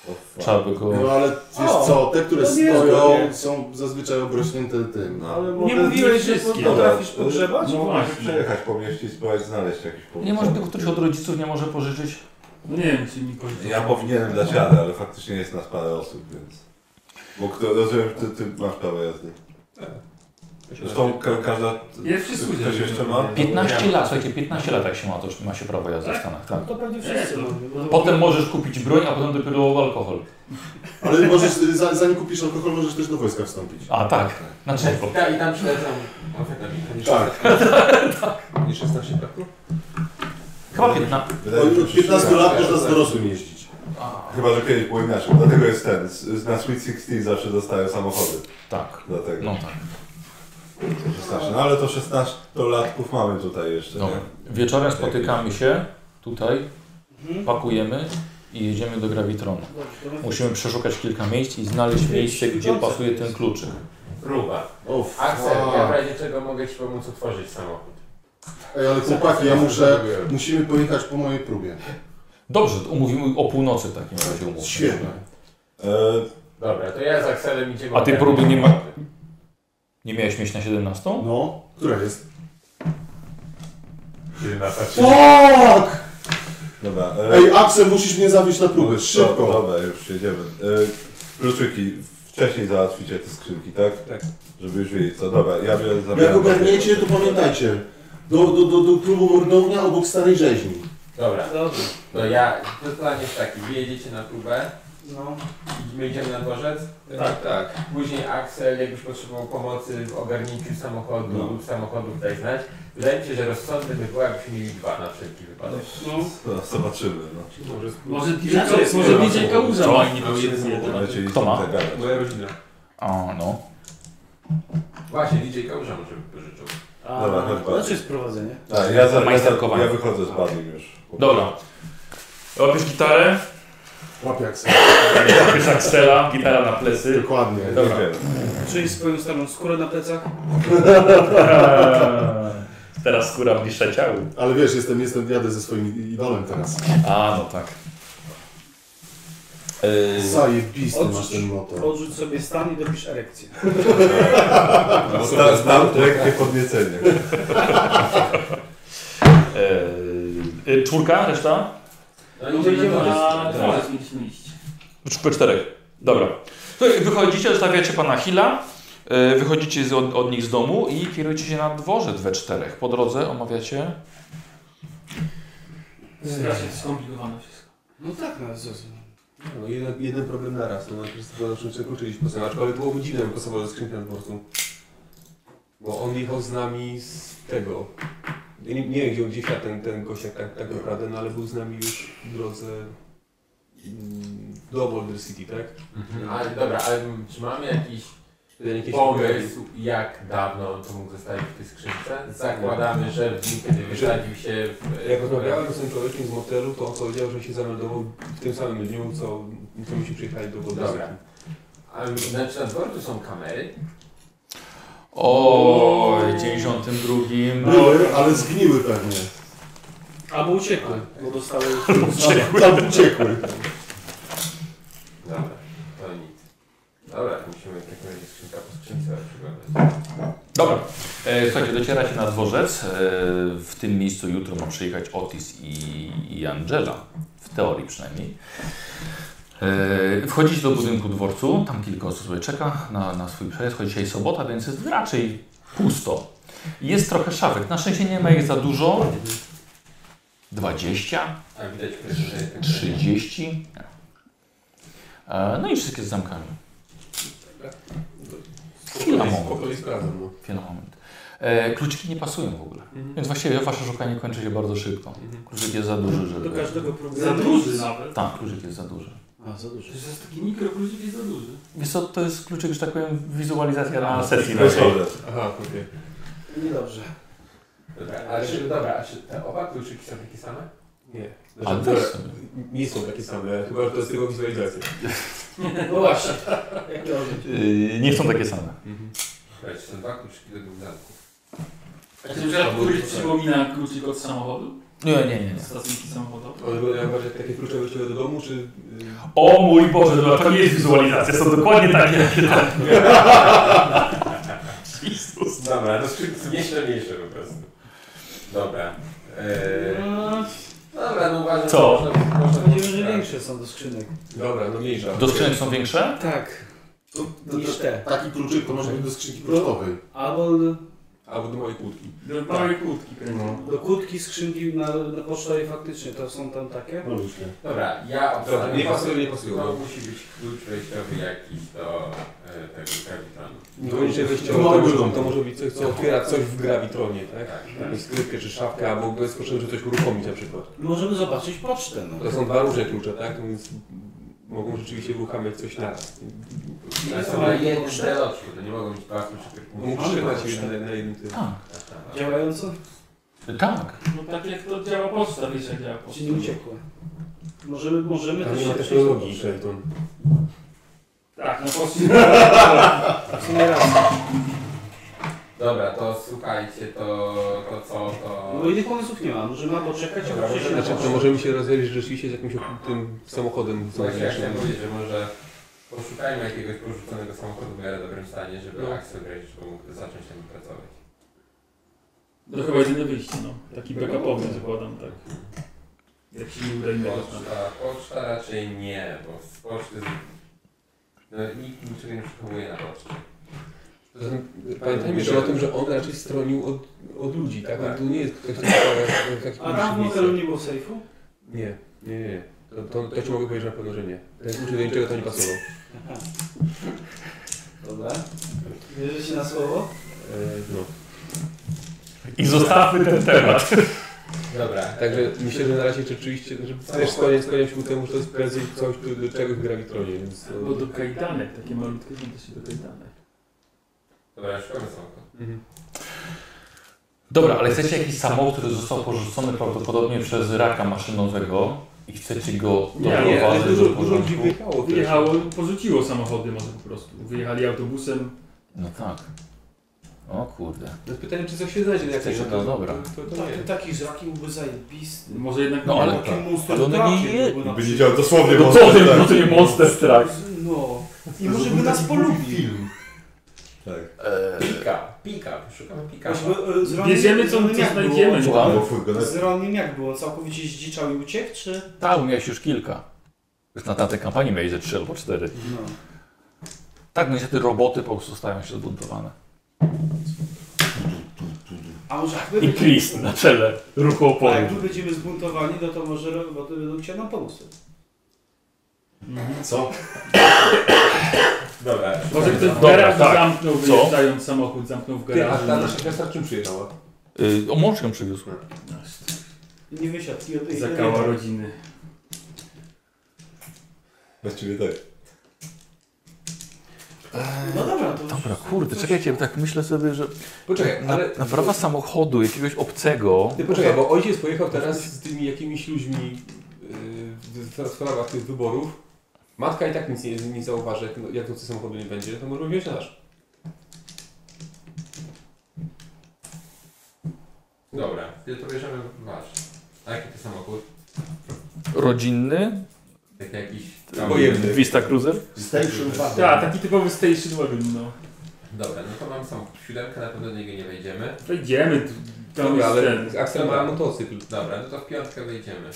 [SPEAKER 3] O, fuck.
[SPEAKER 1] Trzeba by go...
[SPEAKER 14] No ale wiesz
[SPEAKER 11] O,
[SPEAKER 14] co, te, które
[SPEAKER 11] to nie
[SPEAKER 14] stoją
[SPEAKER 11] zgodnie.
[SPEAKER 14] są zazwyczaj obrośnięte tym.
[SPEAKER 3] No.
[SPEAKER 14] Ale
[SPEAKER 11] Nie mówiłeś, że
[SPEAKER 2] wszystkie.
[SPEAKER 11] potrafisz
[SPEAKER 3] Dobra,
[SPEAKER 11] pogrzebać?
[SPEAKER 2] No
[SPEAKER 3] No właśnie.
[SPEAKER 2] właśnie.
[SPEAKER 3] Przejechać po mieście i spróbować znaleźć jakiś powód.
[SPEAKER 1] Nie może tylko któryś od rodziców nie może pożyczyć?
[SPEAKER 2] No nie wiem, czy mi pożyczą.
[SPEAKER 3] Ja powinienem dać radę, ale faktycznie jest nas parę osób, więc... Bo kto, rozumiem, że ty, ty masz prawo jazdy.
[SPEAKER 11] Tak.
[SPEAKER 3] Zresztą ka każda...
[SPEAKER 2] Ja wszystko
[SPEAKER 3] Ktoś jeszcze ma?
[SPEAKER 1] 15 lat, słuchajcie, 15 lat jak się ma, to już ma się prawo jazdy w Stanach, tak.
[SPEAKER 11] To pewnie wszyscy
[SPEAKER 2] Nie, to-
[SPEAKER 11] mamy. bo-
[SPEAKER 1] Potem możesz kupić broń, a potem dopiero alkohol.
[SPEAKER 14] Ale możesz, y, za, zanim kupisz alkohol, możesz też do wojska wstąpić.
[SPEAKER 1] A tak, na czerwo.
[SPEAKER 4] Ta, I tam przylecam amfetaminę. Nie
[SPEAKER 14] Tak.
[SPEAKER 8] Nie 16 braku?
[SPEAKER 1] Chyba 15.
[SPEAKER 3] Wydaje mi się,
[SPEAKER 14] Od
[SPEAKER 3] że
[SPEAKER 14] 15 lat
[SPEAKER 3] tak.
[SPEAKER 14] można z dorosłym jeździć.
[SPEAKER 3] Chyba, że kiedyś było inaczej, dlatego jest ten. z- z- Na Sweet 16 zawsze dostają samochody.
[SPEAKER 1] Tak.
[SPEAKER 3] Dlatego.
[SPEAKER 1] No tak.
[SPEAKER 3] 16. No ale to 16-latków mamy tutaj jeszcze,
[SPEAKER 1] Dobra.
[SPEAKER 3] nie?
[SPEAKER 1] Wieczorem spotykamy się tutaj,
[SPEAKER 11] Mhm.
[SPEAKER 1] pakujemy i jedziemy do Gravitronu.
[SPEAKER 11] Dobrze, to my-
[SPEAKER 1] Musimy przeszukać kilka miejsc i znaleźć miejsce, gdzie pasuje ten kluczyk.
[SPEAKER 4] Próba.
[SPEAKER 14] O,
[SPEAKER 4] Aksel, ja w
[SPEAKER 14] fuck.
[SPEAKER 4] razie czego mogę Ci pomóc otworzyć samochód.
[SPEAKER 14] Ej, ale chłopaki, ja muszę... Musimy pojechać po mojej próbie.
[SPEAKER 1] Dobrze, to umówimy o północy w takim razie umówmy.
[SPEAKER 14] Świetnie.
[SPEAKER 3] E,
[SPEAKER 4] Dobra, to ja z Akselem idziemy.
[SPEAKER 1] A ty próby nie ma- Nie miałeś mieć na 17?
[SPEAKER 14] No, która jest?
[SPEAKER 4] Ty na tacy-
[SPEAKER 14] Fuck!
[SPEAKER 3] dobra. E,
[SPEAKER 14] Ej, Axel, musisz mnie zawieźć na
[SPEAKER 3] no,
[SPEAKER 14] próbę,
[SPEAKER 3] to-
[SPEAKER 14] szybko.
[SPEAKER 3] Dobra, już jedziemy. E, kluczyki, wcześniej załatwicie te skrzynki, tak?
[SPEAKER 8] Tak.
[SPEAKER 3] Żeby już wiedzieć co. Dobra, ja biorę zabieram.
[SPEAKER 14] Jak ogarniecie, to pamiętajcie. Do, do, do, do klubu Mordownia obok Starej Rzeźni.
[SPEAKER 4] Dobra,
[SPEAKER 11] Dobrze,
[SPEAKER 4] to ja, to plan jest taki, wy jedziecie na próbę,
[SPEAKER 11] no.
[SPEAKER 4] i my idziemy na dworzec,
[SPEAKER 8] Tak, tak.
[SPEAKER 4] później Aksel jakbyś potrzebował pomocy w ogarnięciu samochodu
[SPEAKER 3] No.
[SPEAKER 4] lub samochodów daj znać. Wydaje mi się, że rozsądny by było jakbyśmy mieli dwa na wszelki wypadek.
[SPEAKER 3] No, zobaczymy, no.
[SPEAKER 8] Może
[SPEAKER 2] Może DJ,
[SPEAKER 11] Ja to jest-
[SPEAKER 2] może DJ Kałuża
[SPEAKER 1] Co?
[SPEAKER 2] ma inni
[SPEAKER 8] Mam jeden
[SPEAKER 2] potrzebuje.
[SPEAKER 8] samochód.
[SPEAKER 3] Lecieli
[SPEAKER 1] Kto ma?
[SPEAKER 3] stąd zagadać.
[SPEAKER 8] Moja rodzina.
[SPEAKER 1] A, no.
[SPEAKER 4] Właśnie, DJ Kałuża może by pożyczył.
[SPEAKER 11] A,
[SPEAKER 3] Dobra, chodź,
[SPEAKER 11] to
[SPEAKER 3] chodź.
[SPEAKER 11] znaczy sprowadzenie.
[SPEAKER 3] Tak, ja, za, ja, za,
[SPEAKER 1] Majsterkowanie.
[SPEAKER 3] ja wychodzę z badym już.
[SPEAKER 6] Dobra. Łapiesz gitarę,
[SPEAKER 14] Łapie Axel.
[SPEAKER 6] łapiesz Axela, gitara na plecy.
[SPEAKER 14] Dokładnie.
[SPEAKER 3] Dobra.
[SPEAKER 11] Czyli swoją starą skórę na plecach.
[SPEAKER 6] Eee, Teraz skóra bliższa ciału.
[SPEAKER 14] Ale wiesz, jestem, jestem, jadę ze swoim idolem teraz.
[SPEAKER 1] A, no tak. Y,
[SPEAKER 14] Zajebisty
[SPEAKER 11] Odrzuć.
[SPEAKER 14] masz ten motor.
[SPEAKER 11] Odrzuć sobie stan i dopisz erekcję.
[SPEAKER 3] Bo sta- Znam lekkie podniecenie.
[SPEAKER 1] Eee, czwórka, reszta?
[SPEAKER 4] No
[SPEAKER 2] No
[SPEAKER 4] idziemy
[SPEAKER 2] będzie
[SPEAKER 4] na dworzec.
[SPEAKER 2] na dworzec mieliśmy iść.
[SPEAKER 1] P czterech. Dobra. Słuchaj, Wychodzicie, zostawiacie pana Hila, e, wychodzicie z, od, od nich z domu i kierujecie się na dworzec we czterech. Po drodze omawiacie.
[SPEAKER 2] Strasznie skomplikowane wszystko.
[SPEAKER 11] No tak, no Jezus.
[SPEAKER 8] No, jeden, jeden problem na raz. No, najpierw zobaczymy, czy kluczyliśmy po sobie, aczkolwiek byłoby dziwne, jakby pasował ze skrzynki na dworcu. Bo on jechał z nami z tego. Ja nie, nie wiem, gdzie on gdzieś ten, ten gościak tak, tak naprawdę, no ale był z nami już w drodze mm, do Boulder City, tak?
[SPEAKER 4] Mhm. Ale dobra, ale czy mamy jakiś
[SPEAKER 8] Jeden jakiś
[SPEAKER 4] pomysł, jak dawno on to mógł zostawić w tej skrzynce? Zakładamy, że w dniu, kiedy wysadził się w...
[SPEAKER 8] Tak. Jak rozmawiałem z tym człowiekiem z motelu, to on powiedział, że się zameldował w tym samym dniu, co, co myśmy przyjechali do Boulder
[SPEAKER 4] Dobra.
[SPEAKER 8] City.
[SPEAKER 4] A, Znaczy na dworcu są kamery.
[SPEAKER 1] O, 92.
[SPEAKER 14] Były, ale zgniły pewnie.
[SPEAKER 11] Albo uciekły, bo dostały...
[SPEAKER 14] Tam uciekły.
[SPEAKER 4] Dobra, to nic. Dobra, musimy w takim razie skrzynka po skrzynce przyglądać.
[SPEAKER 1] Dobra. E, słuchajcie, docieracie na dworzec. E, w tym miejscu jutro ma przyjechać Otis i, i Angela. W teorii przynajmniej. E, wchodzicie do budynku dworcu. Tam kilka osób sobie czeka na, na swój przejazd. Choć dzisiaj sobota, więc jest raczej pusto. Jest trochę szafek. Na szczęście nie ma ich za dużo. 20.
[SPEAKER 4] A widać pierwszy, że jest ten
[SPEAKER 1] 30. E, No i wszystkie z zamkami. Chwila
[SPEAKER 8] Po kolei-
[SPEAKER 1] momentu.
[SPEAKER 8] Po kolei sprawdzam, no.
[SPEAKER 1] Chwila moment. E, kluczyki nie pasują w ogóle. Więc właściwie wasze szukanie kończy się bardzo szybko. Kluczyk jest za duży, żeby...
[SPEAKER 11] Do każdego
[SPEAKER 2] Za
[SPEAKER 11] programu.
[SPEAKER 2] duży nawet.
[SPEAKER 1] Tak, kluczyk jest za duży.
[SPEAKER 11] A, za dużo.
[SPEAKER 2] To jest taki mikrokluczyk jest za duży.
[SPEAKER 1] Wiesz co, to jest kluczyk, że tak powiem, wizualizacja na
[SPEAKER 3] I
[SPEAKER 1] sesji naszej.
[SPEAKER 3] Wesołe.
[SPEAKER 8] Aha, okej.
[SPEAKER 11] Niedobrze.
[SPEAKER 4] Dobra, ale czy, dobra, a czy te oba kluczyki są takie same?
[SPEAKER 8] Nie.
[SPEAKER 1] A
[SPEAKER 8] Znaczy,
[SPEAKER 1] weź
[SPEAKER 8] to,
[SPEAKER 1] sobie.
[SPEAKER 8] nie są takie same, chyba że to jest tylko wizualizacja.
[SPEAKER 11] No właśnie. Jak to
[SPEAKER 1] Yy, nie są takie same.
[SPEAKER 4] Słuchajcie, Mhm. są dwa kluczyki do gwiazdanków.
[SPEAKER 2] A czy na przykład któryś przypomina kluczyk od samochodu?
[SPEAKER 1] Nie, nie, nie.
[SPEAKER 2] Od stacyjki samochodowej?
[SPEAKER 8] One wyglądają bardziej jak takie klucze wejściowe do domu, czy... y,
[SPEAKER 1] O mój Boże, to, to nie jest wizualizacja, są dokładnie takie.
[SPEAKER 4] Dobra, no skrzynki mniejsze, mniejsze po prostu. Dobra.
[SPEAKER 8] E,
[SPEAKER 4] Eee, dobra, no uważam,
[SPEAKER 1] Co?
[SPEAKER 4] że można- można
[SPEAKER 11] Chodzi No, że
[SPEAKER 4] tak.
[SPEAKER 11] większe są do skrzynek.
[SPEAKER 8] Dobra, no mniejsza.
[SPEAKER 1] Do skrzynek są większe?
[SPEAKER 11] Tak.
[SPEAKER 14] To, to,
[SPEAKER 11] Niż
[SPEAKER 14] to,
[SPEAKER 11] te. No.
[SPEAKER 14] taki kluczyk to może być do skrzynki pocztowej.
[SPEAKER 11] Albo
[SPEAKER 8] Albo do mojej kłódki.
[SPEAKER 2] Do małej No, kłódki pewnie.
[SPEAKER 11] do kłódki skrzynki na, na pocztowej faktycznie to są tam takie.
[SPEAKER 14] Różnie.
[SPEAKER 4] Dobra, ja
[SPEAKER 8] Dobra,
[SPEAKER 4] obstawiam,
[SPEAKER 8] nie pasują, nie pasują.
[SPEAKER 4] to
[SPEAKER 8] No.
[SPEAKER 4] musi być klucz wejściowy jakiś do e, tego kapitana.
[SPEAKER 8] Niekoniecznie wejściowe,
[SPEAKER 14] No,
[SPEAKER 8] to, może-
[SPEAKER 14] dom.
[SPEAKER 8] to może być coś, co otwiera coś w gravitronie, tak?
[SPEAKER 4] Tak,
[SPEAKER 8] Jakąś skrytkę czy szafkę, albo bez potrzeby, żeby coś uruchomić na przykład.
[SPEAKER 11] Możemy zobaczyć pocztę. No.
[SPEAKER 8] To są dwa różne klucze, tak? Więc mogą rzeczywiście uruchamiać coś naraz.
[SPEAKER 4] tak. To są na jednym deloczku, to tak nie mogą być dwa kluczyki.
[SPEAKER 8] Mogą trzymać je na, na jednym tym.
[SPEAKER 1] Tak.
[SPEAKER 11] Działająco?
[SPEAKER 1] Tak.
[SPEAKER 2] No tak jak to działa poczta, wiesz jak działa poczta.
[SPEAKER 11] Czy nie uciekła? Możemy, możemy
[SPEAKER 8] Tam
[SPEAKER 11] też
[SPEAKER 8] nie ma
[SPEAKER 11] się
[SPEAKER 8] technologii, Shelton.
[SPEAKER 2] Tak, na poczcie.
[SPEAKER 11] Co nie raz.
[SPEAKER 4] Dobra, to słuchajcie, to, to co, to...
[SPEAKER 11] Bo innych pomysłów nie ma. Możemy albo czekać, albo przejść na
[SPEAKER 8] Znaczy, to
[SPEAKER 11] pocztę.
[SPEAKER 8] możemy się rozejrzeć rzeczywiście z jakimś tym samochodem. co
[SPEAKER 4] Słuchajcie, ja
[SPEAKER 8] zresztą.
[SPEAKER 4] chciałem powiedzieć, że może poszukajmy jakiegoś porzuconego samochodu w miarę dobrym stanie, żeby
[SPEAKER 8] No.
[SPEAKER 4] Axel w razie czego mógł zacząć tam pracować.
[SPEAKER 2] To chyba jedyne wyjście, no. Taki backupowy zakładam, tak. Jak się nie uda innego znaleźć.
[SPEAKER 4] Poczta, poczta raczej nie, bo z poczty... No, nikt niczego nie przechowuje na poczcie.
[SPEAKER 8] Zatem Pamiętajmy jeszcze o tym, że on raczej stronił od, od ludzi, tak? On tu nie jest ktoś, kto w jakimś
[SPEAKER 11] A tam w hotelu nie było sejfu?
[SPEAKER 8] Nie, nie, nie. To, to, to ci mogę powiedzieć na pewno, że nie. Ten klucz do niczego to nie pasował.
[SPEAKER 11] Dobra. Wierzycie na słowo?
[SPEAKER 8] E, no.
[SPEAKER 1] I zostawmy ten temat.
[SPEAKER 4] Dobra,
[SPEAKER 8] Także myślę, że na razie rzeczywiście, że też skłaniam, skłaniam się ku temu, że to jest prędzej coś, do- do czegoś gra Witronie, więc... e, no, to-
[SPEAKER 2] Albo do kajdanek, takie malutkie są też do kajdanek.
[SPEAKER 4] Dobra, szukamy samochodu.
[SPEAKER 8] Mhm.
[SPEAKER 1] Dobra, ale chcecie jakiś samochód, który został porzucony prawdopodobnie przez raka maszynowego i chcecie go
[SPEAKER 2] Nie,
[SPEAKER 8] Nie, nie, no, ale
[SPEAKER 1] doprowadzić
[SPEAKER 8] dużo,
[SPEAKER 1] do
[SPEAKER 8] dużo ludzi
[SPEAKER 1] porządku?
[SPEAKER 8] wyjechało też.
[SPEAKER 2] Wyjechało, porzuciło samochody może po prostu. Wyjechali autobusem.
[SPEAKER 1] No tak. O kurde.
[SPEAKER 8] No pytanie, czy coś się znajdzie na jakieś...
[SPEAKER 1] Jesteś taka dobra.
[SPEAKER 8] To, to, to nie.
[SPEAKER 11] Tak, taki żraki byłby zajebisty.
[SPEAKER 2] Może jednak
[SPEAKER 1] No,
[SPEAKER 2] nie.
[SPEAKER 1] ale-
[SPEAKER 11] Taki monster
[SPEAKER 1] ale one
[SPEAKER 11] trakiem
[SPEAKER 1] nie je-
[SPEAKER 11] byłby na
[SPEAKER 3] By nie działał dosłownie
[SPEAKER 1] No co
[SPEAKER 3] monster,
[SPEAKER 1] ty,
[SPEAKER 3] tak.
[SPEAKER 1] no ty nie monster strach.
[SPEAKER 11] No. I może by nas polubił.
[SPEAKER 3] Tak.
[SPEAKER 4] Pika, pika, szukamy pika.
[SPEAKER 11] Myśmy, e, z Ronim-
[SPEAKER 2] Wiedziemy
[SPEAKER 11] z
[SPEAKER 2] co,
[SPEAKER 11] Ronim
[SPEAKER 2] co
[SPEAKER 11] jak było?
[SPEAKER 2] znajdziemy.
[SPEAKER 1] Słucham?
[SPEAKER 3] Bo fuj, go na...
[SPEAKER 11] Z Ronim jak było? Całkowicie zdziczał i uciekł, czy?
[SPEAKER 1] Tak, bo miałeś już kilka. Już na tamtej kampanii miałeś ze 3 albo 4.
[SPEAKER 11] No.
[SPEAKER 1] Tak, no niestety roboty po prostu stają się zbuntowane.
[SPEAKER 11] A może jak my,
[SPEAKER 1] I Chris na czele ruchu
[SPEAKER 11] a
[SPEAKER 1] oporu.
[SPEAKER 8] Tak,
[SPEAKER 11] jak my będziemy zbuntowani, no to może roboty będą chciały nam pomóc.
[SPEAKER 3] Co?
[SPEAKER 4] Dobra,
[SPEAKER 2] Może ktoś w
[SPEAKER 1] Dobra,
[SPEAKER 2] garażu
[SPEAKER 1] tak.
[SPEAKER 2] zamknął,
[SPEAKER 1] Co?
[SPEAKER 2] wyjeżdżając samochód, zamknął w
[SPEAKER 8] Ty, a
[SPEAKER 2] garażu.
[SPEAKER 8] ta nasza gwiazda czym przyjechała?
[SPEAKER 1] Y, o mąż ją przywiózł.
[SPEAKER 11] Nie wysiadł i odejdzie.
[SPEAKER 2] Zakała rodziny.
[SPEAKER 3] Właściwie tak.
[SPEAKER 11] No dobra, to
[SPEAKER 1] Dobra, kurde, czekajcie, bo tak myślę sobie, że
[SPEAKER 8] Poczekaj,
[SPEAKER 1] na,
[SPEAKER 8] ale...
[SPEAKER 1] naprawa samochodu jakiegoś obcego...
[SPEAKER 8] Ty poczekaj, bo ojciec pojechał teraz z tymi jakimiś ludźmi yy, w w sprawach tych wyborów. Matka i tak nic nie, nie zauważy, jak, jak nocy samochodu nie będzie, no to możemy wziąć nasz.
[SPEAKER 4] dobra, to bierzemy wasz. A jaki to samochód?
[SPEAKER 1] Rodzinny?
[SPEAKER 4] Tak jakiś...
[SPEAKER 8] Pojemny.
[SPEAKER 1] Vista Cruiser?
[SPEAKER 14] Station
[SPEAKER 2] Tak, taki typowy station wagon, no.
[SPEAKER 4] Dobra, no to mam samochód siódemkę, na pewno do niego nie wejdziemy.
[SPEAKER 2] Wejdziemy tu. Tam
[SPEAKER 8] Dobra,
[SPEAKER 2] jest
[SPEAKER 8] ale
[SPEAKER 2] ten.
[SPEAKER 8] Axel ma motocykl.
[SPEAKER 4] Dobra, no to w piątkę wejdziemy.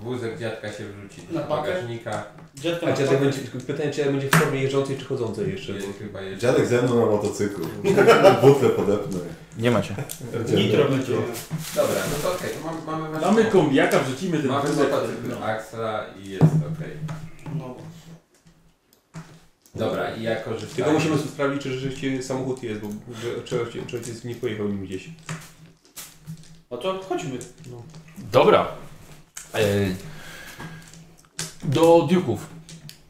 [SPEAKER 4] Wózek dziadka się wrzuci do
[SPEAKER 11] Na pakę?
[SPEAKER 4] bagażnika.
[SPEAKER 11] Dziadka
[SPEAKER 2] Tak,
[SPEAKER 11] tak.
[SPEAKER 8] A
[SPEAKER 11] na
[SPEAKER 8] dziadek
[SPEAKER 11] pakę.
[SPEAKER 8] będzie, pytanie, czy będzie w formie jeżdżącej czy chodzącej jeszcze.
[SPEAKER 4] Czyli chyba jeszcze...
[SPEAKER 3] Dziadek ze mną na motocyklu. Butlę podepnę.
[SPEAKER 1] Nie macie.
[SPEAKER 11] Nitro będzie.
[SPEAKER 4] Dobra, no to okej, to mam- mamy wasz
[SPEAKER 2] Mamy No.
[SPEAKER 4] samochód.
[SPEAKER 2] kombiaka, wrzucimy ten
[SPEAKER 4] Mamy
[SPEAKER 2] wózek.
[SPEAKER 4] motocykl
[SPEAKER 2] No.
[SPEAKER 4] Axla i jest okej.
[SPEAKER 11] No.
[SPEAKER 4] Dobra, i ja korzystam.
[SPEAKER 8] Tylko musimy sprawdzić, czy rzeczywiście samochód jest, bo że- czy ojciec- czy ojciec nie pojechał nim gdzieś.
[SPEAKER 11] No to chodźmy.
[SPEAKER 1] Dobra. Ej, Do Duków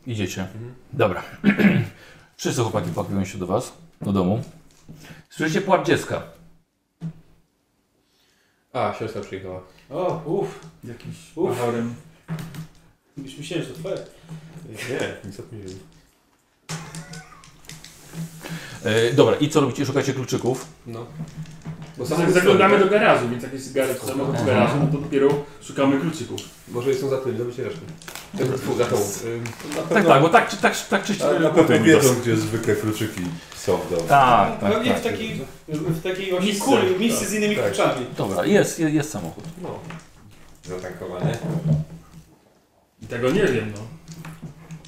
[SPEAKER 1] idziecie.
[SPEAKER 3] Mhm.
[SPEAKER 1] Dobra. Wszyscy chłopaki pakują się do was, do domu. Słyszycie płacz dziecka.
[SPEAKER 8] A, siostra przyjechała.
[SPEAKER 11] O, uff,
[SPEAKER 2] Jakimś
[SPEAKER 11] Uff.
[SPEAKER 2] pachorem.
[SPEAKER 11] już myślałem, że to twoje.
[SPEAKER 8] Nie, nic o tym nie wiem.
[SPEAKER 1] E, dobra, i co robicie? Szukacie kluczyków?
[SPEAKER 8] No. Bo
[SPEAKER 2] Za-
[SPEAKER 8] samochód
[SPEAKER 2] Zaglądamy
[SPEAKER 8] stoi.
[SPEAKER 2] do garażu, więc jak jest garaż, samochód w garażu, no to dopiero szukamy kluczyków.
[SPEAKER 8] Może są za tym, zrobicie resztę. Tego dwóch za tą. Ym,
[SPEAKER 1] Tak, tak, bo tak, czy- tak, tak czyścimy
[SPEAKER 3] Ale na pewno wiedzą, No gdzie zwykle kluczyki są w domu.
[SPEAKER 1] Tak, tak,
[SPEAKER 11] Pewnie
[SPEAKER 1] tak.
[SPEAKER 11] w takiej, w takiej właśnie
[SPEAKER 2] Misce.
[SPEAKER 11] kuli, misce z innymi kluczami.
[SPEAKER 1] Dobra, jest, jest, jest samochód.
[SPEAKER 8] No.
[SPEAKER 4] zatankowane.
[SPEAKER 2] I tego nie wiem, no.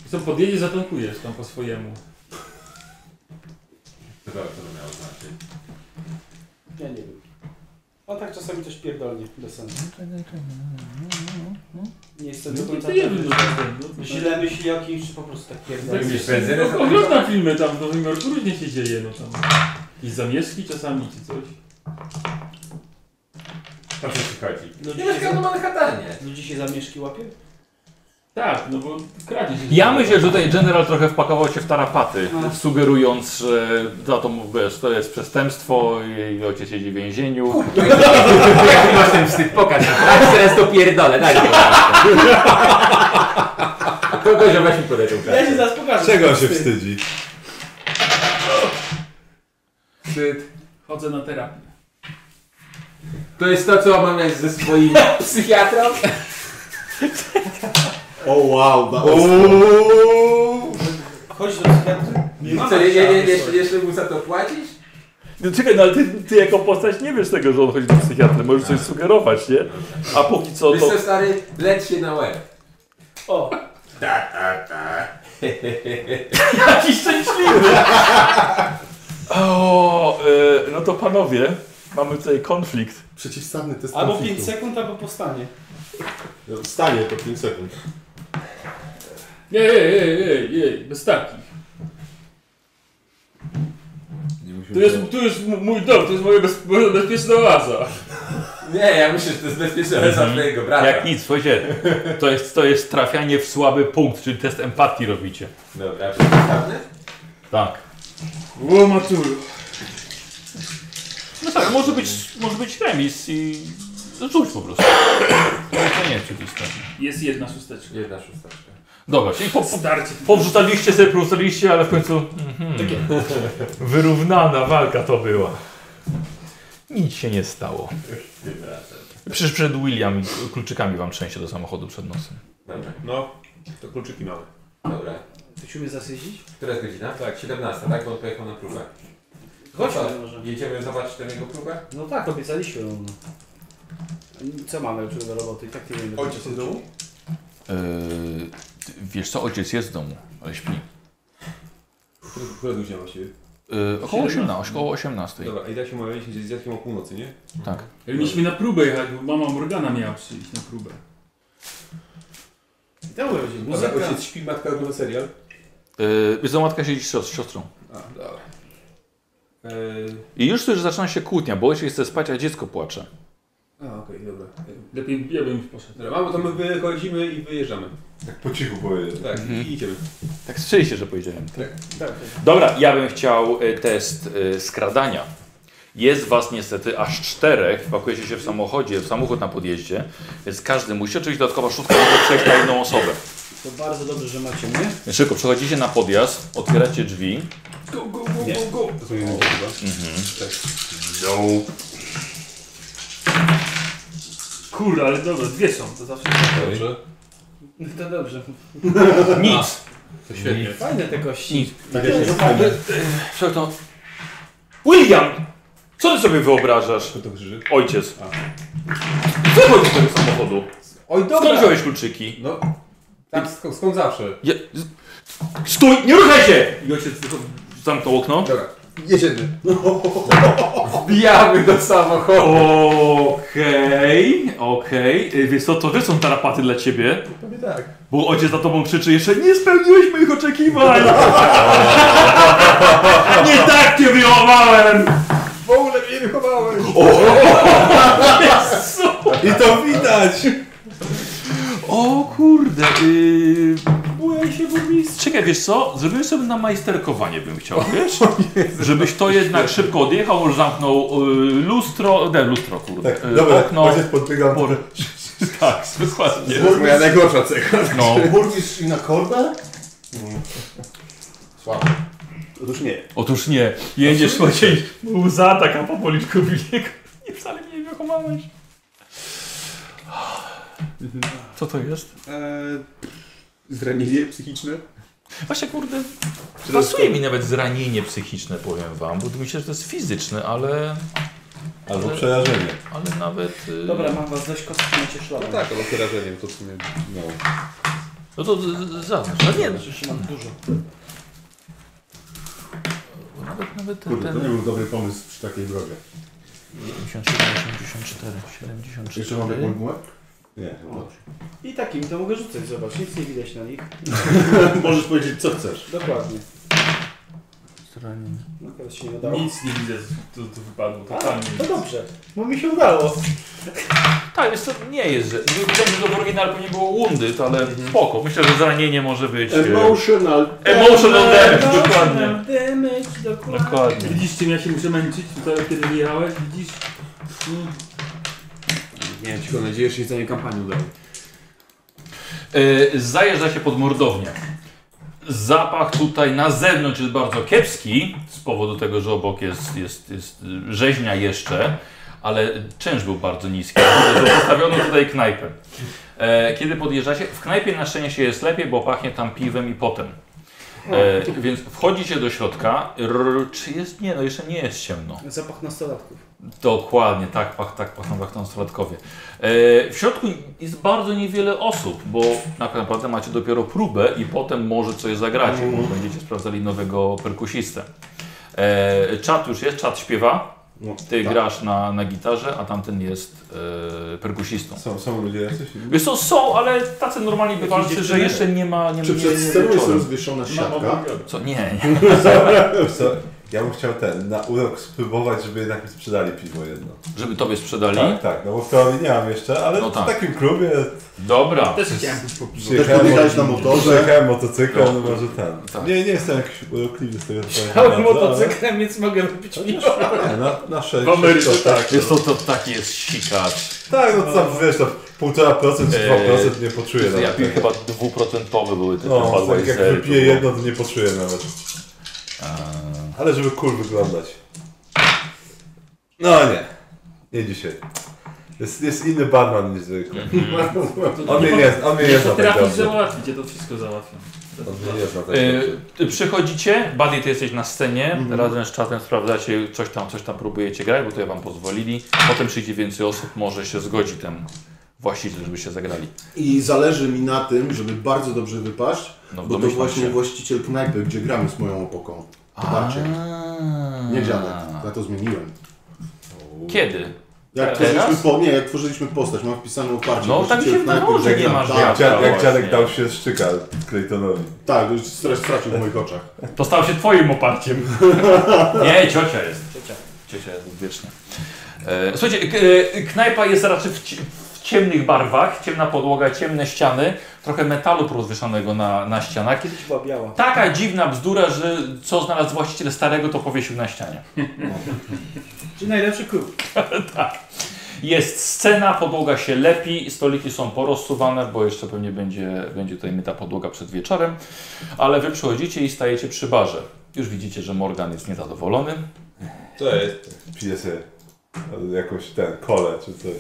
[SPEAKER 2] I co, podjedziesz, zatankujesz tam po swojemu.
[SPEAKER 4] Chyba to by miało znaczyć.
[SPEAKER 11] Ja nie wiem. On tak czasami też pierdolnie, bez sensu. Nie jestem do
[SPEAKER 2] No,
[SPEAKER 11] końca
[SPEAKER 2] to nie wiem,
[SPEAKER 11] pewny,
[SPEAKER 2] no,
[SPEAKER 11] że
[SPEAKER 2] no, no,
[SPEAKER 11] źle myśli o kimś, czy po prostu tak
[SPEAKER 2] Tak
[SPEAKER 11] pierdolnie.
[SPEAKER 4] Jakbyś
[SPEAKER 2] jest.
[SPEAKER 4] benzynę
[SPEAKER 2] No,
[SPEAKER 4] zapalił?
[SPEAKER 2] Oglądam filmy tam w Nowym Jorku, różnie się dzieje, no tam. I zamieszki czasami, czy coś.
[SPEAKER 4] O co ci chodzi?
[SPEAKER 11] Ludzi
[SPEAKER 4] Nie no,
[SPEAKER 11] się,
[SPEAKER 4] mieszkam na Manhattanie.
[SPEAKER 11] ludzi się zamieszki łapie?
[SPEAKER 2] Tak, no bo kradnie się.
[SPEAKER 1] Ja myślę, że tutaj General trochę wpakował się w tarapaty,
[SPEAKER 11] No.
[SPEAKER 1] sugerując, że za to, wiesz, to jest przestępstwo i ojciec siedzi w więzieniu.
[SPEAKER 4] Jaki masz ten wstyd? Pokaż. Ja teraz to pierdolę, daj mi Kogoś, weź mi podaj tą
[SPEAKER 11] Ja się
[SPEAKER 4] klasę.
[SPEAKER 11] zaraz pokażę.
[SPEAKER 3] Czego on
[SPEAKER 11] Ty.
[SPEAKER 3] się wstydzi?
[SPEAKER 4] Wstyd.
[SPEAKER 2] Chodzę na terapię.
[SPEAKER 4] To jest to, co mam mieć ze swoim psychiatrą?
[SPEAKER 14] O wow, da-
[SPEAKER 11] Chodź do psychiatry.
[SPEAKER 4] I co, je, je, je, jeszcze, jeszcze mu za to płacisz?
[SPEAKER 1] No czekaj, no ale ty, ty jako postać nie wiesz tego, że on chodzi do psychiatry, możesz coś sugerować, nie? A póki co
[SPEAKER 4] Wiesz co, stary, leć się na łeb.
[SPEAKER 11] O,
[SPEAKER 1] Jaki szczęśliwy! O, e, no to panowie, mamy tutaj konflikt.
[SPEAKER 14] Przeciwstawny test
[SPEAKER 11] albo
[SPEAKER 14] konfliktu. No,
[SPEAKER 11] 5 sekund, albo powstanie.
[SPEAKER 14] Stanie to 5 sekund.
[SPEAKER 2] Jej, jej, jej, jej, jej, bez takich.
[SPEAKER 3] Nie
[SPEAKER 2] To jest, to jest m- mój dom, to jest moja bez, moja bezpieczna oaza.
[SPEAKER 4] Nie, ja myślę, że to jest bezpieczne
[SPEAKER 8] Mhm.
[SPEAKER 4] za twojego brata.
[SPEAKER 1] Jak nic, słuchajcie, to jest, to jest trafianie w słaby punkt, czyli test empatii robicie.
[SPEAKER 4] Dobra, przeciwstawny?
[SPEAKER 1] Tak.
[SPEAKER 2] O, Matulu.
[SPEAKER 1] No tak, może być, może być remis i rzuć po prostu. No to nie jest oczywiste.
[SPEAKER 2] Jest jedna szósteczka.
[SPEAKER 4] Jedna szósteczka.
[SPEAKER 1] Dobra, czyli po, po,
[SPEAKER 2] Starcie.
[SPEAKER 1] powrzucaliście sobie, powrzucaliście, ale w końcu mhm, wyrównana walka to była. Nic się nie stało.
[SPEAKER 4] Tym razem.
[SPEAKER 1] Przecież przed William i kluczykami wam trzęsie do samochodu przed nosem.
[SPEAKER 4] Dobra,
[SPEAKER 8] No, to kluczyki mamy.
[SPEAKER 4] dobra.
[SPEAKER 11] Chcesz mnie zasydzić?
[SPEAKER 4] Która jest godzina? Tak, 17, tak? Bo on pojechał na próbę.
[SPEAKER 11] Chodź,
[SPEAKER 4] Co?
[SPEAKER 11] może.
[SPEAKER 4] Jedziemy zobaczyć tę jego próbę?
[SPEAKER 11] No tak, obiecaliśmy. No. Co mamy jeszcze do roboty? I tak nie wiem.
[SPEAKER 8] Ojciec jest w domu?
[SPEAKER 1] E, wiesz co, ojciec jest w domu, ale śpi.
[SPEAKER 8] Który- Która godzina właściwie?
[SPEAKER 1] Yy, około 18, około 18.
[SPEAKER 8] Dobra, i tak się umawialiśmy z dziadkiem o północy, nie?
[SPEAKER 1] Tak.
[SPEAKER 2] Mieliśmy na próbę jechać, bo mama Morgana miała przyjść na próbę.
[SPEAKER 11] Dobra, będzie
[SPEAKER 8] Dobra,
[SPEAKER 11] muzyka.
[SPEAKER 8] ojciec śpi, matka ogląda serial.
[SPEAKER 1] Yy, wiesz co, matka siedzi z sios- siostrą.
[SPEAKER 8] A, dobra. Eee,
[SPEAKER 1] I już słyszę, że zaczyna się kłótnia, bo ojciec chce spać, a dziecko płacze.
[SPEAKER 8] a, okej, dobra. Eee,
[SPEAKER 2] Lepiej ja bym poszedł.
[SPEAKER 8] Dobra, mamo, to my wychodzimy i wyjeżdżamy.
[SPEAKER 3] Tak po cichu boję.
[SPEAKER 8] Tak,
[SPEAKER 1] Mhm.
[SPEAKER 8] i idziemy.
[SPEAKER 1] Tak słyszeliście, że powiedziałem.
[SPEAKER 11] Tak.
[SPEAKER 1] Dobra, ja bym chciał y, test y, skradania. Jest was niestety aż czterech, pakujecie się w samochodzie, w samochód na podjeździe, więc każdy musi, oczywiście dodatkowa szóstka może przejść na jedną osobę.
[SPEAKER 11] To bardzo dobrze, że macie mnie.
[SPEAKER 1] Więc Szybko przechodzicie na podjazd, otwieracie drzwi.
[SPEAKER 8] Go, go, go, go, go! To są jedno chyba.
[SPEAKER 2] Kurde, ale dobra, dwie są, to zawsze.
[SPEAKER 8] Dobrze.
[SPEAKER 11] No to dobrze.
[SPEAKER 1] Nic!
[SPEAKER 8] To świetnie.
[SPEAKER 11] Fajne te kości.
[SPEAKER 1] Nic.
[SPEAKER 14] Tak jak się stanie.
[SPEAKER 1] Przepraszam. William! Co ty sobie wyobrażasz?
[SPEAKER 8] Kto to krzyży?
[SPEAKER 1] Ojciec. Wychodź z tego samochodu.
[SPEAKER 8] Oj,
[SPEAKER 1] Skąd
[SPEAKER 8] dobra!
[SPEAKER 1] wziąłeś kluczyki?
[SPEAKER 8] No, tak, skąd, skąd zawsze?
[SPEAKER 1] Je... z- Stój! Nie ruszaj się! I ojciec tylko zamknął okno.
[SPEAKER 8] Dobra,
[SPEAKER 14] Jedziemy.
[SPEAKER 1] Wbijamy do samochodu.
[SPEAKER 2] Okej, okej. Okay. Wiesz co, to wiesz są tarapaty dla ciebie,
[SPEAKER 14] Pewnie tak.
[SPEAKER 2] bo ojciec za tobą krzyczy jeszcze nie spełniłeś moich oczekiwań! nie tak cię wychowałem!
[SPEAKER 14] W ogóle mnie wychowałeś.
[SPEAKER 2] Jezu!
[SPEAKER 14] I to widać.
[SPEAKER 2] O kurde, yy, byłem się burmistrz. Czekaj, wiesz co, zrobiłem sobie na majsterkowanie bym chciał, wiesz? Żebyś to jednak szybko odjechał, może zamknął yy, lustro, nie, lustro kurde,
[SPEAKER 14] Tak,
[SPEAKER 1] Y,
[SPEAKER 2] yy,
[SPEAKER 14] dobra,
[SPEAKER 2] okno.
[SPEAKER 14] ojciec podbiegał.
[SPEAKER 2] Por... Tak, dokładnie.
[SPEAKER 14] To jest moja
[SPEAKER 3] najgorsza cecha.
[SPEAKER 2] No,
[SPEAKER 14] Burmistrz i na korbę? Słabo.
[SPEAKER 8] Otóż nie.
[SPEAKER 2] otóż nie, jedziesz chodzić łza
[SPEAKER 1] tak,
[SPEAKER 2] taka po policzku biegnie. Nie, wcale mnie nie wychowałeś. Co to jest?
[SPEAKER 7] Eee, zranienie psychiczne?
[SPEAKER 1] Właśnie kurde,
[SPEAKER 7] Czy to jest
[SPEAKER 1] pasuje mi nawet zranienie psychiczne, powiem wam, bo myślę, że to jest fizyczne, ale,
[SPEAKER 3] Albo przerażenie.
[SPEAKER 1] ale nawet... y,
[SPEAKER 11] Dobra, mam was dość kostki na cieślone.
[SPEAKER 7] Tak, albo przerażeniem, to w sumie, no.
[SPEAKER 1] No to z- z- zaznacz, ale nie,
[SPEAKER 11] Znaczy, Jeszcze mam dużo.
[SPEAKER 1] nawet, nawet ten,
[SPEAKER 14] Kurde, to nie
[SPEAKER 1] ten
[SPEAKER 14] był dobry pomysł przy takiej drogę.
[SPEAKER 1] 57, 84, 74...
[SPEAKER 14] Jeszcze mam jakąś gumę? Nie, dobrze.
[SPEAKER 11] I takim to mogę rzucać, zobacz, nic nie widać na nich.
[SPEAKER 14] Możesz powiedzieć co chcesz.
[SPEAKER 11] Dokładnie.
[SPEAKER 1] Zranienie.
[SPEAKER 11] No teraz się nie udało.
[SPEAKER 2] Nic nie widzę, to, to wypadło
[SPEAKER 11] A,
[SPEAKER 2] totalnie.
[SPEAKER 11] to dobrze, bo mi się udało.
[SPEAKER 1] Tak, jest to nie jest, że... Myślałem, że to w oryginale pewnie było wounded, ale spoko. Myślę, że zranienie może być... e,
[SPEAKER 14] Emotional.
[SPEAKER 1] Emotional damage, dokładnie.
[SPEAKER 11] Damage, dokładnie.
[SPEAKER 1] Dokładnie.
[SPEAKER 2] Widzisz, czym ja się muszę męczyć tutaj, kiedy wyjechałeś? Widzisz?
[SPEAKER 8] Miałem cichą nadzieję, że się jedzenie kampanii udało.
[SPEAKER 1] E, Zajeżdża się pod mordownię. Zapach tutaj na zewnątrz jest bardzo kiepski z powodu tego, że obok jest, jest, jest y, rzeźnia jeszcze, ale czynsz był bardzo niski. Widać, że Postawiono tutaj knajpę. E, Kiedy podjeżdżacie, w knajpie na szczęście jest lepiej, bo pachnie tam piwem i potem. E, więc wchodzicie do środka. Rrr, czy jest? Nie, no jeszcze nie jest ciemno.
[SPEAKER 11] Zapach nastolatków.
[SPEAKER 1] Dokładnie, tak, pach, tak pachną, pachną słodkowie. E, w środku jest bardzo niewiele osób, bo tak naprawdę macie dopiero próbę i potem może coś zagracie, bo będziecie sprawdzali nowego perkusistę. E, czat już jest, czat śpiewa.
[SPEAKER 14] No,
[SPEAKER 1] Ty
[SPEAKER 14] tak.
[SPEAKER 1] grasz na, na gitarze, a tamten jest e, perkusistą.
[SPEAKER 14] Są, są ludzie jacyś?
[SPEAKER 1] Wiesz co, są, ale tacy normalni bywalcy, że
[SPEAKER 14] dziewczyny?
[SPEAKER 1] jeszcze nie ma... Nie,
[SPEAKER 14] Czy
[SPEAKER 1] nie,
[SPEAKER 14] przed
[SPEAKER 1] nie,
[SPEAKER 14] sceną jest
[SPEAKER 1] wieczorem.
[SPEAKER 2] No,
[SPEAKER 14] rozwieszona siatka?
[SPEAKER 1] Co? Nie, nie.
[SPEAKER 3] No, Co? Ja bym chciał ten, na urok spróbować, żeby jednak mi sprzedali piwo jedno.
[SPEAKER 1] Żeby tobie sprzedali?
[SPEAKER 3] Tak, tak, no bo w teorii nie mam jeszcze, ale
[SPEAKER 1] No tak.
[SPEAKER 3] w takim klubie
[SPEAKER 1] Dobra.
[SPEAKER 2] Też chciałem być po
[SPEAKER 14] Też podjechałeś na motorze?
[SPEAKER 3] przyjechałem motocyklem,
[SPEAKER 1] No.
[SPEAKER 3] no może ten.
[SPEAKER 1] Tak.
[SPEAKER 3] Nie, nie jestem jakiś urokliwy z tego
[SPEAKER 11] Chciałem
[SPEAKER 3] bardzo,
[SPEAKER 11] motocyklem, więc mogę robić piwo.
[SPEAKER 3] ale- Nie, na, na
[SPEAKER 2] W
[SPEAKER 3] szczęście.
[SPEAKER 2] Ameryce
[SPEAKER 3] to tak.
[SPEAKER 1] Wiesz co, to taki jest sikacz.
[SPEAKER 3] Tak, no to tam wiesz, to 1,5% czy
[SPEAKER 1] Eee,
[SPEAKER 3] 2% nie poczuję
[SPEAKER 1] Ja
[SPEAKER 3] nawet.
[SPEAKER 1] piłem
[SPEAKER 3] tego.
[SPEAKER 1] chyba dwuprocentowe były te
[SPEAKER 3] No, tak jak
[SPEAKER 1] Budweisery,
[SPEAKER 3] wypiję
[SPEAKER 1] to było-
[SPEAKER 3] jedno, to nie poczuję nawet. Ale żeby cool wyglądać. No nie. Nie dzisiaj. Jest, jest inny barman niż zwykle.
[SPEAKER 1] Mhm.
[SPEAKER 3] On mnie nie zna, on mnie nie
[SPEAKER 2] Jeszcze
[SPEAKER 3] zna tak
[SPEAKER 2] trafisz,
[SPEAKER 3] dobrze.
[SPEAKER 2] załatwić, ja to wszystko załatwiam.
[SPEAKER 3] On mnie nie zna tak dobrze.
[SPEAKER 1] Y, ty Przychodzicie, Buddy ty jesteś na scenie,
[SPEAKER 3] Mhm.
[SPEAKER 1] razem z czatem sprawdzacie, coś tam, coś tam próbujecie grać, bo to ja wam pozwolili. Potem przyjdzie więcej osób, może się zgodzi ten właściciel, żeby się zagrali.
[SPEAKER 14] I zależy mi na tym, żeby bardzo dobrze wypaść,
[SPEAKER 1] No,
[SPEAKER 14] bo to
[SPEAKER 1] domyślam
[SPEAKER 14] właśnie
[SPEAKER 1] się.
[SPEAKER 14] właściciel knajpy, gdzie gramy z moją opoką. To Barciek. Nie Janet. Ja to zmieniłem.
[SPEAKER 1] Kiedy?
[SPEAKER 14] Jak
[SPEAKER 1] Teraz?
[SPEAKER 14] tworzyliśmy, po, nie, jak tworzyliśmy postać, mam wpisane oparcie.
[SPEAKER 1] Tak. No, tak mi się
[SPEAKER 14] właściciel knajpy,
[SPEAKER 1] wydawało, że
[SPEAKER 14] gdzie
[SPEAKER 1] nie
[SPEAKER 14] gram.
[SPEAKER 1] masz
[SPEAKER 14] Tak,
[SPEAKER 1] jak.
[SPEAKER 3] Dziad, jak
[SPEAKER 1] właśnie.
[SPEAKER 3] dziadek dał się szczyka Claytonowi.
[SPEAKER 14] tak, już stres stracił w moich oczach.
[SPEAKER 1] To stał się twoim oparciem. Nie, ciocia jest.
[SPEAKER 11] Ciocia.
[SPEAKER 1] Ciocia jest wiecznie. E, słuchajcie, k- e, knajpa jest raczej w, cie- w ciemnych barwach, ciemna podłoga, ciemne ściany, trochę metalu porozwieszanego na, na ścianach.
[SPEAKER 11] Kiedyś była biała.
[SPEAKER 1] Taka dziwna bzdura, że co znalazł właściciel starego, to powiesił na ścianie.
[SPEAKER 11] Czyli najlepszy klub.
[SPEAKER 1] Jest scena, podłoga się lepi, stoliki są porozsuwane, bo jeszcze pewnie będzie, będzie tutaj myta podłoga przed wieczorem. Ale wy przychodzicie i stajecie przy barze. Już widzicie, że Morgan jest niezadowolony.
[SPEAKER 7] To jest.
[SPEAKER 3] Pije sobie jakąś ten kole czy coś.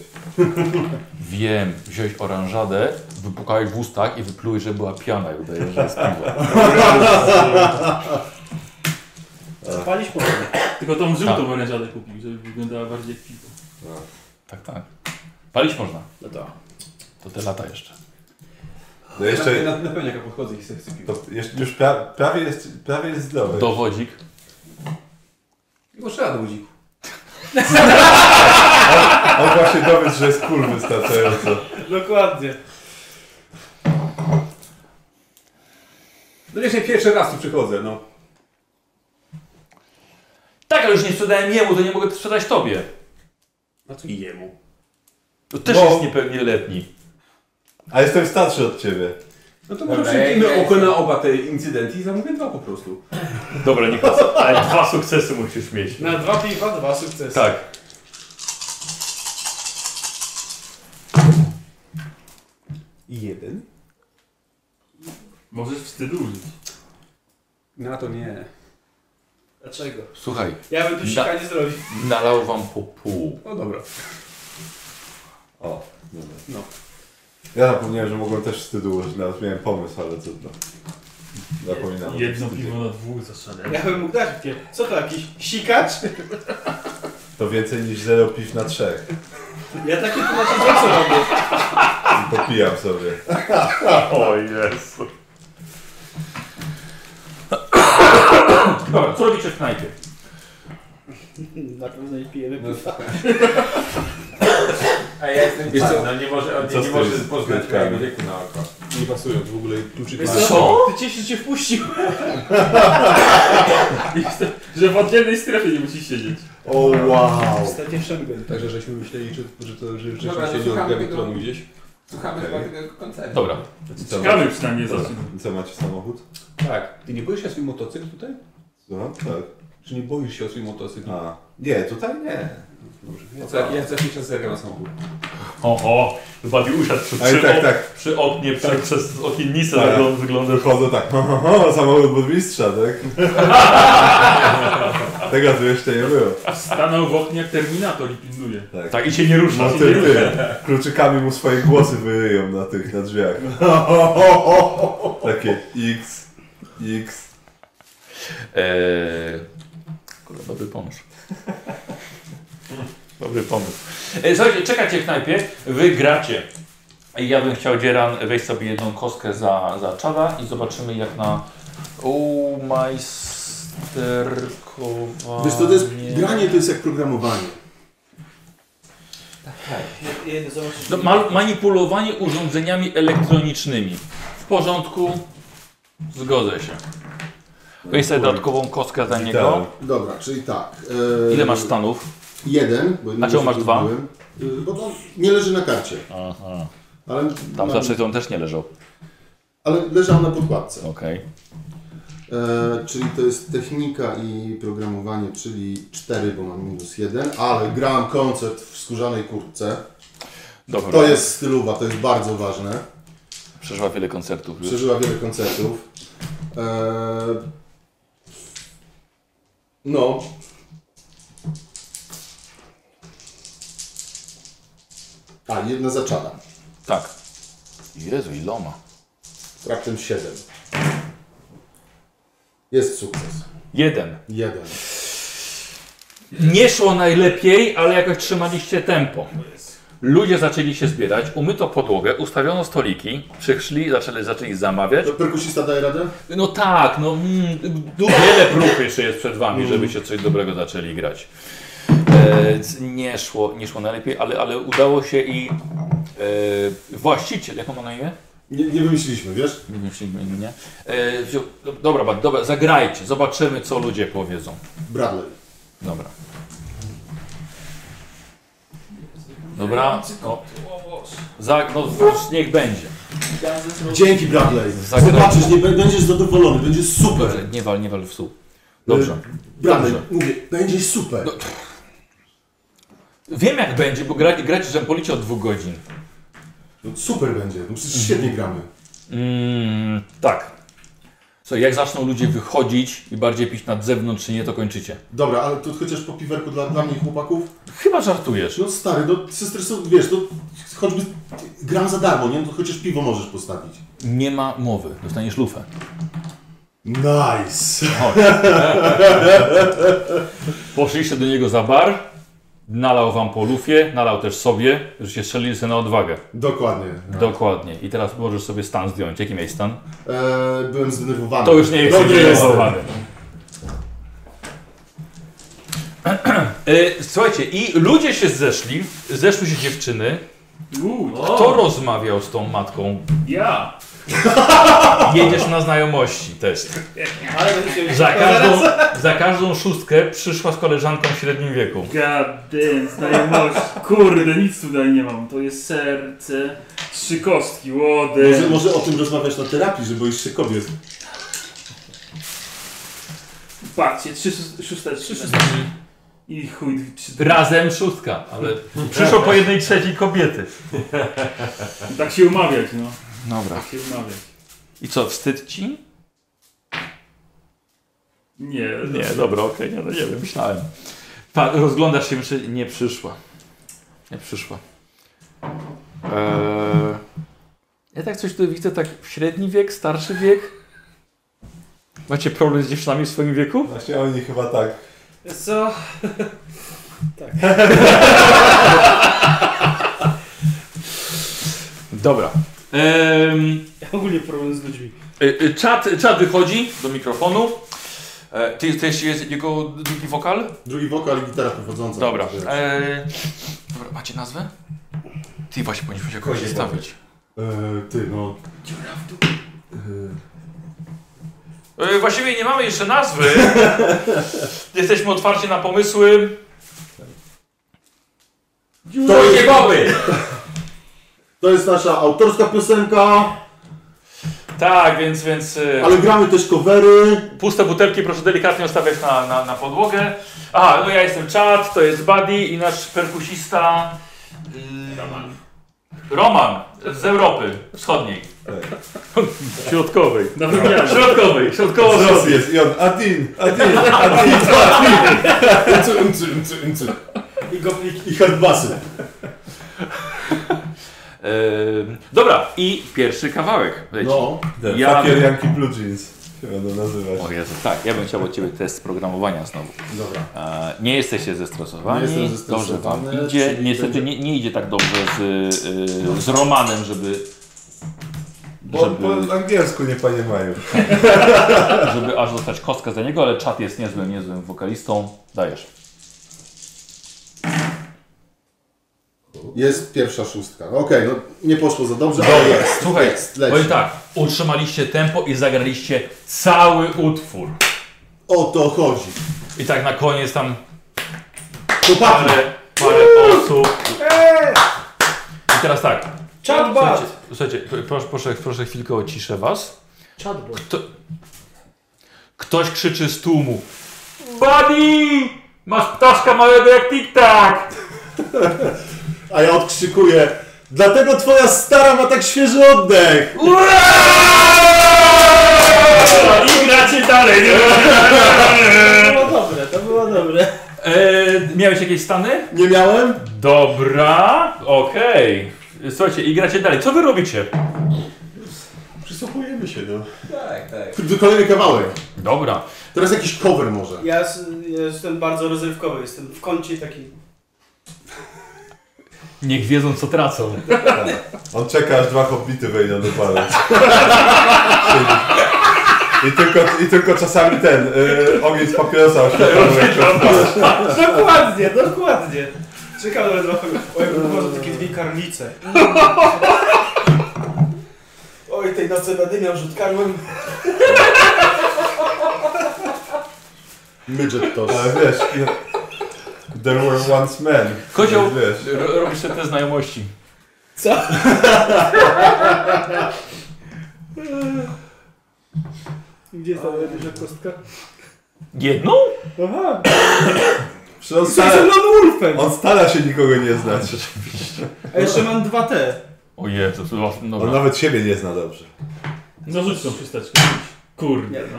[SPEAKER 1] Wiem, wziąłeś oranżadę, wypukałeś w ustach i wyplułeś, że była piana i udajesz, że jest piwo.
[SPEAKER 11] Zapalić może.
[SPEAKER 2] Tylko tą
[SPEAKER 1] Tak.
[SPEAKER 2] żółtą orężadę kupił, żeby wyglądała bardziej jak piwo.
[SPEAKER 1] Tak, tak. Palić można.
[SPEAKER 11] No to.
[SPEAKER 1] To te lata jeszcze.
[SPEAKER 3] No jeszcze,
[SPEAKER 8] Na, na pewno jaka podchodzę i sobie chcę pić.
[SPEAKER 3] to jeszcze już pra, prawie, jest, prawie jest zdrowy.
[SPEAKER 1] Dowodzik.
[SPEAKER 8] radę, budzik.
[SPEAKER 3] On właśnie dowiedz, że jest cool wystarczająco.
[SPEAKER 11] Dokładnie.
[SPEAKER 7] No wiesz, nie pierwszy raz tu przychodzę, no.
[SPEAKER 1] Tak, ale już nie sprzedałem jemu, to nie mogę sprzedać tobie. No
[SPEAKER 7] A co i jemu?
[SPEAKER 1] To też
[SPEAKER 3] Bo-
[SPEAKER 1] jest niepełnieletni.
[SPEAKER 3] A jestem starszy od ciebie.
[SPEAKER 7] No to może
[SPEAKER 4] Dobra, ja-
[SPEAKER 7] przymknijmy
[SPEAKER 4] ja
[SPEAKER 7] oko
[SPEAKER 4] jestem-
[SPEAKER 7] na oba te incydenty i zamówię dwa po prostu.
[SPEAKER 1] Dobra, Nikos, ale dwa sukcesy musisz mieć.
[SPEAKER 11] Na dwa piwa, dwa sukcesy.
[SPEAKER 1] Tak.
[SPEAKER 7] I jeden?
[SPEAKER 2] Możesz wstydu użyć.
[SPEAKER 7] Na to nie.
[SPEAKER 11] Dlaczego?
[SPEAKER 1] Słuchaj,
[SPEAKER 11] Ja bym tu sika nie zrobił.
[SPEAKER 1] nalał wam po pół.
[SPEAKER 7] No dobra.
[SPEAKER 3] O, dobra.
[SPEAKER 7] No.
[SPEAKER 3] Ja zapomniałem, że mogłem też wstydu użyć, nawet miałem pomysł, ale trudno. Zapominam. o tym
[SPEAKER 2] Jedno
[SPEAKER 3] wstydzie.
[SPEAKER 2] piwo na dwóch zasadę.
[SPEAKER 11] Ja bym mógł dać w pie- Co to, jakiś sikacz?
[SPEAKER 3] To więcej niż zero piw na trzech.
[SPEAKER 11] Ja takie to znaczy co robię.
[SPEAKER 3] I popijam sobie.
[SPEAKER 2] O Jezu.
[SPEAKER 1] Dobra, co robicie w knajpie?
[SPEAKER 11] Na pewno nie pijemy
[SPEAKER 4] No,
[SPEAKER 11] piwa.
[SPEAKER 4] A ja jestem
[SPEAKER 7] Wiesz co?
[SPEAKER 4] pan, no nie może, on
[SPEAKER 3] Co
[SPEAKER 4] nie,
[SPEAKER 3] z
[SPEAKER 4] nie może
[SPEAKER 3] tymi
[SPEAKER 4] poznać
[SPEAKER 3] kwiatkami?
[SPEAKER 4] mojego wieku na oko.
[SPEAKER 7] Nie pasują w ogóle kluczyki.
[SPEAKER 11] Wiesz co? Ty cieszy cię wpuścił.
[SPEAKER 2] Że w oddzielnej strefie nie musisz siedzieć.
[SPEAKER 3] O wow!
[SPEAKER 11] Ostatnie wszędzie.
[SPEAKER 7] Także żeśmy myśleli, że, że to że
[SPEAKER 4] Dobra,
[SPEAKER 7] rzeczywiście
[SPEAKER 4] to
[SPEAKER 7] siedzi od
[SPEAKER 4] słuchamy
[SPEAKER 7] Gavitronu
[SPEAKER 4] tego.
[SPEAKER 7] gdzieś.
[SPEAKER 4] Słuchamy
[SPEAKER 3] Okej.
[SPEAKER 4] chyba tego koncertu.
[SPEAKER 1] Dobra,
[SPEAKER 3] I co,
[SPEAKER 2] Ciekawy przynajmniej
[SPEAKER 3] Dobra.
[SPEAKER 2] zacznie.
[SPEAKER 3] I co macie samochód?
[SPEAKER 7] Tak. Ty nie boisz się o swój motocykl tutaj?
[SPEAKER 3] Słucham? Tak.
[SPEAKER 7] Czy nie boisz się o swój motocykl?
[SPEAKER 3] A. Nie, tutaj nie.
[SPEAKER 7] Dobrze. Ja za, ja za jakiś czas zerkam na samochód.
[SPEAKER 2] Oho, bardziej usiadł przy,
[SPEAKER 3] Ale
[SPEAKER 2] przy,
[SPEAKER 3] tak,
[SPEAKER 2] ok-
[SPEAKER 3] tak.
[SPEAKER 2] przy oknie, przy, przez okiennicę
[SPEAKER 3] Tak.
[SPEAKER 2] wygląda, wygląda
[SPEAKER 3] Chodzę tak, ho, ho, ho, samochód burmistrza, tak? Tego tu jeszcze nie było.
[SPEAKER 2] Stanął w oknie jak Terminator i pilnuje.
[SPEAKER 1] tak i się nie rusza.
[SPEAKER 3] No ty, ty, kluczykami mu swoje głosy wyryją na tych, na drzwiach. Ho, ho, ho, ho. Takie X, X.
[SPEAKER 1] Eee, kurwa, dobry pomysł. Dobry pomysł. Eee, słuchajcie, czekacie w knajpie, wy gracie. I Ja bym chciał, Dzieran, wejść sobie jedną kostkę za, za czada i zobaczymy jak na umajsterkowanie.
[SPEAKER 14] Wiesz, to, to jest, granie to jest jak programowanie.
[SPEAKER 11] Jeden zobaczysz.
[SPEAKER 1] No, ma manipulowanie urządzeniami elektronicznymi. W porządku. Zgodzę się. Weź sobie dodatkową kostkę za niego.
[SPEAKER 14] Dobra, czyli tak. e,
[SPEAKER 1] Ile masz stanów?
[SPEAKER 14] Jeden. Bo jednego
[SPEAKER 1] czemu masz dwa?
[SPEAKER 14] zrobiłem. Y, Bo to nie leży na karcie.
[SPEAKER 1] Aha.
[SPEAKER 14] Ale,
[SPEAKER 1] Tam
[SPEAKER 14] mam-
[SPEAKER 1] zawsze on też nie leżał.
[SPEAKER 14] ale leżał na podkładce.
[SPEAKER 1] Okej.
[SPEAKER 14] E, czyli to jest technika i programowanie, czyli 4, bo mam minus 1, ale grałem koncert w skórzanej kurtce.
[SPEAKER 1] Dobra.
[SPEAKER 14] To jest stylowa, to jest bardzo ważne.
[SPEAKER 1] Przeżyła wiele koncertów. Już.
[SPEAKER 14] Przeżyła wiele koncertów. E, no. A, jedna zaczada.
[SPEAKER 1] Tak. Jezu, iloma.
[SPEAKER 14] Raptem 7. Jest sukces.
[SPEAKER 1] Jeden.
[SPEAKER 14] Jeden.
[SPEAKER 1] Nie szło najlepiej, ale jakoś trzymaliście tempo. Ludzie zaczęli się zbierać, umyto podłogę, ustawiono stoliki, przyszli, zaczęli, zaczęli zamawiać.
[SPEAKER 14] To perkusista daje radę?
[SPEAKER 1] No tak, no mm, du- wiele prób jeszcze jest przed wami, żebyście coś dobrego zaczęli grać. E, c- nie, szło, nie szło najlepiej, ale, ale udało się i e, właściciel, jak on ma na imię?
[SPEAKER 14] Nie, nie wymyśliliśmy, wiesz?
[SPEAKER 1] Nie, nie, nie, nie. E, wziął, do- dobra, ba- dobra, zagrajcie, zobaczymy co ludzie powiedzą.
[SPEAKER 14] Bradley.
[SPEAKER 1] Dobra. Dobra, no, za, no z- niech będzie.
[SPEAKER 14] Dzięki Bradley.
[SPEAKER 1] Zagraj.
[SPEAKER 14] Zobaczysz, nie, b- będziesz zadowolony, będzie super.
[SPEAKER 1] Nie wal, nie wal w stół. Dobrze.
[SPEAKER 14] Bradley,
[SPEAKER 1] Dobrze.
[SPEAKER 14] mówię, będzie super.
[SPEAKER 1] No. Wiem jak będzie, bo grać, grać żempolicie od dwóch godzin.
[SPEAKER 14] No, super będzie, no przecież świetnie gramy.
[SPEAKER 1] Mm, tak. Co, jak zaczną ludzie wychodzić i bardziej pić na zewnątrz, czy nie, to kończycie.
[SPEAKER 14] Dobra, ale to chociaż po piwerku dla, dla mnie i chłopaków?
[SPEAKER 1] Chyba żartujesz.
[SPEAKER 14] No stary, no sestry są, wiesz, no choćby gram za darmo, nie? No to chociaż piwo możesz postawić.
[SPEAKER 1] Nie ma mowy. Dostaniesz lufę.
[SPEAKER 14] Nice.
[SPEAKER 1] Poszliście do niego za bar, nalał wam po lufie, nalał też sobie, że się strzelili sobie na odwagę.
[SPEAKER 14] Dokładnie.
[SPEAKER 1] Tak. Dokładnie. I teraz możesz sobie stan zdjąć. Jaki miałeś stan?
[SPEAKER 14] Eee, byłem
[SPEAKER 1] Tak. No
[SPEAKER 14] zdenerwowany.
[SPEAKER 1] To już nie jest
[SPEAKER 14] Dobry jestem.
[SPEAKER 1] zdenerwowany. E, Słuchajcie, i ludzie się zeszli, zeszły się dziewczyny.
[SPEAKER 2] Uuu,
[SPEAKER 1] Kto rozmawiał z tą matką?
[SPEAKER 2] ja!
[SPEAKER 1] Jedziesz na znajomości test.
[SPEAKER 11] Ale to się
[SPEAKER 1] Za każdą, za każdą szóstkę przyszła z koleżanką w średnim wieku.
[SPEAKER 2] Gadyn, znajomość. Kurde, nic tutaj nie mam. To jest serce, trzy kostki, łody.
[SPEAKER 15] Może, może o tym rozmawiać na terapii, że boisz się kobiet.
[SPEAKER 2] Patrzcie, trzy szó- szóste, trzy szóste. I chuj, trzy,
[SPEAKER 1] Razem szóstka, ale przyszło po jednej trzeciej kobiety.
[SPEAKER 2] tak się umawiać, no.
[SPEAKER 16] Dobra.
[SPEAKER 2] Tak się umawiać.
[SPEAKER 1] I co, wstyd ci?
[SPEAKER 2] Nie,
[SPEAKER 1] Nie, dobra, okej, nie, no nie wiem, myślałem. Pa, rozglądasz się, myślę, nie przyszła. Nie przyszła. Eee, ja tak coś tu widzę, tak średni wiek, starszy wiek. Macie problem z dziewczynami w swoim wieku?
[SPEAKER 3] Właśnie oni chyba tak.
[SPEAKER 11] Wiesz co?
[SPEAKER 1] Dobra. Ehm,
[SPEAKER 11] Ja ogólnie problem z ludźmi.
[SPEAKER 1] y, y, czat, czat wychodzi do mikrofonu. E, ty jesteś jest jego drugi wokal?
[SPEAKER 14] Drugi wokal i gitara prowadząca.
[SPEAKER 1] Dobra. E, dobra, macie nazwę? Ty właśnie powinniśmy się kogoś
[SPEAKER 14] Kozie
[SPEAKER 1] przedstawić.
[SPEAKER 14] Eee, ty, no.
[SPEAKER 1] E, właściwie nie mamy jeszcze nazwy. Jesteśmy otwarci na pomysły.
[SPEAKER 14] To jest,
[SPEAKER 17] Boby!
[SPEAKER 14] to jest nasza autorska piosenka,
[SPEAKER 1] Tak, więc, więc e,
[SPEAKER 14] ale gramy też covery.
[SPEAKER 1] puste butelki proszę delikatnie ostawiać na, na, na podłogę. A, no ja jestem Chad, to jest Buddy i nasz perkusista y, Roman. Roman z Europy Wschodniej.
[SPEAKER 14] Tak.
[SPEAKER 1] Środkowej.
[SPEAKER 2] na wymiarze.
[SPEAKER 1] Środkowej, środkowo
[SPEAKER 3] Los jest i on. Adin, Adin, Adin.
[SPEAKER 15] Umcy, umcy, umcy, umcy.
[SPEAKER 11] I gopliki.
[SPEAKER 15] I herbasy.
[SPEAKER 1] Ehm, dobra, i pierwszy kawałek. Leci.
[SPEAKER 14] No.
[SPEAKER 1] Ja
[SPEAKER 3] Ja Papier
[SPEAKER 1] bym-
[SPEAKER 3] Yankee Blue Jeans. Się będą nazywać.
[SPEAKER 1] O Jezu, tak, ja bym chciał od Ciebie test programowania znowu.
[SPEAKER 14] Dobra.
[SPEAKER 1] E, nie jesteście zestresowani,
[SPEAKER 14] Nie jestem
[SPEAKER 1] dobrze
[SPEAKER 14] zestresowany,
[SPEAKER 1] Wam idzie.
[SPEAKER 14] czyli
[SPEAKER 1] Niestety
[SPEAKER 14] będzie-
[SPEAKER 1] nie, nie idzie tak dobrze z, y, z Romanem, żeby,
[SPEAKER 3] Bo
[SPEAKER 1] żeby-
[SPEAKER 3] po angielsku nie panie mają.
[SPEAKER 1] żeby aż dostać kostkę za niego, ale czat jest niezłym, niezłym wokalistą. Dajesz.
[SPEAKER 14] Jest pierwsza szóstka. Okej, no nie poszło za dobrze, ale jest.
[SPEAKER 1] Słuchaj,
[SPEAKER 14] jest, leci.
[SPEAKER 1] powiem tak, utrzymaliście tempo i zagraliście cały utwór.
[SPEAKER 14] O to chodzi.
[SPEAKER 1] I tak na koniec tam
[SPEAKER 14] Chłopaki,
[SPEAKER 1] parę, parę osób. I teraz tak, słuchajcie,
[SPEAKER 11] Chatbot!
[SPEAKER 1] słuchajcie proszę, proszę, proszę chwilkę o ciszę Was.
[SPEAKER 11] Chatbot.
[SPEAKER 1] Ktoś krzyczy z tłumu. Buddy! Masz ptaszka małego jak tik-tak!
[SPEAKER 15] A ja odkrzykuję. Dlatego twoja stara ma tak świeży oddech.
[SPEAKER 2] I gracie dalej, nie?
[SPEAKER 11] To było dobre, to było dobre.
[SPEAKER 1] Eee, miałeś jakieś stany?
[SPEAKER 15] Nie miałem?
[SPEAKER 1] Dobra, okej. Słuchajcie, i gracie dalej. Co wy robicie?
[SPEAKER 15] Przysłuchujemy się, no.
[SPEAKER 18] Tak, tak.
[SPEAKER 14] kolejny kawałek.
[SPEAKER 1] Dobra.
[SPEAKER 14] Teraz jakiś cover może.
[SPEAKER 11] Ja s- jestem bardzo rozrywkowy, jestem w kącie taki.
[SPEAKER 1] Niech wiedzą, co tracą.
[SPEAKER 3] On czeka aż dwa hobbity wejdą do palec. I tylko, I tylko czasami ten y, ogień z papierosa oświetla.
[SPEAKER 11] Dokładnie, dokładnie. Czekam na No. trochę. Oj, może takie dwie karlice. Oj, tej nocy będę miał rzut karłem.
[SPEAKER 14] Midget Toss.
[SPEAKER 3] Ale wiesz, no, there were once men.
[SPEAKER 1] Kozioł.
[SPEAKER 3] Wiesz,
[SPEAKER 1] Ro- Robisz sobie te znajomości.
[SPEAKER 11] Co? Gdzie jest ta jedna kostka?
[SPEAKER 1] Jedną?
[SPEAKER 11] Aha,
[SPEAKER 3] przecież
[SPEAKER 15] tak
[SPEAKER 3] on,
[SPEAKER 11] co ze
[SPEAKER 3] stara,
[SPEAKER 11] mną Wolfem?
[SPEAKER 3] on stara się nikogo nie znać.
[SPEAKER 11] A jeszcze mam dwa T.
[SPEAKER 1] O Jezu, to
[SPEAKER 3] On
[SPEAKER 1] dobra.
[SPEAKER 3] nawet siebie nie zna dobrze.
[SPEAKER 2] No rzuć tą chusteczkę. Kurde, no.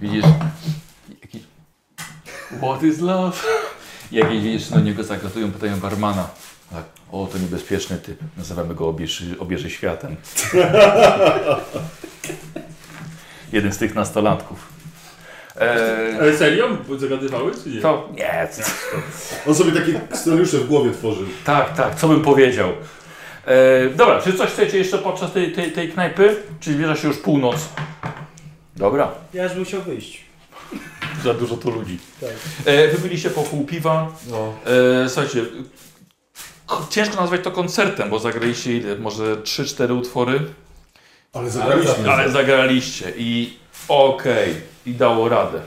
[SPEAKER 16] Widzisz? Jakiś... What is love? Jakieś widzisz, na niego zagadują, pytają barmana. Tak. O, to niebezpieczny typ. Nazywamy go obieży, obieży światem.
[SPEAKER 1] Jeden z tych nastolatków.
[SPEAKER 16] Eee,
[SPEAKER 2] Ale serio? Bo Zagadywały czy nie?
[SPEAKER 1] To... Nie, co?
[SPEAKER 14] On sobie takie scenariusze w głowie tworzył.
[SPEAKER 1] Tak, tak, co bym powiedział. E, dobra, czy coś chcecie jeszcze podczas tej, tej, tej knajpy? Czy zbliża się już północ? Dobra.
[SPEAKER 11] Ja już musiał wyjść.
[SPEAKER 1] Za dużo tu ludzi.
[SPEAKER 11] Tak.
[SPEAKER 1] E, wypiliście po pół piwa.
[SPEAKER 14] No.
[SPEAKER 1] E, słuchajcie, k- ciężko nazwać to koncertem, bo zagraliście ile? Może 3-4 utwory?
[SPEAKER 19] Ale zagraliśmy.
[SPEAKER 1] Ale zagraliście i okej, i dało radę.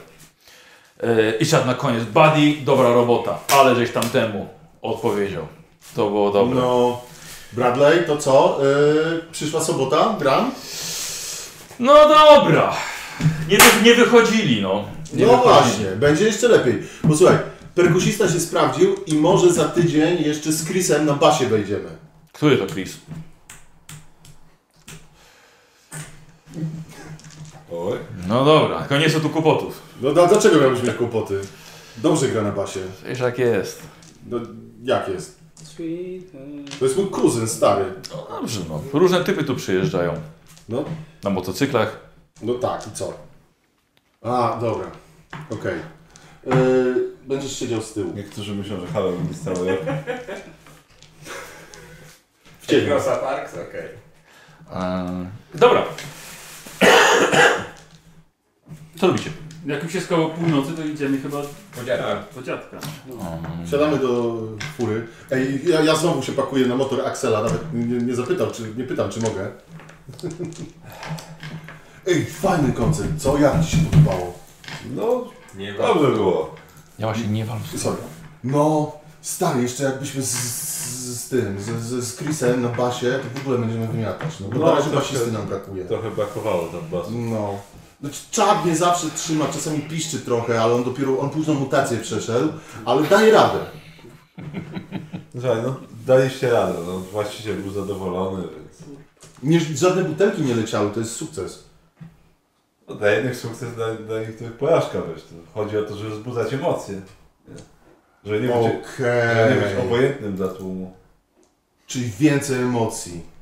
[SPEAKER 1] E, I siadł na koniec. Buddy, dobra robota, ale żeś tam temu odpowiedział. To było dobre.
[SPEAKER 14] No, Bradley, to co? Yy, przyszła sobota, gram?
[SPEAKER 1] No dobra. Nie, wy- nie wychodzili, no. Nie
[SPEAKER 14] No
[SPEAKER 1] wychodzi.
[SPEAKER 14] właśnie, będzie jeszcze lepiej. Bo słuchaj, perkusista się sprawdził i może za tydzień jeszcze z Chrisem na basie wejdziemy.
[SPEAKER 1] Który to Chris?
[SPEAKER 3] Oj.
[SPEAKER 1] No dobra, tylko nie są tu kłopotów.
[SPEAKER 14] No da, dlaczego miałbyś mieć kłopoty? Dobrze gra na basie.
[SPEAKER 1] Wiesz jak jest.
[SPEAKER 14] No jak jest?
[SPEAKER 11] Sweet. home.
[SPEAKER 14] To jest mój kuzyn stary.
[SPEAKER 1] No dobrze, no. Różne typy tu przyjeżdżają.
[SPEAKER 14] No,
[SPEAKER 1] Na motocyklach.
[SPEAKER 14] no tak, i co? A, dobra. Okej. Yy, będziesz siedział z tyłu.
[SPEAKER 3] Niektórzy myślą, że Halloween jest cały rok.
[SPEAKER 14] W cieniu.
[SPEAKER 4] Grosa Parks? Okej.
[SPEAKER 1] Eee, dobra. Co robicie?
[SPEAKER 2] Jak już się skoło północy, to idziemy chyba
[SPEAKER 4] Okay.
[SPEAKER 3] Tak.
[SPEAKER 2] do dziadka.
[SPEAKER 1] Um,
[SPEAKER 14] Siadamy do fury. Ej, ja, ja znowu się pakuję na motor Axela, nawet nie, nie zapytał, czy, nie pytam, czy mogę. Ej, fajny koncert, co? Jak Ci się podobało?
[SPEAKER 3] No,
[SPEAKER 4] Nie wiem.
[SPEAKER 3] dobrze było.
[SPEAKER 1] Ja właśnie nie wam.
[SPEAKER 14] Sorry. No, stary, jeszcze jakbyśmy z, z, z tym, z, z, z Chrisem na basie, to w ogóle będziemy wymiatać, no bo
[SPEAKER 3] No,
[SPEAKER 14] na razie
[SPEAKER 3] trochę-
[SPEAKER 14] basisty nam brakuje.
[SPEAKER 3] Trochę brakowało tam basu.
[SPEAKER 14] No. Znaczy, Czad mnie zawsze trzyma, czasami piszczy trochę, ale on dopiero, on późną mutację przeszedł, ale daje radę.
[SPEAKER 3] Słuchaj, no daliście radę, no właściciel był zadowolony, więc...
[SPEAKER 14] Nie, żadne butelki nie leciały, to jest sukces.
[SPEAKER 3] No, dla jednych sukces, dla, dla niektórych porażka wiesz. To chodzi o to, żeby wzbudzać emocje. Nie? Że nie
[SPEAKER 14] Okej.
[SPEAKER 3] być, że nie być obojętnym dla tłumu.
[SPEAKER 14] Czyli więcej emocji.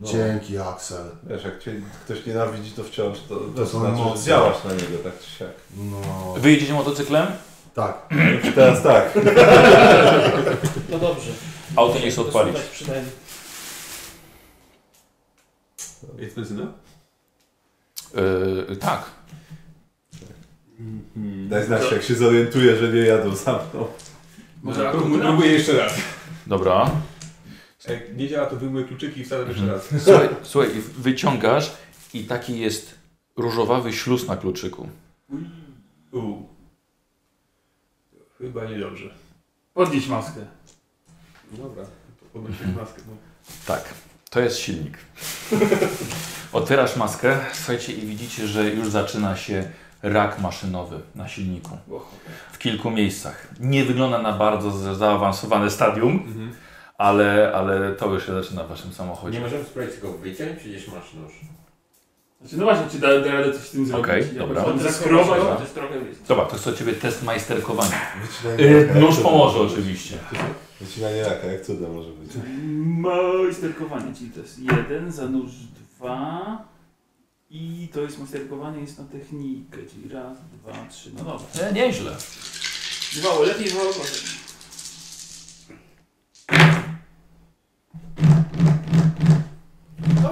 [SPEAKER 3] No,
[SPEAKER 14] Dzięki, Axel.
[SPEAKER 3] Wiesz, jak cię ktoś nienawidzi, to wciąż to, to,
[SPEAKER 14] są
[SPEAKER 3] znaczy, że
[SPEAKER 14] emocje.
[SPEAKER 3] działasz na niego tak czy siak.
[SPEAKER 14] No.
[SPEAKER 1] Wyjedziecie motocyklem?
[SPEAKER 14] Tak.
[SPEAKER 3] Teraz tak.
[SPEAKER 11] No dobrze.
[SPEAKER 1] Auto nie chce
[SPEAKER 11] To tak
[SPEAKER 1] odpalić.
[SPEAKER 11] słuchać przynajmniej.
[SPEAKER 8] Jest benzyna?
[SPEAKER 1] Eee, tak.
[SPEAKER 3] Mhm. Daj znać, jak się zorientuje, że nie jadą za mną.
[SPEAKER 8] Może Prób- No, Próbuję jeszcze raz.
[SPEAKER 1] Dobra.
[SPEAKER 8] Jak nie działa, to wyjmuję kluczyki i wsadzam jeszcze raz.
[SPEAKER 1] Słuchaj, słuchaj, wyciągasz i taki jest różowawy śluz na kluczyku.
[SPEAKER 8] Uuu. Chyba niedobrze.
[SPEAKER 2] Podnieś maskę.
[SPEAKER 8] Dobra, to podnoszę maskę. No.
[SPEAKER 1] Tak, to jest silnik. Otwierasz maskę, słuchajcie, i widzicie, że już zaczyna się rak maszynowy na silniku. W kilku miejscach. Nie wygląda na bardzo za- zaawansowane stadium,
[SPEAKER 8] Mhm.
[SPEAKER 1] ale, ale to już się zaczyna w waszym
[SPEAKER 4] Nie
[SPEAKER 1] samochodzie.
[SPEAKER 4] możemy spróbować go wyciąć, przecież masz nóż.
[SPEAKER 2] Znaczy, no właśnie, czy da, da radę coś z tym zrobić?
[SPEAKER 1] Okej,
[SPEAKER 2] Jakoś
[SPEAKER 1] dobra.
[SPEAKER 2] tam Zeskrować, chociaż trochę jest.
[SPEAKER 1] Dobra, to jest od ciebie test majsterkowania.
[SPEAKER 3] Wycinanie
[SPEAKER 1] Yy,
[SPEAKER 3] raka,
[SPEAKER 1] nóż
[SPEAKER 3] jak
[SPEAKER 1] pomoże
[SPEAKER 3] cudem może być.
[SPEAKER 1] oczywiście.
[SPEAKER 3] Wycinanie raka, jak cudem może być.
[SPEAKER 2] Majsterkowanie, czyli to jest jeden, zanurz dwa i to jest majsterkowanie jest na technikę, czyli raz, dwa, trzy, no dobra.
[SPEAKER 1] Nie, nieźle.
[SPEAKER 2] Dwa lepiej, dwa gorzej.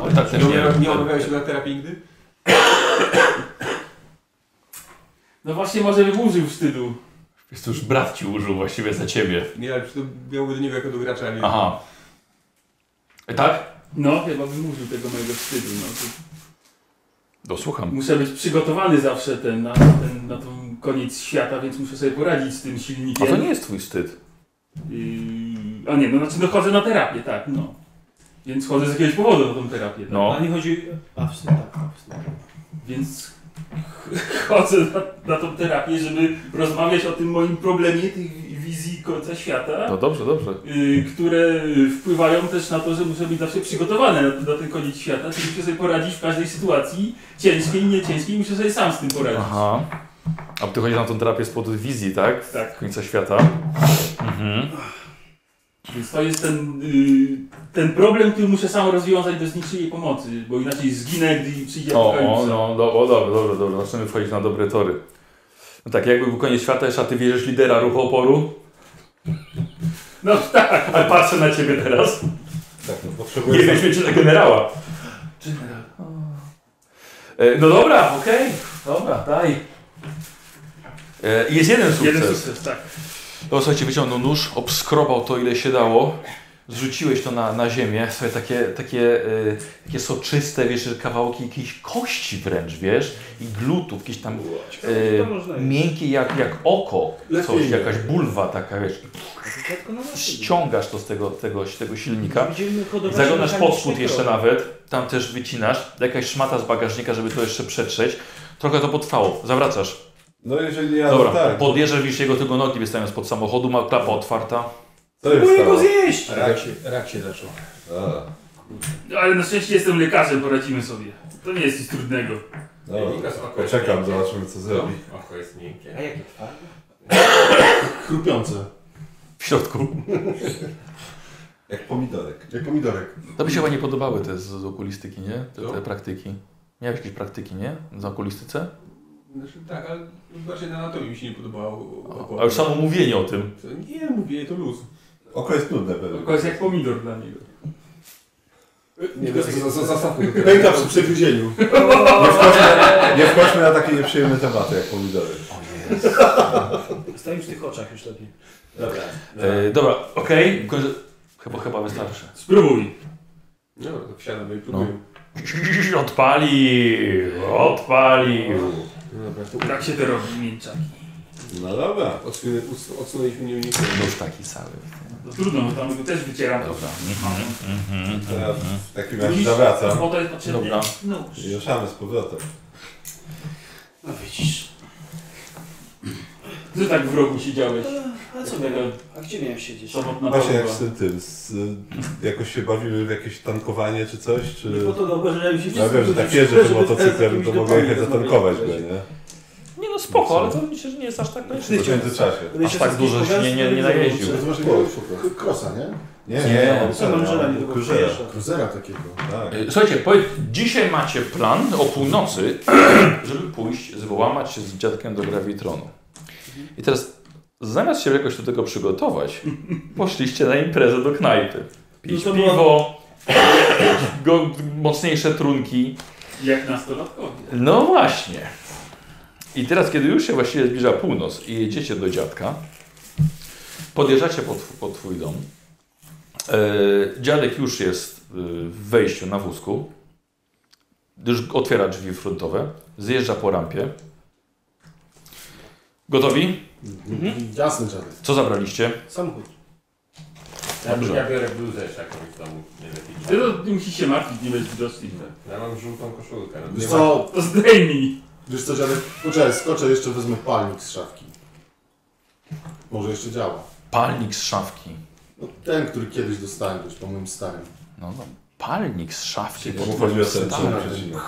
[SPEAKER 1] Oj, tak
[SPEAKER 8] Nie, nie, nie
[SPEAKER 1] nie,
[SPEAKER 8] omawiałeś się na terapii nigdy?
[SPEAKER 2] No właśnie, może bym użył wstydu.
[SPEAKER 1] Jest to już brat ci użył właściwie za ciebie.
[SPEAKER 8] Nie, ale to miałby do niego jako do gracza, a nie...
[SPEAKER 1] Aha. E, Tak?
[SPEAKER 2] No, chyba bym użył tego mojego wstydu, no. To
[SPEAKER 1] Dosłucham.
[SPEAKER 2] Muszę być przygotowany zawsze ten, na, ten, na ten koniec świata, więc muszę sobie poradzić z tym
[SPEAKER 1] A
[SPEAKER 2] silnikiem.
[SPEAKER 1] to nie jest twój wstyd.
[SPEAKER 2] Yy, a nie, no znaczy, no chodzę na terapię, tak, no. Więc chodzę z jakiegoś powodu na tą terapię, tak?
[SPEAKER 1] No.
[SPEAKER 11] A nie chodzi... A, wstyd, tak, a, wstyd.
[SPEAKER 1] E,
[SPEAKER 2] Więc chodzę na, na tą terapię, żeby rozmawiać o tym moim problemie, tych wizji końca świata,
[SPEAKER 1] No dobrze, dobrze.
[SPEAKER 2] y, które wpływają też na to, że muszę być zawsze przygotowany na, na ten koniec świata, czyli muszę sobie poradzić w każdej sytuacji, ciężkiej, nie ciężkiej, muszę sobie sam z tym poradzić.
[SPEAKER 1] Aha. A ty chodzisz na tą terapię spod wizji, tak?
[SPEAKER 2] Tak.
[SPEAKER 1] Końca świata. Mhm.
[SPEAKER 2] Więc to jest ten, y, ten problem, który muszę sam rozwiązać bez niczyjej pomocy, bo inaczej zginę, gdy przyjdzie
[SPEAKER 1] O, o,
[SPEAKER 2] apokalipsa.
[SPEAKER 1] no, do, o, dobra, dobra, dobra. Zaczynamy wchodzić na dobre tory. No tak, jakby był koniec świata, jeszcze a ty wierzysz lidera ruchu oporu?
[SPEAKER 2] No tak,
[SPEAKER 1] Ale patrzę na ciebie teraz.
[SPEAKER 3] Tak, no
[SPEAKER 1] Nie
[SPEAKER 3] potrzebujesz...
[SPEAKER 1] weźmie cię na generała. E, No dobra, okej. Dobra, daj. E, Jest jeden sukces.
[SPEAKER 20] Jeden sukces, tak.
[SPEAKER 1] No słuchajcie, wyciągnął nóż, obskrobał to ile się dało. Zrzuciłeś to na, na ziemię, sobie takie, takie, y, takie soczyste, wiesz, kawałki jakiejś kości wręcz, wiesz, i glutów, jakieś tam
[SPEAKER 11] To
[SPEAKER 1] y,
[SPEAKER 11] można jeść.
[SPEAKER 1] miękkie jak, jak oko,
[SPEAKER 14] Lepiej
[SPEAKER 1] coś,
[SPEAKER 14] nie.
[SPEAKER 1] jakaś bulwa taka, wiesz,
[SPEAKER 11] Tylko na naszym.
[SPEAKER 1] ściągasz to z tego, tego, z tego silnika.
[SPEAKER 11] Będziemy hodować
[SPEAKER 1] Zaglądasz pod spód
[SPEAKER 11] mechanicznego.
[SPEAKER 1] jeszcze nawet, tam też wycinasz, jakaś szmata z bagażnika, żeby to jeszcze przetrzeć. Trochę to potrwało, zawracasz.
[SPEAKER 3] No jeżeli ja,
[SPEAKER 1] Dobra,
[SPEAKER 3] no tak.
[SPEAKER 1] podjeżdżasz, widzisz jego tylko nogi wystając pod samochodu, ma klapa otwarta.
[SPEAKER 3] Co jest
[SPEAKER 11] Próbuję go
[SPEAKER 3] stało?
[SPEAKER 11] zjeść!
[SPEAKER 4] Rak się, rak się zaczął.
[SPEAKER 3] A,
[SPEAKER 20] No, ale na szczęście jestem lekarzem, poradzimy sobie. To nie jest nic trudnego.
[SPEAKER 3] dobra. Poczekam, zobaczymy co zrobi.
[SPEAKER 8] no.
[SPEAKER 4] Oko jest miękkie.
[SPEAKER 11] A jakie twarde?
[SPEAKER 14] Chrupiące.
[SPEAKER 1] W środku.
[SPEAKER 3] Jak pomidorek.
[SPEAKER 14] Jak pomidorek.
[SPEAKER 1] To by się chyba nie podobały te z, z okulistyki, nie? Te,
[SPEAKER 4] Co?
[SPEAKER 1] te praktyki. Miałeś jakieś praktyki, nie? Z okulistyce?
[SPEAKER 8] Znaczy, tak, ale właśnie na anatomii mi się nie podobało.
[SPEAKER 1] A, a już samo mówienie o tym.
[SPEAKER 8] To Nie, mówię, to luz.
[SPEAKER 3] Oko jest nudne pewnie.
[SPEAKER 20] Tylko jest jak pomidor dla niego.
[SPEAKER 8] Nie, to za, za,
[SPEAKER 14] Pęka przy przegryzieniu.
[SPEAKER 3] Nie wchodźmy na takie nieprzyjemne tematy jak pomidory.
[SPEAKER 11] Stoi w tych oczach już lepiej.
[SPEAKER 4] Dobra.
[SPEAKER 1] E, dobra, okej. kończę- Chyba, chyba wystarczy.
[SPEAKER 20] Spróbuj.
[SPEAKER 8] No, to wsiadam i próbuję.
[SPEAKER 1] Odpalił, odpalił.
[SPEAKER 8] No. Dobra, to
[SPEAKER 20] Tak się to robi, mięczaki.
[SPEAKER 3] No dobra.
[SPEAKER 8] odsunę, us- odsunęliśmy nie mniej.
[SPEAKER 1] Nóż taki cały.
[SPEAKER 20] No trudno, bo tam go też wycieram.
[SPEAKER 1] Dobra. Mhm, mhm,
[SPEAKER 3] To
[SPEAKER 1] mhm.
[SPEAKER 3] ja w takim razie zawracam.
[SPEAKER 20] Bo to jest potrzebne.
[SPEAKER 1] Dobra.
[SPEAKER 20] No.
[SPEAKER 3] I ruszamy z powrotem.
[SPEAKER 11] No widzisz.
[SPEAKER 20] Ty tak w rogu siedziałeś.
[SPEAKER 11] A co miałem? A gdzie miałem siedzieć?
[SPEAKER 20] Samotna
[SPEAKER 3] Właśnie jak
[SPEAKER 20] babuła.
[SPEAKER 3] z tym, tym z, y, jakoś się bawimy w jakieś tankowanie czy coś,
[SPEAKER 11] Nie
[SPEAKER 3] czy...
[SPEAKER 11] po to dobrze, się
[SPEAKER 3] Ja wiem, że tak jeżdżę tym motocyklem, to mogę jechać zatankować go, nie?
[SPEAKER 1] Nie no spoko, ale to myślę, że nie jest aż tak
[SPEAKER 3] W międzyczasie.
[SPEAKER 1] Aż tak dużo się nie, nie, nie najeździł.
[SPEAKER 14] Zobaczcie, nie krosa, nie?
[SPEAKER 3] Nie,
[SPEAKER 1] Nie,
[SPEAKER 3] nie,
[SPEAKER 11] Co mam żelanie
[SPEAKER 3] nie,
[SPEAKER 11] do
[SPEAKER 3] kruzera.
[SPEAKER 14] Kruzera takiego.
[SPEAKER 3] Tak.
[SPEAKER 1] E, Słuchajcie, powiedz, dzisiaj macie plan o północy, żeby pójść, złamać się z dziadkiem do grawitronu. I teraz, zamiast się jakoś do tego przygotować, poszliście na imprezę do knajpy. Pić
[SPEAKER 11] No to była-
[SPEAKER 1] piwo, go, mocniejsze trunki.
[SPEAKER 20] Jak nastolatkowie.
[SPEAKER 1] No właśnie. I teraz, kiedy już się właściwie zbliża północ i jedziecie do dziadka, podjeżdżacie pod, tw- pod twój dom. E, dziadek już jest e, w wejściu na wózku. Już otwiera drzwi frontowe. Zjeżdża po rampie. Gotowi?
[SPEAKER 14] Jasny żadny.
[SPEAKER 1] Co zabraliście?
[SPEAKER 11] Samochód.
[SPEAKER 4] Ja,
[SPEAKER 1] Dobrze.
[SPEAKER 4] ja biorę bluzę jeszcze jakąś z domu. Nie
[SPEAKER 20] Ty,
[SPEAKER 4] lepiej.
[SPEAKER 20] to, ty musisz się martwić, nie będziesz widoczny.
[SPEAKER 4] Ja mam żółtą koszulkę. no
[SPEAKER 14] Wiesz
[SPEAKER 4] nie
[SPEAKER 14] co,
[SPEAKER 20] To zdejmij.
[SPEAKER 14] wiesz co dziadek? Poczekaj, skoczę jeszcze, wezmę palnik z szafki. Może jeszcze działa.
[SPEAKER 1] Palnik z szafki.
[SPEAKER 14] No, ten, który kiedyś dostałem, już po moim starym.
[SPEAKER 1] No, no palnik z szafki. Tak. pod
[SPEAKER 3] Chodzi
[SPEAKER 1] twoim
[SPEAKER 3] o ten
[SPEAKER 1] starym.
[SPEAKER 3] sam
[SPEAKER 14] tak.
[SPEAKER 3] przecinek.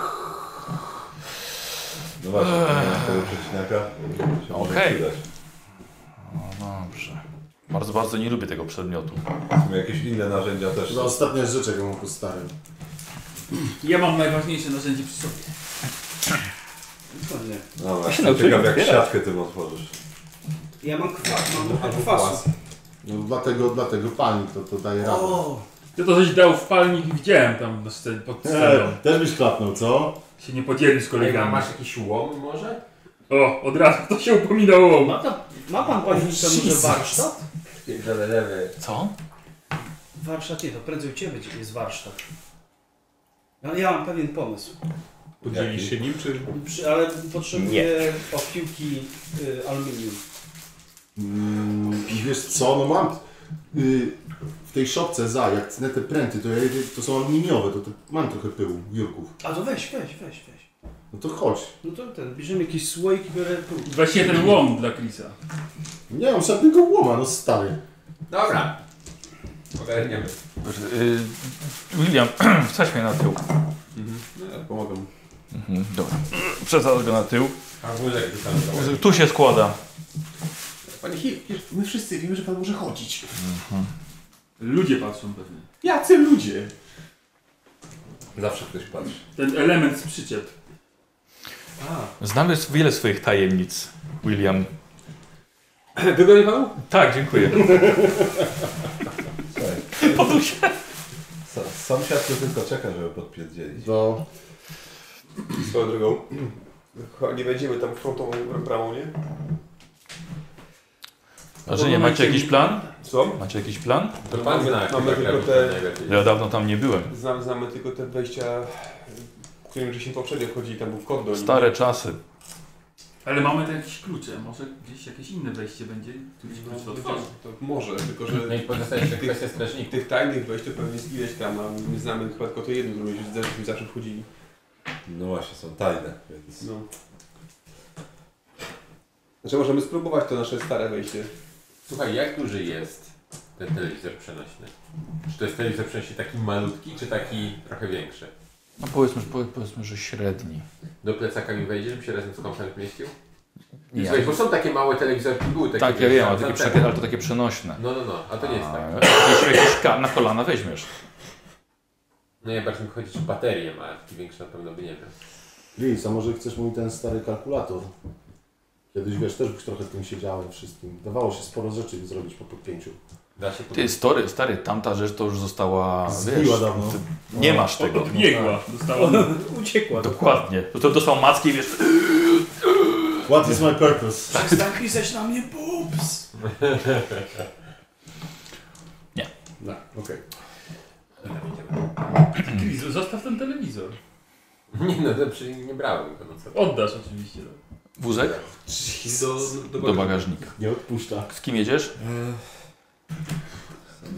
[SPEAKER 3] No właśnie, nie ma tego przecinaka. się może
[SPEAKER 1] Okej.
[SPEAKER 3] przydać.
[SPEAKER 1] No dobrze. Bardzo, bardzo nie lubię tego przedmiotu.
[SPEAKER 3] Są Jakieś inne narzędzia też.
[SPEAKER 14] Za ostatnia rzecz, jaką mam po starym.
[SPEAKER 20] Ja mam najważniejsze narzędzie przy sobie.
[SPEAKER 11] To nie.
[SPEAKER 3] No
[SPEAKER 1] No,
[SPEAKER 3] właśnie,
[SPEAKER 1] ty
[SPEAKER 3] ciekaw jak
[SPEAKER 1] otwierasz.
[SPEAKER 3] siatkę tym otworzysz.
[SPEAKER 11] Ja mam kwas, mam trochę kwasu.
[SPEAKER 14] No, dlatego, dlatego palnik to, to daje radę.
[SPEAKER 11] O,
[SPEAKER 20] Ty to coś dał w palnik i widziałem tam na scen- pod
[SPEAKER 3] Tak.
[SPEAKER 20] sceną.
[SPEAKER 14] E, też byś klapnął, co?
[SPEAKER 20] Się nie podzieli z
[SPEAKER 4] Ej, ma-
[SPEAKER 20] kolegami.
[SPEAKER 4] masz jakiś łom może?
[SPEAKER 20] O, od razu to się upominało.
[SPEAKER 11] ma, ta, ma pan panie ministrze może warsztat?
[SPEAKER 4] Pierdolę lewy.
[SPEAKER 1] Co?
[SPEAKER 11] Warsztat nie, to prędzej u ciebie jest warsztat. No, ja mam pewien pomysł,
[SPEAKER 8] Podzielisz się nim, czy...
[SPEAKER 11] Przy, ale potrzebuję opiłki y, aluminium.
[SPEAKER 14] Mm, wiesz co, no mam... y, w tej szopce za, jak cnę te pręty, to, ja, to są aluminiowe, to, to mam trochę pyłu, wiórków.
[SPEAKER 11] A to weź, weź, weź, weź.
[SPEAKER 14] No to chodź.
[SPEAKER 11] No to ten, bierzemy jakiś słoik i biorę tu.
[SPEAKER 20] Właśnie ten łom dla Krisa.
[SPEAKER 14] Nie mam żadnego łoma, no stary.
[SPEAKER 4] Dobra. Ogarniemy.
[SPEAKER 1] Y, William, wstać mnie na tył.
[SPEAKER 8] No, ja pomagam.
[SPEAKER 1] Mhm, dobra. Przesadzasz go na tył.
[SPEAKER 4] A wózek tu tam dole.
[SPEAKER 1] Tu się składa.
[SPEAKER 8] Panie Hip, my wszyscy wiemy, że pan może chodzić.
[SPEAKER 20] Ludzie patrzą pewnie.
[SPEAKER 8] Jacy ludzie?
[SPEAKER 3] Zawsze ktoś patrzy.
[SPEAKER 20] Ten element z przyczep.
[SPEAKER 1] Znamy s- wiele swoich tajemnic, William.
[SPEAKER 8] Wygoni panu?
[SPEAKER 1] Tak, dziękuję.
[SPEAKER 3] Słuchaj,
[SPEAKER 1] Podł się.
[SPEAKER 3] sa- Sam siatkę tylko czeka, żeby podpierdzielić.
[SPEAKER 14] Do...
[SPEAKER 8] Swoją drogą. Chyba nie będziemy tam frontową bramą, nie?
[SPEAKER 21] A że nie, macie jakiś plan?
[SPEAKER 8] Co?
[SPEAKER 21] Macie jakiś plan?
[SPEAKER 4] To pan zna,
[SPEAKER 8] Mamy
[SPEAKER 4] chyba,
[SPEAKER 8] tylko
[SPEAKER 4] lepiej,
[SPEAKER 8] te-
[SPEAKER 4] najlepiej.
[SPEAKER 21] Ja dawno tam nie byłem.
[SPEAKER 8] Znam, znamy tylko te wejścia, którym żeśmy poprzednio wchodzili, tam był kod do nich.
[SPEAKER 21] Stare czasy.
[SPEAKER 2] Ale mamy tu jakieś klucze, może gdzieś jakieś inne wejście będzie, któryś
[SPEAKER 8] No,
[SPEAKER 2] klucz
[SPEAKER 8] to,
[SPEAKER 2] otworzy.
[SPEAKER 8] to może, tylko że
[SPEAKER 4] No i pozostaje jeszcze
[SPEAKER 8] tych,
[SPEAKER 4] kwestia strażników.
[SPEAKER 8] tych tajnych wejść to pewnie jest ileś tam, a my znamy chyba tylko to jedno, które myśmy zawsze- zawsze wchodzili.
[SPEAKER 3] No właśnie, są tajne, więc...
[SPEAKER 8] No. Znaczy możemy spróbować to nasze stare wejście.
[SPEAKER 4] Słuchaj, jak duży jest ten telewizor przenośny? Czy to jest telewizor przenośny taki malutki, czy taki trochę większy?
[SPEAKER 1] No powiedzmy, powie- powiedzmy, że średni.
[SPEAKER 4] Do plecaka mi wejdzie, żeby się razem z kąpem mieścił?
[SPEAKER 1] Nie.
[SPEAKER 4] Słuchaj, bo są takie małe telewizorki, były takie.
[SPEAKER 1] Tak, ja
[SPEAKER 4] wiesz,
[SPEAKER 1] wiem,
[SPEAKER 4] tam
[SPEAKER 1] ale, takie
[SPEAKER 4] z anteną.
[SPEAKER 1] przekie- ale to takie przenośne.
[SPEAKER 4] No, no, no, a to nie jest tak.
[SPEAKER 1] Jeśli jakieś ka- na kolana weźmiesz.
[SPEAKER 4] No ja bardziej mi chodzi, czy baterie ma, taki większy na pewno by nie wiem.
[SPEAKER 14] Liz, a może chcesz mój ten stary kalkulator? Kiedyś, wiesz, też byś trochę tym siedziałem wszystkim. Dawało się sporo rzeczy zrobić po podpięciu.
[SPEAKER 4] Da się
[SPEAKER 1] Ty, story, stary, tamta rzecz to już została, wiesz,
[SPEAKER 14] Zbiła dawno.
[SPEAKER 1] ty- nie masz tego.
[SPEAKER 8] No
[SPEAKER 2] Biegła,
[SPEAKER 8] tak.
[SPEAKER 2] dostała.
[SPEAKER 11] Uciekła.
[SPEAKER 1] Dokładnie. To, to dostał macki i wiesz,
[SPEAKER 14] What is my purpose?
[SPEAKER 11] Przestań pisać na mnie boobs.
[SPEAKER 14] No, okej.
[SPEAKER 2] Chris, zostaw ten telewizor.
[SPEAKER 4] Nie no, to przecież nie brałem go, no co?
[SPEAKER 2] Oddasz oczywiście. no.
[SPEAKER 1] wózek
[SPEAKER 8] Do,
[SPEAKER 1] do bagażnika.
[SPEAKER 14] Nie odpuszcza.
[SPEAKER 1] Z kim jedziesz?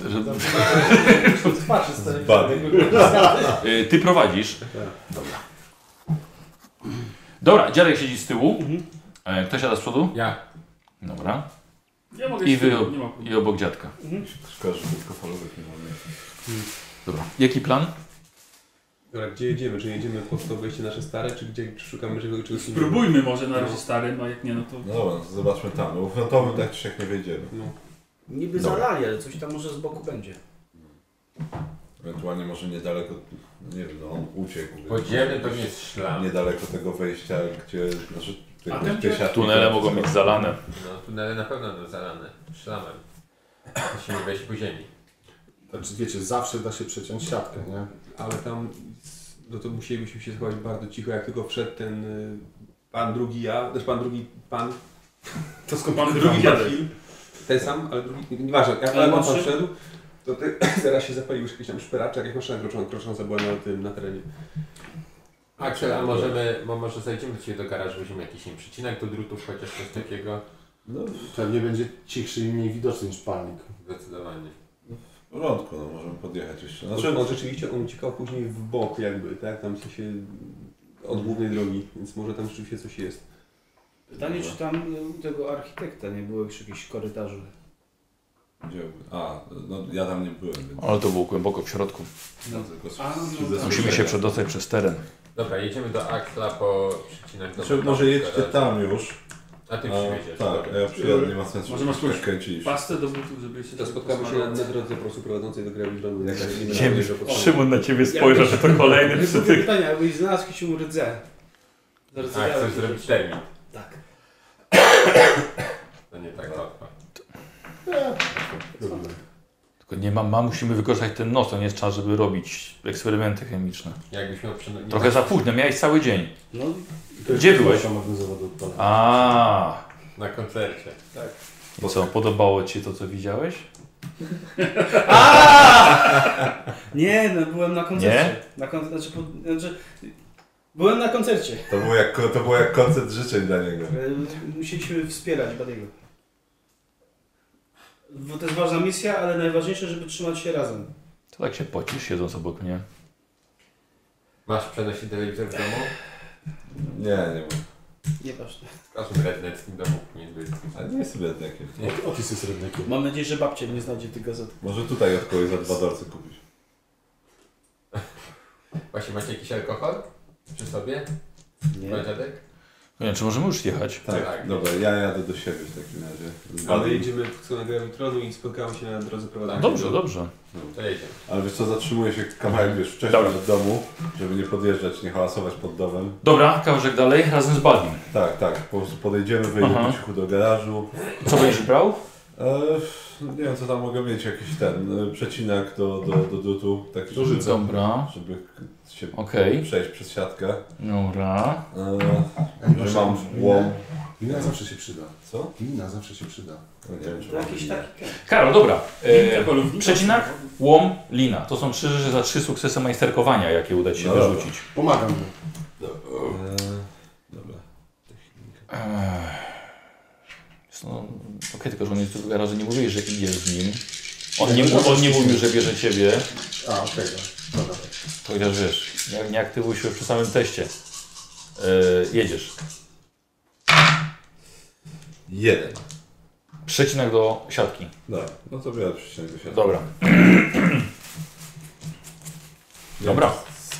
[SPEAKER 1] Że-
[SPEAKER 11] Twarz jest tak.
[SPEAKER 1] Y, Ty prowadzisz. Dobra, dziadek siedzi z tyłu. E, Kto siada z przodu?
[SPEAKER 4] Ja.
[SPEAKER 1] Dobra.
[SPEAKER 2] Ja mogę
[SPEAKER 1] I
[SPEAKER 2] się-
[SPEAKER 1] wy-
[SPEAKER 2] nie ma problemu.
[SPEAKER 1] I obok dziadka.
[SPEAKER 3] Szkoda, że krótkofalowych nie mamy.
[SPEAKER 1] Dobra. Jaki plan?
[SPEAKER 8] Dobra, gdzie jedziemy? Czy jedziemy po to wejście nasze stare, czy gdzie czy szukamy czegoś czegoś innego?
[SPEAKER 2] Spróbujmy może na razie starym, a jak nie, no to
[SPEAKER 3] No dobra, zobaczmy tam, bo w to my tak czy siak nie wejdziemy.
[SPEAKER 11] Niby zalali, ale coś tam może z boku będzie.
[SPEAKER 3] Ewentualnie może niedaleko, no nie wiem, no on uciekł. więc
[SPEAKER 4] Podziemny
[SPEAKER 3] może
[SPEAKER 4] pewnie
[SPEAKER 3] gdzieś
[SPEAKER 4] jest szlam.
[SPEAKER 3] Niedaleko tego wejścia, gdzie, znaczy,
[SPEAKER 2] A
[SPEAKER 3] jakieś
[SPEAKER 2] ten
[SPEAKER 3] piesiarki-
[SPEAKER 21] Tunele mogą być zalane.
[SPEAKER 4] No, tunele na pewno będą zalane szlamem. Musimy wejść po ziemi.
[SPEAKER 14] Znaczy, wiecie, zawsze da się przeciąć siatkę, nie?
[SPEAKER 8] Ale tam, no to musielibyśmy się schować bardzo cicho, jak tylko wszedł ten y, pan drugi ja, też pan drugi pan. To skąd
[SPEAKER 2] Pan drugi dziadek.
[SPEAKER 8] Ten sam, ale drugi, nieważne, jak
[SPEAKER 2] Ale
[SPEAKER 8] ale pan
[SPEAKER 2] młodszy?
[SPEAKER 8] wszedł, to ty zaraz się zapalił już jakiś tam szperaczek, jak maszyna krocząca, krocząca była na tym, na terenie.
[SPEAKER 4] Axel, a możemy, mo- może zajdziemy do Ciebie do garażu, weźmiemy jakiś nie wiem, przycinek do drutów, chociaż coś takiego.
[SPEAKER 14] No, pewnie będzie cichszy i mniej widoczny niż palnik.
[SPEAKER 4] Zdecydowanie.
[SPEAKER 3] W porządku, no możemy podjechać jeszcze. Znaczy,
[SPEAKER 8] Znaczy, on rzeczywiście on uciekał później w bok jakby, tak, tam w sensie od głównej drogi, więc może tam rzeczywiście coś jest.
[SPEAKER 11] Pytanie, czy tam y, u tego architekta nie było już jakichś korytarzy?
[SPEAKER 3] gdzie, a, no ja tam nie byłem, więc
[SPEAKER 1] Ale to było głęboko w środku.
[SPEAKER 3] no, tylko z,
[SPEAKER 2] A, no
[SPEAKER 3] z,
[SPEAKER 2] tak.
[SPEAKER 3] ze
[SPEAKER 1] Musimy się
[SPEAKER 3] słyszenia.
[SPEAKER 1] przedostać przez teren.
[SPEAKER 4] Dobra, jedziemy do Axla po przycinek do
[SPEAKER 3] Znaczy,
[SPEAKER 4] do
[SPEAKER 3] może jedźcie
[SPEAKER 4] garażu.
[SPEAKER 3] tam już.
[SPEAKER 4] A Ty
[SPEAKER 3] A,
[SPEAKER 4] przyjedziesz.
[SPEAKER 3] tak, a
[SPEAKER 4] dobra.
[SPEAKER 3] ja przyjadę, nie ma sensu,
[SPEAKER 2] Może masz
[SPEAKER 3] żebyśmy
[SPEAKER 2] klucz?
[SPEAKER 3] tak kręciliśmy.
[SPEAKER 2] Pastę do butów, żeby się
[SPEAKER 8] To spotkamy się na, na drodze po prostu prowadzącej do Grewy Żonu. jak będziemy na
[SPEAKER 21] Ziemi.
[SPEAKER 8] drodze po prostu.
[SPEAKER 21] Szymon na ciebie spojrzał, że to kolejny
[SPEAKER 11] Nie
[SPEAKER 21] przytyk.
[SPEAKER 11] sobie pytania, jakbyś znalazł jakiś rdzę.
[SPEAKER 4] A, chcesz zrobić termin.
[SPEAKER 11] Tak.
[SPEAKER 4] No nie tak łatwo.
[SPEAKER 1] Tylko nie ma, ma, musimy wykorzystać ten nos, to nie jest czas, żeby robić eksperymenty chemiczne.
[SPEAKER 4] Jakbyś miał przynajmniej...
[SPEAKER 1] Trochę za późno, miałeś cały dzień.
[SPEAKER 11] No,
[SPEAKER 1] Gdzie byłeś?
[SPEAKER 14] byłeś?
[SPEAKER 1] A
[SPEAKER 4] Na koncercie.
[SPEAKER 1] i co, podobało Ci się to, co widziałeś?
[SPEAKER 11] nie, no byłem na koncercie. Na kon... znaczy, po... znaczy, byłem na koncercie.
[SPEAKER 3] To było, jak, to było jak koncert życzeń dla niego.
[SPEAKER 11] E, Musieliśmy wspierać Badiego. Bo to jest ważna misja, ale najważniejsze, żeby trzymać się razem.
[SPEAKER 1] To tak się pocisz siedząc obok mnie.
[SPEAKER 4] Masz przenośny telewizor w domu?
[SPEAKER 3] Nie, nie ma.
[SPEAKER 11] Nieważne.
[SPEAKER 4] W każdym redneckim domu powinien być.
[SPEAKER 3] Ale nie jest sobie jednakiem.
[SPEAKER 14] Otis jest rednekiem.
[SPEAKER 11] Mam nadzieję, że babcia nie znajdzie tych gazet.
[SPEAKER 3] Może tutaj od kogoś za dwa dolce kupić.
[SPEAKER 4] Właśnie macie jakiś alkohol? Przy sobie?
[SPEAKER 11] Nie.
[SPEAKER 4] Pan dziadek?
[SPEAKER 1] Nie wiem, czy możemy już jechać?
[SPEAKER 3] Tak,
[SPEAKER 4] Tak.
[SPEAKER 3] dobra, ja jadę do siebie w takim razie. Z
[SPEAKER 8] Ale
[SPEAKER 3] Badym.
[SPEAKER 8] jedziemy w na Grewy Tronu i spotkamy się na drodze prowadzącej.
[SPEAKER 1] Dobrze, dobrze.
[SPEAKER 4] To jedziemy.
[SPEAKER 3] Ale wiesz co, zatrzymuję się kawałek wiesz, wcześniej
[SPEAKER 1] Dobrze.
[SPEAKER 3] od domu, żeby nie podjeżdżać, nie hałasować pod domem.
[SPEAKER 1] Dobra, kawałek dalej, razem z Badim.
[SPEAKER 3] Tak, tak, po prostu podejdziemy, wyjdziemy
[SPEAKER 1] Aha.
[SPEAKER 3] po cichu do garażu.
[SPEAKER 1] Co będziesz brał?
[SPEAKER 3] E, nie wiem co tam mogę mieć, jakiś ten e, przecinak do, do, do drutu, taki żeby,
[SPEAKER 1] Dobra,
[SPEAKER 3] żeby k- się
[SPEAKER 1] okej.
[SPEAKER 3] przejść przez siatkę.
[SPEAKER 1] Dobra.
[SPEAKER 3] E, że mam łom.
[SPEAKER 14] Wina zawsze się przyda.
[SPEAKER 3] Co?
[SPEAKER 14] Wina zawsze się przyda.
[SPEAKER 3] No nie wiem, czy
[SPEAKER 11] To jakiś taki...
[SPEAKER 1] Karol, dobra.
[SPEAKER 20] Linka,
[SPEAKER 1] E,
[SPEAKER 20] polownika.
[SPEAKER 1] przecinak, łom, lina. To są trzy rzeczy za trzy sukcesy majsterkowania, jakie uda ci się
[SPEAKER 3] No dobra.
[SPEAKER 1] wyrzucić.
[SPEAKER 14] Pomagam mu.
[SPEAKER 3] Eee, Dobra.
[SPEAKER 1] Jest No, Okej, tylko że on jest tu w garażu, nie mówiłeś, że idziesz z nim. On nie, mu- on nie mówił, że bierze ciebie.
[SPEAKER 14] A, okej, okay, dobra.
[SPEAKER 1] To chociaż wiesz, nie, nie aktywuj się przy samym teście. E, jedziesz.
[SPEAKER 3] Jeden.
[SPEAKER 1] Przecinak do siatki.
[SPEAKER 3] Dobra, no to biorę przycinek do siatki.
[SPEAKER 1] Dobra.
[SPEAKER 3] Miałem
[SPEAKER 1] Dobra.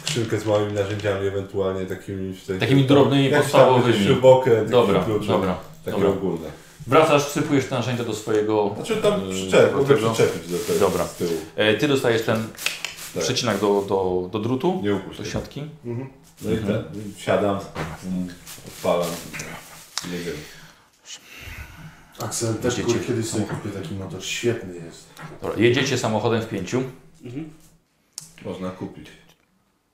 [SPEAKER 3] Skrzynkę z małymi narzędziami, ewentualnie takimi... Tutaj,
[SPEAKER 1] Takimi drobnymi,
[SPEAKER 3] Jakieś tam
[SPEAKER 1] podstawowymi.
[SPEAKER 3] Śrubokręt,
[SPEAKER 1] Dobra,
[SPEAKER 3] jakiś klucz,
[SPEAKER 1] dobra,
[SPEAKER 3] Takie
[SPEAKER 1] dobra.
[SPEAKER 3] ogólne.
[SPEAKER 1] Wracasz, przypujesz te narzędzia do swojego.
[SPEAKER 3] Znaczy tam
[SPEAKER 1] e,
[SPEAKER 3] przyczep,
[SPEAKER 1] do
[SPEAKER 3] mogę
[SPEAKER 1] tego.
[SPEAKER 3] przyczepić do tego
[SPEAKER 1] Dobra.
[SPEAKER 3] z tyłu.
[SPEAKER 1] E, ty dostajesz ten
[SPEAKER 3] Tak.
[SPEAKER 1] przecinak do, do, do drutu,
[SPEAKER 3] Nie
[SPEAKER 1] do
[SPEAKER 3] upuść.
[SPEAKER 1] siatki.
[SPEAKER 3] No i ten, siadam, mm, odpalam. tak. Nie wiem.
[SPEAKER 14] Aksel też
[SPEAKER 1] Dzieci.
[SPEAKER 14] kur- kiedyś sobie kupię taki motor, świetny jest.
[SPEAKER 1] Dobra, jedziecie samochodem w pięciu.
[SPEAKER 3] Można kupić.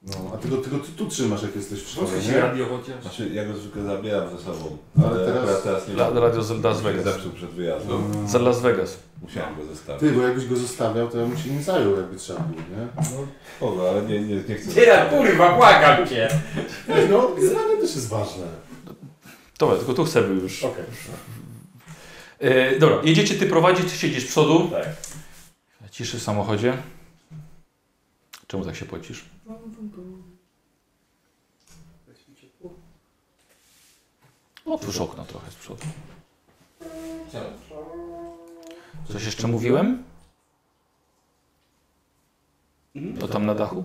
[SPEAKER 14] No, a ty go, ty go ty tu trzymasz jak jesteś w szkole,
[SPEAKER 20] Posłuchaj się
[SPEAKER 14] nie?
[SPEAKER 20] radio chociaż.
[SPEAKER 3] Znaczy ja go zwykle zabieram ze sobą,
[SPEAKER 14] Ale
[SPEAKER 3] ale,
[SPEAKER 14] teraz-
[SPEAKER 3] teraz, teraz nie
[SPEAKER 1] La-
[SPEAKER 3] mam.
[SPEAKER 1] Radio z Las
[SPEAKER 3] Się
[SPEAKER 1] Vegas.
[SPEAKER 3] Zepsuł przed wyjazdem.
[SPEAKER 14] Mm.
[SPEAKER 1] Z Las Vegas.
[SPEAKER 3] Musiałem go zostawić.
[SPEAKER 14] Ty, bo jakbyś go zostawiał, to ja bym się nim zajął, jakby trzeba było, nie?
[SPEAKER 3] No spoko, ale nie, nie, nie chcę.
[SPEAKER 4] Tyra, kurwa, błagam cię!
[SPEAKER 14] Ej, No, zdanie też jest ważne.
[SPEAKER 1] Dobra, tylko tu chcemy już.
[SPEAKER 4] Okej.
[SPEAKER 1] E, dobra, jedziecie, ty prowadzisz, ty siedzisz z przodu.
[SPEAKER 4] Tak.
[SPEAKER 1] Ciszy w samochodzie. Czemu tak się pocisz? Otwórz No, okno trochę z przodu. Coś jeszcze mówiłem? To tam na dachu?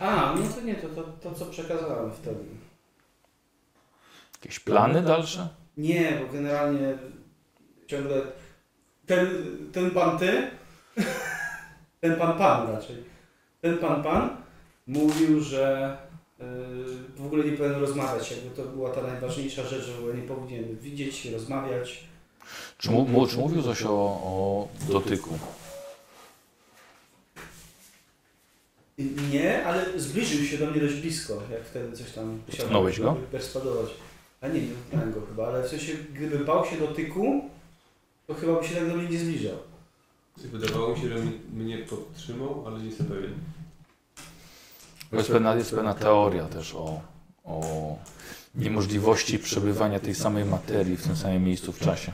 [SPEAKER 11] A, no to nie, to, to, to co przekazałem wtedy.
[SPEAKER 1] Jakieś plany dalsze?
[SPEAKER 11] Nie, bo generalnie ciągle ten, ten pan ty, ten pan pan raczej, ten pan pan mówił, że yy, w ogóle nie powinien rozmawiać, jakby to była ta najważniejsza rzecz, że w ogóle nie powinien widzieć, rozmawiać.
[SPEAKER 1] Czy, mu, mu, czy mówił coś o, o dotyku?
[SPEAKER 11] I- Nie, ale zbliżył się do mnie dość blisko, jak wtedy coś tam chciał
[SPEAKER 1] Tknąłeś go?
[SPEAKER 11] perswadować. A nie, nie dotknąłem go chyba, ale w sensie gdyby bał się dotyku, to chyba by się tak do mnie nie zbliżał.
[SPEAKER 8] Wydawało mi się, że m- mnie podtrzymał, ale nie jestem pewien.
[SPEAKER 1] Bo jest pewna, jest pewna teoria też o, o niemożliwości przebywania tej samej materii w tym samym miejscu w czasie.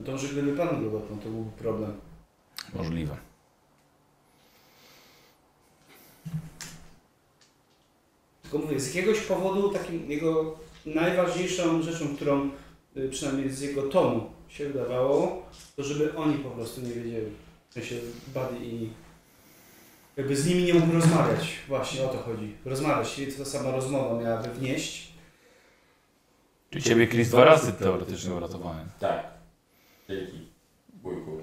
[SPEAKER 11] No to może gdyby pan go dotknął, to byłby problem.
[SPEAKER 1] Możliwe.
[SPEAKER 11] Tylko mówię, z jakiegoś powodu takim jego najważniejszą rzeczą, którą y, przynajmniej z jego tomu się wydawało, to żeby oni po prostu nie wiedzieli. W sensie Buddy i jakby z nimi nie mógł rozmawiać. Właśnie o to chodzi. Rozmawiać, czyli ta sama rozmowa miałaby wnieść.
[SPEAKER 1] Czyli ciebie Chris dwa razy teoretycznie uratowałem.
[SPEAKER 4] Tak. Dzięki. Wujku.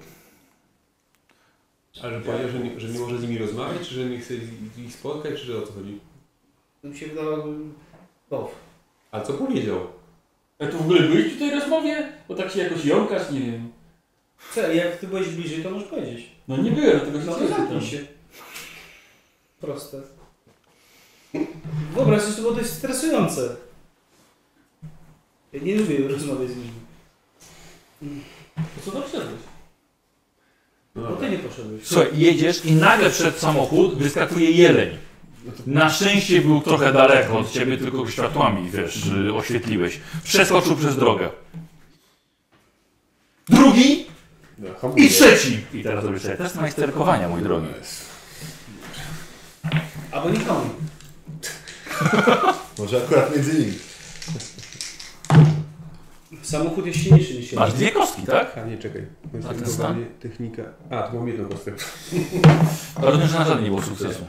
[SPEAKER 8] Ale powiedział, że nie, że nie może z nimi rozmawiać, czy że nie chce ich- ich spotkać, czy że o co chodzi?
[SPEAKER 11] To mi się wydawało, bo
[SPEAKER 8] A co powiedział?
[SPEAKER 20] A tu w ogóle byłeś przy tej rozmowie? Bo tak się jakoś jąkasz, nie wiem.
[SPEAKER 11] co, jak ty byłeś bliżej, to możesz powiedzieć.
[SPEAKER 20] No nie byłem, dlatego się
[SPEAKER 11] No to
[SPEAKER 20] ciebie
[SPEAKER 11] zamknij
[SPEAKER 20] pytam.
[SPEAKER 11] się. Proste. Wyobraź sobie, bo to jest stresujące. Ja nie lubię rozmawiać z ludźmi.
[SPEAKER 20] To co tam wszedłeś?
[SPEAKER 11] No ty nie poszedłeś.
[SPEAKER 1] Słuchaj, jedziesz i nagle przed samochód wyskakuje jeleń. Na szczęście był trochę daleko od ciebie, tylko światłami, wiesz, y, oświetliłeś. Przeskoczył przez drogę. Drugi
[SPEAKER 14] No, hamuję.
[SPEAKER 1] i trzeci! I teraz robisz sobie test majsterkowania, mój drogi.
[SPEAKER 11] Albo nikomu.
[SPEAKER 3] Może akurat między nimi.
[SPEAKER 11] Samochód jest silniejszy niż ja.
[SPEAKER 1] Masz dwie kostki, tak?
[SPEAKER 8] A nie, czekaj.
[SPEAKER 1] A ten stan?
[SPEAKER 8] Technika. A, tu mam jedną kostkę.
[SPEAKER 1] Rozumiem, że na żadnym nie było sukcesu.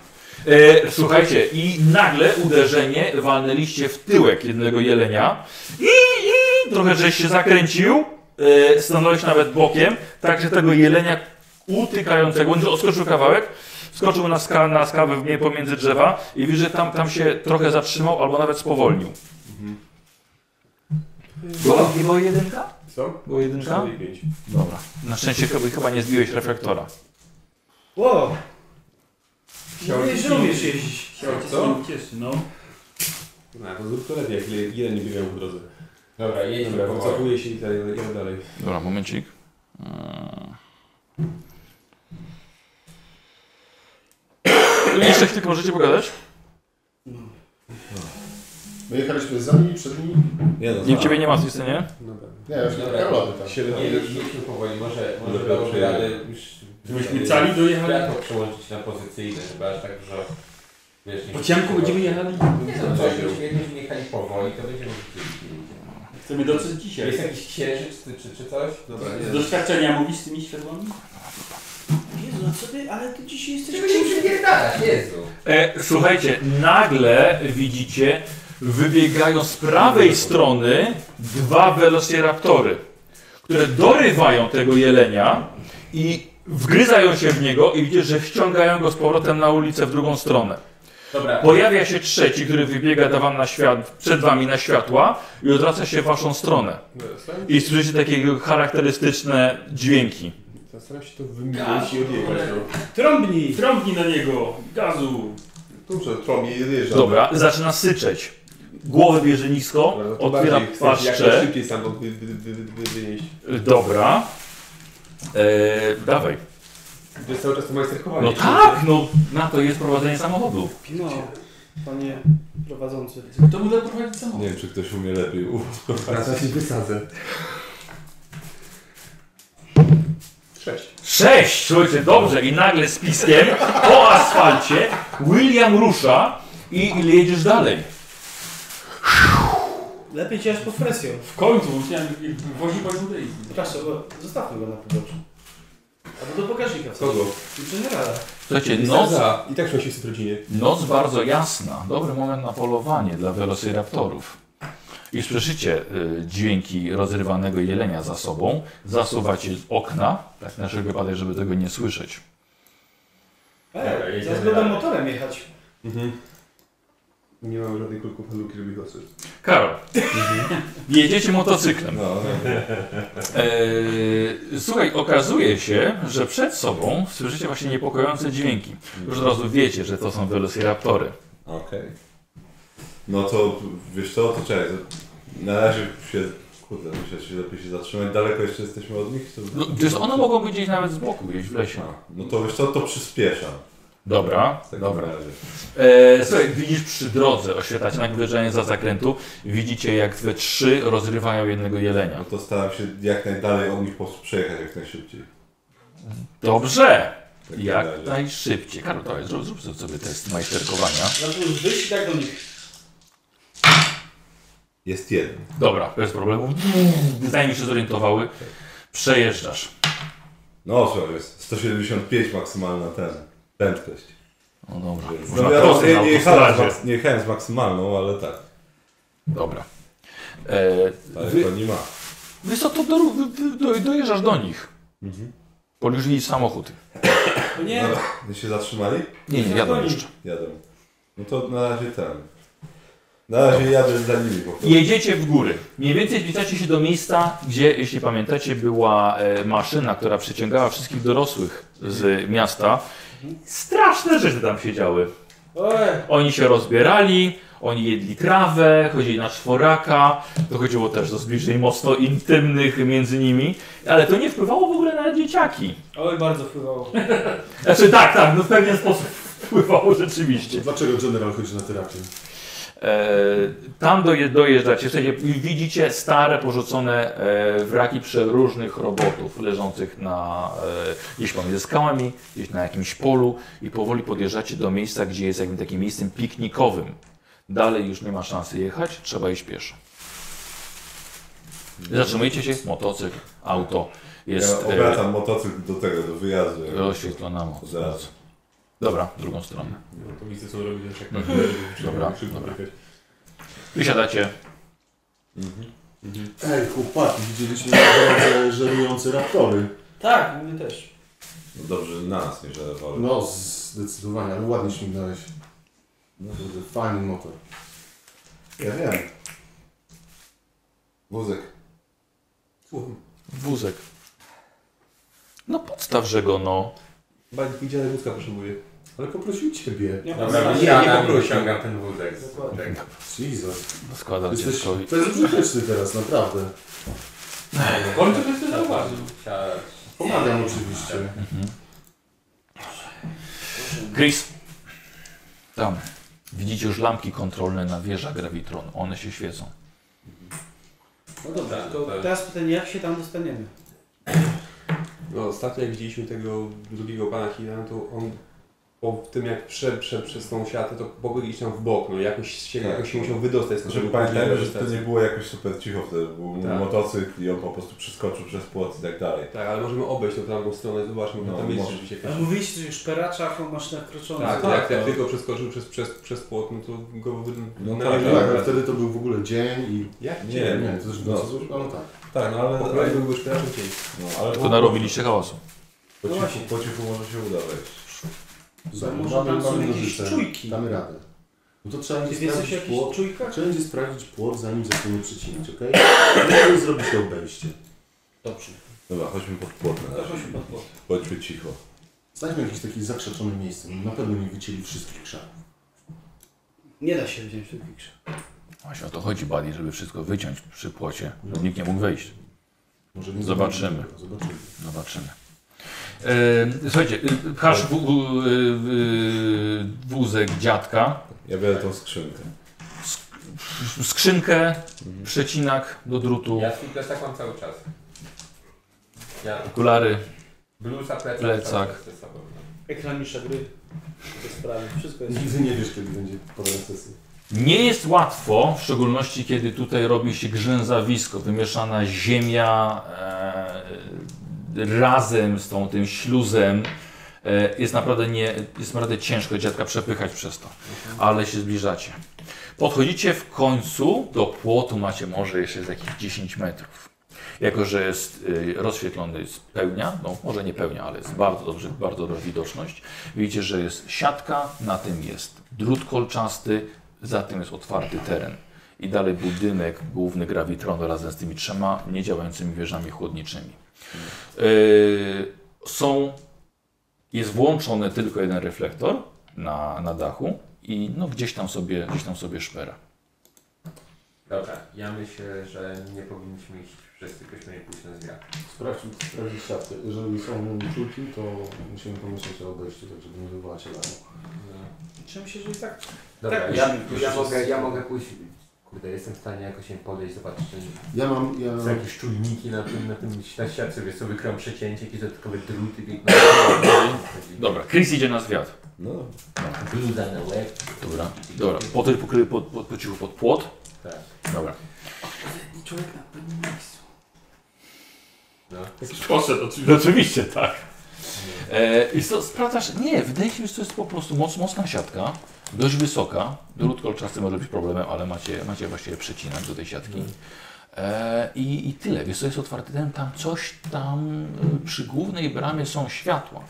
[SPEAKER 1] E, słuchajcie, i nagle uderzenie walnęliście w tyłek jednego jelenia i, i trochę żeś się zakręcił, e, stanąłeś nawet bokiem, tak że tego jelenia utykającego, on odskoczył kawałek, skoczył na, ska, na skawę w- pomiędzy drzewa i widzisz, że tam, tam się trochę zatrzymał albo nawet spowolnił. Było, było jedynka?
[SPEAKER 8] Co?
[SPEAKER 1] Było jedynka?
[SPEAKER 8] Cztery i pięć.
[SPEAKER 1] Dobra. Na szczęście chyba, chyba nie zbiłeś reflektora.
[SPEAKER 11] Wow!
[SPEAKER 8] Chciałem
[SPEAKER 11] Mówię, że
[SPEAKER 8] ci-
[SPEAKER 11] umiesz jeździć.
[SPEAKER 20] Chciałem cię
[SPEAKER 8] Co?
[SPEAKER 20] z nim cieszy, no.
[SPEAKER 8] No, to zrób to lepiej, jak jeden nie biegają po drodze.
[SPEAKER 4] Dobra, jedźmy
[SPEAKER 8] Dobra,
[SPEAKER 4] powoli.
[SPEAKER 8] wycofuję się tak, i dalej, jadę dalej.
[SPEAKER 1] Dobra, momencik. Eee. Jeszcze chwilkę możecie pogadać?
[SPEAKER 14] My jechaliśmy za nimi, przed nimi.
[SPEAKER 3] Nie,
[SPEAKER 1] Nie, ciebie nie ma w tej scenie?
[SPEAKER 14] Dobra. Nie, ja już nie Karolady tak.
[SPEAKER 4] Nie, jedźmy powoli, może, może
[SPEAKER 3] Dobra,
[SPEAKER 4] dałoby
[SPEAKER 3] przejdę.
[SPEAKER 4] radę już...
[SPEAKER 2] Żebyśmy cali dojechali?
[SPEAKER 4] Światło przełączyć na pozycyjne, żeby aż tak, że... Wiesz, nie
[SPEAKER 2] Po ciemku będziemy jechali?
[SPEAKER 4] Nie no, to jakbyśmy jechali powoli, to będziemy widzieli.
[SPEAKER 2] Chcemy dotrzeć dzisiaj.
[SPEAKER 4] Jest jakiś księżyc czy, czy, czy coś?
[SPEAKER 14] Dobra,
[SPEAKER 8] tak.
[SPEAKER 2] Z
[SPEAKER 14] jest.
[SPEAKER 2] doświadczenia mówisz z tymi światłami?
[SPEAKER 11] Jezu, a co ty, ale ty dzisiaj jesteś...
[SPEAKER 4] Czego się przypierdalasz, Jezu?
[SPEAKER 1] E, słuchajcie, nagle widzicie, wybiegają z prawej strony dwa velociraptory, które dorywają tego jelenia i wgryzają się w niego i widzicie, że wciągają go z powrotem na ulicę w drugą stronę.
[SPEAKER 4] Dobra,
[SPEAKER 1] Pojawia się trzeci, który wybiega do wam na świat, przed wami na światła i odwraca się w waszą stronę. I słyszycie takie jego charakterystyczne dźwięki.
[SPEAKER 14] Staram się to wymienić i odjechać. no.
[SPEAKER 2] Trąbnij! Trąbnij na niego! Gazu!
[SPEAKER 14] Dobrze, trąbię i odjeżdżam.
[SPEAKER 1] Dobra, zaczyna syczeć. Głowę bierze nisko,
[SPEAKER 14] Dobra, no to
[SPEAKER 1] otwiera
[SPEAKER 14] bardziej chcę Jak
[SPEAKER 1] paszczę.
[SPEAKER 14] najszybciej stamtąd wy- wy- wy- wy- wy- wynieść.
[SPEAKER 1] Dobra. Eee, dawaj.
[SPEAKER 14] To jest cały czas to majsterkowanie.
[SPEAKER 1] No tak, no na to jest prowadzenie samochodu.
[SPEAKER 11] No, panie prowadzący.
[SPEAKER 2] To mu da prowadzić samochód.
[SPEAKER 3] Nie wiem, czy ktoś umie lepiej. Uff,
[SPEAKER 14] Raz ja się wysadzę. Sześć.
[SPEAKER 1] Sześć, słuchajcie, dobrze. I nagle z piskiem po asfalcie William rusza i, i jedziesz dalej.
[SPEAKER 11] Lepiej cię aż pod presją.
[SPEAKER 2] W końcu, musiałem wozi bardzo dojść.
[SPEAKER 11] Przepraszam, bo zostawmy go na podłodze. Albo do pokaźnika.
[SPEAKER 14] Kogo?
[SPEAKER 11] Generala.
[SPEAKER 1] Słuchajcie,
[SPEAKER 14] No
[SPEAKER 1] noc,
[SPEAKER 14] za. I tak się jest w rodzinie.
[SPEAKER 1] noc bardzo jasna. Dobry moment na polowanie dla velociraptorów. I słyszycie y, dźwięki rozrywanego jelenia za sobą. Zasuwacie z okna, tak na wszelki wypadek, żeby tego nie słyszeć.
[SPEAKER 4] Dobra,
[SPEAKER 11] Ej,
[SPEAKER 4] jedziemy
[SPEAKER 11] zaraz będę
[SPEAKER 4] dalej.
[SPEAKER 11] motorem jechać.
[SPEAKER 14] Nie mam żadnych kulków paluki rubikosy.
[SPEAKER 1] Karol, jedziecie motocyklem.
[SPEAKER 3] no.
[SPEAKER 1] Eee, słuchaj, okazuje się, że przed sobą słyszycie właśnie niepokojące dźwięki. Już od razu wiecie, że to są velociraptory.
[SPEAKER 3] Okej. No to wiesz co, to czekaj. To na razie się. Kurde, muszę się lepiej się zatrzymać. Daleko jeszcze jesteśmy od nich? To...
[SPEAKER 1] No, gdyż one mogą być gdzieś nawet z boku, gdzieś w lesie.
[SPEAKER 3] A, no to wiesz co, to przyspieszam.
[SPEAKER 1] Dobra,
[SPEAKER 3] W takim
[SPEAKER 1] dobra.
[SPEAKER 3] razie.
[SPEAKER 1] Eee, słuchaj, widzisz przy drodze oświetlacie nagwyżenie za zakrętu. Widzicie, jak we trzy rozrywają jednego jelenia.
[SPEAKER 3] No to staram się jak najdalej od nich po prostu przejechać jak najszybciej.
[SPEAKER 1] Dobrze!
[SPEAKER 3] W takim
[SPEAKER 1] Jak
[SPEAKER 3] razie.
[SPEAKER 1] najszybciej. Karol, dawaj, zrób, zrób sobie test majsterkowania.
[SPEAKER 11] Zaczął wyjść i tak do nich.
[SPEAKER 3] Jest jeden.
[SPEAKER 1] Dobra, bez problemu. Zanim się zorientowały, przejeżdżasz.
[SPEAKER 3] No słuchaj, jest 175 maksymalna ten. Prędkość.
[SPEAKER 1] No dobra.
[SPEAKER 3] Więc,
[SPEAKER 1] Można
[SPEAKER 3] no ja
[SPEAKER 1] prosto
[SPEAKER 3] nie,
[SPEAKER 1] na
[SPEAKER 3] nie, jechałem z,
[SPEAKER 1] autostradzie.
[SPEAKER 3] maks- nie jechałem z maksymalną, ale tak.
[SPEAKER 1] Dobra. E,
[SPEAKER 3] Ale
[SPEAKER 1] wy,
[SPEAKER 3] to nie ma.
[SPEAKER 1] wy co, to do, do, do, dojeżdżasz do nich. Mhm. Policzyli samochód.
[SPEAKER 11] To nie,
[SPEAKER 3] Dobra, wy się zatrzymali?
[SPEAKER 1] Nie, nie, jadą jeszcze.
[SPEAKER 3] Jadę. No to na razie ten. Na razie jadę za nimi po prostu.
[SPEAKER 1] Jedziecie w góry. Mniej więcej zbliżacie się do miejsca, gdzie, jeśli pamiętacie, była e, maszyna, która przyciągała wszystkich dorosłych z miasta. Straszne rzeczy tam się działy.
[SPEAKER 11] Oj,
[SPEAKER 1] Oni się rozbierali, oni jedli trawę, chodzili na czworaka. To chodziło też do zbliżeń mocno intymnych między nimi, ale to nie wpływało w ogóle na dzieciaki.
[SPEAKER 11] oj, bardzo wpływało.
[SPEAKER 1] Znaczy tak, tak, no w pewien sposób wpływało rzeczywiście.
[SPEAKER 14] Dlaczego general chodzi na terapię?
[SPEAKER 1] E, tam doje, dojeżdżacie, w sensie widzicie stare, porzucone e, wraki przeróżnych robotów leżących na, e, gdzieś pomiędzy skałami, gdzieś na jakimś polu i powoli podjeżdżacie do miejsca, gdzie jest jakimś takim miejscem piknikowym. Dalej już nie ma szansy jechać, trzeba iść pieszo. Zatrzymujecie się, motocykl, auto, jest
[SPEAKER 3] ja obracam motocykl do tego, do wyjazdu.
[SPEAKER 1] e, oświetlona moc.
[SPEAKER 3] Zaraz.
[SPEAKER 1] Dobra, w drugą stronę. Mhm.
[SPEAKER 22] To mi chcą robić jeszcze jak
[SPEAKER 1] Dobra, dobra. Wysiadacie.
[SPEAKER 3] Mhm.
[SPEAKER 23] Ej, chłopaki, widzieliśmy na drodze żerujące raptory.
[SPEAKER 11] Tak, mnie też.
[SPEAKER 3] No dobrze, że na nas nie żarowały. No.
[SPEAKER 14] No, zdecydowanie, ale ładnie śmignąłeś. No to jest fajny motor.
[SPEAKER 3] Ja wiem. Wózek.
[SPEAKER 1] Wózek. No podstawże go, no.
[SPEAKER 14] Bajki dziadek wózka potrzebuje. Ale poprosił ciebie.
[SPEAKER 11] Nie,
[SPEAKER 4] Dobra,
[SPEAKER 14] nie,
[SPEAKER 4] ja
[SPEAKER 14] nie
[SPEAKER 4] nam
[SPEAKER 14] poprosił.
[SPEAKER 4] wyciągam ten wózek. z-
[SPEAKER 11] Dokładnie.
[SPEAKER 4] tak.
[SPEAKER 14] Jesus.
[SPEAKER 1] Składa
[SPEAKER 14] Jesteś,
[SPEAKER 1] dziecko.
[SPEAKER 14] to jest użyteczny teraz, naprawdę.
[SPEAKER 2] W końcu to się zauważył.
[SPEAKER 4] Siadać.
[SPEAKER 14] Pomagam oczywiście.
[SPEAKER 1] Mhm. Chris, Tam. Widzicie już lampki kontrolne na wieżach Gravitron. One się świecą.
[SPEAKER 11] No dobra, to teraz pytanie, jak się tam dostaniemy?
[SPEAKER 8] No ostatnio jak widzieliśmy tego drugiego pana Hina, to on po tym jak prze, prze, przez tą siatę, to mógł iść tam w bok, no jakoś się,
[SPEAKER 3] Tak.
[SPEAKER 8] jakoś się musiał wydostać z
[SPEAKER 3] Żeby
[SPEAKER 8] tego
[SPEAKER 3] pamiętajmy, że
[SPEAKER 8] budynku.
[SPEAKER 3] to nie było jakoś super cicho wtedy, był
[SPEAKER 8] Tak.
[SPEAKER 3] motocykl i on po prostu przeskoczył przez płot i tak dalej.
[SPEAKER 8] Tak, ale możemy obejść tą drugą stronę, zobaczmy, bo
[SPEAKER 3] No,
[SPEAKER 8] tam jest
[SPEAKER 3] może.
[SPEAKER 8] rzeczywiście
[SPEAKER 11] A
[SPEAKER 8] jakaś...
[SPEAKER 11] mówiliście, że już peracza masz nakroczony.
[SPEAKER 8] Tak,
[SPEAKER 3] tak,
[SPEAKER 8] jak, jak
[SPEAKER 3] no.
[SPEAKER 8] tylko przeskoczył przez, przez, przez płot, no to go wy...
[SPEAKER 3] No
[SPEAKER 8] na
[SPEAKER 3] tak,
[SPEAKER 8] razie-
[SPEAKER 14] Tak, ale wtedy to był w ogóle dzień i...
[SPEAKER 8] Jak
[SPEAKER 3] Nie,
[SPEAKER 8] cię?
[SPEAKER 3] nie,
[SPEAKER 14] Nie, to też
[SPEAKER 3] No.
[SPEAKER 14] było... No, no tak.
[SPEAKER 3] Tak, no ale...
[SPEAKER 8] Po
[SPEAKER 3] ale-
[SPEAKER 8] kolei byłby już raczej dzień.
[SPEAKER 3] No, ale
[SPEAKER 1] Tylko narobiliście hałasu.
[SPEAKER 3] po,
[SPEAKER 11] No
[SPEAKER 3] cichu,
[SPEAKER 11] właśnie.
[SPEAKER 3] po cichu może się uda wejść.
[SPEAKER 14] Dobra,
[SPEAKER 11] może
[SPEAKER 14] mamy-
[SPEAKER 11] tam są
[SPEAKER 14] mamy
[SPEAKER 11] jakieś
[SPEAKER 14] nożyce.
[SPEAKER 11] czujki.
[SPEAKER 14] Damy radę. No to trzeba
[SPEAKER 11] Ty
[SPEAKER 14] będzie
[SPEAKER 11] jesteś w
[SPEAKER 14] sprawdzić
[SPEAKER 11] jakichś
[SPEAKER 14] płot.
[SPEAKER 11] czujkach?
[SPEAKER 14] Trzeba będzie sprawdzić płot, zanim zaczniemy przecinać, okej? Okay? I zrobi się obejście.
[SPEAKER 11] Dobrze.
[SPEAKER 3] Dobra, chodźmy pod płot na
[SPEAKER 11] To
[SPEAKER 3] razie.
[SPEAKER 11] chodźmy pod płot.
[SPEAKER 3] Chodźmy cicho.
[SPEAKER 14] Znajdźmy jakieś takie zakrzeczone miejsce. Na pewno nie wycięli wszystkich krzaków.
[SPEAKER 11] Nie da się wziąć tych pikrze.
[SPEAKER 1] Właśnie o to chodzi, Buddy, żeby wszystko wyciąć przy płocie, żeby nikt nie mógł wejść.
[SPEAKER 14] Może nie
[SPEAKER 1] Zobaczymy.
[SPEAKER 14] zrobimy tego, Zobaczymy.
[SPEAKER 1] Zobaczymy. E, słuchajcie, y, pchasz w, w, w, wózek dziadka,
[SPEAKER 3] Ja biorę tą skrzynkę.
[SPEAKER 1] skrzynkę, przecinak do drutu,
[SPEAKER 4] Ja też tak mam cały czas. Ja
[SPEAKER 1] okulary.
[SPEAKER 4] bluza, plecak.
[SPEAKER 1] Plecak.
[SPEAKER 4] cały czas ze sobą, no.
[SPEAKER 11] Ekranisza gry. Te sprawy. Wszystko jest.
[SPEAKER 14] Nigdy nie wiesz, kiedy będzie podana sesja.
[SPEAKER 1] Nie jest łatwo, w szczególności kiedy tutaj robi się grzęzawisko, wymieszana ziemia e, razem z tą, tym śluzem. E, jest, naprawdę nie, jest naprawdę ciężko dziadka przepychać przez to, ale się zbliżacie. Podchodzicie w końcu do płotu, macie może jeszcze z jakichś 10 metrów. Jako, że jest y, rozświetlony jest pełnia, no może nie pełnia, ale jest bardzo dobrze, bardzo dobra widoczność. Widzicie, że jest siatka, na tym jest drut kolczasty, za tym jest otwarty teren. I dalej budynek główny Gravitronu razem z tymi trzema niedziałającymi wieżami chłodniczymi. Yy, są, jest włączony tylko jeden reflektor na, na dachu i no gdzieś tam sobie, gdzieś tam sobie szpera.
[SPEAKER 4] Dobra, ja myślę, że nie powinniśmy iść wszyscy, byśmy mieli pójść na zmianę.
[SPEAKER 14] Sprawdźmy, sprawdzić siatkę. Jeżeli są czulki, to musimy pomyśleć o obejściu, tak żeby nie wywołać się lamu.
[SPEAKER 11] Czym się, że i tak.
[SPEAKER 4] Dobra,
[SPEAKER 11] Tak,
[SPEAKER 4] ja,
[SPEAKER 11] musimy
[SPEAKER 4] ja,
[SPEAKER 11] pójść
[SPEAKER 4] mogę,
[SPEAKER 11] wszyscy.
[SPEAKER 4] ja mogę pójść. Kurde, jestem w stanie jakoś się podejść, zobaczyć, czy
[SPEAKER 14] Ja mam... Ja...
[SPEAKER 4] są jakieś czujniki na tym, na tym na siatce, wiesz, sobie krąg przecięcie, jakieś dodatkowe druty biegną.
[SPEAKER 1] Dobra, Chris idzie na zwiat.
[SPEAKER 3] No,
[SPEAKER 4] Bluza na łeb.
[SPEAKER 1] Dobra, dobra. Potem pokryje pod, pod, po cichu pod płot.
[SPEAKER 4] Tak.
[SPEAKER 1] Dobra.
[SPEAKER 11] Człowiek na pewnym miejscu.
[SPEAKER 4] no.
[SPEAKER 20] Poszedł oczywiście.
[SPEAKER 1] Oczywiście, tak. E, I co, sprawdzasz? Nie, wydaje się, że to jest po prostu moc, mocna siatka, dość wysoka. Drut kolczasty może być problemem, ale macie, macie właściwie przecinak do tej siatki.
[SPEAKER 20] Mhm.
[SPEAKER 1] E, i, I tyle. Wiesz, co jest otwarty ten, tam coś tam e, przy głównej bramie są światła.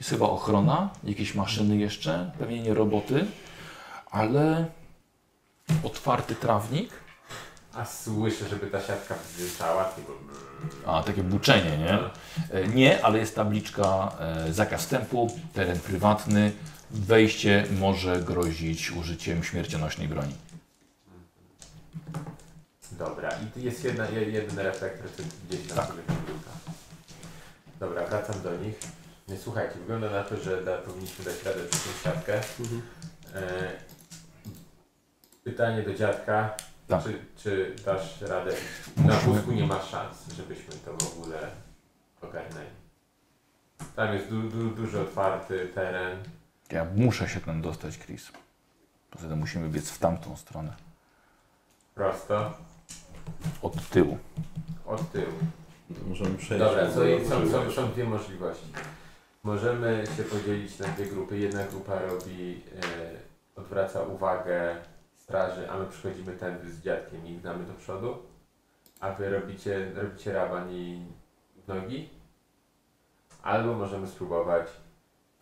[SPEAKER 1] Jest chyba ochrona, jakieś maszyny jeszcze, pewnie nie roboty, ale otwarty trawnik.
[SPEAKER 4] A słyszę, żeby ta siatka wzdyszała, tylko...
[SPEAKER 1] A, takie buczenie, nie? E, Nie, ale jest tabliczka e, zakaz wstępu, teren prywatny, wejście może grozić użyciem śmiercionośnej broni.
[SPEAKER 4] Dobra, i tu jest jedna, je- jeden reflektor, który gdzieś
[SPEAKER 1] Tak.
[SPEAKER 4] tam sobie wygląda. Dobra, wracam do nich. Nie, Słuchajcie, wygląda na to, że da, powinniśmy dać radę przez tą siatkę.
[SPEAKER 1] Mhm.
[SPEAKER 4] E, pytanie do dziadka.
[SPEAKER 1] Tak.
[SPEAKER 4] Czy, czy dasz radę? Na
[SPEAKER 1] Musimy-
[SPEAKER 4] wózku nie ma szans, żebyśmy to w ogóle ogarnęli. Tam jest du, du, duży otwarty teren.
[SPEAKER 1] Ja muszę się tam dostać, Chris. Poza tym musimy biec w tamtą stronę,
[SPEAKER 4] Prosto.
[SPEAKER 1] od tyłu.
[SPEAKER 4] Od tyłu.
[SPEAKER 3] to możemy przejść.
[SPEAKER 4] Dobra,
[SPEAKER 3] w
[SPEAKER 4] co,
[SPEAKER 3] ogóle
[SPEAKER 4] są,
[SPEAKER 3] do
[SPEAKER 4] są,
[SPEAKER 3] tyłu.
[SPEAKER 4] są dwie możliwości. Możemy się podzielić na dwie grupy. Jedna grupa robi, e, odwraca uwagę straży, a my przychodzimy tędy z dziadkiem i gnamy do przodu, a wy robicie, robicie raban i nogi. Albo możemy spróbować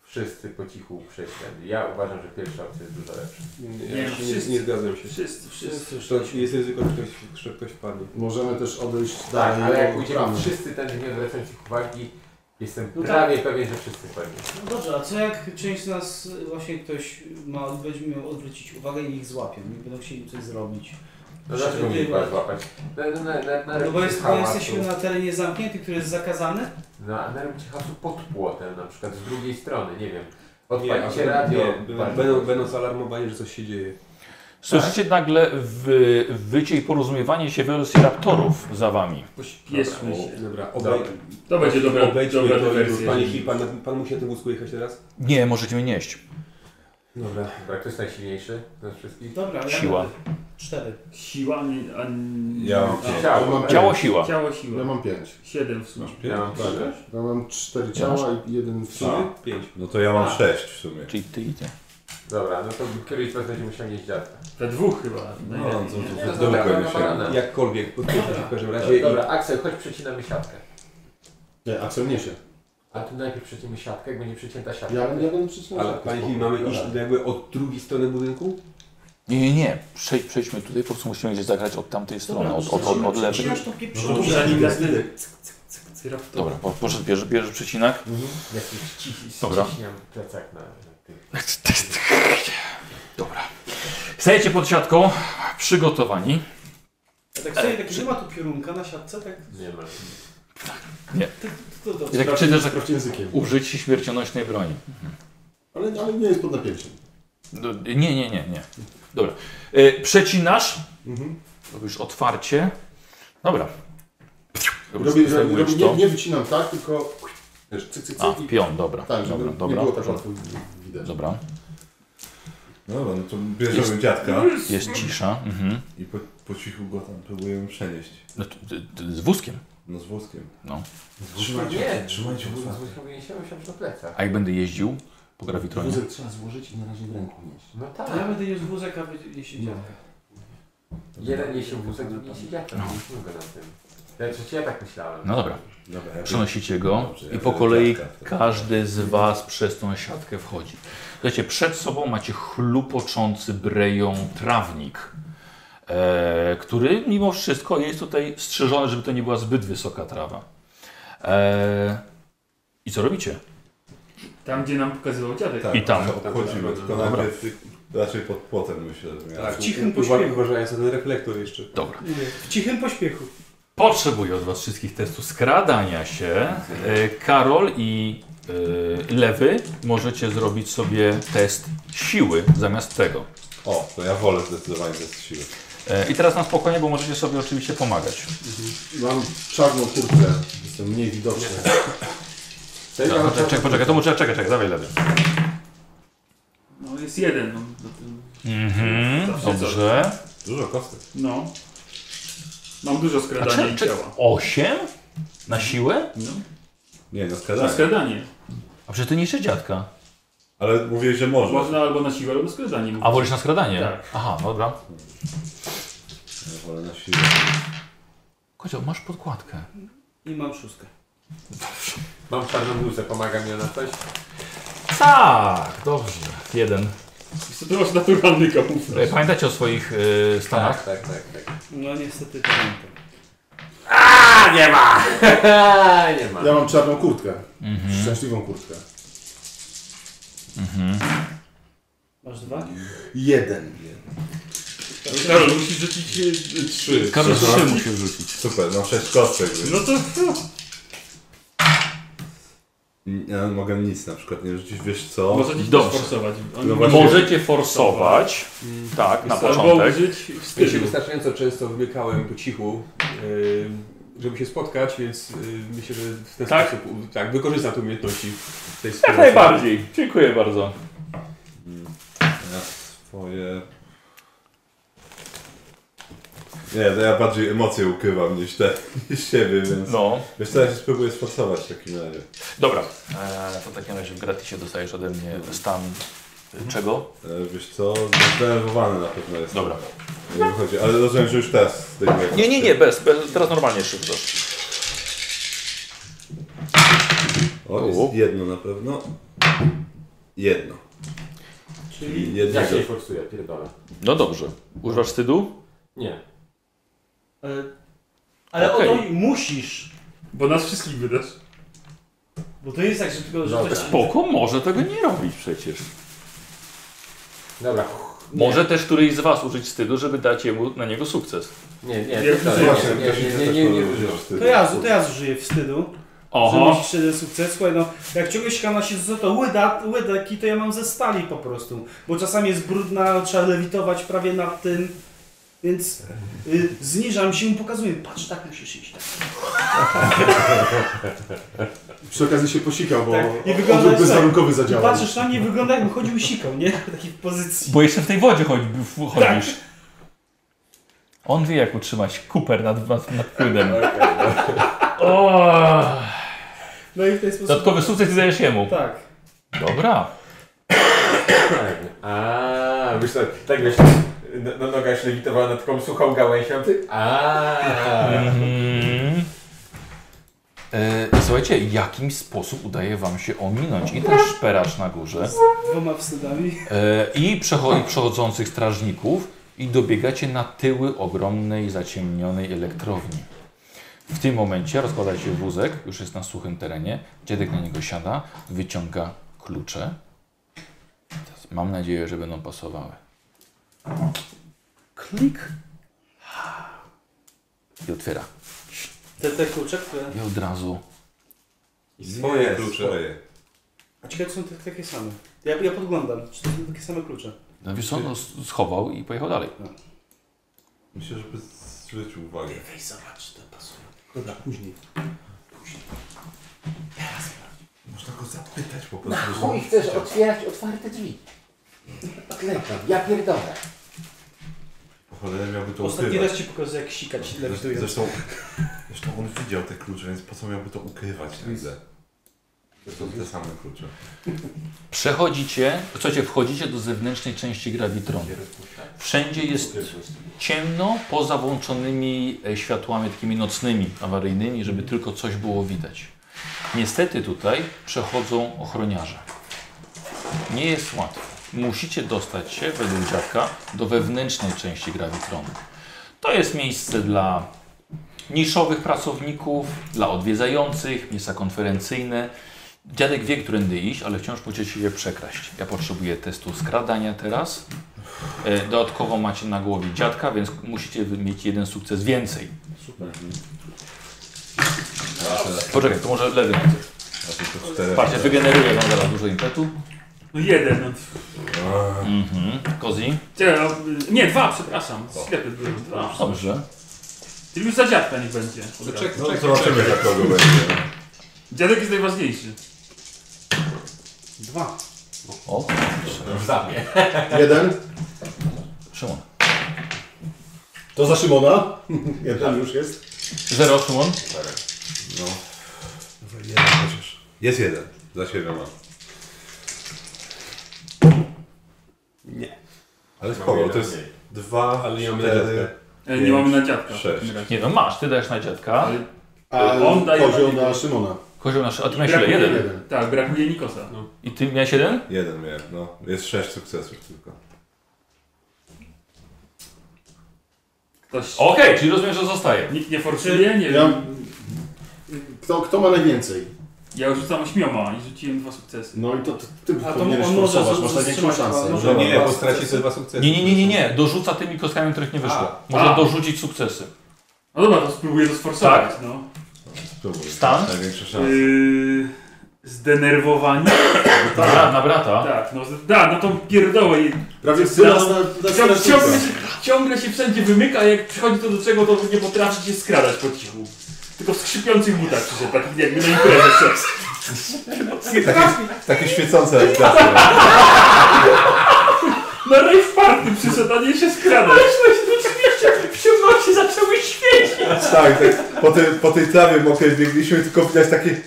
[SPEAKER 4] wszyscy po cichu przejść tędy. Ja uważam, że pierwsza opcja jest dużo lepsza.
[SPEAKER 8] Nie,
[SPEAKER 20] Nie,
[SPEAKER 8] ja się nie,
[SPEAKER 20] wszyscy.
[SPEAKER 8] nie zgadzam się.
[SPEAKER 20] Wszyscy, wszyscy.
[SPEAKER 8] To jest ryzyko, że ktoś, że ktoś wpadnie.
[SPEAKER 14] Możemy też odejść
[SPEAKER 4] Tak,
[SPEAKER 14] dalej
[SPEAKER 4] ale jak
[SPEAKER 14] od
[SPEAKER 4] pójdziemy
[SPEAKER 14] bramy.
[SPEAKER 4] wszyscy tędy, nie odwracając ich uwagi, jestem
[SPEAKER 11] No tak.
[SPEAKER 4] prawie pewien, że wszyscy spadnie.
[SPEAKER 11] No dobrze, a co jak część z nas y, właśnie ktoś ma, będzie miał odwrócić uwagę i ich złapią? Nie będą chcieli coś zrobić.
[SPEAKER 4] No dlaczego mnie
[SPEAKER 11] Przewidywać.
[SPEAKER 4] chyba złapać? Na, na, na, na, na
[SPEAKER 11] No bo jest, bo
[SPEAKER 4] hałasu.
[SPEAKER 11] jesteśmy na terenie zamkniętym, który jest zakazany.
[SPEAKER 4] No a na robicie hałasu pod płotem na przykład z drugiej strony, nie wiem.
[SPEAKER 8] Odpalicie
[SPEAKER 4] Nie,
[SPEAKER 8] radio.
[SPEAKER 4] nie,
[SPEAKER 8] tak, będą, będą zalarmowani, że coś się dzieje.
[SPEAKER 1] Słyszycie nagle wy, wycie i porozumiewanie się velociraptorów za wami.
[SPEAKER 20] Pośpieszmy się.
[SPEAKER 8] Tak. Dobra, obej...
[SPEAKER 20] To będzie dobra,
[SPEAKER 8] obejdźmy
[SPEAKER 20] dobra
[SPEAKER 8] to i-
[SPEAKER 20] dywersja.
[SPEAKER 8] Panie Hi, pan, pan musi na tym wózku jechać teraz?
[SPEAKER 1] Nie, możecie mnie nieść.
[SPEAKER 8] Dobra.
[SPEAKER 4] Dobra, kto jest najsilniejszy z nas wszystkich?
[SPEAKER 11] Dobra, ja
[SPEAKER 1] Siła.
[SPEAKER 11] będę. Cztery.
[SPEAKER 20] Siła, nie- a...
[SPEAKER 14] Ja mam
[SPEAKER 20] a-
[SPEAKER 14] ciało.
[SPEAKER 20] ciało,
[SPEAKER 4] tak,
[SPEAKER 1] Ciało siła.
[SPEAKER 20] Ciało,
[SPEAKER 14] Ja
[SPEAKER 20] siła.
[SPEAKER 14] mam pięć.
[SPEAKER 20] Siedem w sumie.
[SPEAKER 14] Ja mam cztery. Ja mam cztery
[SPEAKER 1] Ja masz-
[SPEAKER 14] ciała i jeden w
[SPEAKER 3] A.
[SPEAKER 14] sumie.
[SPEAKER 8] Pięć.
[SPEAKER 3] No to ja mam sześć w sumie.
[SPEAKER 1] Czyli ty i ty.
[SPEAKER 4] Dobra, no to któryś z was będzie musiał mieć dziadka.
[SPEAKER 20] We dwóch chyba. tak.
[SPEAKER 3] No, to,
[SPEAKER 20] najlepiej,
[SPEAKER 3] to,
[SPEAKER 20] nie?
[SPEAKER 3] to, to
[SPEAKER 4] Dobra,
[SPEAKER 3] długo
[SPEAKER 4] no,
[SPEAKER 3] nie
[SPEAKER 4] no, no.
[SPEAKER 3] się.
[SPEAKER 8] Jakkolwiek, podkreślam w
[SPEAKER 4] Do-
[SPEAKER 8] każdym razie. i-
[SPEAKER 4] Dobra, Aksel, chodź przecinamy siatkę.
[SPEAKER 14] Nie, Aksel niesie.
[SPEAKER 4] A tu najpierw przeciemy siatkę, jak będzie przycięta siatka.
[SPEAKER 14] Ja, ja będę przycinał.
[SPEAKER 8] Ale panie Hi, mamy iść jakby od drugiej strony budynku?
[SPEAKER 1] Nie, nie, nie. Przej, przejdźmy tutaj, po prostu musimy gdzieś zagrać od tamtej strony, No, od, od, od, od lewej.
[SPEAKER 11] Ja sztuki
[SPEAKER 20] No to zanim nas tyle.
[SPEAKER 1] Dobra, po- poszedł, bierze, bierze przecinak.
[SPEAKER 4] Mhm. Ja tu ściś-
[SPEAKER 1] Dobra.
[SPEAKER 4] ściśniam plecak na, na tych.
[SPEAKER 1] Dobra. Stajecie pod siatką, przygotowani.
[SPEAKER 11] Ja tak sobie, tak, że ma tu piorunka na siatce, tak?
[SPEAKER 4] Nie ma.
[SPEAKER 11] To dobrze.
[SPEAKER 1] I tak przyjdziesz, że
[SPEAKER 14] Sprawdź językiem.
[SPEAKER 1] użyć śmiercionośnej broni.
[SPEAKER 14] Ale, ale nie jest pod napięciem.
[SPEAKER 1] Do- Nie, nie, nie, nie. Dobra. E, przecinasz.
[SPEAKER 14] Mhm.
[SPEAKER 1] Robisz otwarcie. Dobra.
[SPEAKER 14] Robię, robię,
[SPEAKER 1] Zdejmujesz
[SPEAKER 14] robię, nie, nie wycinam tak, tylko wiesz, cyk, cyk, cyk
[SPEAKER 1] A,
[SPEAKER 14] i
[SPEAKER 1] pion, dobra.
[SPEAKER 14] tak, żeby
[SPEAKER 1] dobra,
[SPEAKER 14] nie
[SPEAKER 1] dobra.
[SPEAKER 14] było tak łatwo widać.
[SPEAKER 1] Dobra.
[SPEAKER 3] No dobra, no to bierzemy
[SPEAKER 1] Jest-
[SPEAKER 3] dziadka
[SPEAKER 1] Jest cisza. Mhm.
[SPEAKER 3] i po, po cichu go tam próbujemy przenieść.
[SPEAKER 1] No, t- t- t- z wózkiem.
[SPEAKER 3] No z wózkiem.
[SPEAKER 1] No.
[SPEAKER 4] Nie,
[SPEAKER 3] Trzymajcie, trzymajcie
[SPEAKER 4] z
[SPEAKER 3] wózka.
[SPEAKER 4] wózkiem nie się musiał na plecach.
[SPEAKER 1] A jak będę jeździł po grawitronie?
[SPEAKER 14] Wózek trzeba złożyć i na razie w ręku nieść.
[SPEAKER 4] No tak.
[SPEAKER 11] To Ja będę już wózek, a wy jeśli
[SPEAKER 1] No,
[SPEAKER 11] działa.
[SPEAKER 4] Jeden niesie wózek, drugi niesie dziadka. No. Mieliśmy go na tym. Ja, przecież ja tak myślałem.
[SPEAKER 1] No dobra.
[SPEAKER 3] Dobra, ja
[SPEAKER 1] Przenosicie go
[SPEAKER 3] Dobrze,
[SPEAKER 1] i
[SPEAKER 3] ja
[SPEAKER 1] po
[SPEAKER 3] biorę
[SPEAKER 1] kolei
[SPEAKER 3] dziadka wtedy.
[SPEAKER 1] każdy z Was przez tą siatkę wchodzi. Słuchajcie, przed sobą macie chlupoczący breją trawnik, e, który mimo wszystko jest tutaj strzeżony, żeby to nie była zbyt wysoka trawa. E, I co robicie?
[SPEAKER 20] Tam, gdzie nam pokazywał dziadek.
[SPEAKER 3] Tak,
[SPEAKER 1] I tam.
[SPEAKER 3] to Obchodzimy, tylko
[SPEAKER 1] Dobra.
[SPEAKER 3] najpierw raczej pod płotem myślę, że miałem.
[SPEAKER 8] Tak,
[SPEAKER 11] cichym
[SPEAKER 8] uwa-
[SPEAKER 11] pośpiechu.
[SPEAKER 8] Uważając na ten reflektor jeszcze.
[SPEAKER 1] Dobra.
[SPEAKER 11] W cichym pośpiechu.
[SPEAKER 1] Potrzebuję od Was wszystkich testu skradania się. E, Karol i e, Lewy możecie zrobić sobie test siły zamiast tego.
[SPEAKER 3] O, to ja wolę zdecydowanie test siły.
[SPEAKER 1] E, I teraz na spokojnie, bo możecie sobie oczywiście pomagać.
[SPEAKER 14] Mam czarną kurtkę, jestem mniej widoczny.
[SPEAKER 4] Serio,
[SPEAKER 1] Tak,
[SPEAKER 4] mam
[SPEAKER 1] poczekaj,
[SPEAKER 4] czarną-
[SPEAKER 1] czekaj, poczekaj, to muszę, czekaj, czekaj, dawaj lewy.
[SPEAKER 20] No jest jeden. No, do tym-
[SPEAKER 1] Mhm,
[SPEAKER 20] Zawsze
[SPEAKER 1] dobrze.
[SPEAKER 3] Dużo kostek.
[SPEAKER 20] no. Mam dużo skradania i
[SPEAKER 3] Tak.
[SPEAKER 20] ciała.
[SPEAKER 1] 8? Na siłę?
[SPEAKER 3] Nie, no
[SPEAKER 20] Na
[SPEAKER 3] skradanie.
[SPEAKER 20] skradanie.
[SPEAKER 1] A przecież ty nie jeszcze dziadka.
[SPEAKER 3] Ale mówię, że może.
[SPEAKER 20] Można albo na siłę, albo na skradanie.
[SPEAKER 1] A wolisz na skradanie?
[SPEAKER 20] Tak.
[SPEAKER 1] Aha, no dobra.
[SPEAKER 3] Ja wolę na siłę.
[SPEAKER 1] Kozio, masz podkładkę.
[SPEAKER 11] I mam szóstkę.
[SPEAKER 4] Mam czarną bluzę, pomaga mi ona coś.
[SPEAKER 1] Tak, dobrze. Jeden.
[SPEAKER 20] Wiesz co, To masz naturalny kamuflaż.
[SPEAKER 1] E, Pamiętacie o swoich e, stanach?
[SPEAKER 4] tak, tak. tak.
[SPEAKER 11] No niestety pamiętam.
[SPEAKER 4] A, nie ma! nie ma.
[SPEAKER 14] Ja mam czarną kurtkę,
[SPEAKER 1] Mhm.
[SPEAKER 14] szczęśliwą kurtkę.
[SPEAKER 11] Masz dwa?
[SPEAKER 14] Jeden.
[SPEAKER 3] No tak,
[SPEAKER 20] Karol, musisz rzucić e, trzy.
[SPEAKER 1] Karol, trzy musisz rzucić.
[SPEAKER 3] Super, no sześć kostek. Więc...
[SPEAKER 20] No to...
[SPEAKER 3] N- Ja mogę nic na przykład nie rzucić, wiesz co?
[SPEAKER 20] Możecie ci
[SPEAKER 1] dobrze.
[SPEAKER 20] też forsować. Oni
[SPEAKER 3] No
[SPEAKER 20] mają-
[SPEAKER 1] Możecie forsować. Tak, na
[SPEAKER 20] Albo
[SPEAKER 1] początek.
[SPEAKER 20] użyć wstydu.
[SPEAKER 8] Ja się wystarczająco często wymykałem po cichu, yy, żeby się spotkać, więc yy, myślę, że w ten
[SPEAKER 20] Tak?
[SPEAKER 8] sposób u- tak, wykorzystam te umiejętności w tej
[SPEAKER 1] Jak najbardziej. Dziękuję bardzo.
[SPEAKER 3] Ja swoje... Nie, to ja bardziej emocje ukrywam niż te, niż siebie, więc...
[SPEAKER 1] No.
[SPEAKER 3] Wiesz co, ja się spróbuję sforsować w takim razie.
[SPEAKER 1] Dobra. E, to w takim razie w gratisie dostajesz ode mnie stan e, czego?
[SPEAKER 3] E, Wiesz co, zdenerwowany na pewno jest.
[SPEAKER 1] Dobra.
[SPEAKER 3] Nie wychodzi, ale rozumiem, że już teraz zdejmuję.
[SPEAKER 1] Nie, nie, nie, bez, bez teraz normalnie szybko.
[SPEAKER 3] O,
[SPEAKER 1] O.
[SPEAKER 3] jest jedno na pewno. Jedno. Czyli jedno.
[SPEAKER 4] Ja się nie forsuję, pierdolę.
[SPEAKER 1] No dobrze. Używasz wstydu?
[SPEAKER 4] Nie.
[SPEAKER 11] E, Ale
[SPEAKER 1] Okej.
[SPEAKER 11] odoj musisz.
[SPEAKER 20] Bo nas wszystkich wydasz.
[SPEAKER 11] Bo to jest tak, że tylko
[SPEAKER 4] Dobra.
[SPEAKER 11] rzucasz.
[SPEAKER 1] Spoko, może tego nie robić przecież.
[SPEAKER 4] Dobra.
[SPEAKER 1] Może też któryś z was użyć wstydu, żeby dać jemu na niego sukces.
[SPEAKER 4] Nie, nie,
[SPEAKER 20] Ja
[SPEAKER 4] pierdolę,
[SPEAKER 20] wrzucę.
[SPEAKER 3] tak
[SPEAKER 4] nie, nie, nie, nie, nie, nie, nie, nie,
[SPEAKER 11] To ja, to ja zużyję wstydu.
[SPEAKER 24] Oho.
[SPEAKER 11] Zrobić jeden sukces. Słuchaj, no, jak czegoś kana się z to łyda, łydaki, to ja mam ze stali po prostu. Bo czasami jest brudna, trzeba lewitować prawie nad tym. Więc y, zniżam się i mu pokazuję. Patrz, tak musisz iść. Tak.
[SPEAKER 14] Przy okazji się posikał, bo
[SPEAKER 11] Tak, i wygląda-
[SPEAKER 14] odruch bezwarunkowy
[SPEAKER 11] I
[SPEAKER 14] zadziałał.
[SPEAKER 11] patrzysz na mnie, wygląda jakby chodził i sikał, nie? W takiej pozycji.
[SPEAKER 1] Bo jeszcze w tej wodzie chodź, w- chodzisz. On wie, jak utrzymać kuper nad, nad, nad płynem. O!
[SPEAKER 11] No i w ten sposób...
[SPEAKER 1] Dodatkowy sukces i dajesz jemu.
[SPEAKER 11] Tak.
[SPEAKER 1] Dobra.
[SPEAKER 4] Tak. A, wiesz co, tak wiesz, no, no noga się lewitowała nad taką suchą gałęzią. A.
[SPEAKER 1] Mhm. E, słuchajcie, w jakim sposób udaje wam się ominąć i ten szperacz na górze,
[SPEAKER 11] Dwoma wstydami.
[SPEAKER 1] e, i przecho- i przechodzących strażników i dobiegacie na tyły ogromnej, zaciemnionej elektrowni. W tym momencie rozkładacie wózek, już jest na suchym terenie, dziadek na niego siada, wyciąga klucze. Mam nadzieję, że będą pasowały. Klik. I otwiera.
[SPEAKER 11] Te, te klucze, które...
[SPEAKER 1] I od razu
[SPEAKER 4] Swoje klucze.
[SPEAKER 3] Swoje.
[SPEAKER 11] A ciekawe, czy są te, takie same. Ja, ja podglądam, czy to są takie same klucze.
[SPEAKER 1] No wiesz co, no, s- schował i pojechał dalej.
[SPEAKER 3] Myślę, żeby zwrócił uwagę.
[SPEAKER 11] Weź zobacz, to pasuje.
[SPEAKER 25] Dobra, później.
[SPEAKER 3] Można go zapytać po prostu. że-
[SPEAKER 26] Chuj, chcesz otwierać otwarte drzwi. Klękam, ja pierdolę.
[SPEAKER 3] Cholera miałby to
[SPEAKER 11] Ostatni
[SPEAKER 3] ukrywać.
[SPEAKER 11] raz ci pokazuję, jak sikać
[SPEAKER 3] Zresztą,
[SPEAKER 11] lewitując.
[SPEAKER 3] zresztą, zresztą on widział te klucze, więc po co miałby to ukrywać nagle? To są te same klucze.
[SPEAKER 1] Przechodzicie, słuchajcie, wchodzicie do zewnętrznej części grawitronu. Wszędzie jest ciemno, poza włączonymi e, światłami takimi nocnymi, awaryjnymi, żeby tylko coś było widać. Niestety tutaj przechodzą ochroniarze. Nie jest łatwo. Musicie dostać się, według dziadka, do wewnętrznej części grawitronu. To jest miejsce dla niszowych pracowników, dla odwiedzających, miejsca konferencyjne. Dziadek wie, którędy iść, ale wciąż musicie je przekraść. Ja potrzebuję testu skradania teraz. E, Dodatkowo macie na głowie dziadka, więc musicie wy- mieć jeden sukces więcej. Super. Poczekaj, to może lewy najpierw.
[SPEAKER 3] A to, to cztery.
[SPEAKER 1] Patrzcie, wygeneruje wam zaraz dużo impetu.
[SPEAKER 2] No jeden, no.
[SPEAKER 1] Mhm. Kozi?
[SPEAKER 2] Cie- no, y, Nie, dwa, przepraszam. Sklepy były dwa.
[SPEAKER 1] Dobrze.
[SPEAKER 2] Czyli już za dziadka niech będzie. od razu.
[SPEAKER 3] No, zobaczymy dla kogo będzie.
[SPEAKER 2] Dziadek jest najważniejszy.
[SPEAKER 11] Dwa.
[SPEAKER 1] O,
[SPEAKER 14] Jeden.
[SPEAKER 1] Szymon.
[SPEAKER 14] To za Szymona. Jeden już jest.
[SPEAKER 1] Zero, Szymon.
[SPEAKER 3] No. Dobra, jeden chociaż. Jest jeden. Za siebie mam.
[SPEAKER 14] Nie.
[SPEAKER 3] Ale spoko, to jest dwa,
[SPEAKER 4] Ale nie mamy
[SPEAKER 3] cztery,
[SPEAKER 4] dziadka.
[SPEAKER 2] E, Nie
[SPEAKER 3] Pięć,
[SPEAKER 2] mamy na dziadka.
[SPEAKER 3] sześć.
[SPEAKER 1] Nie no, masz, ty dajesz na dziadka.
[SPEAKER 2] Ale-
[SPEAKER 14] A
[SPEAKER 2] On daje
[SPEAKER 14] poziom
[SPEAKER 2] na-
[SPEAKER 14] na Szymona.
[SPEAKER 1] Kozioł nasz, a ty miałeś ile? Jeden.
[SPEAKER 14] Jeden.
[SPEAKER 2] Tak, brakuje Nikosa. No.
[SPEAKER 1] I ty miałeś jeden?
[SPEAKER 3] jeden miałem, no. Jest sześć sukcesów tylko.
[SPEAKER 2] Ktoś...
[SPEAKER 1] Okej, czyli rozumiem, że zostaje.
[SPEAKER 2] Nikt nie forsuje, nie
[SPEAKER 14] Ja,
[SPEAKER 2] wiem.
[SPEAKER 14] kto, kto ma najwięcej?
[SPEAKER 2] Ja rzucam ośmioma i rzuciłem dwa sukcesy.
[SPEAKER 14] No i to ty, ty
[SPEAKER 11] A to
[SPEAKER 14] powinieneś
[SPEAKER 11] on może
[SPEAKER 14] forsować,
[SPEAKER 11] z-
[SPEAKER 14] masz największą
[SPEAKER 11] zatrzymać,
[SPEAKER 14] szansę.
[SPEAKER 11] no,
[SPEAKER 14] Że
[SPEAKER 11] no,
[SPEAKER 14] ma-
[SPEAKER 11] nie, bo
[SPEAKER 27] straci te dwa sukcesy.
[SPEAKER 1] Nie, nie, nie, nie, nie. Dorzuca tymi kostkami, których nie wyszło. Może
[SPEAKER 2] A.
[SPEAKER 1] dorzucić sukcesy.
[SPEAKER 2] No dobra, to spróbuję to sforsować,
[SPEAKER 1] Tak.
[SPEAKER 2] no.
[SPEAKER 3] Spróbuj.
[SPEAKER 1] Stan?
[SPEAKER 3] Największa
[SPEAKER 14] Tak.
[SPEAKER 3] szansa.
[SPEAKER 2] Yy, zdenerwowani?
[SPEAKER 1] Na, bra- na brata.
[SPEAKER 2] Tak, no, z- da, no to pierdołę. i-
[SPEAKER 14] Prawie tyle na,
[SPEAKER 2] Ciągle,
[SPEAKER 14] na
[SPEAKER 2] ciągle,
[SPEAKER 14] sukces.
[SPEAKER 2] się, ciągle się wszędzie wymyka, a jak przychodzi to do czego, to nie potrafi się skradać po cichu. Tylko w skrzypiących butach przyszedł, takich jakby na imprezę szedł.
[SPEAKER 3] Takie, takie świecące jak gwiazdy.
[SPEAKER 2] Na rave party przyszedł, a nie się skradać.
[SPEAKER 24] W ciemności zaczęły świecić.
[SPEAKER 3] tak, tak. Po, tej, po tej trawie mokrej biegliśmy i tylko widać takie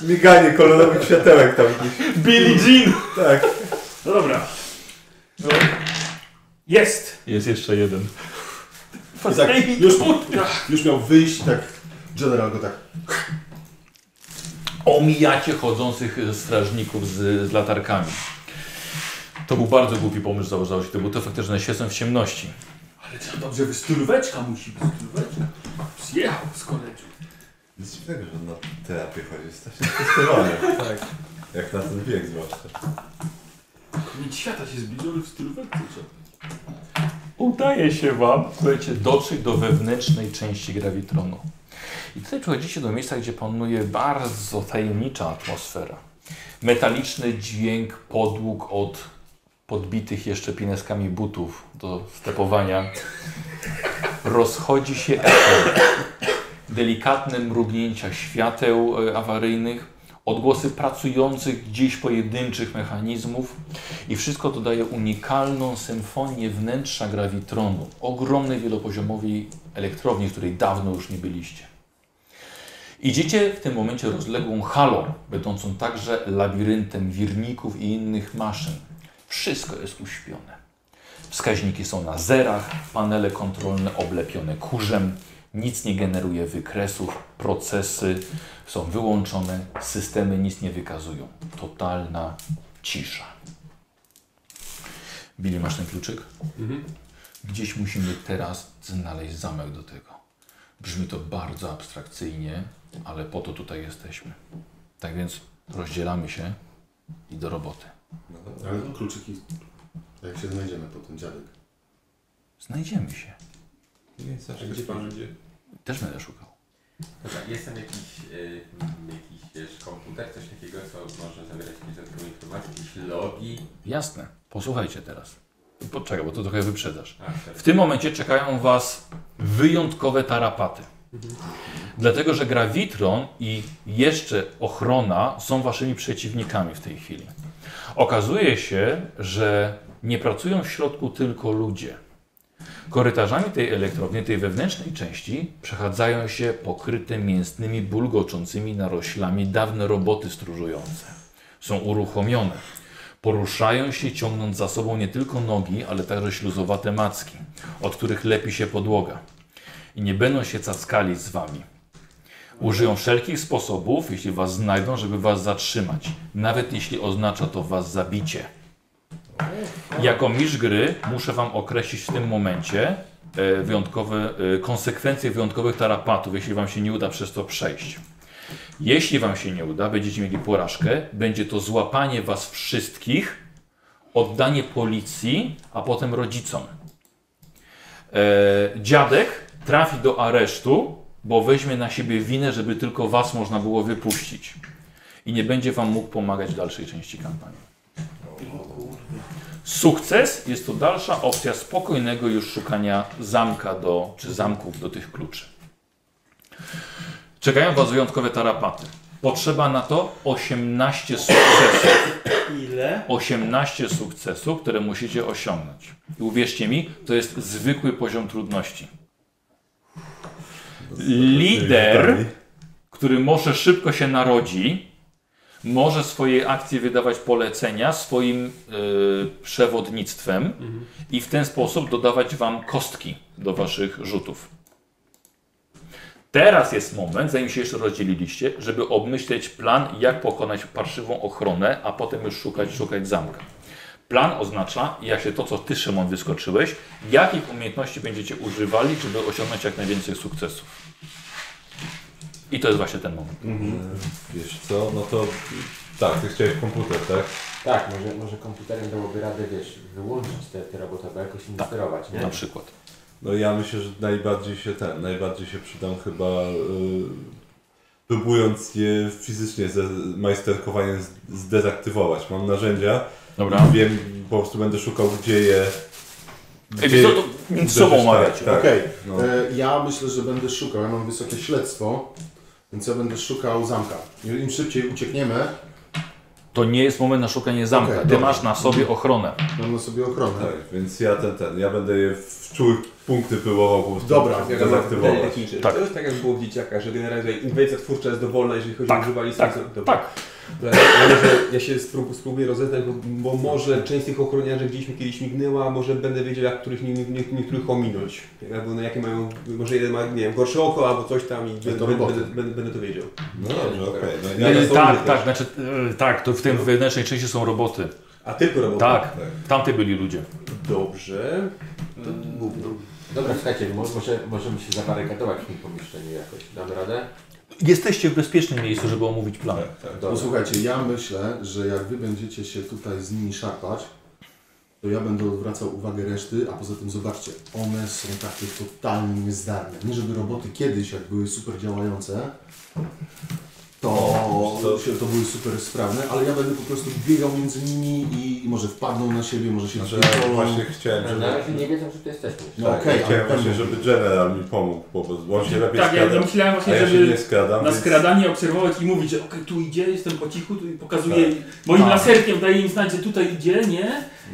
[SPEAKER 3] miganie kolorowych światełek tam gdzieś.
[SPEAKER 24] Billy Jean.
[SPEAKER 3] Tak.
[SPEAKER 2] No dobra. No. Jest!
[SPEAKER 1] Jest jeszcze jeden.
[SPEAKER 14] I tak, już, już miał wyjść, tak general go tak
[SPEAKER 1] Omijacie chodzących e, strażników z, z latarkami. To był bardzo głupi pomysł, założyło się. To był to faktyczne siedzą w ciemności.
[SPEAKER 2] Ale to dobrze, wystylóweczka musi być, stylóweczka. Przyjechał z koledżu.
[SPEAKER 3] Nic dziwnego, że on na terapię chodzi. Jest strasznie stresowany. Tak. Jak na ten wiek zwłaszcza.
[SPEAKER 2] Nic świata się zbliżyły w stylóweczce.
[SPEAKER 1] Udaje się wam, słuchajcie, dotrzeć do wewnętrznej części grawitronu. I tutaj przychodzicie do miejsca, gdzie panuje bardzo tajemnicza atmosfera. Metaliczny dźwięk podłóg od podbitych jeszcze pineskami butów do stepowania rozchodzi się echo. Delikatne mrugnięcia świateł e, awaryjnych, odgłosy pracujących gdzieś pojedynczych mechanizmów i wszystko to daje unikalną symfonię wnętrza grawitronu, ogromnej wielopoziomowej elektrowni, w której dawno już nie byliście. Idziecie w tym momencie rozległą halą, będącą także labiryntem wirników i innych maszyn. Wszystko jest uśpione. Wskaźniki są na zerach, panele kontrolne oblepione kurzem, nic nie generuje wykresów, procesy są wyłączone, systemy nic nie wykazują. Totalna cisza. Billy, masz ten kluczyk?
[SPEAKER 4] Mhm.
[SPEAKER 1] Gdzieś musimy teraz znaleźć zamek do tego. Brzmi to bardzo abstrakcyjnie, ale po to tutaj jesteśmy. Tak więc rozdzielamy się i do roboty.
[SPEAKER 14] No,
[SPEAKER 11] Tak,
[SPEAKER 14] ale kluczyki, jak się znajdziemy potem, dziadek.
[SPEAKER 1] Znajdziemy się.
[SPEAKER 8] Nie, zawsze gdzie pan będzie?
[SPEAKER 1] Też będę szukał.
[SPEAKER 4] Dobra, jest tam jakiś, y, mm, jakiś wiesz, komputer, coś takiego, co może zawierać jakieś dodatkowe informacje, jakieś logi.
[SPEAKER 1] Jasne. Posłuchajcie teraz. Poczekaj, bo to trochę wyprzedzasz.
[SPEAKER 4] A, tak.
[SPEAKER 1] W tym momencie czekają Was wyjątkowe tarapaty. Dlatego, że Gravitron i jeszcze ochrona są Waszymi przeciwnikami w tej chwili. Okazuje się, że nie pracują w środku tylko ludzie. Korytarzami tej elektrowni, tej wewnętrznej części, przechadzają się pokryte mięsnymi, bulgoczącymi naroślami dawne roboty stróżujące. Są uruchomione. Poruszają się, ciągnąc za sobą nie tylko nogi, ale także śluzowate macki, od których lepi się podłoga. I nie będą się cackali z wami. Użyją wszelkich sposobów, jeśli was znajdą, żeby was zatrzymać, nawet jeśli oznacza to was zabicie. Jako mistrz gry muszę Wam określić w tym momencie e, wyjątkowe e, konsekwencje wyjątkowych tarapatów, jeśli Wam się nie uda przez to przejść. Jeśli Wam się nie uda, będziecie mieli porażkę, będzie to złapanie Was wszystkich, oddanie policji, a potem rodzicom. E, dziadek trafi do aresztu, bo weźmie na siebie winę, żeby tylko Was można było wypuścić. I nie będzie Wam mógł pomagać w dalszej części kampanii. Sukces jest to dalsza opcja spokojnego już szukania zamka do, czy zamków do tych kluczy. Czekają Was wyjątkowe tarapaty. Potrzeba na to 18 sukcesów.
[SPEAKER 11] Ile?
[SPEAKER 1] 18 sukcesów, które musicie osiągnąć. I uwierzcie mi, to jest zwykły poziom trudności. Lider, który może szybko się narodzi, może swoje akcje wydawać polecenia swoim y, przewodnictwem i w ten sposób dodawać wam kostki do waszych rzutów. Teraz jest moment, zanim się jeszcze rozdzieliliście, żeby obmyśleć plan, jak pokonać parszywą ochronę, a potem już szukać, szukać zamka. Plan oznacza, jak się to, co ty, Szymon, wyskoczyłeś, jakich umiejętności będziecie używali, żeby osiągnąć jak najwięcej sukcesów. I to jest właśnie ten moment.
[SPEAKER 3] Wiesz co, no to tak, ty chciałeś komputer, tak?
[SPEAKER 4] Tak, może, może komputerem dałoby radę, wiesz, wyłączyć te, te roboty, albo jakoś im sterować, nie?
[SPEAKER 1] przykład.
[SPEAKER 3] No ja myślę, że najbardziej się ten, najbardziej się przydam chyba y, próbując je fizycznie ze, majsterkowaniem z- zdezaktywować. Mam narzędzia,
[SPEAKER 1] Dobra.
[SPEAKER 3] wiem, po prostu będę szukał gdzie je...
[SPEAKER 1] Ej, wiesz co, to między sobą omawiacie.
[SPEAKER 3] Tak,
[SPEAKER 14] Okej,
[SPEAKER 3] no.
[SPEAKER 14] e, ja myślę, że będę szukał, ja mam wysokie śledztwo, więc ja będę szukał zamka. Im im szybciej uciekniemy,
[SPEAKER 1] To nie jest moment na szukanie zamka.
[SPEAKER 14] Okej,
[SPEAKER 1] Ty
[SPEAKER 14] dobra.
[SPEAKER 1] masz na sobie ochronę.
[SPEAKER 14] mamy sobie ochronę.
[SPEAKER 3] tak, więc ja ten, ten, ja będę je w czułych punkty próbował po prostu
[SPEAKER 14] Dobra,
[SPEAKER 8] Jak
[SPEAKER 3] dezaktywować.
[SPEAKER 8] techniczny.
[SPEAKER 1] Tak.
[SPEAKER 8] To jest tak jak było w dzieciakach, że generalnie inwencja twórcza jest dowolna, jeżeli chodzi o używanie
[SPEAKER 1] tak,
[SPEAKER 8] sensorów.
[SPEAKER 1] tak.
[SPEAKER 8] Ja, ja, że ja się sprób- spróbuję rozeznać, bo, bo może część z tych ochroniarzy gdzieś mi kiedyś mignęła, a może będę wiedział, jak których nie, nie, nie, niektórych ominąć. Albo no, jakie mają, może jeden ma, nie wiem, gorsze oko albo coś tam i będę, będę,
[SPEAKER 14] roboty.
[SPEAKER 8] będę, będę to wiedział.
[SPEAKER 3] No dobrze, okej. No, ja,
[SPEAKER 1] Yy,
[SPEAKER 8] na sobie
[SPEAKER 1] tak,
[SPEAKER 8] też.
[SPEAKER 1] tak, znaczy, yy, tak, to w tym wewnętrznej części są roboty.
[SPEAKER 8] A tylko roboty.
[SPEAKER 1] Tak, tamty byli ludzie.
[SPEAKER 8] Dobrze. To gówno.
[SPEAKER 4] Dobra, słuchajcie, mo- może, możemy się zabarykadować w tym pomieszczeniu jakoś. Damy radę?
[SPEAKER 1] Jesteście w bezpiecznym miejscu, żeby omówić plan.
[SPEAKER 3] tak,
[SPEAKER 14] No Posłuchajcie, ja myślę, że jak wy będziecie się tutaj z nimi szarpać, to ja będę odwracał uwagę reszty, a poza tym zobaczcie, one są takie totalnie niezdarne. Nie żeby roboty kiedyś, jak były super działające, to,
[SPEAKER 3] To-
[SPEAKER 14] się, to były super sprawne, ale ja będę po prostu biegał między nimi i, i może wpadną na siebie, może się
[SPEAKER 3] Znaczy,
[SPEAKER 14] zbiorą.
[SPEAKER 3] właśnie chciałem, żeby...
[SPEAKER 14] Na razie
[SPEAKER 28] nie wiedzą, że to jesteśmy.
[SPEAKER 14] No
[SPEAKER 3] tak,
[SPEAKER 14] okej,
[SPEAKER 3] ja chciałem
[SPEAKER 14] ale pewnie.
[SPEAKER 3] właśnie, żeby General mi pomógł, po prostu, bo on się lepiej
[SPEAKER 20] Tak, ja
[SPEAKER 3] skrada.
[SPEAKER 20] myślałem właśnie,
[SPEAKER 3] a ja
[SPEAKER 20] żeby
[SPEAKER 3] się nie skradam,
[SPEAKER 20] na
[SPEAKER 3] więc-
[SPEAKER 20] skradanie obserwować i mówić, że okej, tu idzie, jestem po cichu, tu i pokazuję
[SPEAKER 3] Tak.
[SPEAKER 20] im- moim
[SPEAKER 3] Tak.
[SPEAKER 20] laserkiem, daję im znać, że tutaj idzie, nie?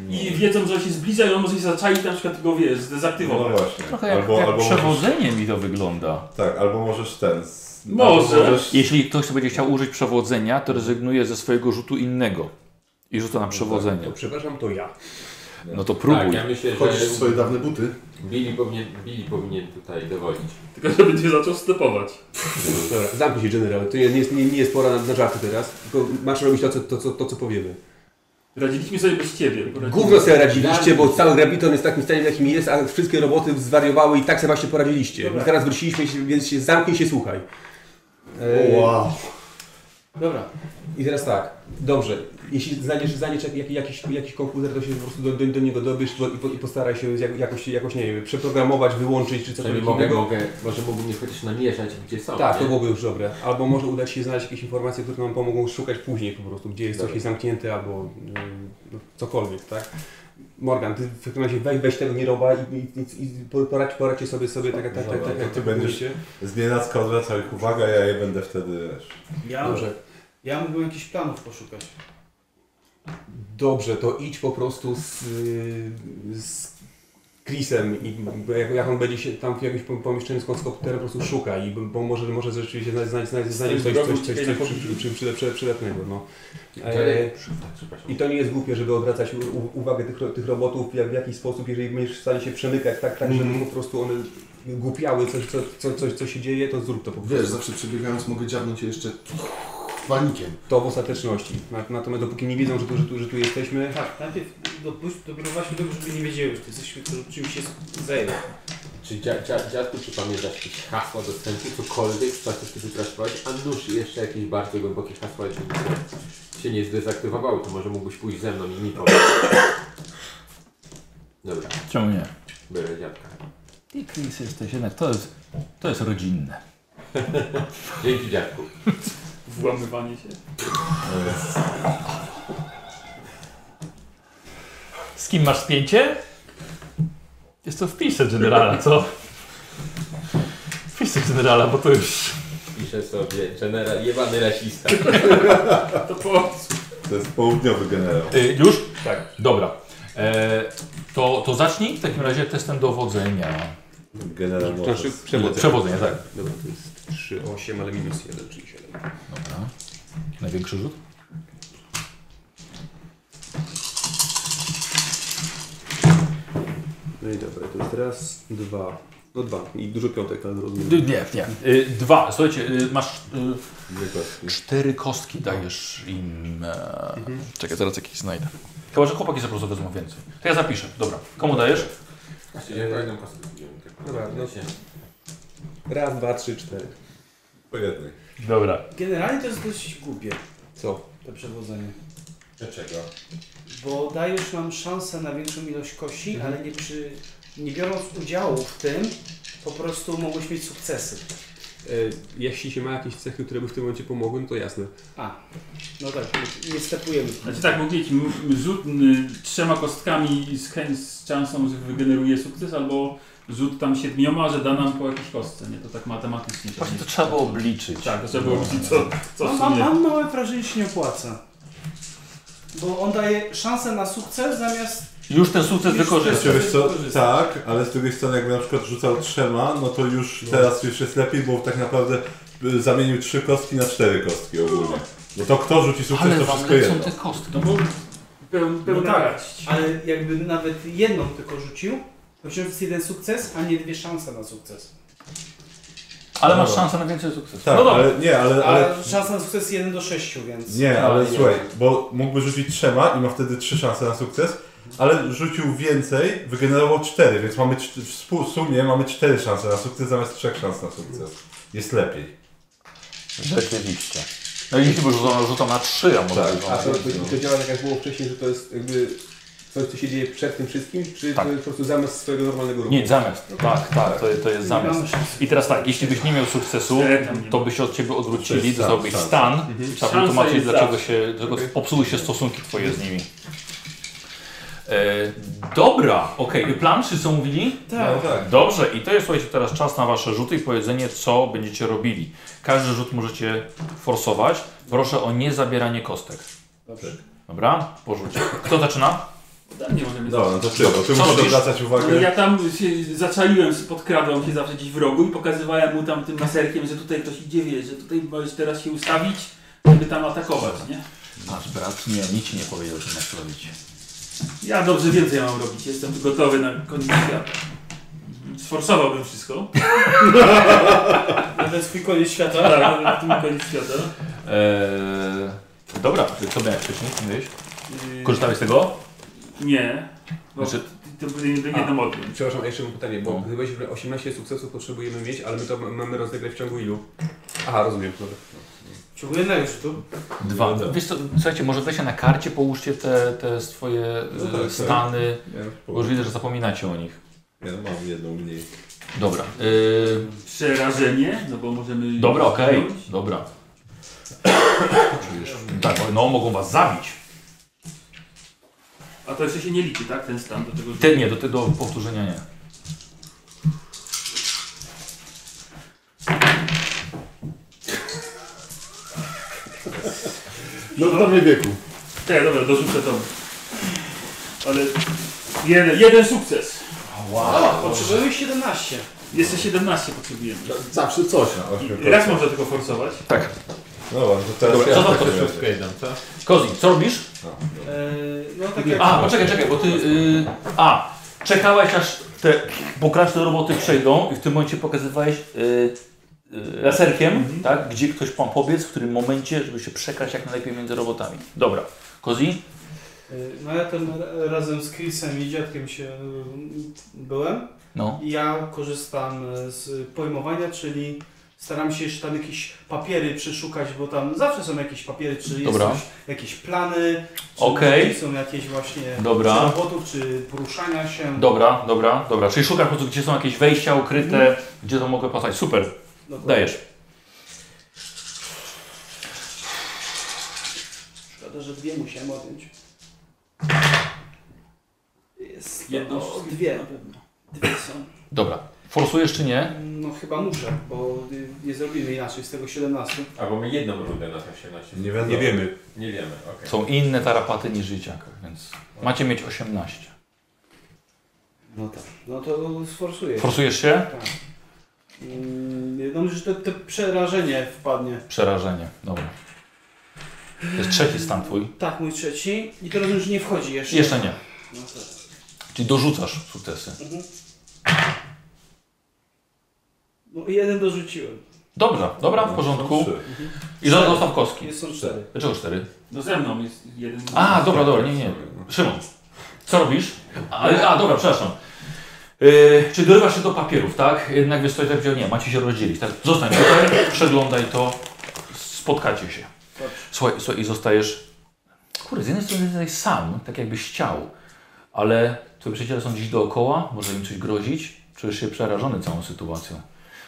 [SPEAKER 20] I wiedzą, że on się zbliża i on może się zaczaić, na przykład go, wiesz, zdezaktywować.
[SPEAKER 3] No właśnie.
[SPEAKER 20] Trochę
[SPEAKER 3] jak- Albo- jak albo możesz-
[SPEAKER 1] Przewodzenie mi to wygląda.
[SPEAKER 3] Tak, albo możesz ten... z-
[SPEAKER 20] Może.
[SPEAKER 3] albo możesz-
[SPEAKER 1] Jeśli ktoś będzie chciał użyć przewodzenia, to rezygnuje ze swojego rzutu innego. I rzuca na
[SPEAKER 8] tak,
[SPEAKER 1] przewodzenie.
[SPEAKER 8] przepraszam, to ja.
[SPEAKER 1] No to próbuj.
[SPEAKER 4] Tak, ja myślę, że...
[SPEAKER 1] Chodzisz w swoje dawne
[SPEAKER 14] buty.
[SPEAKER 4] Billy powinien, Billy powinien tutaj dowodzić.
[SPEAKER 3] No.
[SPEAKER 20] Tylko, że będzie zaczął stepować.
[SPEAKER 8] Dobra, zamknij się, generał. To nie, nie, jest, nie, nie jest pora na, na żarty teraz, tylko masz robić to, co, to, co, to, co powiemy.
[SPEAKER 20] Radziliśmy sobie bez ciebie.
[SPEAKER 8] Gówno sobie radziliście, bo cały grabiton jest takim stanie, jakim jest, a wszystkie roboty zwariowały i tak sobie właśnie poradziliście.
[SPEAKER 11] Dobra.
[SPEAKER 8] Teraz wróciliśmy, się, więc się zamknij się, słuchaj. E,
[SPEAKER 11] Wow. Dobra.
[SPEAKER 8] I teraz tak, dobrze, jeśli znajdziesz, znajdziesz jak, jak, jakiś, jakiś komputer, to się po prostu do, do, do niego dobysz bo, i, po, i postaraj się jak, jakoś, jakoś, nie wiem, przeprogramować, wyłączyć czy cokolwiek
[SPEAKER 4] Czyli mogę-
[SPEAKER 8] innego.
[SPEAKER 4] mogę- może mógłbym je chociaż namierzać, gdzie są,
[SPEAKER 8] Tak,
[SPEAKER 4] nie?
[SPEAKER 8] to byłoby już dobre. Albo może udać się znaleźć jakieś informacje, które nam pomogą szukać później po prostu, gdzie jest coś
[SPEAKER 4] Dobra.
[SPEAKER 8] jest zamknięte albo yy, no, cokolwiek, tak? Morgan, ty w takim razie weź, weź tego nieroba i, i, i, i po- poradź, poradźcie sobie, sobie tak, tak, tak, tak,
[SPEAKER 3] Dobra,
[SPEAKER 8] tak,
[SPEAKER 3] to
[SPEAKER 8] jak
[SPEAKER 3] ty będziesz
[SPEAKER 8] mówicie.
[SPEAKER 3] z nienacka odwracał ich uwagę, a ja je będę wtedy, wiesz...
[SPEAKER 11] Ja, ja mógłbym jakichś planów poszukać.
[SPEAKER 8] Dobrze, to idź po prostu z, y, z Chrisem i jak, jak on będzie się tam w jakimś pom- pomieszczeniu z komputerem po prostu szuka i bo może, może rzeczywiście znać, znać, znać, znać coś,
[SPEAKER 4] drogi
[SPEAKER 8] coś, coś,
[SPEAKER 4] uciekaj
[SPEAKER 8] coś,
[SPEAKER 4] na
[SPEAKER 8] przy- przy- przy- przy- przy- przydatnego. No.
[SPEAKER 4] Ale-
[SPEAKER 8] E, I to nie jest głupie, żeby odwracać u- u- uwagę tych, ro- tych robotów jak, w jakiś sposób, jeżeli będziesz w stanie się przemykać tak, tak żeby po prostu one głupiały coś, co, co, coś, co się dzieje, to zrób to po prostu.
[SPEAKER 14] Wiesz, zawsze przebiegając mogę dziabnąć je jeszcze wanikiem.
[SPEAKER 8] To w ostateczności. Na- Natomiast dopóki nie wiedzą, że tu, że tu, że tu jesteśmy,
[SPEAKER 11] Tak, najpierw dopuść, doprowadźmy do tego, żeby nie wiedzieli, że ty jesteśmy, którzy czymś się zajęli.
[SPEAKER 4] Czy dzia, dzia, dziadku, czy pamiętasz jakieś hasła dostępu, cokolwiek w czasie, kiedy pracowałeś, a nóż jeszcze jakieś bardzo głębokie hasła, jeśli się nie zdezaktywowały, to może mógłbyś pójść ze mną i mi pomóc. Dobra.
[SPEAKER 1] Czemu nie?
[SPEAKER 4] Biorę dziadka.
[SPEAKER 1] Ty, Chris, jesteś jednak. To jest, to jest rodzinne.
[SPEAKER 4] Dzięki dziadku.
[SPEAKER 20] Włamywanie się.
[SPEAKER 2] Z kim masz spięcie? Jest to w pisze generala, co? Wpiszę generala, bo to już...
[SPEAKER 4] Piszę sobie, general, jebany rasista.
[SPEAKER 20] to po...
[SPEAKER 3] To jest południowy generał.
[SPEAKER 1] Y, już? Tak. Dobra. E, to, to zacznij w takim razie testem dowodzenia.
[SPEAKER 3] Generał
[SPEAKER 8] To znaczy przewodzenie.
[SPEAKER 1] Przewodzenie, tak.
[SPEAKER 8] Dobra, to jest 3, 8, ale minus 1, czyli 7.
[SPEAKER 1] Dobra. Największy rzut?
[SPEAKER 8] No i dobra, to jest raz, dwa. No dwa. I dużo piątek, ale rozumiem.
[SPEAKER 1] D- Nie, nie. Y, dwa. Słuchajcie, y, masz. Y, cztery kostki dajesz im. E, Czekaj, zaraz jakieś znajdę. Chyba, że chłopaki za prostu wezmą więcej. To ja zapiszę. Dobra. Komu dajesz?
[SPEAKER 4] Właśnie, ja kolejną kostkę wziąłem, tak.
[SPEAKER 8] Dobra, no się. Raz, dwa, trzy, cztery.
[SPEAKER 3] Po jednej.
[SPEAKER 1] Dobra.
[SPEAKER 11] Generalnie to jest dość głupie,
[SPEAKER 8] Co?
[SPEAKER 11] to przewodzenie.
[SPEAKER 4] Dlaczego?
[SPEAKER 11] Bo dajesz nam szansę na większą ilość kości,
[SPEAKER 20] Mhm.
[SPEAKER 11] ale nie, przy, nie biorąc udziału w tym, po prostu mogłeś mieć sukcesy.
[SPEAKER 8] E, jeśli się ma jakieś cechy, które by w tym momencie pomogły, no to jasne.
[SPEAKER 11] A, no tak, nie stepujemy.
[SPEAKER 20] Znaczy tak, mówię ci, m- m- rzut m, trzema kostkami z, chę- z szansą, że wygeneruje sukces, albo rzut tam siedmioma, że da nam po jakiejś kostce, nie? To tak matematycznie. Właśnie
[SPEAKER 1] to trzeba było obliczyć.
[SPEAKER 20] Tak, to trzeba było obliczyć, co, co
[SPEAKER 11] mam,
[SPEAKER 20] w
[SPEAKER 11] mam,
[SPEAKER 20] sumie.
[SPEAKER 11] mam małe wrażenie, że się nie opłaca. Bo on daje szansę na sukces zamiast...
[SPEAKER 1] Już ten sukces
[SPEAKER 3] Czy
[SPEAKER 1] wykorzystasz.
[SPEAKER 3] wiesz co, tak, ale z drugiej strony jakby na przykład rzucał trzema, no to już teraz już jest lepiej, bo tak naprawdę y, zamienił trzy kostki na cztery kostki ogólnie. No to kto rzuci sukces,
[SPEAKER 1] Ale
[SPEAKER 3] to
[SPEAKER 1] wam
[SPEAKER 3] wszystko
[SPEAKER 1] lecą
[SPEAKER 3] jedno.
[SPEAKER 1] te kostki.
[SPEAKER 20] No bo pełen,
[SPEAKER 11] No
[SPEAKER 20] pełna
[SPEAKER 11] tak,
[SPEAKER 20] radość.
[SPEAKER 11] ale jakby nawet jedną tylko rzucił, to wciąż jest jeden sukces, a nie dwie szanse na sukces.
[SPEAKER 1] Ale masz szansę na więcej sukcesów.
[SPEAKER 3] Tak,
[SPEAKER 1] no dobra.
[SPEAKER 3] ale nie, ale, ale
[SPEAKER 11] A szansa na sukces jest 1 do 6, więc...
[SPEAKER 1] No,
[SPEAKER 3] Nie, ale
[SPEAKER 11] nie.
[SPEAKER 3] słuchaj, bo mógłby rzucić trzema i ma wtedy trzy szanse na sukces, ale rzucił więcej, wygenerował cztery, więc mamy czt- w spu- sumie mamy cztery szanse na sukces zamiast trzech szans na sukces. Jest lepiej.
[SPEAKER 1] Rzeczywiście. No i jeśli rzucą, rzucą na trzy, a może
[SPEAKER 3] Tak.
[SPEAKER 1] rzucą
[SPEAKER 8] A
[SPEAKER 1] na
[SPEAKER 8] to, to,
[SPEAKER 1] więcej.
[SPEAKER 8] to działa tak jak było wcześniej, że to jest jakby coś, co się dzieje przed tym wszystkim, czy to jest po prostu zamysł swojego normalnego ruchu?
[SPEAKER 1] Nie, zamiast. Tak, tak, to, to jest zamiast. I teraz tak, jeśli byś nie miał sukcesu, to by się od ciebie
[SPEAKER 2] To
[SPEAKER 1] odwrócili,
[SPEAKER 2] jest
[SPEAKER 1] dostałbyś
[SPEAKER 2] szansa.
[SPEAKER 1] stan.
[SPEAKER 2] Mhm.
[SPEAKER 1] Trzeba
[SPEAKER 2] Szansa
[SPEAKER 1] wytłumaczyć,
[SPEAKER 2] jest
[SPEAKER 1] dlaczego
[SPEAKER 2] zawsze.
[SPEAKER 1] się, dlaczego popsuły się stosunki twoje z nimi. E, dobra, okej, plan wszyscy mówili?
[SPEAKER 11] Tak. No tak.
[SPEAKER 1] Dobrze, i to jest słuchajcie teraz czas na wasze rzuty i powiedzenie, co będziecie robili. Każdy rzut możecie forsować. Proszę o niezabieranie kostek.
[SPEAKER 7] Dobrze.
[SPEAKER 1] Dobra, porzucie. Kto zaczyna?
[SPEAKER 20] Ode mnie możemy
[SPEAKER 3] no
[SPEAKER 1] Dobra,
[SPEAKER 20] zacząć.
[SPEAKER 1] to ty, bo ty Co musisz robisz? odwracać uwagę.
[SPEAKER 20] No, ja tam się zaczaiłem, podkradłem się zawsze gdzieś w rogu i pokazywałem mu tam tym maserkiem, że tutaj ktoś idzie, wie, że tutaj możesz teraz się ustawić, żeby tam atakować, nie?
[SPEAKER 1] Nasz brat nie, nic ci nie powiedział, co masz robić.
[SPEAKER 20] Ja dobrze wiem, co ja mam robić. Jestem gotowy na koniec świata. Sforsowałbym wszystko. Nawet swój koniec świata. Tak, nawet swój koniec świata.
[SPEAKER 1] Eee, dobra, ty co miałeś wcześniej? Mówiłeś? Korzystałeś z tego?
[SPEAKER 20] Y, Nie. Bo
[SPEAKER 1] Znaczy-
[SPEAKER 20] to by nie
[SPEAKER 8] A,
[SPEAKER 20] jedno modlę.
[SPEAKER 8] Przepraszam, jeszcze mam pytanie, bo gdybyś 18 sukcesów potrzebujemy mieć, ale my to m- mamy rozegrać w ciągu ilu? Aha, rozumiem, dobra.
[SPEAKER 11] W ciągu jednego rzutu.
[SPEAKER 1] Dwa. Wiesz co, słuchajcie, może weźcie na karcie, połóżcie te, te swoje
[SPEAKER 3] No tak,
[SPEAKER 1] e,
[SPEAKER 3] tak.
[SPEAKER 1] stany,
[SPEAKER 3] Ja już
[SPEAKER 1] bo już widzę, że zapominacie o nich.
[SPEAKER 3] Ja mam jedną mniej.
[SPEAKER 1] Dobra. y,
[SPEAKER 20] Przerażenie, no bo możemy...
[SPEAKER 1] Dobra, okej. Dobra. Czujesz? Tak, no mogą was zabić.
[SPEAKER 20] A to jeszcze się nie liczy, tak? Ten stan do tego... że-
[SPEAKER 1] Ty nie, do, ty do powtórzenia nie.
[SPEAKER 14] No w dawnym wieku.
[SPEAKER 20] Tak, dobra, dorzucę to. Ale... Jeden, jeden sukces.
[SPEAKER 11] O, potrzebujemy 17.
[SPEAKER 20] Jeszcze 17 potrzebujemy.
[SPEAKER 14] Zawsze coś.
[SPEAKER 20] I Raz można tylko forsować.
[SPEAKER 1] Tak.
[SPEAKER 3] No to teraz
[SPEAKER 1] Dobra, co
[SPEAKER 3] ja
[SPEAKER 1] za
[SPEAKER 3] w takim
[SPEAKER 1] to
[SPEAKER 3] razie.
[SPEAKER 1] Kozi, co robisz?
[SPEAKER 11] Eee, no tak jak...
[SPEAKER 1] A, poczekaj, czekaj, bo ty... y, a, czekałeś aż te pokraczne roboty przejdą i w tym momencie pokazywałeś y, y, laserkiem, tak, gdzie ktoś pan pobiec, w którym momencie, żeby się przekraść jak najlepiej między robotami. Dobra. Kozi?
[SPEAKER 11] Eee, No ja tam ra- razem z Chrisem i dziadkiem się mm, byłem.
[SPEAKER 1] No.
[SPEAKER 11] I ja korzystam e, z pojmowania, czyli staram się jeszcze tam jakieś papiery przeszukać, bo tam zawsze są jakieś papiery, czy jest
[SPEAKER 1] Dobra.
[SPEAKER 11] coś, jakieś plany, czy
[SPEAKER 1] Okej.
[SPEAKER 11] może są jakieś właśnie
[SPEAKER 1] Dobra.
[SPEAKER 11] czy robotów, czy poruszania się.
[SPEAKER 1] Dobra, dobra, dobra. Czyli szukasz po prostu, gdzie są jakieś wejścia ukryte,
[SPEAKER 11] Mhm.
[SPEAKER 1] gdzie to mogę pasać. Super.
[SPEAKER 11] Dokładnie.
[SPEAKER 1] Dajesz.
[SPEAKER 11] Szkoda, że dwie musiałem odjąć. Jest
[SPEAKER 20] Jedną
[SPEAKER 11] Jedno,
[SPEAKER 20] wszystkie.
[SPEAKER 11] dwie na pewno. Dwie są.
[SPEAKER 1] Dobra. Forsujesz czy nie?
[SPEAKER 11] No chyba muszę, bo y, nie zrobimy inaczej z tego 17.
[SPEAKER 4] A bo my jedną rundę na to 18.
[SPEAKER 3] Nie wiadomo. Nie wiemy.
[SPEAKER 4] Nie wiemy, okej.
[SPEAKER 1] Są inne tarapaty niż życiak, więc macie mieć 18.
[SPEAKER 11] No tak. No to sforsuję.
[SPEAKER 1] Forsujesz się?
[SPEAKER 11] Tak. Mm, No myślę, że to, to przerażenie wpadnie.
[SPEAKER 1] Przerażenie. Dobra. To jest trzeci stan twój.
[SPEAKER 11] Tak, mój trzeci. I to rozumiem, że nie wchodzi jeszcze.
[SPEAKER 1] Jeszcze nie.
[SPEAKER 11] No tak.
[SPEAKER 1] Czyli dorzucasz sukcesy.
[SPEAKER 11] Mhm. No i jeden dorzuciłem.
[SPEAKER 1] Dobra, dobra, w porządku. I za- zostaw kostki.
[SPEAKER 11] Jest są cztery.
[SPEAKER 1] Dlaczego cztery?
[SPEAKER 20] No ze mną jest jeden...
[SPEAKER 1] A, dobra, dobra, nie, nie. Szymon, co robisz? A, a dobra, przepraszam. Yy, czy dorywasz się do papierów, tak? Jednak wiesz, coś tak wziął, nie, macie się rozdzielić, tak? Zostań tutaj, przeglądaj to, spotkacie się. Słuchaj, słuchaj i zostajesz... Kurde, z jednej strony jesteś sam, tak jakbyś chciał, ale twoi przyjaciele są gdzieś dookoła, może im coś grozić, czujesz się przerażony całą sytuacją.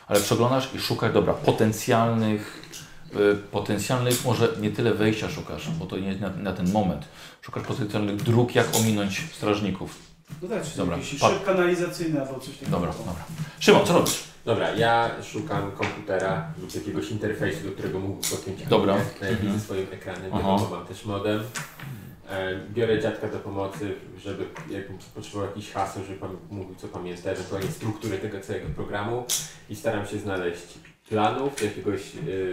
[SPEAKER 1] Ale przeglądasz i szukasz, dobra, potencjalnych, y, potencjalnych może nie tyle wejścia szukasz, bo to nie jest na, na ten moment. Szukasz potencjalnych dróg, jak ominąć strażników.
[SPEAKER 11] No tak, czyli
[SPEAKER 1] Dobra,
[SPEAKER 11] jakiś
[SPEAKER 1] pa-
[SPEAKER 11] szyb kanalizacyjny albo coś takiego.
[SPEAKER 1] Dobra, no. dobra. Szymon, co robisz?
[SPEAKER 4] Dobra, ja szukam komputera lub jakiegoś interfejsu, do którego mógłbym podpiąć
[SPEAKER 1] Dobra.
[SPEAKER 4] antenę
[SPEAKER 1] Mhm.
[SPEAKER 4] ze swoim ekranem,
[SPEAKER 1] Aha.
[SPEAKER 4] wiadomo, mam też modem. E, Biorę dziadka do pomocy, żeby jakbym potrzebował jakichś haseł, żeby pan mówił co pamięta, ewentualnie strukturę tego całego programu i staram się znaleźć planów jakiegoś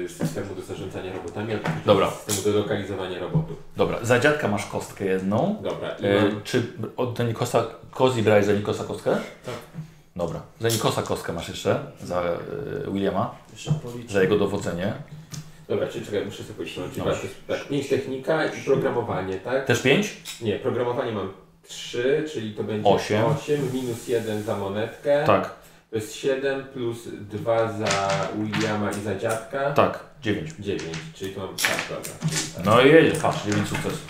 [SPEAKER 4] e, systemu do zarządzania robotami, albo
[SPEAKER 1] Dobra.
[SPEAKER 4] systemu do lokalizowania robotów.
[SPEAKER 1] Dobra, za dziadka masz kostkę jedną.
[SPEAKER 4] Dobra, i
[SPEAKER 1] E,
[SPEAKER 4] mam-
[SPEAKER 1] czy od Nikosa, Kozi brałeś za Nikosa kostkę?
[SPEAKER 4] Tak.
[SPEAKER 1] Dobra, za Nikosa kostkę masz jeszcze, za e, Williama,
[SPEAKER 11] Jeszcze policzę.
[SPEAKER 1] za jego dowodzenie.
[SPEAKER 4] Dobra, czyli czekaj, muszę sobie policzyć. Czyli
[SPEAKER 1] Dobra.
[SPEAKER 4] patrz, tak, pięć technika i programowanie, tak?
[SPEAKER 1] Też pięć?
[SPEAKER 4] Nie, programowanie mam 3, czyli to będzie
[SPEAKER 1] Osiem.
[SPEAKER 4] 8 minus 1 za monetkę.
[SPEAKER 1] Tak.
[SPEAKER 4] To jest 7 plus 2 za Williama i za dziadka.
[SPEAKER 1] Tak, dziewięć.
[SPEAKER 4] 9, czyli to mam tak, dobra.
[SPEAKER 1] No i jedzie, patrz, dziewięć sukcesów.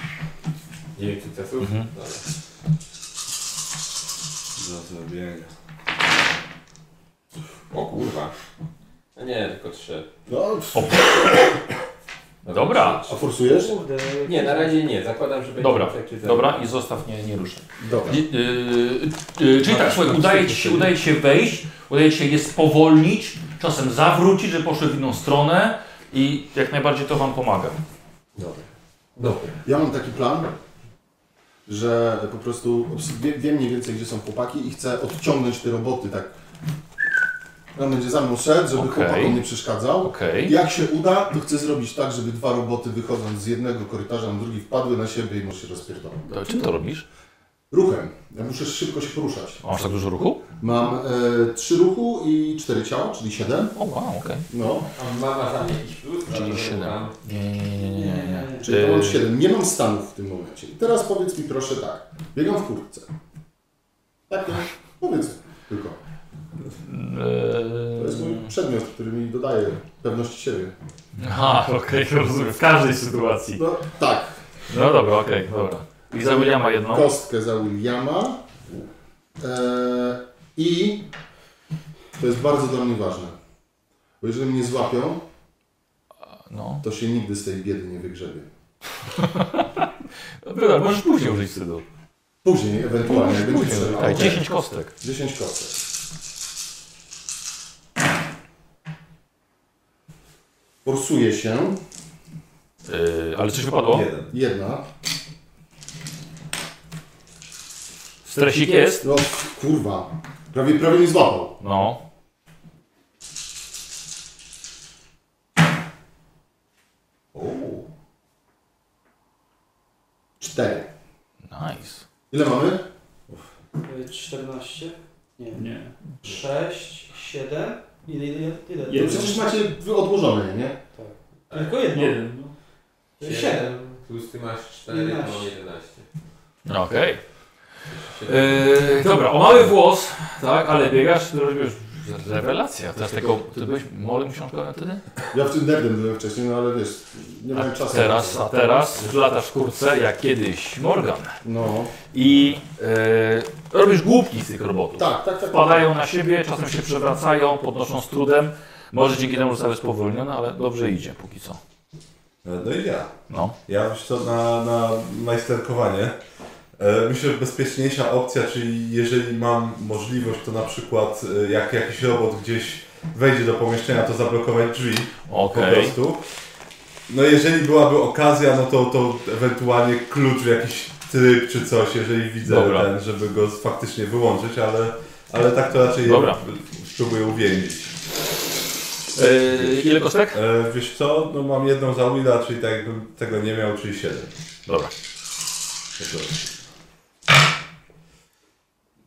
[SPEAKER 4] 9 sukcesów?
[SPEAKER 1] Mhm.
[SPEAKER 4] Dobra.
[SPEAKER 3] do zrobienia.
[SPEAKER 4] O kurwa. A nie, tylko trzy.
[SPEAKER 14] No,
[SPEAKER 1] Dobra.
[SPEAKER 14] A forsujesz?
[SPEAKER 11] no
[SPEAKER 4] Nie, na razie nie. Zakładam, że będzie
[SPEAKER 1] Dobra,
[SPEAKER 4] takie za-
[SPEAKER 1] dobra i zostaw, nie, nie ruszaj.
[SPEAKER 14] Dobra.
[SPEAKER 1] Nie, y, y, y, czyli tak, słuchaj, udaje ci, się, udaje ci się wejść, udaje ci się je spowolnić, czasem zawrócić, że poszły w inną stronę i jak najbardziej to wam pomaga.
[SPEAKER 14] Dobra. Dobra. Ja mam taki plan, że po prostu obs- wie- wiem mniej więcej, gdzie są chłopaki i chcę odciągnąć te roboty tak. On będzie za mną szedł, żeby
[SPEAKER 1] Okej.
[SPEAKER 14] chłopakom nie przeszkadzał.
[SPEAKER 1] Okej.
[SPEAKER 14] Jak się uda, to chcę zrobić tak, żeby dwa roboty wychodząc z jednego korytarza na drugi wpadły na siebie i może się rozpierdolą.
[SPEAKER 1] To czym to robisz?
[SPEAKER 14] Ruchem. Ja muszę szybko się poruszać.
[SPEAKER 1] A Masz tak dużo ruchu?
[SPEAKER 14] Mam e, trzy ruchu i cztery ciała, czyli siedem.
[SPEAKER 1] O, wow, okej.
[SPEAKER 14] No.
[SPEAKER 4] A mama tam jakiś plus?
[SPEAKER 1] Czyli
[SPEAKER 4] Ale
[SPEAKER 1] 7.
[SPEAKER 4] tam-
[SPEAKER 1] Nie, nie, nie, nie, nie, nie.
[SPEAKER 14] Czyli to mam
[SPEAKER 1] Y,
[SPEAKER 14] siedem. Nie mam stanów w tym momencie. I teraz powiedz mi proszę tak. Biegam w kurtce. Tak, no. Powiedz tylko. To jest
[SPEAKER 1] Yy.
[SPEAKER 14] mój przedmiot, który mi dodaje pewności siebie.
[SPEAKER 1] E, Aha, okej, rozumiem. W każdej sytuacji.
[SPEAKER 14] No, tak.
[SPEAKER 1] No dobra, okej, dobra. I za Williama jedną.
[SPEAKER 14] Kostkę za Williama. Eee, I to jest bardzo dla mnie ważne. Bo jeżeli mnie złapią,
[SPEAKER 1] no.
[SPEAKER 14] to się nigdy z tej biedy nie wygrzebie.
[SPEAKER 1] Dobra, możesz później użyć wstydu.
[SPEAKER 14] Później, ewentualnie, jak będzie
[SPEAKER 1] Później,
[SPEAKER 14] trzeba.
[SPEAKER 1] tak,
[SPEAKER 14] Okej.
[SPEAKER 1] 10 kostek.
[SPEAKER 14] 10 kostek. Forsuje się.
[SPEAKER 1] Yy, ale coś wypadło?
[SPEAKER 14] Jedna.
[SPEAKER 1] Stresik jest?
[SPEAKER 14] No, kurwa. Prawie, prawie mi złapał.
[SPEAKER 1] No.
[SPEAKER 14] Cztery.
[SPEAKER 1] Nice.
[SPEAKER 14] Ile mamy?
[SPEAKER 11] Y, 14? Nie.
[SPEAKER 20] Nie.
[SPEAKER 11] 6, 7? Ile, ile, ile?
[SPEAKER 14] To No przecież macie wy odłożone, nie?
[SPEAKER 11] Tylko jedno.
[SPEAKER 20] Jeden.
[SPEAKER 11] Czyli 7.
[SPEAKER 4] Plus ty masz 4, to mam
[SPEAKER 11] 11.
[SPEAKER 4] 11.
[SPEAKER 1] No, Okej. Yy, dobra, o mały włos, tak, ale biegasz, to robisz rewelacja. Teraz tylko, ty byłeś molem książkowym wtedy?
[SPEAKER 14] Ja w tym nerdem byłem wcześniej, no ale wiesz, nie
[SPEAKER 1] A
[SPEAKER 14] miałem czasu.
[SPEAKER 1] teraz, a teraz latasz w kurce jak kiedyś Morgan.
[SPEAKER 14] No.
[SPEAKER 1] I e, robisz głupki z tych robotów.
[SPEAKER 14] Tak, tak, tak.
[SPEAKER 1] Wpadają na siebie, czasem się przewracają, podnoszą z trudem. Może dzięki temu zostały spowolnione, ale dobrze idzie póki co.
[SPEAKER 3] E, No i ja.
[SPEAKER 1] No.
[SPEAKER 3] Ja już to na, na majsterkowanie. E, Myślę, że bezpieczniejsza opcja, czyli jeżeli mam możliwość, to na przykład e, jak jakiś robot gdzieś wejdzie do pomieszczenia, to zablokować drzwi. Po
[SPEAKER 1] Okej.
[SPEAKER 3] prostu. No jeżeli byłaby okazja, no to, to ewentualnie klucz w jakiś tryb czy coś, jeżeli widzę
[SPEAKER 1] Dobra.
[SPEAKER 3] ten, żeby go faktycznie wyłączyć, ale, ale tak to raczej
[SPEAKER 1] Dobra.
[SPEAKER 3] spróbuję uwięzić.
[SPEAKER 1] E, ile kostek?
[SPEAKER 3] E, wiesz co, no mam jedną za Willa, czyli tak jakbym tego nie miał, czyli 7.
[SPEAKER 1] Dobra.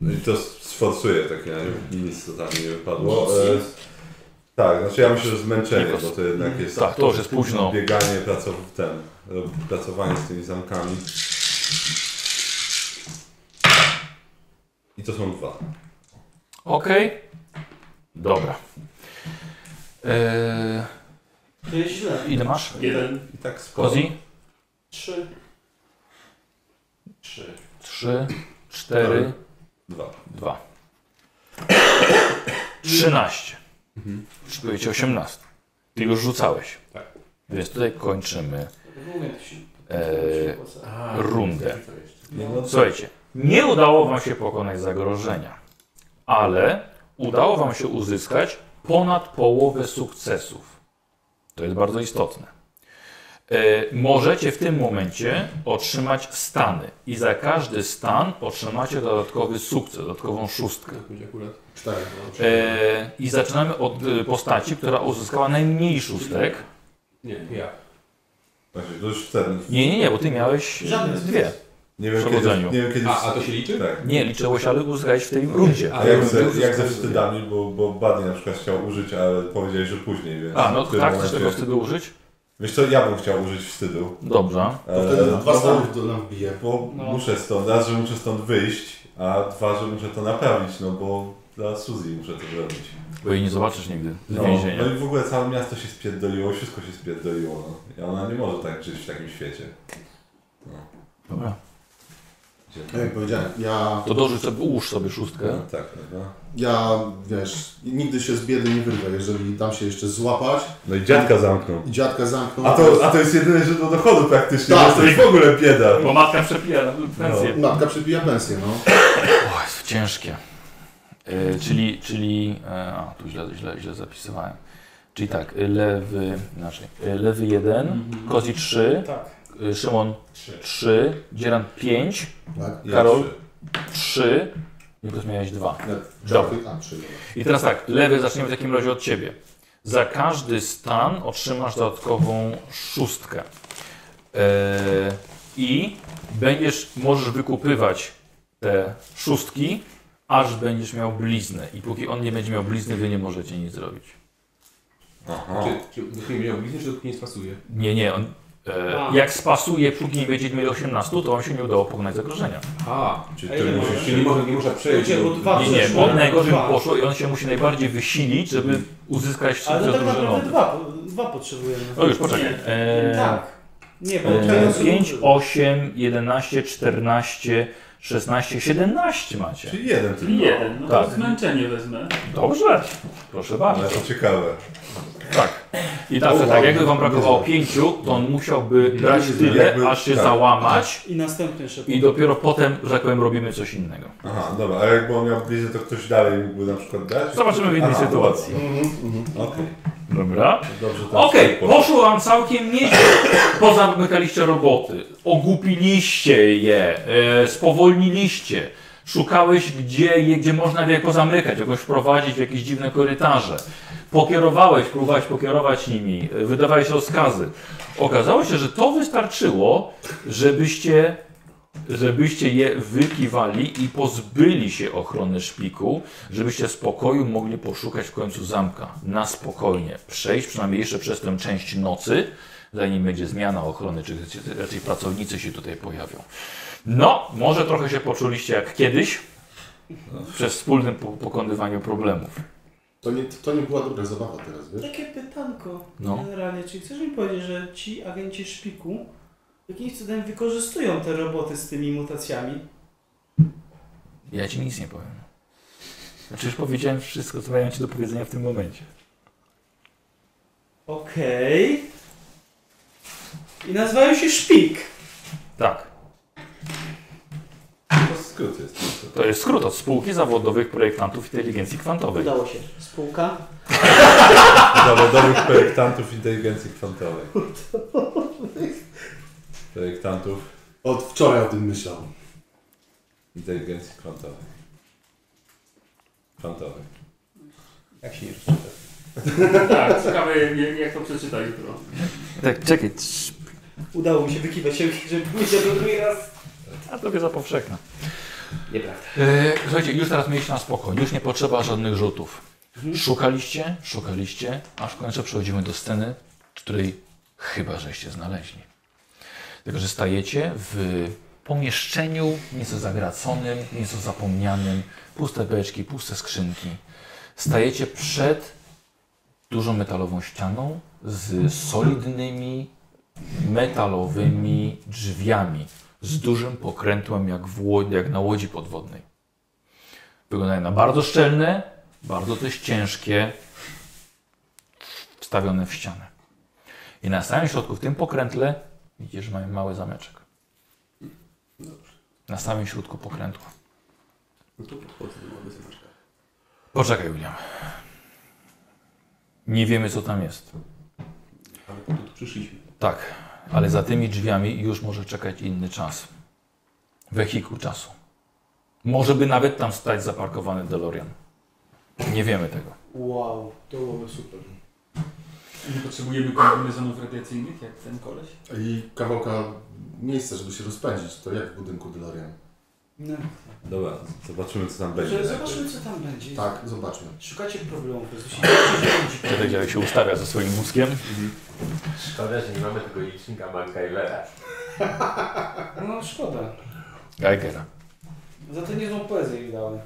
[SPEAKER 3] No i to sforsuję w takim razie, nic to tam nie wypadło. E, tak, znaczy ja myślę, że zmęczenie,
[SPEAKER 1] Nikos.
[SPEAKER 3] bo to jednak jest...
[SPEAKER 1] Tak, to już jest późno.
[SPEAKER 3] Bieganie, pracow ten, e, pracowanie z tymi zamkami. I to są dwa.
[SPEAKER 1] Okej. Dobra. E,
[SPEAKER 11] To jest źle.
[SPEAKER 1] ile masz?
[SPEAKER 20] Jeden.
[SPEAKER 3] I tak sporo.
[SPEAKER 1] Kozi?
[SPEAKER 11] 3.
[SPEAKER 4] 3.
[SPEAKER 1] Trzy, cztery,
[SPEAKER 3] Dwa.
[SPEAKER 1] dwa. Trzynaście. Szykuje ci osiemnaście. Ty już rzucałeś.
[SPEAKER 4] Tak.
[SPEAKER 1] Więc tutaj kończymy
[SPEAKER 11] Moment się.
[SPEAKER 1] e, rundę.
[SPEAKER 4] Co jeszcze?
[SPEAKER 3] No, no, to-
[SPEAKER 1] Słuchajcie, nie udało wam się pokonać zagrożenia, ale udało wam się uzyskać ponad połowę sukcesów. To jest bardzo istotne. E, możecie w tym momencie otrzymać stany i za każdy stan otrzymacie dodatkowy sukces, dodatkową szóstkę.
[SPEAKER 14] Cztery.
[SPEAKER 8] No,
[SPEAKER 1] E, I zaczynamy od e, postaci, która uzyskała najmniej szóstek.
[SPEAKER 4] Nie, ja.
[SPEAKER 3] Właśnie, Znaczy, to już ten...
[SPEAKER 1] Nie, nie, nie, bo ty miałeś e,
[SPEAKER 11] Żadne
[SPEAKER 1] dwie.
[SPEAKER 3] Nie wiem, kiedy,
[SPEAKER 1] Przewodzeniu.
[SPEAKER 3] nie wiem, kiedy...
[SPEAKER 4] A, a to się liczy?
[SPEAKER 3] Tak.
[SPEAKER 1] Nie, liczyłeś, ale uzyskałeś w tej rundzie.
[SPEAKER 3] A jak ze, jak ze wstydami, bo, bo Buddy na przykład chciał użyć, ale powiedziałeś, że później, więc...
[SPEAKER 1] A, no
[SPEAKER 3] w tym
[SPEAKER 1] tak, chcesz
[SPEAKER 3] momencie-
[SPEAKER 1] tego wstydu użyć?
[SPEAKER 3] Wiesz co, ja bym chciał użyć wstydu.
[SPEAKER 1] Dobrze.
[SPEAKER 14] To
[SPEAKER 3] E,
[SPEAKER 14] wtedy
[SPEAKER 3] no,
[SPEAKER 14] dwa
[SPEAKER 3] bo-
[SPEAKER 14] stanów do nam wbije.
[SPEAKER 3] Bo
[SPEAKER 11] No.
[SPEAKER 3] muszę stąd, raz, że muszę stąd wyjść, a dwa, że muszę to naprawić, no bo dla Suzy muszę to zrobić.
[SPEAKER 1] Bo jej nie zobaczysz nigdy z
[SPEAKER 3] No,
[SPEAKER 1] więzienia.
[SPEAKER 3] no i w ogóle całe miasto się spierdoliło, wszystko się spierdoliło, no. I ona nie może tak żyć w takim świecie.
[SPEAKER 1] Dobra.
[SPEAKER 14] Tak jak powiedziałem, ja...
[SPEAKER 6] To dorzuć sobie, ułóż sobie szóstkę.
[SPEAKER 14] No,
[SPEAKER 3] tak, no.
[SPEAKER 14] Ja, wiesz, nigdy się z biedy nie wyrwę, jeżeli dam się jeszcze złapać.
[SPEAKER 3] No i dziadka zamknął.
[SPEAKER 14] I dziadka zamknął.
[SPEAKER 3] A to, a to jest jedyne źródło dochodu praktycznie,
[SPEAKER 14] Tak.
[SPEAKER 3] tak, to jest w ogóle bieda.
[SPEAKER 14] Bo
[SPEAKER 2] matka przepija pensję.
[SPEAKER 14] No, matka przepija pensję, no.
[SPEAKER 1] O, jest to ciężkie. E, czyli, czyli, e, a, tu źle, źle, źle zapisywałem. Czyli tak, e, lewy, inaczej, e, lewy 1,
[SPEAKER 6] Mhm.
[SPEAKER 1] Kozi 3,
[SPEAKER 6] Tak.
[SPEAKER 1] e, Szymon 3, Dzieran 5,
[SPEAKER 6] Tak, ja
[SPEAKER 1] Karol 3, Nikos miałeś 2. Dobra.
[SPEAKER 14] a, trzy, dobra.
[SPEAKER 1] I teraz tak, lewy zaczniemy w takim razie od Ciebie. Za każdy stan otrzymasz dodatkową szóstkę. E, I będziesz, możesz wykupywać te szóstki, aż będziesz miał bliznę. I póki on nie będzie miał blizny, Wy nie możecie nic zrobić.
[SPEAKER 8] Czy, czy dopóki nie miał blizny, czy dopóki nie spasuje?
[SPEAKER 1] Nie, nie, on, e,
[SPEAKER 8] A.
[SPEAKER 1] jak spasuje, póki nie będzie mieli 18, to on się nie udało pokonać zagrożenia.
[SPEAKER 8] A, czyli A to ile nie może- może- czyli nie może- nie może przejść. no. Ludzie, bo dwa
[SPEAKER 1] Nie, nie,
[SPEAKER 8] przeszło,
[SPEAKER 1] on najgorzej
[SPEAKER 8] dwa.
[SPEAKER 1] poszło i on się musi najbardziej wysilić, żeby uzyskać
[SPEAKER 11] Ale to
[SPEAKER 1] sukces
[SPEAKER 11] tak naprawdę
[SPEAKER 1] drużynowy.
[SPEAKER 11] dwa, dwa potrzebujemy.
[SPEAKER 1] No już, poczekaj.
[SPEAKER 11] Nie.
[SPEAKER 1] Eee,
[SPEAKER 11] tak. Nie, bo
[SPEAKER 1] e,
[SPEAKER 11] teraz-
[SPEAKER 1] 5, 8, 11, 14, 16, 17 macie.
[SPEAKER 3] Czyli jeden
[SPEAKER 20] Czyli jeden. No
[SPEAKER 1] tak.
[SPEAKER 20] to zmęczenie wezmę.
[SPEAKER 1] Dobrze. Proszę bardzo.
[SPEAKER 3] Ale to ciekawe.
[SPEAKER 1] Tak. I tak, tak jakby wam brakowało 5, to on musiałby brać tyle, aż
[SPEAKER 3] tak.
[SPEAKER 1] się załamać.
[SPEAKER 11] I następny szybko.
[SPEAKER 1] I dopiero potem, że tak powiem, robimy coś innego.
[SPEAKER 3] Aha, dobra, a jak on miał bliznę, to ktoś dalej mógłby na przykład dać?
[SPEAKER 1] Zobaczymy w innej
[SPEAKER 3] Aha,
[SPEAKER 1] sytuacji.
[SPEAKER 3] dobra. Okej.
[SPEAKER 1] Dobra.
[SPEAKER 3] Dobrze, to
[SPEAKER 1] Okej,
[SPEAKER 3] poszło.
[SPEAKER 1] poszło wam całkiem nieźle. Pozamykaliście roboty, ogupiliście je, e, spowolniliście. Szukałeś gdzie je, gdzie można je pozamykać, jakoś wprowadzić w jakieś dziwne korytarze. Pokierowałeś, próbowałeś pokierować nimi, e, wydawałeś rozkazy. Okazało się, że to wystarczyło, żebyście żebyście je wykiwali i pozbyli się ochrony szpiku, żebyście z pokoju mogli poszukać w końcu zamka. Na spokojnie. Przejść przynajmniej jeszcze przez tę część nocy, zanim będzie zmiana ochrony, czy raczej pracownicy się tutaj pojawią. No, może trochę się poczuliście jak kiedyś, przy wspólnym po- pokonywaniu problemów.
[SPEAKER 14] To nie, to nie była dobra zabawa teraz, wiesz?
[SPEAKER 11] Takie pytanko
[SPEAKER 1] No.
[SPEAKER 11] generalnie, czy chcesz mi powiedzieć, że ci agenci szpiku jakimś cudem wykorzystują te roboty z tymi mutacjami?
[SPEAKER 1] Ja ci nic nie powiem. Znaczy już powiedziałem wszystko, co miałem ci do powiedzenia w tym momencie.
[SPEAKER 11] Okej. I nazywają się szpik.
[SPEAKER 1] Tak.
[SPEAKER 3] To skrót jest.
[SPEAKER 1] To jest skrót od spółki zawodowych projektantów inteligencji kwantowej.
[SPEAKER 11] Udało się. Spółka.
[SPEAKER 3] Zawodowych projektantów inteligencji kwantowej. Projektantów
[SPEAKER 14] Od wczoraj o tym myślał.
[SPEAKER 3] inteligencji kwantowej. Kwantowej.
[SPEAKER 8] Jak się nie rozczyta.
[SPEAKER 20] Tak, ciekawe jak, jak to przeczyta jutro.
[SPEAKER 1] Tak, czekaj.
[SPEAKER 11] Udało mi się wykiwać się, żeby powiedział to drugi raz.
[SPEAKER 1] A tobie za powszechna.
[SPEAKER 11] Nieprawda.
[SPEAKER 1] E, słuchajcie, już teraz mieliście na spokojnie, już nie potrzeba żadnych rzutów. Szukaliście, szukaliście, aż w końcu przechodzimy do sceny, której chyba żeście znaleźli. Tylko, że stajecie w pomieszczeniu nieco zagraconym, nieco zapomnianym, puste beczki, puste skrzynki. Stajecie przed dużą metalową ścianą z solidnymi metalowymi drzwiami z dużym pokrętłem jak, w łodzi, jak na łodzi podwodnej. Wyglądają na bardzo szczelne, bardzo też ciężkie, wstawione w ścianę. I na samym środku, w tym pokrętle, widzisz, że mają mały zameczek. Na samym środku pokrętła.
[SPEAKER 8] No to podchodzę do małego zamaczka.
[SPEAKER 1] Poczekaj, William. Nie wiemy, co tam jest.
[SPEAKER 8] Ale po to tu przyszliśmy.
[SPEAKER 1] Tak, ale za tymi drzwiami już może czekać inny czas. Wehikuł czasu. Może by nawet tam stać zaparkowany DeLorean. Nie wiemy tego.
[SPEAKER 11] Wow, to byłoby super.
[SPEAKER 20] Nie potrzebujemy kombinezonów radiacyjnych, jak ten koleś.
[SPEAKER 14] I kawałka miejsca, żeby się rozpędzić, to jak w budynku DeLorean.
[SPEAKER 11] No.
[SPEAKER 3] Dobra, zobaczymy co tam będzie.
[SPEAKER 1] Znaczy,
[SPEAKER 11] Że Zobaczymy co tam będzie.
[SPEAKER 14] Tak, zobaczmy.
[SPEAKER 11] Szukacie problemów.
[SPEAKER 1] Wtedy jak się ustawia ze swoim mózgiem.
[SPEAKER 4] Szkoda, że nie mamy tego licznika MacGyvera.
[SPEAKER 11] No szkoda.
[SPEAKER 1] Geigera.
[SPEAKER 11] Za to niezłą poezję im dałem.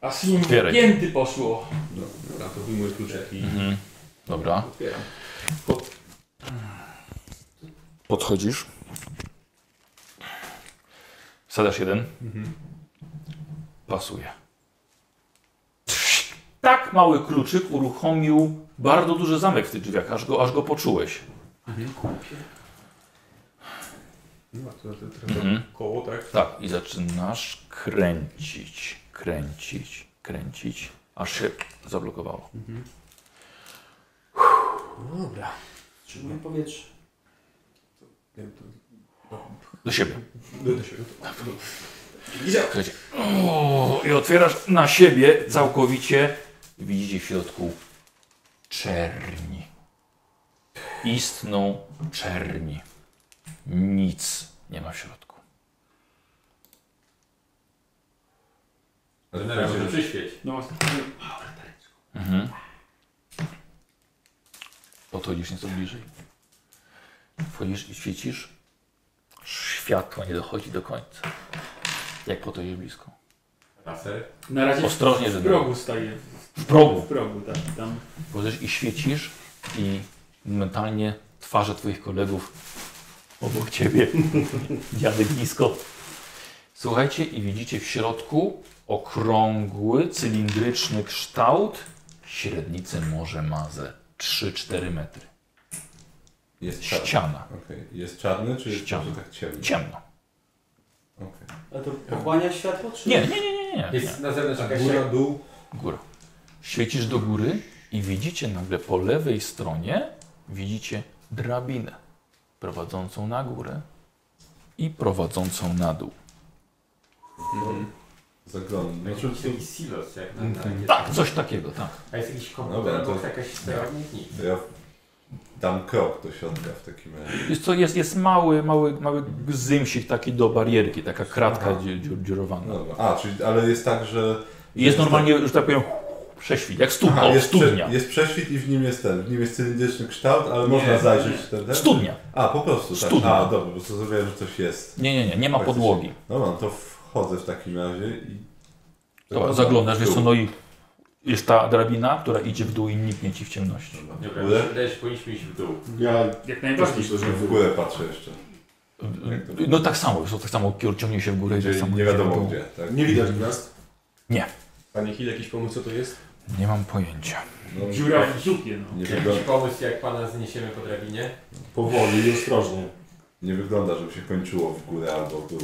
[SPEAKER 20] Aż im
[SPEAKER 1] Otwieraj.
[SPEAKER 20] pięty poszło.
[SPEAKER 8] Dobra, to wyjmuję kluczek i...
[SPEAKER 1] Mhm. Dobra.
[SPEAKER 8] Otwieram.
[SPEAKER 1] Podchodzisz. Wsadzasz jeden.
[SPEAKER 8] Mhm.
[SPEAKER 1] Pasuje. Trz- Tak mały kluczyk uruchomił bardzo duży zamek w tych drzwiach, aż go, aż go poczułeś.
[SPEAKER 8] No, to, to, to,
[SPEAKER 1] Mhm.
[SPEAKER 8] koło, tak?
[SPEAKER 1] Tak, i zaczynasz kręcić, kręcić, kręcić, aż się zablokowało.
[SPEAKER 11] Dobra. Trzymuję powietrze.
[SPEAKER 1] Do siebie.
[SPEAKER 8] Do, do siebie.
[SPEAKER 1] Słuchajcie. O, I otwierasz na siebie całkowicie. Widzicie w środku czerni. Istną czerni. Nic nie ma w środku.
[SPEAKER 4] Teraz może przyświeć.
[SPEAKER 20] No właśnie.
[SPEAKER 1] Mhm. Podchodzisz nieco bliżej. Wchodzisz i świecisz. Światło nie dochodzi do końca. Jak podchodzisz blisko?
[SPEAKER 4] Laser?
[SPEAKER 20] Na razie
[SPEAKER 1] Ostrożnie,
[SPEAKER 20] w,
[SPEAKER 1] żeby-
[SPEAKER 20] w progu staje.
[SPEAKER 1] W progu.
[SPEAKER 20] W progu, tak. Tam.
[SPEAKER 1] Podchodzisz i świecisz i momentalnie twarze twoich kolegów obok ciebie. Dziadek blisko. Słuchajcie i widzicie w środku okrągły, cylindryczny kształt. Średnicę może ma ze 3-4 metry.
[SPEAKER 3] Jest
[SPEAKER 1] Ściana.
[SPEAKER 3] Okej. Jest czarny, czy jest
[SPEAKER 1] Ściana.
[SPEAKER 3] może tak ciemno?
[SPEAKER 1] Ciemno.
[SPEAKER 11] A to pochłania światło, czy
[SPEAKER 1] Nie, nie, nie, nie, nie.
[SPEAKER 4] Jest
[SPEAKER 1] nie.
[SPEAKER 4] na zewnątrz jakaś Góra, jak- dół?
[SPEAKER 1] Góra. Świecisz do góry i widzicie nagle po lewej stronie widzicie drabinę prowadzącą na górę i prowadzącą na dół.
[SPEAKER 4] Mhm.
[SPEAKER 3] Zaglądam.
[SPEAKER 1] Znaczy-
[SPEAKER 4] Jakiś taki silos, jak na- na
[SPEAKER 1] Mhm.
[SPEAKER 4] na-
[SPEAKER 1] Tak, coś takiego, tak.
[SPEAKER 4] A jest jakiś komputer,
[SPEAKER 3] Dobra,
[SPEAKER 4] albo
[SPEAKER 3] to,
[SPEAKER 4] jakaś sterownik? Nic.
[SPEAKER 3] to ja dam krok do środka w takim razie.
[SPEAKER 1] Jest, co, jest, jest mały, mały, mały gzymsik taki do barierki, taka kratka
[SPEAKER 3] Aha.
[SPEAKER 1] dziur, dziur, dziurowana.
[SPEAKER 3] No Dobra. A, czyli, ale jest tak, że...
[SPEAKER 1] I jest normalnie, że tak powiem, prześwit, jak studnia.
[SPEAKER 3] Aha,
[SPEAKER 1] o,
[SPEAKER 3] jest,
[SPEAKER 1] studnia.
[SPEAKER 3] Prze, jest prześwit i w nim jest ten, w nim jest cylindryczny kształt, ale
[SPEAKER 1] Nie,
[SPEAKER 3] można zajrzeć
[SPEAKER 1] nie.
[SPEAKER 3] w ten, ten.
[SPEAKER 1] Studnia.
[SPEAKER 3] A, po prostu tak.
[SPEAKER 1] Studnia.
[SPEAKER 3] A, dobra, bo zrozumiałem, że coś jest.
[SPEAKER 1] Nie, nie, nie, nie ma
[SPEAKER 3] Faktycznie.
[SPEAKER 1] podłogi.
[SPEAKER 3] Dobra, no to wchodzę w takim razie i...
[SPEAKER 1] Dobra, zaglądasz, wiesz co, no i jest ta drabina, która idzie w dół i niknie ci w ciemności.
[SPEAKER 4] Dobra, mi się wydaje, że powinniśmy iść w dół.
[SPEAKER 20] Jak najbardziej.
[SPEAKER 3] Myślę, że w górę patrzę jeszcze.
[SPEAKER 1] No tak samo, wiesz, co, tak samo kier ciągnie się w górę i tak
[SPEAKER 3] Czyli
[SPEAKER 1] samo
[SPEAKER 3] nie
[SPEAKER 1] idzie
[SPEAKER 3] wiadomo
[SPEAKER 1] w dół.
[SPEAKER 3] gdzie, tak?
[SPEAKER 8] Nie widać gwiazd.
[SPEAKER 1] Nie,
[SPEAKER 8] Panie Hill, jakiś pomysł, co to jest?
[SPEAKER 1] nie mam pojęcia.
[SPEAKER 3] No,
[SPEAKER 20] Dziura w zupie, no.
[SPEAKER 3] nie,
[SPEAKER 4] Jakiś
[SPEAKER 3] wygląda,
[SPEAKER 4] pomysł, jak pana zniesiemy po drabinie?
[SPEAKER 29] Powoli i ostrożnie.
[SPEAKER 3] nie wygląda, żeby się kończyło w górę albo w dół.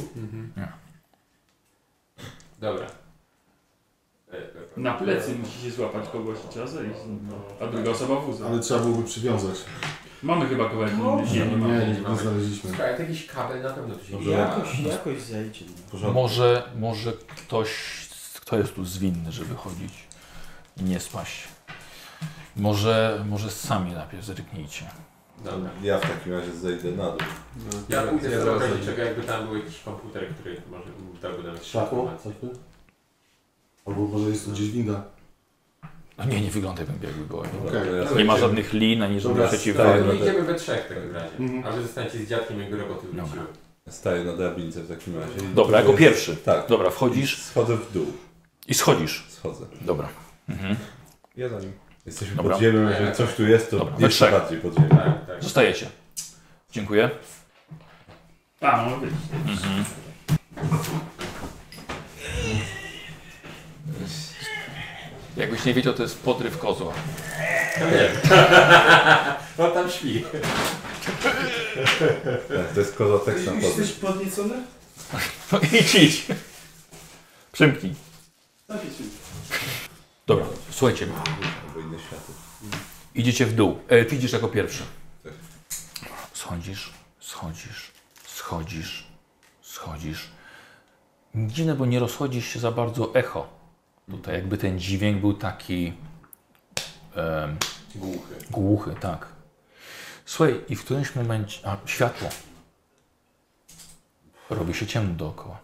[SPEAKER 4] Dobra. E,
[SPEAKER 20] Na plecy musi się złapać kogoś i trzeba zejść. no A druga osoba wózem.
[SPEAKER 29] Ale trzeba byłoby przywiązać.
[SPEAKER 20] Mamy chyba kawałek inny.
[SPEAKER 29] Nie,
[SPEAKER 20] Nie, nie
[SPEAKER 29] nie,
[SPEAKER 20] mamy.
[SPEAKER 29] nie, nie znaleźliśmy.
[SPEAKER 4] Słuchaj, to jakiś kabel na pewno tu się
[SPEAKER 3] Dobrze.
[SPEAKER 11] jakoś, jakoś no. zajdzie.
[SPEAKER 3] W porządku.
[SPEAKER 1] Może, może ktoś, kto jest tu zwinny, żeby chodzić i nie spaść. Może, może sami najpierw zerknijcie.
[SPEAKER 4] Dobra.
[SPEAKER 3] Ja w takim razie zejdę na dół.
[SPEAKER 4] Ja pójdę
[SPEAKER 8] ja
[SPEAKER 4] ja
[SPEAKER 8] zaraz
[SPEAKER 4] sprawdzić,
[SPEAKER 8] zajdę.
[SPEAKER 4] czego jakby tam był jakiś komputer, który może dałby nam jakieś
[SPEAKER 29] Światło?
[SPEAKER 4] informacje.
[SPEAKER 29] Coś tu? Albo może jest tu gdzieś winda.
[SPEAKER 1] No nie, nie wyglądaj jakby było.
[SPEAKER 3] Dobra,
[SPEAKER 29] Okej.
[SPEAKER 3] to ja
[SPEAKER 1] Nie ma
[SPEAKER 3] zejdę.
[SPEAKER 1] żadnych lin, ani żadnych
[SPEAKER 3] Dobra,
[SPEAKER 1] przeciwwag.
[SPEAKER 3] staję
[SPEAKER 4] No
[SPEAKER 3] na
[SPEAKER 4] i
[SPEAKER 3] de-
[SPEAKER 4] idziemy we trzech w takim razie. A wy zostańcie z dziadkiem, jak roboty wróciły.
[SPEAKER 3] Staję na drabince w takim razie. i-
[SPEAKER 1] Dobra, jako pierwszy.
[SPEAKER 3] Tak.
[SPEAKER 1] Dobra, wchodzisz
[SPEAKER 3] Schodzę w dół.
[SPEAKER 1] i schodzisz.
[SPEAKER 3] Schodzę.
[SPEAKER 1] Dobra. Mhm.
[SPEAKER 8] Ja za nim.
[SPEAKER 3] Jesteśmy
[SPEAKER 1] Dobra.
[SPEAKER 3] pod ziemią, jeżeli coś tu jest, to
[SPEAKER 1] Dobra, we
[SPEAKER 3] jeszcze
[SPEAKER 1] trzech.
[SPEAKER 3] bardziej pod ziemią.
[SPEAKER 4] Tak, tak.
[SPEAKER 1] Zostajecie. Dziękuję. Mhm.
[SPEAKER 20] A, no wiesz.
[SPEAKER 1] Jakbyś nie wiedział, to jest podryw kozła.
[SPEAKER 4] No tam śpi.
[SPEAKER 3] Tak, to jest kozatek na podróż.
[SPEAKER 11] Jesteś podniecony?
[SPEAKER 1] No idź, idź. Przymknij. Dobra, słuchajcie.
[SPEAKER 3] Albo inne światy.
[SPEAKER 1] Idziecie w dół. E, ty idziesz jako pierwszy. Schodzisz, schodzisz, schodzisz, schodzisz. Dziwne, bo nie rozchodzi się za bardzo echo. Tutaj jakby ten dźwięk był taki em,
[SPEAKER 4] Głuchy.
[SPEAKER 1] głuchy, tak. Słuchaj, i w którymś momencie... A, światło. Robi się ciemno dookoła.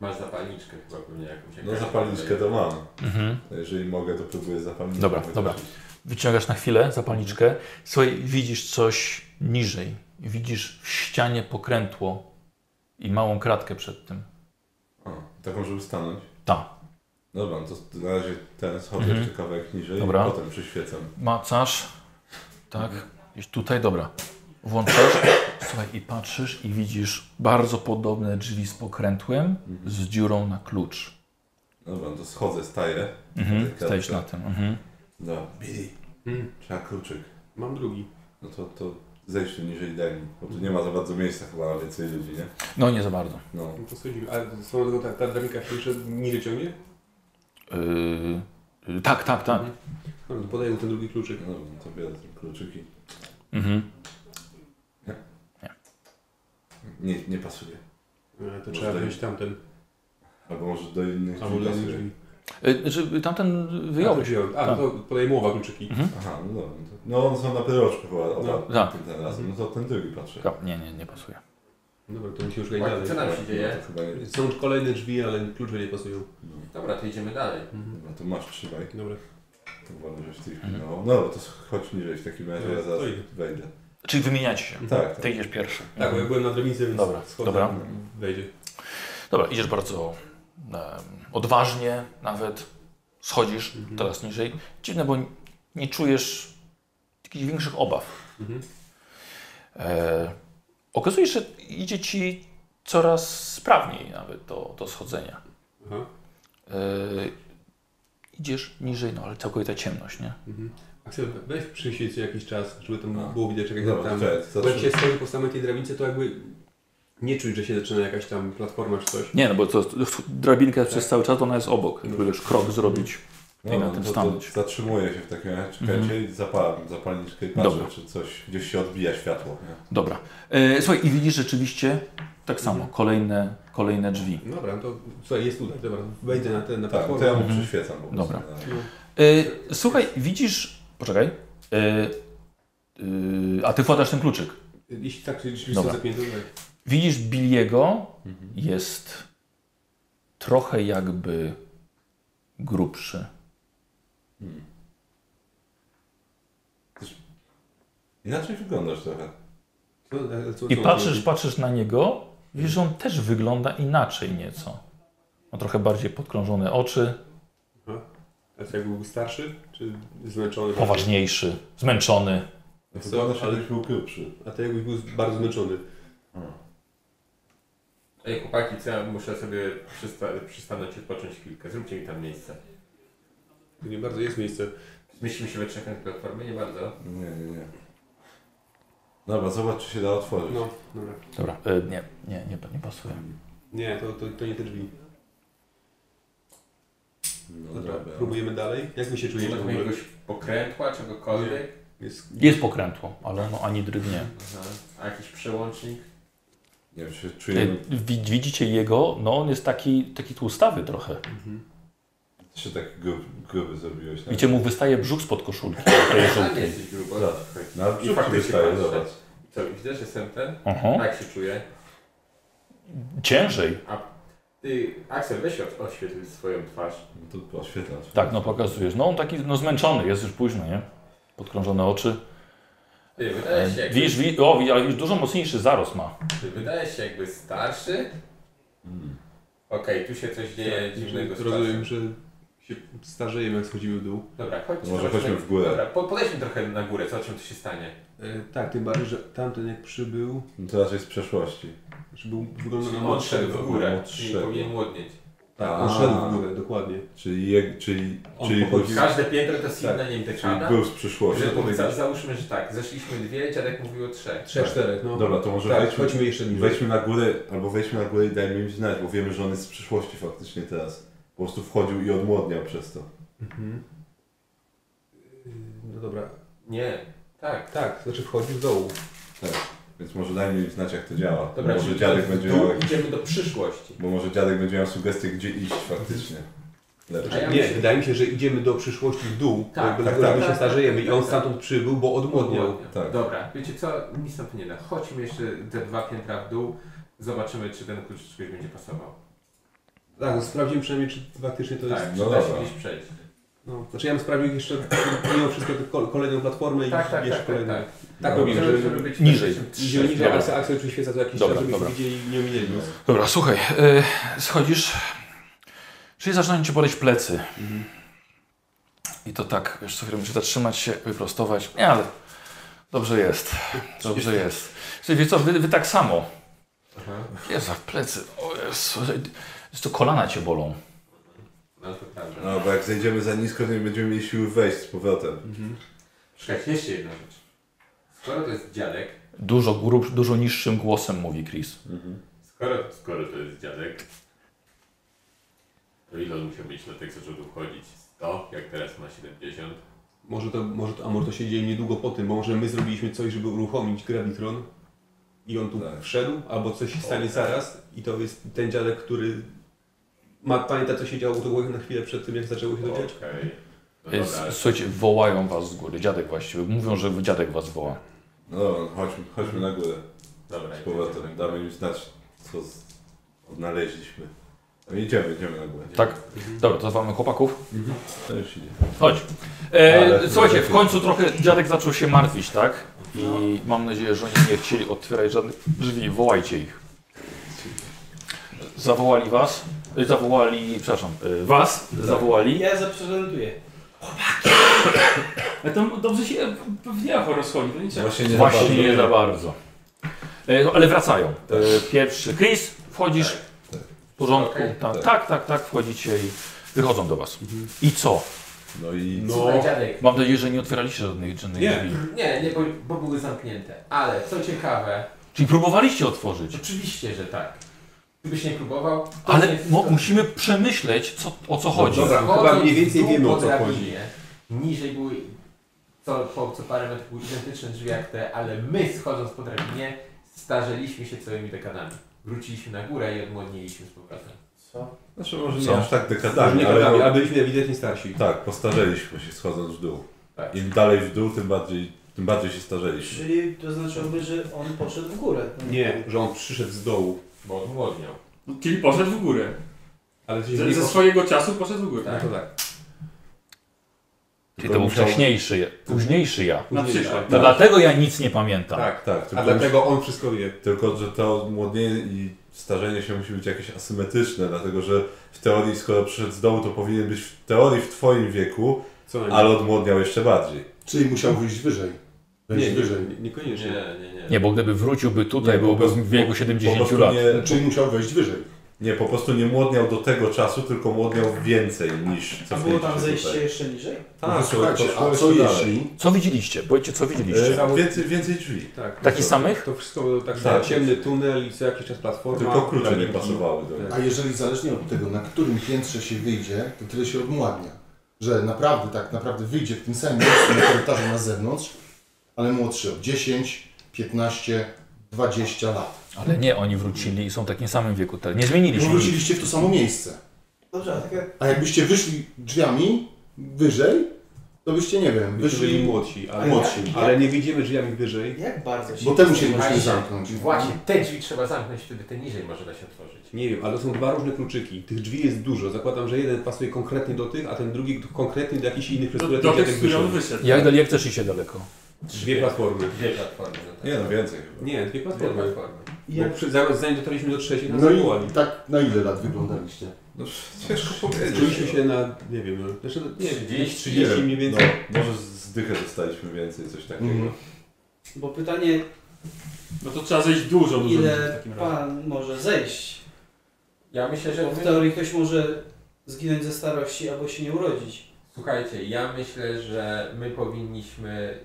[SPEAKER 4] Masz zapalniczkę chyba pewnie jakąś.
[SPEAKER 3] No
[SPEAKER 4] jakaś-
[SPEAKER 3] zapalniczkę to mam.
[SPEAKER 1] Mhm.
[SPEAKER 3] Jeżeli mogę, to próbuję zapalniczkę.
[SPEAKER 1] Dobra, dobra. Wyciągasz na chwilę zapalniczkę. Słuchaj, widzisz coś niżej. Widzisz w ścianie pokrętło i małą kratkę przed tym.
[SPEAKER 3] O, taką, żeby stanąć.
[SPEAKER 1] Ta.
[SPEAKER 3] Dobra, no to na razie ten schodzę
[SPEAKER 1] Tak. Mhm.
[SPEAKER 3] jeszcze kawałek niżej
[SPEAKER 1] Dobra.
[SPEAKER 3] i potem przyświecam.
[SPEAKER 1] Macasz. Tak. Gdzieś tutaj, dobra. Włączasz. Słuchaj, i patrzysz i widzisz bardzo podobne drzwi z pokrętłem, z dziurą na klucz.
[SPEAKER 3] Mhm. Dobra, no to schodzę, staję.
[SPEAKER 1] Mhm,
[SPEAKER 3] Na tej
[SPEAKER 1] stajesz
[SPEAKER 3] klatce.
[SPEAKER 1] na tym, mhm.
[SPEAKER 3] No, Billy, trzeba kluczyk.
[SPEAKER 8] Hmm, Mam drugi.
[SPEAKER 3] No to, to zejdź tu niżej daj mi, bo tu nie ma za bardzo miejsca chyba na więcej ludzi, nie?
[SPEAKER 1] No, nie za bardzo.
[SPEAKER 3] No.
[SPEAKER 8] No to schodzimy. A swoją drogą ta, ta dramika się jeszcze niżej ciągnie?
[SPEAKER 1] Yy, yy, tak, tak, tak.
[SPEAKER 8] No to podaję mu ten drugi kluczyk.
[SPEAKER 3] No, to biorę te kluczyki.
[SPEAKER 1] Mhm.
[SPEAKER 3] Nie, nie pasuje.
[SPEAKER 8] E, To
[SPEAKER 3] Może
[SPEAKER 8] trzeba
[SPEAKER 3] do-
[SPEAKER 8] wziąć tamten.
[SPEAKER 3] Albo może do innych
[SPEAKER 8] Albo
[SPEAKER 3] drzwi
[SPEAKER 8] do
[SPEAKER 3] pasuje.
[SPEAKER 8] drzwi.
[SPEAKER 1] Yy, Żeby tamten
[SPEAKER 8] A, to
[SPEAKER 1] wyjąłeś.
[SPEAKER 8] wziąłem. A, no
[SPEAKER 1] Tak.
[SPEAKER 8] to podaję mu oba kluczyki.
[SPEAKER 1] Mhm.
[SPEAKER 3] Aha, no dobra. no to- No one są na pyroczku chyba
[SPEAKER 8] No.
[SPEAKER 3] oba
[SPEAKER 1] tak.
[SPEAKER 3] tym
[SPEAKER 8] Mhm.
[SPEAKER 3] razem. No to ten drugi patrzę.
[SPEAKER 1] Dobra, Nie, nie, nie pasuje.
[SPEAKER 8] Dobra, to musi już iść
[SPEAKER 4] Ładnie,
[SPEAKER 8] dalej.
[SPEAKER 4] co nam się dzieje?
[SPEAKER 3] To chyba nie.
[SPEAKER 8] Są kolejne drzwi, ale klucze nie pasują.
[SPEAKER 4] Dobra, to idziemy dalej.
[SPEAKER 3] No to masz, trzymaj.
[SPEAKER 8] Dobra.
[SPEAKER 3] To wolę, żeś ty pilnował. No dobra, to chodź niżej w takim razie,
[SPEAKER 8] Mhm.
[SPEAKER 3] ja
[SPEAKER 8] No,
[SPEAKER 3] zaraz
[SPEAKER 8] to idę. Mhm.
[SPEAKER 3] wejdę.
[SPEAKER 1] Czyli wymieniacie się.
[SPEAKER 3] Tak,
[SPEAKER 1] Ty
[SPEAKER 3] tak.
[SPEAKER 1] idziesz pierwszy.
[SPEAKER 8] Tak, bo ja byłem na drabince, więc
[SPEAKER 1] Dobra,
[SPEAKER 8] schodzę.
[SPEAKER 1] dobra.
[SPEAKER 8] Wejdzie.
[SPEAKER 1] Dobra, idziesz bardzo em, odważnie nawet. Schodzisz
[SPEAKER 8] Mhm.
[SPEAKER 1] teraz niżej. Dziwne, bo nie czujesz jakichś większych obaw.
[SPEAKER 8] Mhm.
[SPEAKER 1] E, okazuje się, że idzie ci coraz sprawniej nawet do, do schodzenia.
[SPEAKER 8] Aha.
[SPEAKER 1] E, idziesz niżej, no ale całkowita ciemność, nie?
[SPEAKER 8] Mhm. A chcę weź przyjść co jakiś czas, żeby tam
[SPEAKER 3] A.
[SPEAKER 8] było widać jak
[SPEAKER 3] Dobra,
[SPEAKER 8] tam.
[SPEAKER 3] cześć,
[SPEAKER 8] Bo jak
[SPEAKER 3] zacznij.
[SPEAKER 8] się stoi po samej tej drabince, to jakby nie czuć, że się zaczyna jakaś tam platforma czy coś.
[SPEAKER 1] Nie, no bo to, to drabinka
[SPEAKER 8] Tak.
[SPEAKER 1] przez cały czas, ona jest obok.
[SPEAKER 8] Mhm.
[SPEAKER 1] Jakby wiesz, krok zrobić i na
[SPEAKER 3] no,
[SPEAKER 1] tym
[SPEAKER 3] to, to
[SPEAKER 1] stanąć.
[SPEAKER 3] zatrzymuję się w takim razie, czekajcie i
[SPEAKER 8] Mhm.
[SPEAKER 3] zapalam zapalniczkę i
[SPEAKER 1] Dobra.
[SPEAKER 3] patrzę, czy coś, gdzieś się odbija światło. Nie?
[SPEAKER 1] Dobra. E, słuchaj, i widzisz rzeczywiście tak
[SPEAKER 8] Mhm.
[SPEAKER 1] samo, kolejne, kolejne drzwi.
[SPEAKER 8] Dobra, no to słuchaj, jest tutaj, dobra. Wejdę na ten na
[SPEAKER 3] Tak,
[SPEAKER 8] platformę.
[SPEAKER 3] to ja mu przyświecam po prostu.
[SPEAKER 1] Dobra.
[SPEAKER 3] No.
[SPEAKER 1] E, słuchaj, widzisz... Poczekaj. E, e, a ty wkładasz ten kluczyk.
[SPEAKER 8] Jeśli tak, czyli drzwi
[SPEAKER 1] Dobra.
[SPEAKER 8] są zapięte, tak.
[SPEAKER 1] Widzisz Billiego,
[SPEAKER 8] Mhm.
[SPEAKER 1] jest trochę jakby grubszy.
[SPEAKER 3] Inaczej wyglądasz trochę.
[SPEAKER 8] Co, e, co,
[SPEAKER 1] I
[SPEAKER 8] co-
[SPEAKER 1] patrzysz, patrzysz na niego, widzisz, że on też wygląda inaczej nieco. Ma trochę bardziej podkrążone oczy,
[SPEAKER 8] A co, jak był starszy, czy zmęczony?
[SPEAKER 1] poważniejszy, zmęczony.
[SPEAKER 3] Wyglądasz
[SPEAKER 8] ale-
[SPEAKER 3] jakbyś był grubszy.
[SPEAKER 8] A ty jakbyś był bardzo zmęczony.
[SPEAKER 4] Hmm. Ej, chłopaki, co ja muszę sobie przysta- przystanąć i odpocząć chwilkę. Zróbcie mi tam miejsce.
[SPEAKER 8] To Nie bardzo jest miejsce.
[SPEAKER 4] Myślimy się we trzech na tej platformie? Nie bardzo.
[SPEAKER 3] Nie, nie, nie. Dobra, zobacz, czy się da otworzyć.
[SPEAKER 8] No, dobra.
[SPEAKER 1] Dobra, e, nie, nie, nie, nie pasuje.
[SPEAKER 8] Nie, to, to, to nie te drzwi.
[SPEAKER 3] No,
[SPEAKER 8] Dobra,
[SPEAKER 3] dobra.
[SPEAKER 8] próbujemy dalej. Jak my się
[SPEAKER 4] Nie
[SPEAKER 8] czujemy
[SPEAKER 4] ma
[SPEAKER 8] w
[SPEAKER 4] tam
[SPEAKER 8] ogóle?
[SPEAKER 4] jakiegoś pokrętła, czegokolwiek?
[SPEAKER 8] Jest...
[SPEAKER 1] Jest pokrętło, ale ono ani drgnie.
[SPEAKER 4] Aha. A jakiś przełącznik?
[SPEAKER 3] Nie wiem, się
[SPEAKER 1] E,
[SPEAKER 3] czuję,
[SPEAKER 1] wi- Widzicie jego, no on jest taki, taki tłustawy trochę.
[SPEAKER 4] Tak.
[SPEAKER 8] Mhm.
[SPEAKER 3] się tak gruby, gruby zrobiłeś.
[SPEAKER 1] Widzicie, mu wystaje brzuch spod koszulki.
[SPEAKER 4] A nie jesteś grubo.
[SPEAKER 3] Tak. Na
[SPEAKER 4] I
[SPEAKER 3] brzuch
[SPEAKER 4] faktycznie
[SPEAKER 3] wystaje,
[SPEAKER 4] patrzę.
[SPEAKER 3] zobacz.
[SPEAKER 4] Co, widzę, że jestem ten?
[SPEAKER 1] Aha.
[SPEAKER 4] Tak się czuję.
[SPEAKER 1] Ciężej.
[SPEAKER 4] Ty, Aksel, weź od- oświetl swoją twarz.
[SPEAKER 3] No to oświetlasz.
[SPEAKER 1] Tak, no pokazujesz. No on taki no, zmęczony, jest już późno, nie? Podkrążone oczy.
[SPEAKER 4] Ty, wydaje się jakby,
[SPEAKER 1] Widzisz, wi- o, wi- ale już dużo mocniejszy zaros ma.
[SPEAKER 4] ty, wydaje się jakby starszy.
[SPEAKER 3] Hmm.
[SPEAKER 4] Okej, tu się coś dzieje
[SPEAKER 3] Tak,
[SPEAKER 4] dziwnego z
[SPEAKER 8] Rozumiem,
[SPEAKER 4] czasem.
[SPEAKER 8] że się starzejemy, jak schodzimy w dół.
[SPEAKER 4] Dobra, chodźmy.
[SPEAKER 3] Może chodźmy w górę.
[SPEAKER 4] Dobra, po, podejdźmy trochę na górę, zobaczymy, co się stanie.
[SPEAKER 8] E, tak, tym bardziej, że tamten jak przybył,
[SPEAKER 3] No to raczej z przeszłości.
[SPEAKER 8] że był
[SPEAKER 3] No,
[SPEAKER 8] wyglądał na
[SPEAKER 4] Czyli on szedł
[SPEAKER 8] młodszego.
[SPEAKER 4] w górę,
[SPEAKER 3] Odszedł.
[SPEAKER 4] czyli powinien młodnieć.
[SPEAKER 8] Tak, on
[SPEAKER 3] A.
[SPEAKER 8] szedł w górę, dokładnie.
[SPEAKER 3] Czyli, je, czyli,
[SPEAKER 8] On
[SPEAKER 3] czyli, był,
[SPEAKER 8] pochodzi-
[SPEAKER 3] z-
[SPEAKER 4] Każde piętro to signa,
[SPEAKER 3] Tak.
[SPEAKER 4] nie wiem,
[SPEAKER 3] czyli
[SPEAKER 4] dekada.
[SPEAKER 3] był z przyszłości.
[SPEAKER 4] Że, za, załóżmy, że tak, zeszliśmy dwie, dziadek mówił o trzech.
[SPEAKER 8] Trzech, czterech, no.
[SPEAKER 3] Dobra, to może
[SPEAKER 8] tak,
[SPEAKER 3] wejdźmy,
[SPEAKER 8] chodźmy jeszcze niżej.
[SPEAKER 3] wejdźmy na górę, albo wejdźmy na górę i dajmy im znać, bo wiemy, że on jest z przyszłości faktycznie teraz. Po prostu wchodził i odmłodniał przez to.
[SPEAKER 8] Mhm. Y, No dobra.
[SPEAKER 4] Nie, tak.
[SPEAKER 8] Tak, znaczy wchodzi w dołu.
[SPEAKER 3] Więc może dajmy im znać, jak to działa.
[SPEAKER 4] Dobra,
[SPEAKER 3] bo może
[SPEAKER 4] czyli
[SPEAKER 3] dziadek
[SPEAKER 4] w
[SPEAKER 3] będzie
[SPEAKER 4] dół
[SPEAKER 3] miał, jak-
[SPEAKER 4] idziemy do przyszłości.
[SPEAKER 3] bo może dziadek będzie miał sugestie, gdzie iść faktycznie. Lepiej.
[SPEAKER 4] A ja
[SPEAKER 8] nie,
[SPEAKER 4] myślę-
[SPEAKER 8] wydaje mi się, że idziemy do przyszłości w dół,
[SPEAKER 4] Tak,
[SPEAKER 8] jakby
[SPEAKER 4] tak,
[SPEAKER 8] dlatego,
[SPEAKER 4] tak,
[SPEAKER 8] że my się
[SPEAKER 4] tak,
[SPEAKER 8] starzejemy
[SPEAKER 4] tak,
[SPEAKER 8] i on
[SPEAKER 4] tak,
[SPEAKER 8] stamtąd przybył, bo odmłodniał.
[SPEAKER 3] Tak.
[SPEAKER 4] Dobra, wiecie co, nic nam to nie da. Chodźmy jeszcze te dwa piętra w dół, zobaczymy, czy ten klucz czegoś będzie pasował.
[SPEAKER 8] Tak, no, sprawdziłem przynajmniej, czy faktycznie to jest...
[SPEAKER 4] Tak,
[SPEAKER 3] no
[SPEAKER 4] czy da się
[SPEAKER 3] dobra.
[SPEAKER 4] gdzieś przejść.
[SPEAKER 8] No, znaczy ja bym sprawdził jeszcze mimo wszystko tę kol- kolejną platformę i
[SPEAKER 4] Tak, tak,
[SPEAKER 8] jeszcze
[SPEAKER 4] tak, tak,
[SPEAKER 8] kolejną.
[SPEAKER 4] tak.
[SPEAKER 8] Tak
[SPEAKER 3] No,
[SPEAKER 8] robimy,
[SPEAKER 4] Żeby-
[SPEAKER 8] żeby
[SPEAKER 4] żeby być
[SPEAKER 1] Niżej.
[SPEAKER 8] Idziemy niżej,
[SPEAKER 1] Dobra.
[SPEAKER 8] ale se akcja oczywiście za jakiś
[SPEAKER 1] Dobra,
[SPEAKER 8] czas, żebyśmy
[SPEAKER 1] dobra.
[SPEAKER 8] widzieli i nie ominęli nas.
[SPEAKER 1] Dobra, słuchaj, y, schodzisz, czyli zaczynają cię boleć plecy. I to tak, wiesz co, chwilę musisz zatrzymać się, wyprostować. Nie, ale Dobrze jest. Dobrze jest. Słuchaj, Wiecie co, wy, wy tak samo. Jezu, w plecy. O Jezu. Jest to kolana cię bolą.
[SPEAKER 4] No to prawda.
[SPEAKER 3] No, bo jak zejdziemy za nisko, to nie będziemy mieli siły wejść z powrotem. Mhm.
[SPEAKER 4] Czekaj, jeszcze jedna rzecz. Skoro to jest dziadek,
[SPEAKER 1] Dużo, grub, dużo niższym głosem mówi Chris.
[SPEAKER 4] skoro, skoro to jest dziadek, to ile on musiał mieć na tekst, żeby chodzić? 100, jak teraz ma 70?
[SPEAKER 8] Może to, może to, a może to się dzieje niedługo po tym, bo może my zrobiliśmy coś, żeby uruchomić gravitron i on tu wszedł, albo coś się stanie zaraz i to jest ten dziadek, który ma, pamięta co się działo u tego na chwilę przed tym, jak zaczęło się to dziać?
[SPEAKER 4] No
[SPEAKER 1] Jest, słuchajcie, wołają was z góry. Dziadek właściwie. Mówią, że dziadek was woła.
[SPEAKER 3] No, chodźmy, chodźmy na górę.
[SPEAKER 4] Dobra,
[SPEAKER 3] z powrotem. Damy im znać, co z... odnaleźliśmy. No idziemy, idziemy na górę.
[SPEAKER 1] Tak. Dobra, to mamy chłopaków.
[SPEAKER 3] To już idzie.
[SPEAKER 1] Chodź. E,
[SPEAKER 3] Ale-
[SPEAKER 1] słuchajcie, w końcu trochę dziadek zaczął się martwić, tak? I mam nadzieję, że oni nie chcieli otwierać żadnych drzwi. Wołajcie ich. Zawołali was. e, Zawołali, przepraszam, e, was. Zawołali.
[SPEAKER 11] Ja zaprezentuję.
[SPEAKER 2] Ale to dobrze się pewnie echo rozchodzi, to nie trzeba.
[SPEAKER 1] Właśnie nie za bardzo. E, no, ale wracają. E, pierwszy Chris, wchodzisz w porządku. tam, tak. tak, tak, wchodzicie i wychodzą do was. I co?
[SPEAKER 3] No i
[SPEAKER 4] No. Słuchaj, dziadek.
[SPEAKER 1] Mam nadzieję, że nie otwieraliście żadnych żadnych
[SPEAKER 4] Nie,
[SPEAKER 1] drzwi.
[SPEAKER 4] nie, nie bo, bo były zamknięte. Ale co ciekawe,
[SPEAKER 1] Czyli próbowaliście otworzyć.
[SPEAKER 4] oczywiście, że tak. Gdybyś nie próbował, to
[SPEAKER 1] Ale
[SPEAKER 4] nie
[SPEAKER 1] mo- musimy przemyśleć, co, o
[SPEAKER 3] No
[SPEAKER 1] co chodzi.
[SPEAKER 4] Chodzi w dół po drabinie. Niżej były co, po co parę metrów były identyczne drzwi jak te, ale my schodząc po drabinie starzeliśmy się całymi dekadami. Wróciliśmy na górę i odmłodniliśmy z powrotem. Co?
[SPEAKER 3] Znaczy może nie aż tak dekadami,
[SPEAKER 8] Może nie dekadami,
[SPEAKER 3] no-
[SPEAKER 8] a byliśmy ewidentnie starsi.
[SPEAKER 3] Tak, postarzeliśmy się schodząc w dół.
[SPEAKER 8] Tak.
[SPEAKER 3] Im dalej w dół, tym bardziej, tym bardziej się starzeliśmy.
[SPEAKER 11] Czyli to znaczyłoby, że on poszedł w górę.
[SPEAKER 8] Nie, że on przyszedł z dołu.
[SPEAKER 4] Bo odmłodniał.
[SPEAKER 2] No, Czyli poszedł w górę.
[SPEAKER 8] Ale coś
[SPEAKER 2] ze,
[SPEAKER 8] nie
[SPEAKER 2] ze
[SPEAKER 8] poszedł.
[SPEAKER 2] swojego czasu poszedł w górę.
[SPEAKER 8] No to tak.
[SPEAKER 1] Czyli to był
[SPEAKER 8] musiał-
[SPEAKER 1] wcześniejszy, ja- późniejszy ja.
[SPEAKER 8] Na przyszłość.
[SPEAKER 1] To dlatego ja nic nie pamiętam.
[SPEAKER 8] Tak,
[SPEAKER 3] Tak,
[SPEAKER 8] A dlatego on wszystko wie.
[SPEAKER 3] Tylko, że to odmłodnienie i starzenie się musi być jakieś asymetryczne, dlatego że w teorii, skoro przyszedł z domu, to powinien być w teorii w twoim wieku,
[SPEAKER 8] Co najmniej.
[SPEAKER 3] ale odmłodniał jeszcze bardziej.
[SPEAKER 14] Czyli musiał wyjść wyżej. Wejść wyżej.
[SPEAKER 8] niekoniecznie. Nie, nie,
[SPEAKER 1] Nie, bo gdyby wróciłby tutaj, byłby w wieku 70
[SPEAKER 3] prostu
[SPEAKER 1] lat.
[SPEAKER 3] nie-
[SPEAKER 14] Czyli musiał wejść wyżej.
[SPEAKER 3] Nie, po prostu nie młodniał do tego czasu, tylko młodniał więcej niż
[SPEAKER 11] A było tam zejście jeszcze niżej?
[SPEAKER 3] Tak,
[SPEAKER 14] No słuchajcie,
[SPEAKER 3] to- to
[SPEAKER 14] a
[SPEAKER 3] szło
[SPEAKER 14] co
[SPEAKER 3] jeszcze
[SPEAKER 14] jeśli...
[SPEAKER 1] Co widzieliście? Powiedzcie, co widzieliście?
[SPEAKER 3] E, więcej, więcej drzwi.
[SPEAKER 8] Tak,
[SPEAKER 1] Takich
[SPEAKER 8] to-
[SPEAKER 1] samych?
[SPEAKER 8] To wszystko było tak,
[SPEAKER 3] Tak.
[SPEAKER 8] ciemny tunel i co jakiś czas platforma.
[SPEAKER 3] Tylko klucze nie
[SPEAKER 8] Drabinki.
[SPEAKER 3] pasowały do
[SPEAKER 14] A jeżeli zależnie od tego, na którym piętrze się wyjdzie, to tyle się odmładnia. Że naprawdę, tak naprawdę wyjdzie w tym samym miejscu na korytarzu na zewnątrz, ale młodszy od 10, 15, 20 lat.
[SPEAKER 1] Ale nie, oni wrócili i są w takim samym wieku teraz. Nie zmienili
[SPEAKER 14] Bo
[SPEAKER 1] się. nic.
[SPEAKER 14] wróciliście w to samo miejsce.
[SPEAKER 11] Dobrze, a tak jak
[SPEAKER 14] A jakbyście wyszli drzwiami wyżej, to byście, nie wiem,
[SPEAKER 8] Wyszli
[SPEAKER 14] wyszli
[SPEAKER 8] młodsi, ale,
[SPEAKER 14] Młodsi.
[SPEAKER 8] ale nie widzimy drzwiami wyżej.
[SPEAKER 11] Jak bardzo się...
[SPEAKER 14] Bo te musielibyśmy
[SPEAKER 4] Właśnie,
[SPEAKER 14] zamknąć.
[SPEAKER 4] Właśnie, te drzwi trzeba zamknąć, wtedy te niżej może da się otworzyć.
[SPEAKER 8] Nie wiem, ale to są dwa różne kluczyki. Tych drzwi jest dużo. Zakładam, że jeden pasuje konkretnie do tych, a ten drugi konkretnie do jakichś innych, przez
[SPEAKER 2] Do-
[SPEAKER 8] które
[SPEAKER 2] do
[SPEAKER 8] ten
[SPEAKER 2] tych,
[SPEAKER 8] dziadek
[SPEAKER 2] z których on
[SPEAKER 8] wyszedł.
[SPEAKER 2] wyszedł.
[SPEAKER 1] Jak, dal- jak też idzie daleko?
[SPEAKER 8] Dwie platformy.
[SPEAKER 4] Dwie platformy. No tak.
[SPEAKER 3] Nie no, więcej chyba.
[SPEAKER 8] Nie, dwie
[SPEAKER 4] Dwie
[SPEAKER 8] platformy.
[SPEAKER 4] platformy.
[SPEAKER 8] Bo przy, zaraz- zanim dotarliśmy do trzeciej, nas
[SPEAKER 14] No
[SPEAKER 8] zawołali.
[SPEAKER 14] i tak na ile lat wyglądaliście?
[SPEAKER 3] No, ciężko powiedzieć.
[SPEAKER 8] Czuliśmy się na, nie wiem, no, znaczy, nie wiem,
[SPEAKER 4] 30,
[SPEAKER 8] 30 mniej więcej.
[SPEAKER 3] No, może z dychę dostaliśmy więcej, coś takiego.
[SPEAKER 14] Mhm.
[SPEAKER 11] Bo pytanie,
[SPEAKER 2] No to trzeba zejść dużo, dużo niżej w
[SPEAKER 11] ile
[SPEAKER 2] takim razie.
[SPEAKER 11] pan może zejść?
[SPEAKER 4] Ja myślę, że
[SPEAKER 11] Bo w
[SPEAKER 4] my...
[SPEAKER 11] teorii ktoś może zginąć ze starości albo się nie urodzić.
[SPEAKER 4] Słuchajcie, ja myślę, że my powinniśmy...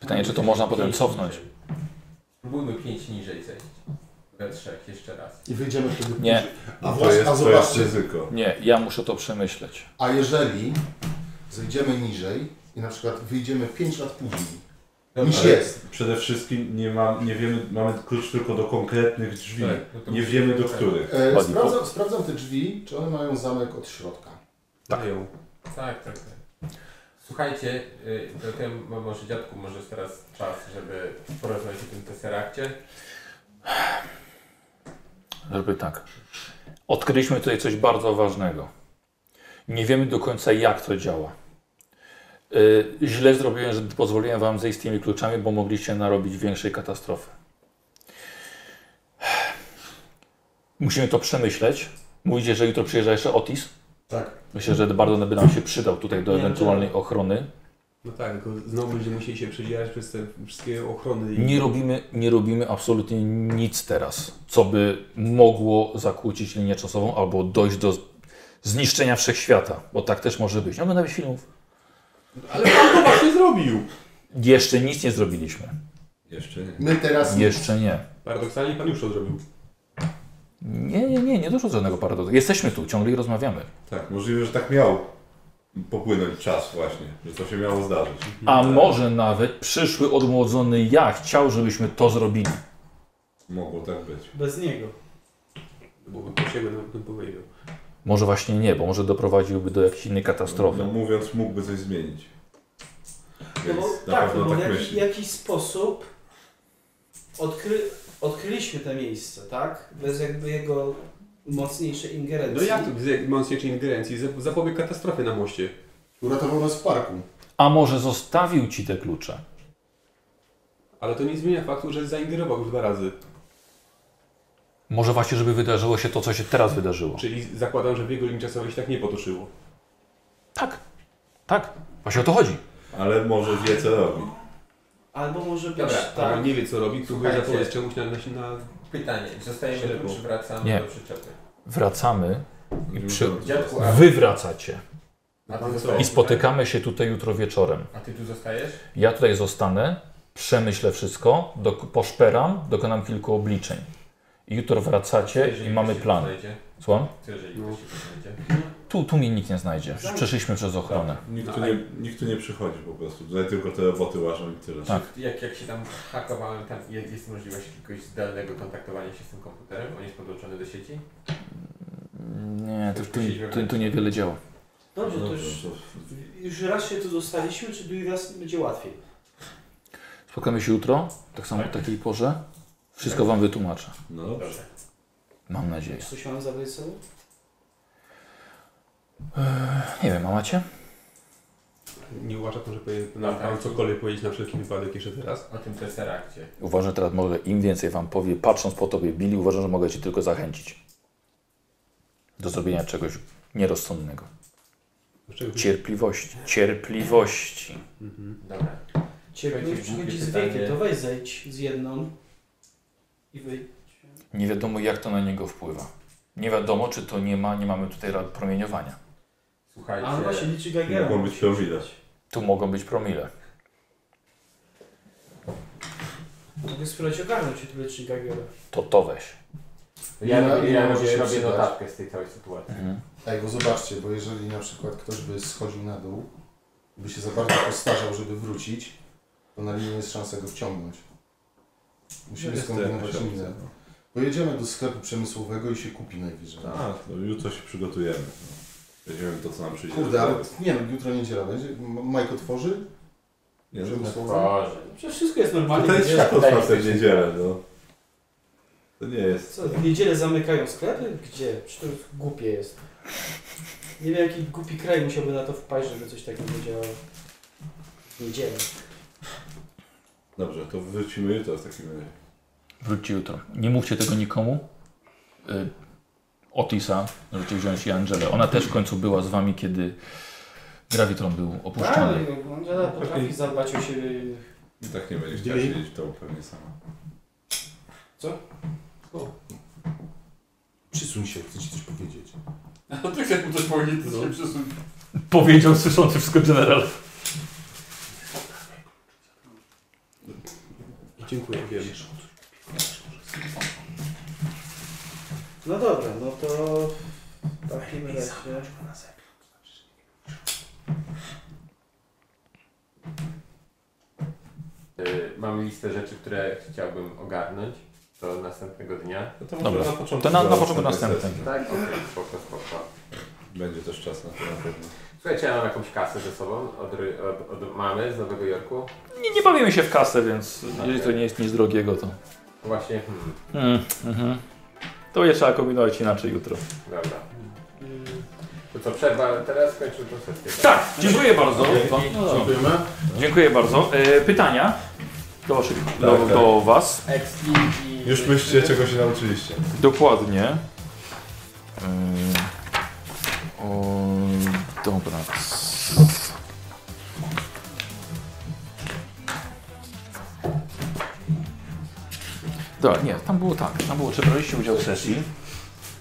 [SPEAKER 1] Pytanie, czy to można potem
[SPEAKER 4] Pięć
[SPEAKER 1] cofnąć?
[SPEAKER 4] niżej. Spróbujmy pięć niżej zejść. We trzech, jeszcze raz.
[SPEAKER 14] I wyjdziemy wtedy
[SPEAKER 1] Nie.
[SPEAKER 14] później. A,
[SPEAKER 3] To
[SPEAKER 14] właśnie,
[SPEAKER 3] jest,
[SPEAKER 14] a
[SPEAKER 3] to jest
[SPEAKER 14] zobaczcie,
[SPEAKER 3] ryzyko.
[SPEAKER 1] Nie, ja muszę to przemyśleć.
[SPEAKER 14] A jeżeli zejdziemy niżej i na przykład wyjdziemy 5 lat później, niż
[SPEAKER 3] No, ale-
[SPEAKER 14] jest,
[SPEAKER 3] Przede wszystkim nie, ma, nie wiemy, mamy klucz tylko do konkretnych drzwi.
[SPEAKER 4] Tak, no to
[SPEAKER 3] nie
[SPEAKER 4] musimy-
[SPEAKER 3] wiemy do których.
[SPEAKER 14] e,
[SPEAKER 1] Ładnie.
[SPEAKER 14] sprawdzam, sprawdzam te drzwi, czy one mają zamek od środka.
[SPEAKER 8] Mają.
[SPEAKER 4] Tak, tak, tak. Słuchajcie, y, to tym, mo- może dziadku, może jest teraz czas, żeby porozmawiać o tym teserakcie.
[SPEAKER 1] Żeby tak. Odkryliśmy tutaj coś bardzo ważnego. Nie wiemy do końca, jak to działa. Yy, źle zrobiłem, że pozwoliłem wam zejść z tymi kluczami, bo mogliście narobić większej katastrofy. Musimy to przemyśleć. Mówicie, że jutro przyjeżdża jeszcze Otis.
[SPEAKER 14] Tak.
[SPEAKER 1] Myślę, że bardzo by nam się przydał tutaj do ewentualnej ochrony.
[SPEAKER 8] No tak, tylko znowu będziemy musieli się przedzierać przez te wszystkie ochrony i...
[SPEAKER 1] Nie robimy, nie robimy absolutnie nic teraz, co by mogło zakłócić linię czasową albo dojść do zniszczenia wszechświata, bo tak też może być. Nie oglądamy filmów.
[SPEAKER 8] Ale pan to właśnie zrobił!
[SPEAKER 1] Jeszcze nic nie zrobiliśmy.
[SPEAKER 8] Jeszcze nie.
[SPEAKER 14] My teraz nie.
[SPEAKER 1] Jeszcze nie.
[SPEAKER 8] Paradoksalnie pan już to zrobił.
[SPEAKER 1] Nie, nie, nie, nie doszło do żadnego paradoksu. Jesteśmy tu, ciągle i rozmawiamy.
[SPEAKER 3] Tak, możliwe, że tak miał popłynąć czas właśnie, że to się miało zdarzyć.
[SPEAKER 1] A
[SPEAKER 8] No.
[SPEAKER 1] może nawet przyszły odmłodzony ja chciał, żebyśmy to zrobili.
[SPEAKER 3] Mogło tak być.
[SPEAKER 11] Bez niego.
[SPEAKER 8] Bo po siebie nawet bym powiedział.
[SPEAKER 1] Może właśnie nie, bo może doprowadziłby do jakiejś innej
[SPEAKER 3] No
[SPEAKER 1] katastrofy.
[SPEAKER 3] mówiąc, mógłby coś zmienić.
[SPEAKER 11] No
[SPEAKER 3] Więc
[SPEAKER 11] bo,
[SPEAKER 3] na
[SPEAKER 11] tak, no
[SPEAKER 3] pewno
[SPEAKER 11] bo
[SPEAKER 3] tak,
[SPEAKER 11] w jakiś,
[SPEAKER 3] myśli.
[SPEAKER 11] jakiś sposób odkry, odkryliśmy to miejsce, tak? Bez jakby jego mocniejszej ingerencji.
[SPEAKER 8] No jak to z jak- mocniejszej ingerencji? Zap- Zapobiegł katastrofie na moście.
[SPEAKER 14] Uratował nas w parku.
[SPEAKER 1] A może zostawił ci te klucze?
[SPEAKER 8] Ale to nie zmienia faktu, że zaingerował już dwa razy.
[SPEAKER 1] Może właśnie, żeby wydarzyło się to, co się teraz wydarzyło.
[SPEAKER 8] Czyli zakładam, że w jego linii czasowej się tak nie potoczyło.
[SPEAKER 1] Tak, tak. Właśnie o to chodzi.
[SPEAKER 3] Ale może wie, co robi.
[SPEAKER 11] Albo może być
[SPEAKER 8] Dobra,
[SPEAKER 11] tak.
[SPEAKER 8] albo nie wie co robi, próbuje
[SPEAKER 4] Słuchajcie.
[SPEAKER 8] zapobiec czemuś na... na, na...
[SPEAKER 4] Pytanie, zostajemy tu,
[SPEAKER 8] Ślepo.
[SPEAKER 4] czy wracamy
[SPEAKER 1] Nie.
[SPEAKER 4] do przyczepy?
[SPEAKER 1] Wracamy i przy...
[SPEAKER 4] Dziadku, a-
[SPEAKER 1] wy wracacie.
[SPEAKER 4] A ty,
[SPEAKER 8] Pan co?
[SPEAKER 4] zostajesz
[SPEAKER 1] I spotykamy się tutaj jutro wieczorem.
[SPEAKER 4] tutaj? a ty tu zostajesz?
[SPEAKER 1] Ja tutaj zostanę, przemyślę wszystko, dok- poszperam, dokonam kilku obliczeń. I Jutro wracacie i mamy plan. Słucham?
[SPEAKER 4] Co jeżeli ktoś się tu znajdzie?
[SPEAKER 1] Tu, tu mnie nikt nie znajdzie. Przeszliśmy przez ochronę.
[SPEAKER 3] Nikt tu, nie, nikt tu nie przychodzi po prostu. Tutaj tylko te roboty łażą i tyle.
[SPEAKER 1] Tak.
[SPEAKER 4] Jak, jak się tam hakowałem, tam jest, jest możliwość jakiegoś zdalnego kontaktowania się z tym komputerem? On jest podłączony do sieci?
[SPEAKER 1] Nie, tu, tu, tu, tu niewiele działa.
[SPEAKER 11] Dobrze, to już, już raz się tu dostaliśmy, czy drugi raz będzie łatwiej?
[SPEAKER 1] Spotkamy się jutro, tak samo o takiej porze. Wszystko wam wytłumaczę.
[SPEAKER 3] No dobrze.
[SPEAKER 1] Mam nadzieję.
[SPEAKER 11] Czy coś mam zabrać ze sobą?
[SPEAKER 1] Nie wiem, a macie?
[SPEAKER 8] Nie uważa pan, że powinien nam pan cokolwiek powiedzieć na wszelki wypadek jeszcze teraz?
[SPEAKER 4] No tak. O tym teserakcie.
[SPEAKER 1] Uważam, że teraz mogę im więcej wam powie, patrząc po tobie, Billy, uważam, że mogę cię tylko zachęcić do zrobienia czegoś nierozsądnego.
[SPEAKER 8] No Czego
[SPEAKER 1] Cierpliwości, cierpliwości.
[SPEAKER 4] Dobra.
[SPEAKER 11] Ciebie
[SPEAKER 4] Słuchajcie,
[SPEAKER 11] przychodzi
[SPEAKER 4] głupie
[SPEAKER 11] z
[SPEAKER 4] pytanie.
[SPEAKER 11] wiekiem, to weź zejdź z jedną i wyjdź.
[SPEAKER 1] Nie wiadomo, jak to na niego wpływa. Nie wiadomo, czy to nie ma, nie mamy tutaj ra- promieniowania.
[SPEAKER 4] Słuchajcie,
[SPEAKER 11] A on właśnie liczy Geigera.
[SPEAKER 3] Mogą być to widać.
[SPEAKER 1] Tu mogą być promile.
[SPEAKER 11] Mogę spróbować ogarnąć się tu liczy Geigera.
[SPEAKER 1] To to weź.
[SPEAKER 4] ja,
[SPEAKER 14] Nie,
[SPEAKER 4] robię- ja
[SPEAKER 14] nie może
[SPEAKER 4] robię,
[SPEAKER 14] się
[SPEAKER 4] robię
[SPEAKER 14] przydać.
[SPEAKER 4] notatkę z tej całej sytuacji.
[SPEAKER 30] Mhm.
[SPEAKER 14] Ej, bo zobaczcie, bo jeżeli na przykład ktoś by schodził na dół, by się za bardzo postarzał, żeby wrócić, to na linii jest szansa go wciągnąć. Musimy
[SPEAKER 3] Jest to
[SPEAKER 14] skombinować
[SPEAKER 3] jakaś
[SPEAKER 14] inne. Pojedziemy do sklepu przemysłowego i się kupi najwyżej.
[SPEAKER 3] Tak, no jutro się przygotujemy. Weźmiemy to, co nam przyjdzie.
[SPEAKER 14] Kurde, ale nie no, jutro niedziela będzie. M- Majko tworzy?
[SPEAKER 3] Nie, że
[SPEAKER 14] Przemysłowe?
[SPEAKER 4] Boże.
[SPEAKER 11] No Przecież wszystko jest normalnie.
[SPEAKER 3] To jest
[SPEAKER 11] wiesz?
[SPEAKER 3] światło czwarte w niedzielę, no. To nie jest.
[SPEAKER 11] Co, w niedzielę zamykają sklepy? Gdzie? Przecież to już głupie jest. Nie wiem, jaki głupi kraj musiałby na to wpaść, żeby coś takiego działało. W niedzielę.
[SPEAKER 3] Dobrze, to wrócimy jutro w takim razie.
[SPEAKER 1] Wróćcie jutro. Nie mówcie tego nikomu. Y, Otisa, możecie wziąć i Angelę. Ona też w końcu była z wami, kiedy Gravitron był opuszczony.
[SPEAKER 11] Tak, no, Angela potrafi zadbać o siebie.
[SPEAKER 3] I tak nie będziesz
[SPEAKER 14] Gdzie
[SPEAKER 3] chciała
[SPEAKER 14] jej?
[SPEAKER 3] siedzieć w domu pewnie sama.
[SPEAKER 14] Przysuń się, chcę ci coś powiedzieć.
[SPEAKER 2] A
[SPEAKER 20] No
[SPEAKER 2] ty chcesz mu coś powiedzieć,
[SPEAKER 3] No.
[SPEAKER 2] to się przesuń.
[SPEAKER 30] Tak. Powiedział słyszący wszystko general.
[SPEAKER 8] Dziękuję, wiem.
[SPEAKER 11] No dobra, no to w takim razie.
[SPEAKER 4] Y, Mam listę rzeczy, które chciałbym ogarnąć do następnego dnia.
[SPEAKER 3] No to może
[SPEAKER 1] Dobra.
[SPEAKER 3] na początku.
[SPEAKER 1] To na- na
[SPEAKER 3] zaraz
[SPEAKER 1] początku
[SPEAKER 3] następnej
[SPEAKER 1] następnym.
[SPEAKER 3] sesji.
[SPEAKER 4] Tak, okej, spoko, spoko.
[SPEAKER 3] Będzie też czas na to na pewno.
[SPEAKER 4] Słuchajcie, ja mam jakąś kasę ze sobą od, ry- od, od mamy z Nowego Jorku.
[SPEAKER 1] Nie, nie bawimy się w kasę, więc jeżeli to nie jest nic drogiego, to.
[SPEAKER 4] Właśnie, hmm,
[SPEAKER 1] Mm, mhm. To je trzeba kombinować inaczej jutro.
[SPEAKER 4] dobra. To co, przerwa teraz? Kończymy tą sesję. tak?
[SPEAKER 30] Tak, dziękuję bardzo.
[SPEAKER 1] No
[SPEAKER 14] Dziękujemy.
[SPEAKER 30] Dziękuję bardzo. E, pytania do, waszych, do,
[SPEAKER 3] tak.
[SPEAKER 30] do Was.
[SPEAKER 4] Ex i- i...
[SPEAKER 3] Już myślcie, czego się nauczyliście.
[SPEAKER 30] Dokładnie.
[SPEAKER 1] Yy,
[SPEAKER 30] Ym, O, dobra.
[SPEAKER 1] Dobra, nie, tam było tak. Tam było, czy braliście udział w sesji?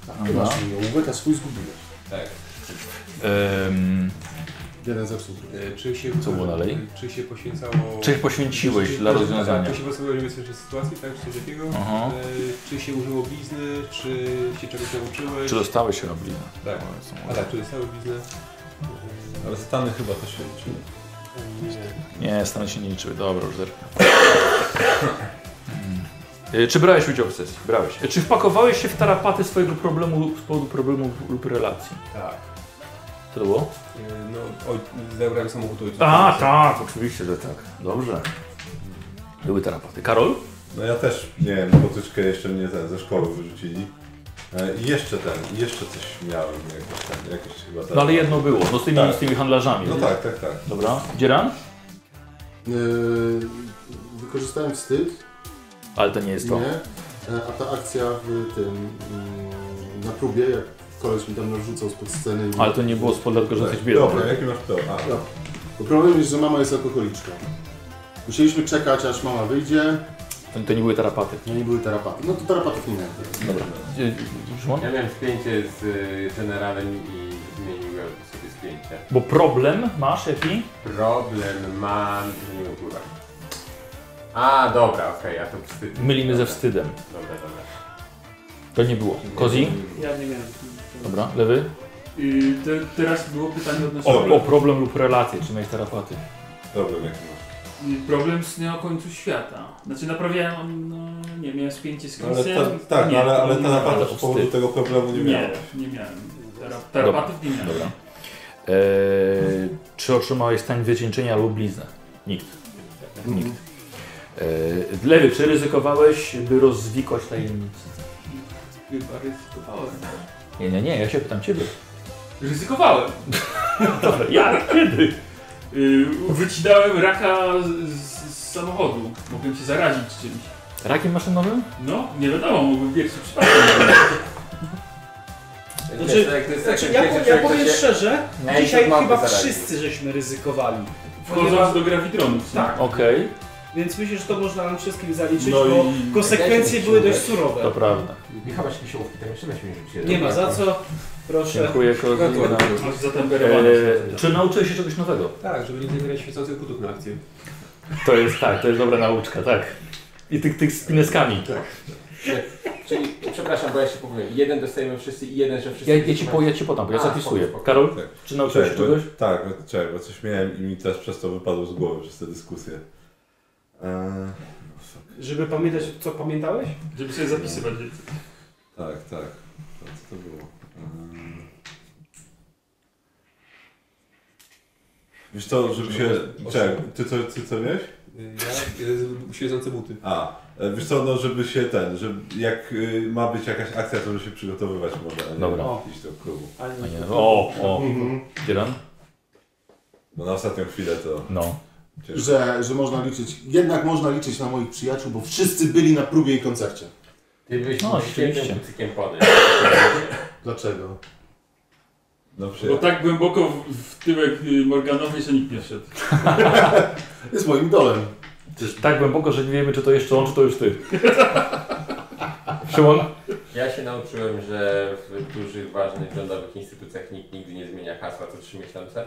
[SPEAKER 14] Tak,
[SPEAKER 8] No.
[SPEAKER 14] chyba, że nie ubyt, a swój zgubiłeś.
[SPEAKER 8] Tak.
[SPEAKER 1] Ehm,
[SPEAKER 14] Jeden zepsuł drugi.
[SPEAKER 8] E, Czy się,
[SPEAKER 1] Co było dalej?
[SPEAKER 8] Czy się poświęcało...
[SPEAKER 1] Czy poświęciłeś dla
[SPEAKER 8] tak,
[SPEAKER 1] rozwiązania?
[SPEAKER 8] Czy się postawiło niebezpiecznej sytuacji, tak, czy coś takiego?
[SPEAKER 1] Aha.
[SPEAKER 8] E, Czy się użyło blizny, czy się czegoś nauczyłeś?
[SPEAKER 1] Czy dostałeś No, się na bliznę?
[SPEAKER 8] Tak. A tak, czy dostałeś bliznę?
[SPEAKER 31] Ale Stany chyba to się liczyły.
[SPEAKER 1] Nie, stany się nie liczyły. Dobra, już zerknę. Mm. Y, Czy brałeś udział w sesji? Brałeś. Y, Czy wpakowałeś się w tarapaty swojego problemu z powodu problemów lub relacji?
[SPEAKER 8] Tak.
[SPEAKER 1] Co to było?
[SPEAKER 8] E, No, oj, zabrałem samochód ojcu.
[SPEAKER 1] A, tak, oczywiście, że tak. Dobrze. Były tarapaty. Karol?
[SPEAKER 3] No ja też miałem potyczkę, jeszcze mnie ten, ze szkoły wyrzucili. E, I jeszcze ten, i jeszcze coś miałem, jakoś ten, jakoś chyba ten.
[SPEAKER 1] No ale jedno było, no z tymi,
[SPEAKER 3] Tak.
[SPEAKER 1] z tymi handlarzami.
[SPEAKER 3] No
[SPEAKER 1] nie?
[SPEAKER 3] tak, tak, tak.
[SPEAKER 1] Dobra. Dzieran?
[SPEAKER 14] Yy, wykorzystałem wstyd.
[SPEAKER 1] Ale to nie jest to.
[SPEAKER 14] Nie. E, A ta akcja w tym... mm, na próbie, jak koleś mi tam narzucał spod sceny... i-
[SPEAKER 1] Ale to nie było spod tylko że
[SPEAKER 3] Tak.
[SPEAKER 1] jesteś biedny.
[SPEAKER 14] Dobra, jaki masz to? A. Dobra. Bo problem jest, że mama jest alkoholiczką. Musieliśmy czekać, aż mama wyjdzie.
[SPEAKER 1] To, to nie były tarapaty. Y,
[SPEAKER 14] No nie były tarapaty. No to tarapatów nie miałem.
[SPEAKER 1] Dobra.
[SPEAKER 4] Ja miałem spięcie z y, generałem i zmieniłem sobie spięcie.
[SPEAKER 1] Bo problem masz jaki?
[SPEAKER 4] Problem mam i nie ogóle. A, dobra, okej, a to wstyd.
[SPEAKER 1] Mylimy ze wstydem.
[SPEAKER 4] Dobra, dobra.
[SPEAKER 1] To nie było. Kozi?
[SPEAKER 8] E,
[SPEAKER 20] Ja nie miałem.
[SPEAKER 1] Dobra, lewy?
[SPEAKER 20] Y, te, teraz było pytanie odnośnie...
[SPEAKER 1] O, o problem lub relacje, czy miałeś tarapaty?
[SPEAKER 3] Problem jaki masz.
[SPEAKER 20] Y, Problem z na końcu świata. Znaczy naprawiałem, no nie, miałem spięcie z
[SPEAKER 3] No, ale
[SPEAKER 20] końcem.
[SPEAKER 3] ta- tak,
[SPEAKER 20] nie,
[SPEAKER 3] ale-
[SPEAKER 20] to
[SPEAKER 3] ale
[SPEAKER 20] nie
[SPEAKER 3] ta
[SPEAKER 20] miałem.
[SPEAKER 3] naprawdę z powodu tego problemu nie miałeś.
[SPEAKER 20] Nie, nie miałem. Tera- Terapatów nie miałem.
[SPEAKER 1] Dobra. Eee, czy otrzymałeś stan wycieńczenia lub bliznę? Nikt. Nikt. Eee, lewy, czy ryzykowałeś, by rozwikłać tajemnicę?
[SPEAKER 20] Chyba ryzykowałem.
[SPEAKER 1] Nie, nie, nie, ja się pytam ciebie.
[SPEAKER 20] Ryzykowałem.
[SPEAKER 1] Dobra, jak? Kiedy?
[SPEAKER 20] Y, wycinałem raka z, z, z samochodu. Mogłem się zarazić czymś.
[SPEAKER 1] Rakiem maszynowym?
[SPEAKER 20] No, nie wiadomo, mógłbym biec
[SPEAKER 3] No
[SPEAKER 20] przypadkiem.
[SPEAKER 11] Znaczy,
[SPEAKER 4] tak,
[SPEAKER 11] znaczy ja, po- ja powiem szczerze,
[SPEAKER 20] No,
[SPEAKER 11] dzisiaj
[SPEAKER 20] to mamy
[SPEAKER 11] chyba
[SPEAKER 20] zarazić.
[SPEAKER 11] wszyscy żeśmy ryzykowali.
[SPEAKER 20] Wchodząc do grawitronów.
[SPEAKER 11] Tak.
[SPEAKER 1] Okej.
[SPEAKER 11] Więc myślę, że to można nam wszystkim zaliczyć,
[SPEAKER 1] No
[SPEAKER 11] bo
[SPEAKER 1] i-
[SPEAKER 11] konsekwencje były dość surowe.
[SPEAKER 1] To prawda.
[SPEAKER 4] I chyba się siłówki, tam jeszcze weźmie rzucić.
[SPEAKER 11] Nie ma za co, proszę.
[SPEAKER 1] Dziękuję Kozi.
[SPEAKER 3] E-
[SPEAKER 1] Eee, czy nauczyłeś się czegoś nowego?
[SPEAKER 8] Tak, żeby nie zabierać świecących butów na akcję.
[SPEAKER 1] To jest tak, to jest dobra nauczka, tak. I tych, tych z pineskami.
[SPEAKER 8] Tak.
[SPEAKER 4] Czyli, przepraszam, bo ja się pomyliłem. Jeden dostajemy wszyscy i jeden, że wszyscy...
[SPEAKER 1] Ja, ja, ci po, ja ci podam, bo ja
[SPEAKER 4] A,
[SPEAKER 1] zapisuję.
[SPEAKER 4] spoko, spoko.
[SPEAKER 1] Karol, czy nauczyłeś się
[SPEAKER 3] Czekaj,
[SPEAKER 1] czegoś?
[SPEAKER 3] Bo, tak, bo, czekaj, bo coś miałem i mi też przez to wypadło z głowy, przez tę dyskusję. Eee,
[SPEAKER 11] Żeby pamiętać, co pamiętałeś?
[SPEAKER 20] Żeby sobie zapisywać.
[SPEAKER 3] tak, tak. To, co to było? Eee... Wiesz co, żeby się... Czekaj, ty co, ty co miałeś?
[SPEAKER 8] Ja, e, świecące buty.
[SPEAKER 3] A, e, wiesz co, no żeby się ten, że jak y, ma być jakaś akcja, to żeby się przygotowywać może, a nie
[SPEAKER 1] Dobra.
[SPEAKER 3] iść do klubu.
[SPEAKER 1] A nie, o, o. Dzieran?
[SPEAKER 3] Bo na ostatnią chwilę to...
[SPEAKER 1] No.
[SPEAKER 14] Że, że można liczyć, jednak można liczyć na moich przyjaciół, bo wszyscy byli na próbie i koncercie.
[SPEAKER 4] Ty byś
[SPEAKER 14] No,
[SPEAKER 4] no, świetnym
[SPEAKER 14] oczywiście.
[SPEAKER 4] kucykiem pony.
[SPEAKER 14] Dlaczego?
[SPEAKER 3] No
[SPEAKER 20] Bo tak głęboko w, w tyłek y, Morganowi, że nikt nie wszedł.
[SPEAKER 14] Jest moim idolem.
[SPEAKER 1] Tak głęboko, że nie wiemy, czy to jeszcze on, czy to już ty. Szymon?
[SPEAKER 4] Ja się nauczyłem, że w dużych, ważnych, rządowych instytucjach nikt nigdy nie zmienia hasła co trzy miesiące.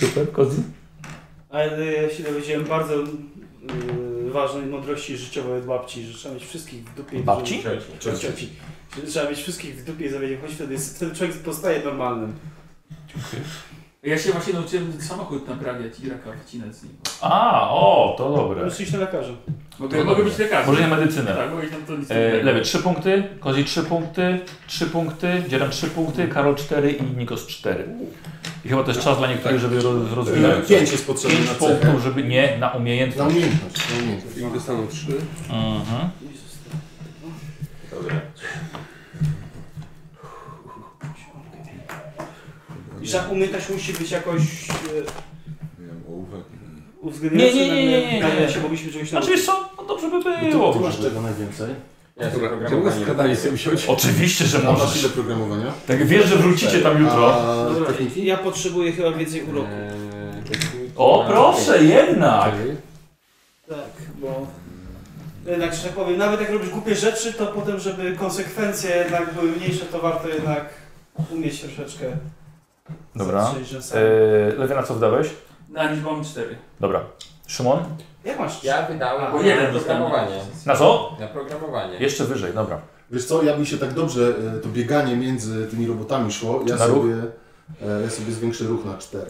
[SPEAKER 1] Super, Kozi?
[SPEAKER 11] Ale ja się dowiedziałem bardzo yy, ważnej mądrości życiowej od babci, że trzeba mieć wszystkich w dupie.
[SPEAKER 1] Babci?
[SPEAKER 11] Żeby,
[SPEAKER 1] Cioci.
[SPEAKER 11] cioci. Cioci. Że Trzeba mieć wszystkich w dupie i zawiedzieć, choć wtedy, jest- wtedy człowiek postaje normalnym.
[SPEAKER 20] Ja się właśnie nauczyłem samochód naprawiać i raka wycinać z nim.
[SPEAKER 1] A, o, to dobre.
[SPEAKER 11] Muszę iść na lekarza.
[SPEAKER 20] Mogę- mogę być lekarzem.
[SPEAKER 1] Może nie medycynę.
[SPEAKER 20] Tak, mogę iść tam to nic nie
[SPEAKER 1] e,
[SPEAKER 20] wiem.
[SPEAKER 1] lewy 3 punkty, Kozi 3 punkty, 3 punkty, Dzieran 3 punkty, Karol 4 i Nikos 4. I chyba też czas dla niektórych, żeby roz, rozwijać.
[SPEAKER 14] E, pięć jest potrzebne
[SPEAKER 1] Pięć
[SPEAKER 14] na cechę.
[SPEAKER 1] punktów, żeby nie, na umiejętność.
[SPEAKER 14] Na umiejętność, na umiejętność.
[SPEAKER 8] I dostaną trzy.
[SPEAKER 14] No.
[SPEAKER 1] Mhm.
[SPEAKER 4] Dobra.
[SPEAKER 11] I że umiejętność musi być jakoś yy,
[SPEAKER 3] Nie wiem, ołówek.
[SPEAKER 11] uwzględniająca
[SPEAKER 1] Nie, nie, nie, nie,
[SPEAKER 11] na-
[SPEAKER 1] nie,
[SPEAKER 11] na-
[SPEAKER 1] nie.
[SPEAKER 11] na- się mogliśmy czegoś nauczyć.
[SPEAKER 1] Znaczy, co? No dobrze by
[SPEAKER 14] No to
[SPEAKER 1] było.
[SPEAKER 14] ty masz czego najwięcej?
[SPEAKER 4] Ja
[SPEAKER 14] Dobra,
[SPEAKER 4] sobie
[SPEAKER 14] czy mogę
[SPEAKER 4] programowanie- Eee,
[SPEAKER 14] skradanie sobie wziąć?
[SPEAKER 1] Oczywiście, że
[SPEAKER 14] A
[SPEAKER 1] możesz.
[SPEAKER 14] masz ile programowania?
[SPEAKER 1] Tak wiesz, że wrócicie tam jutro.
[SPEAKER 11] Dobra, ja potrzebuję chyba więcej uroku.
[SPEAKER 1] O, proszę, jednak!
[SPEAKER 11] Tak, bo jednak, że tak powiem, nawet jak robisz głupie rzeczy, to potem, żeby konsekwencje jednak były mniejsze, to warto jednak umieć troszeczkę.
[SPEAKER 1] Dobra.
[SPEAKER 11] zatrzeć, że sam-
[SPEAKER 1] Yy, Lewiana, co wydałeś?
[SPEAKER 2] Na nic mam cztery.
[SPEAKER 1] Dobra. Szymon?
[SPEAKER 11] Jak masz?
[SPEAKER 4] Ja wydałem
[SPEAKER 2] Bo jeden
[SPEAKER 4] na programowanie.
[SPEAKER 1] Na co?
[SPEAKER 4] Na programowanie.
[SPEAKER 1] Jeszcze wyżej, dobra.
[SPEAKER 14] Wiesz co, ja mi się tak dobrze e, to bieganie między tymi robotami szło, ja
[SPEAKER 1] Na ruch?
[SPEAKER 14] sobie, e, ja sobie zwiększę ruch na 4.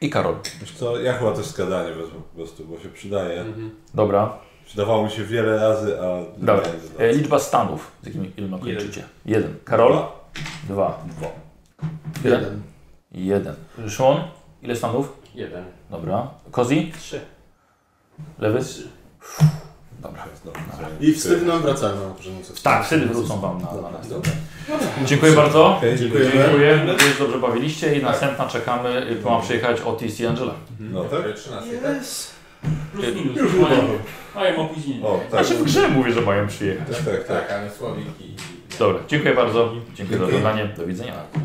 [SPEAKER 1] I Karol.
[SPEAKER 3] Wiesz co, ja chyba też skadanie wezmę po prostu, bo się przydaje.
[SPEAKER 4] Mhm.
[SPEAKER 1] Dobra.
[SPEAKER 3] Przydawało mi się wiele razy, a...
[SPEAKER 1] Dobra.
[SPEAKER 3] nie wiem,
[SPEAKER 1] E, liczba stanów, z jakimi ilma kończycie. Jeden. Karol? Dwa. Jeden. Jeden. Szymon? Ile stanów?
[SPEAKER 4] Jeden.
[SPEAKER 1] Dobra. Kozi?
[SPEAKER 11] Trzy.
[SPEAKER 1] Lewy? Dobra.
[SPEAKER 14] I wtedy nam wracają na poprzednią
[SPEAKER 1] Tak, wtedy wrócą wam na, na nas. Dobra. Dziękuję bardzo.
[SPEAKER 14] Dziękujemy.
[SPEAKER 1] Dziękuję. Mam nadzieję, że dobrze bawiliście i następna czekamy, y, ma przyjechać Otis i Angela.
[SPEAKER 3] No tak?
[SPEAKER 11] Yes.
[SPEAKER 2] Plus minus.
[SPEAKER 1] Już
[SPEAKER 2] mają,
[SPEAKER 1] chyba.
[SPEAKER 2] mają opóźnienie.
[SPEAKER 3] O, tak.
[SPEAKER 1] Znaczy w grze mówię, że mają przyjechać.
[SPEAKER 3] Tak, tak, tak.
[SPEAKER 4] ale słowiki.
[SPEAKER 1] Dobra, dziękuję bardzo. Dziękuję za oglądanie. Do widzenia.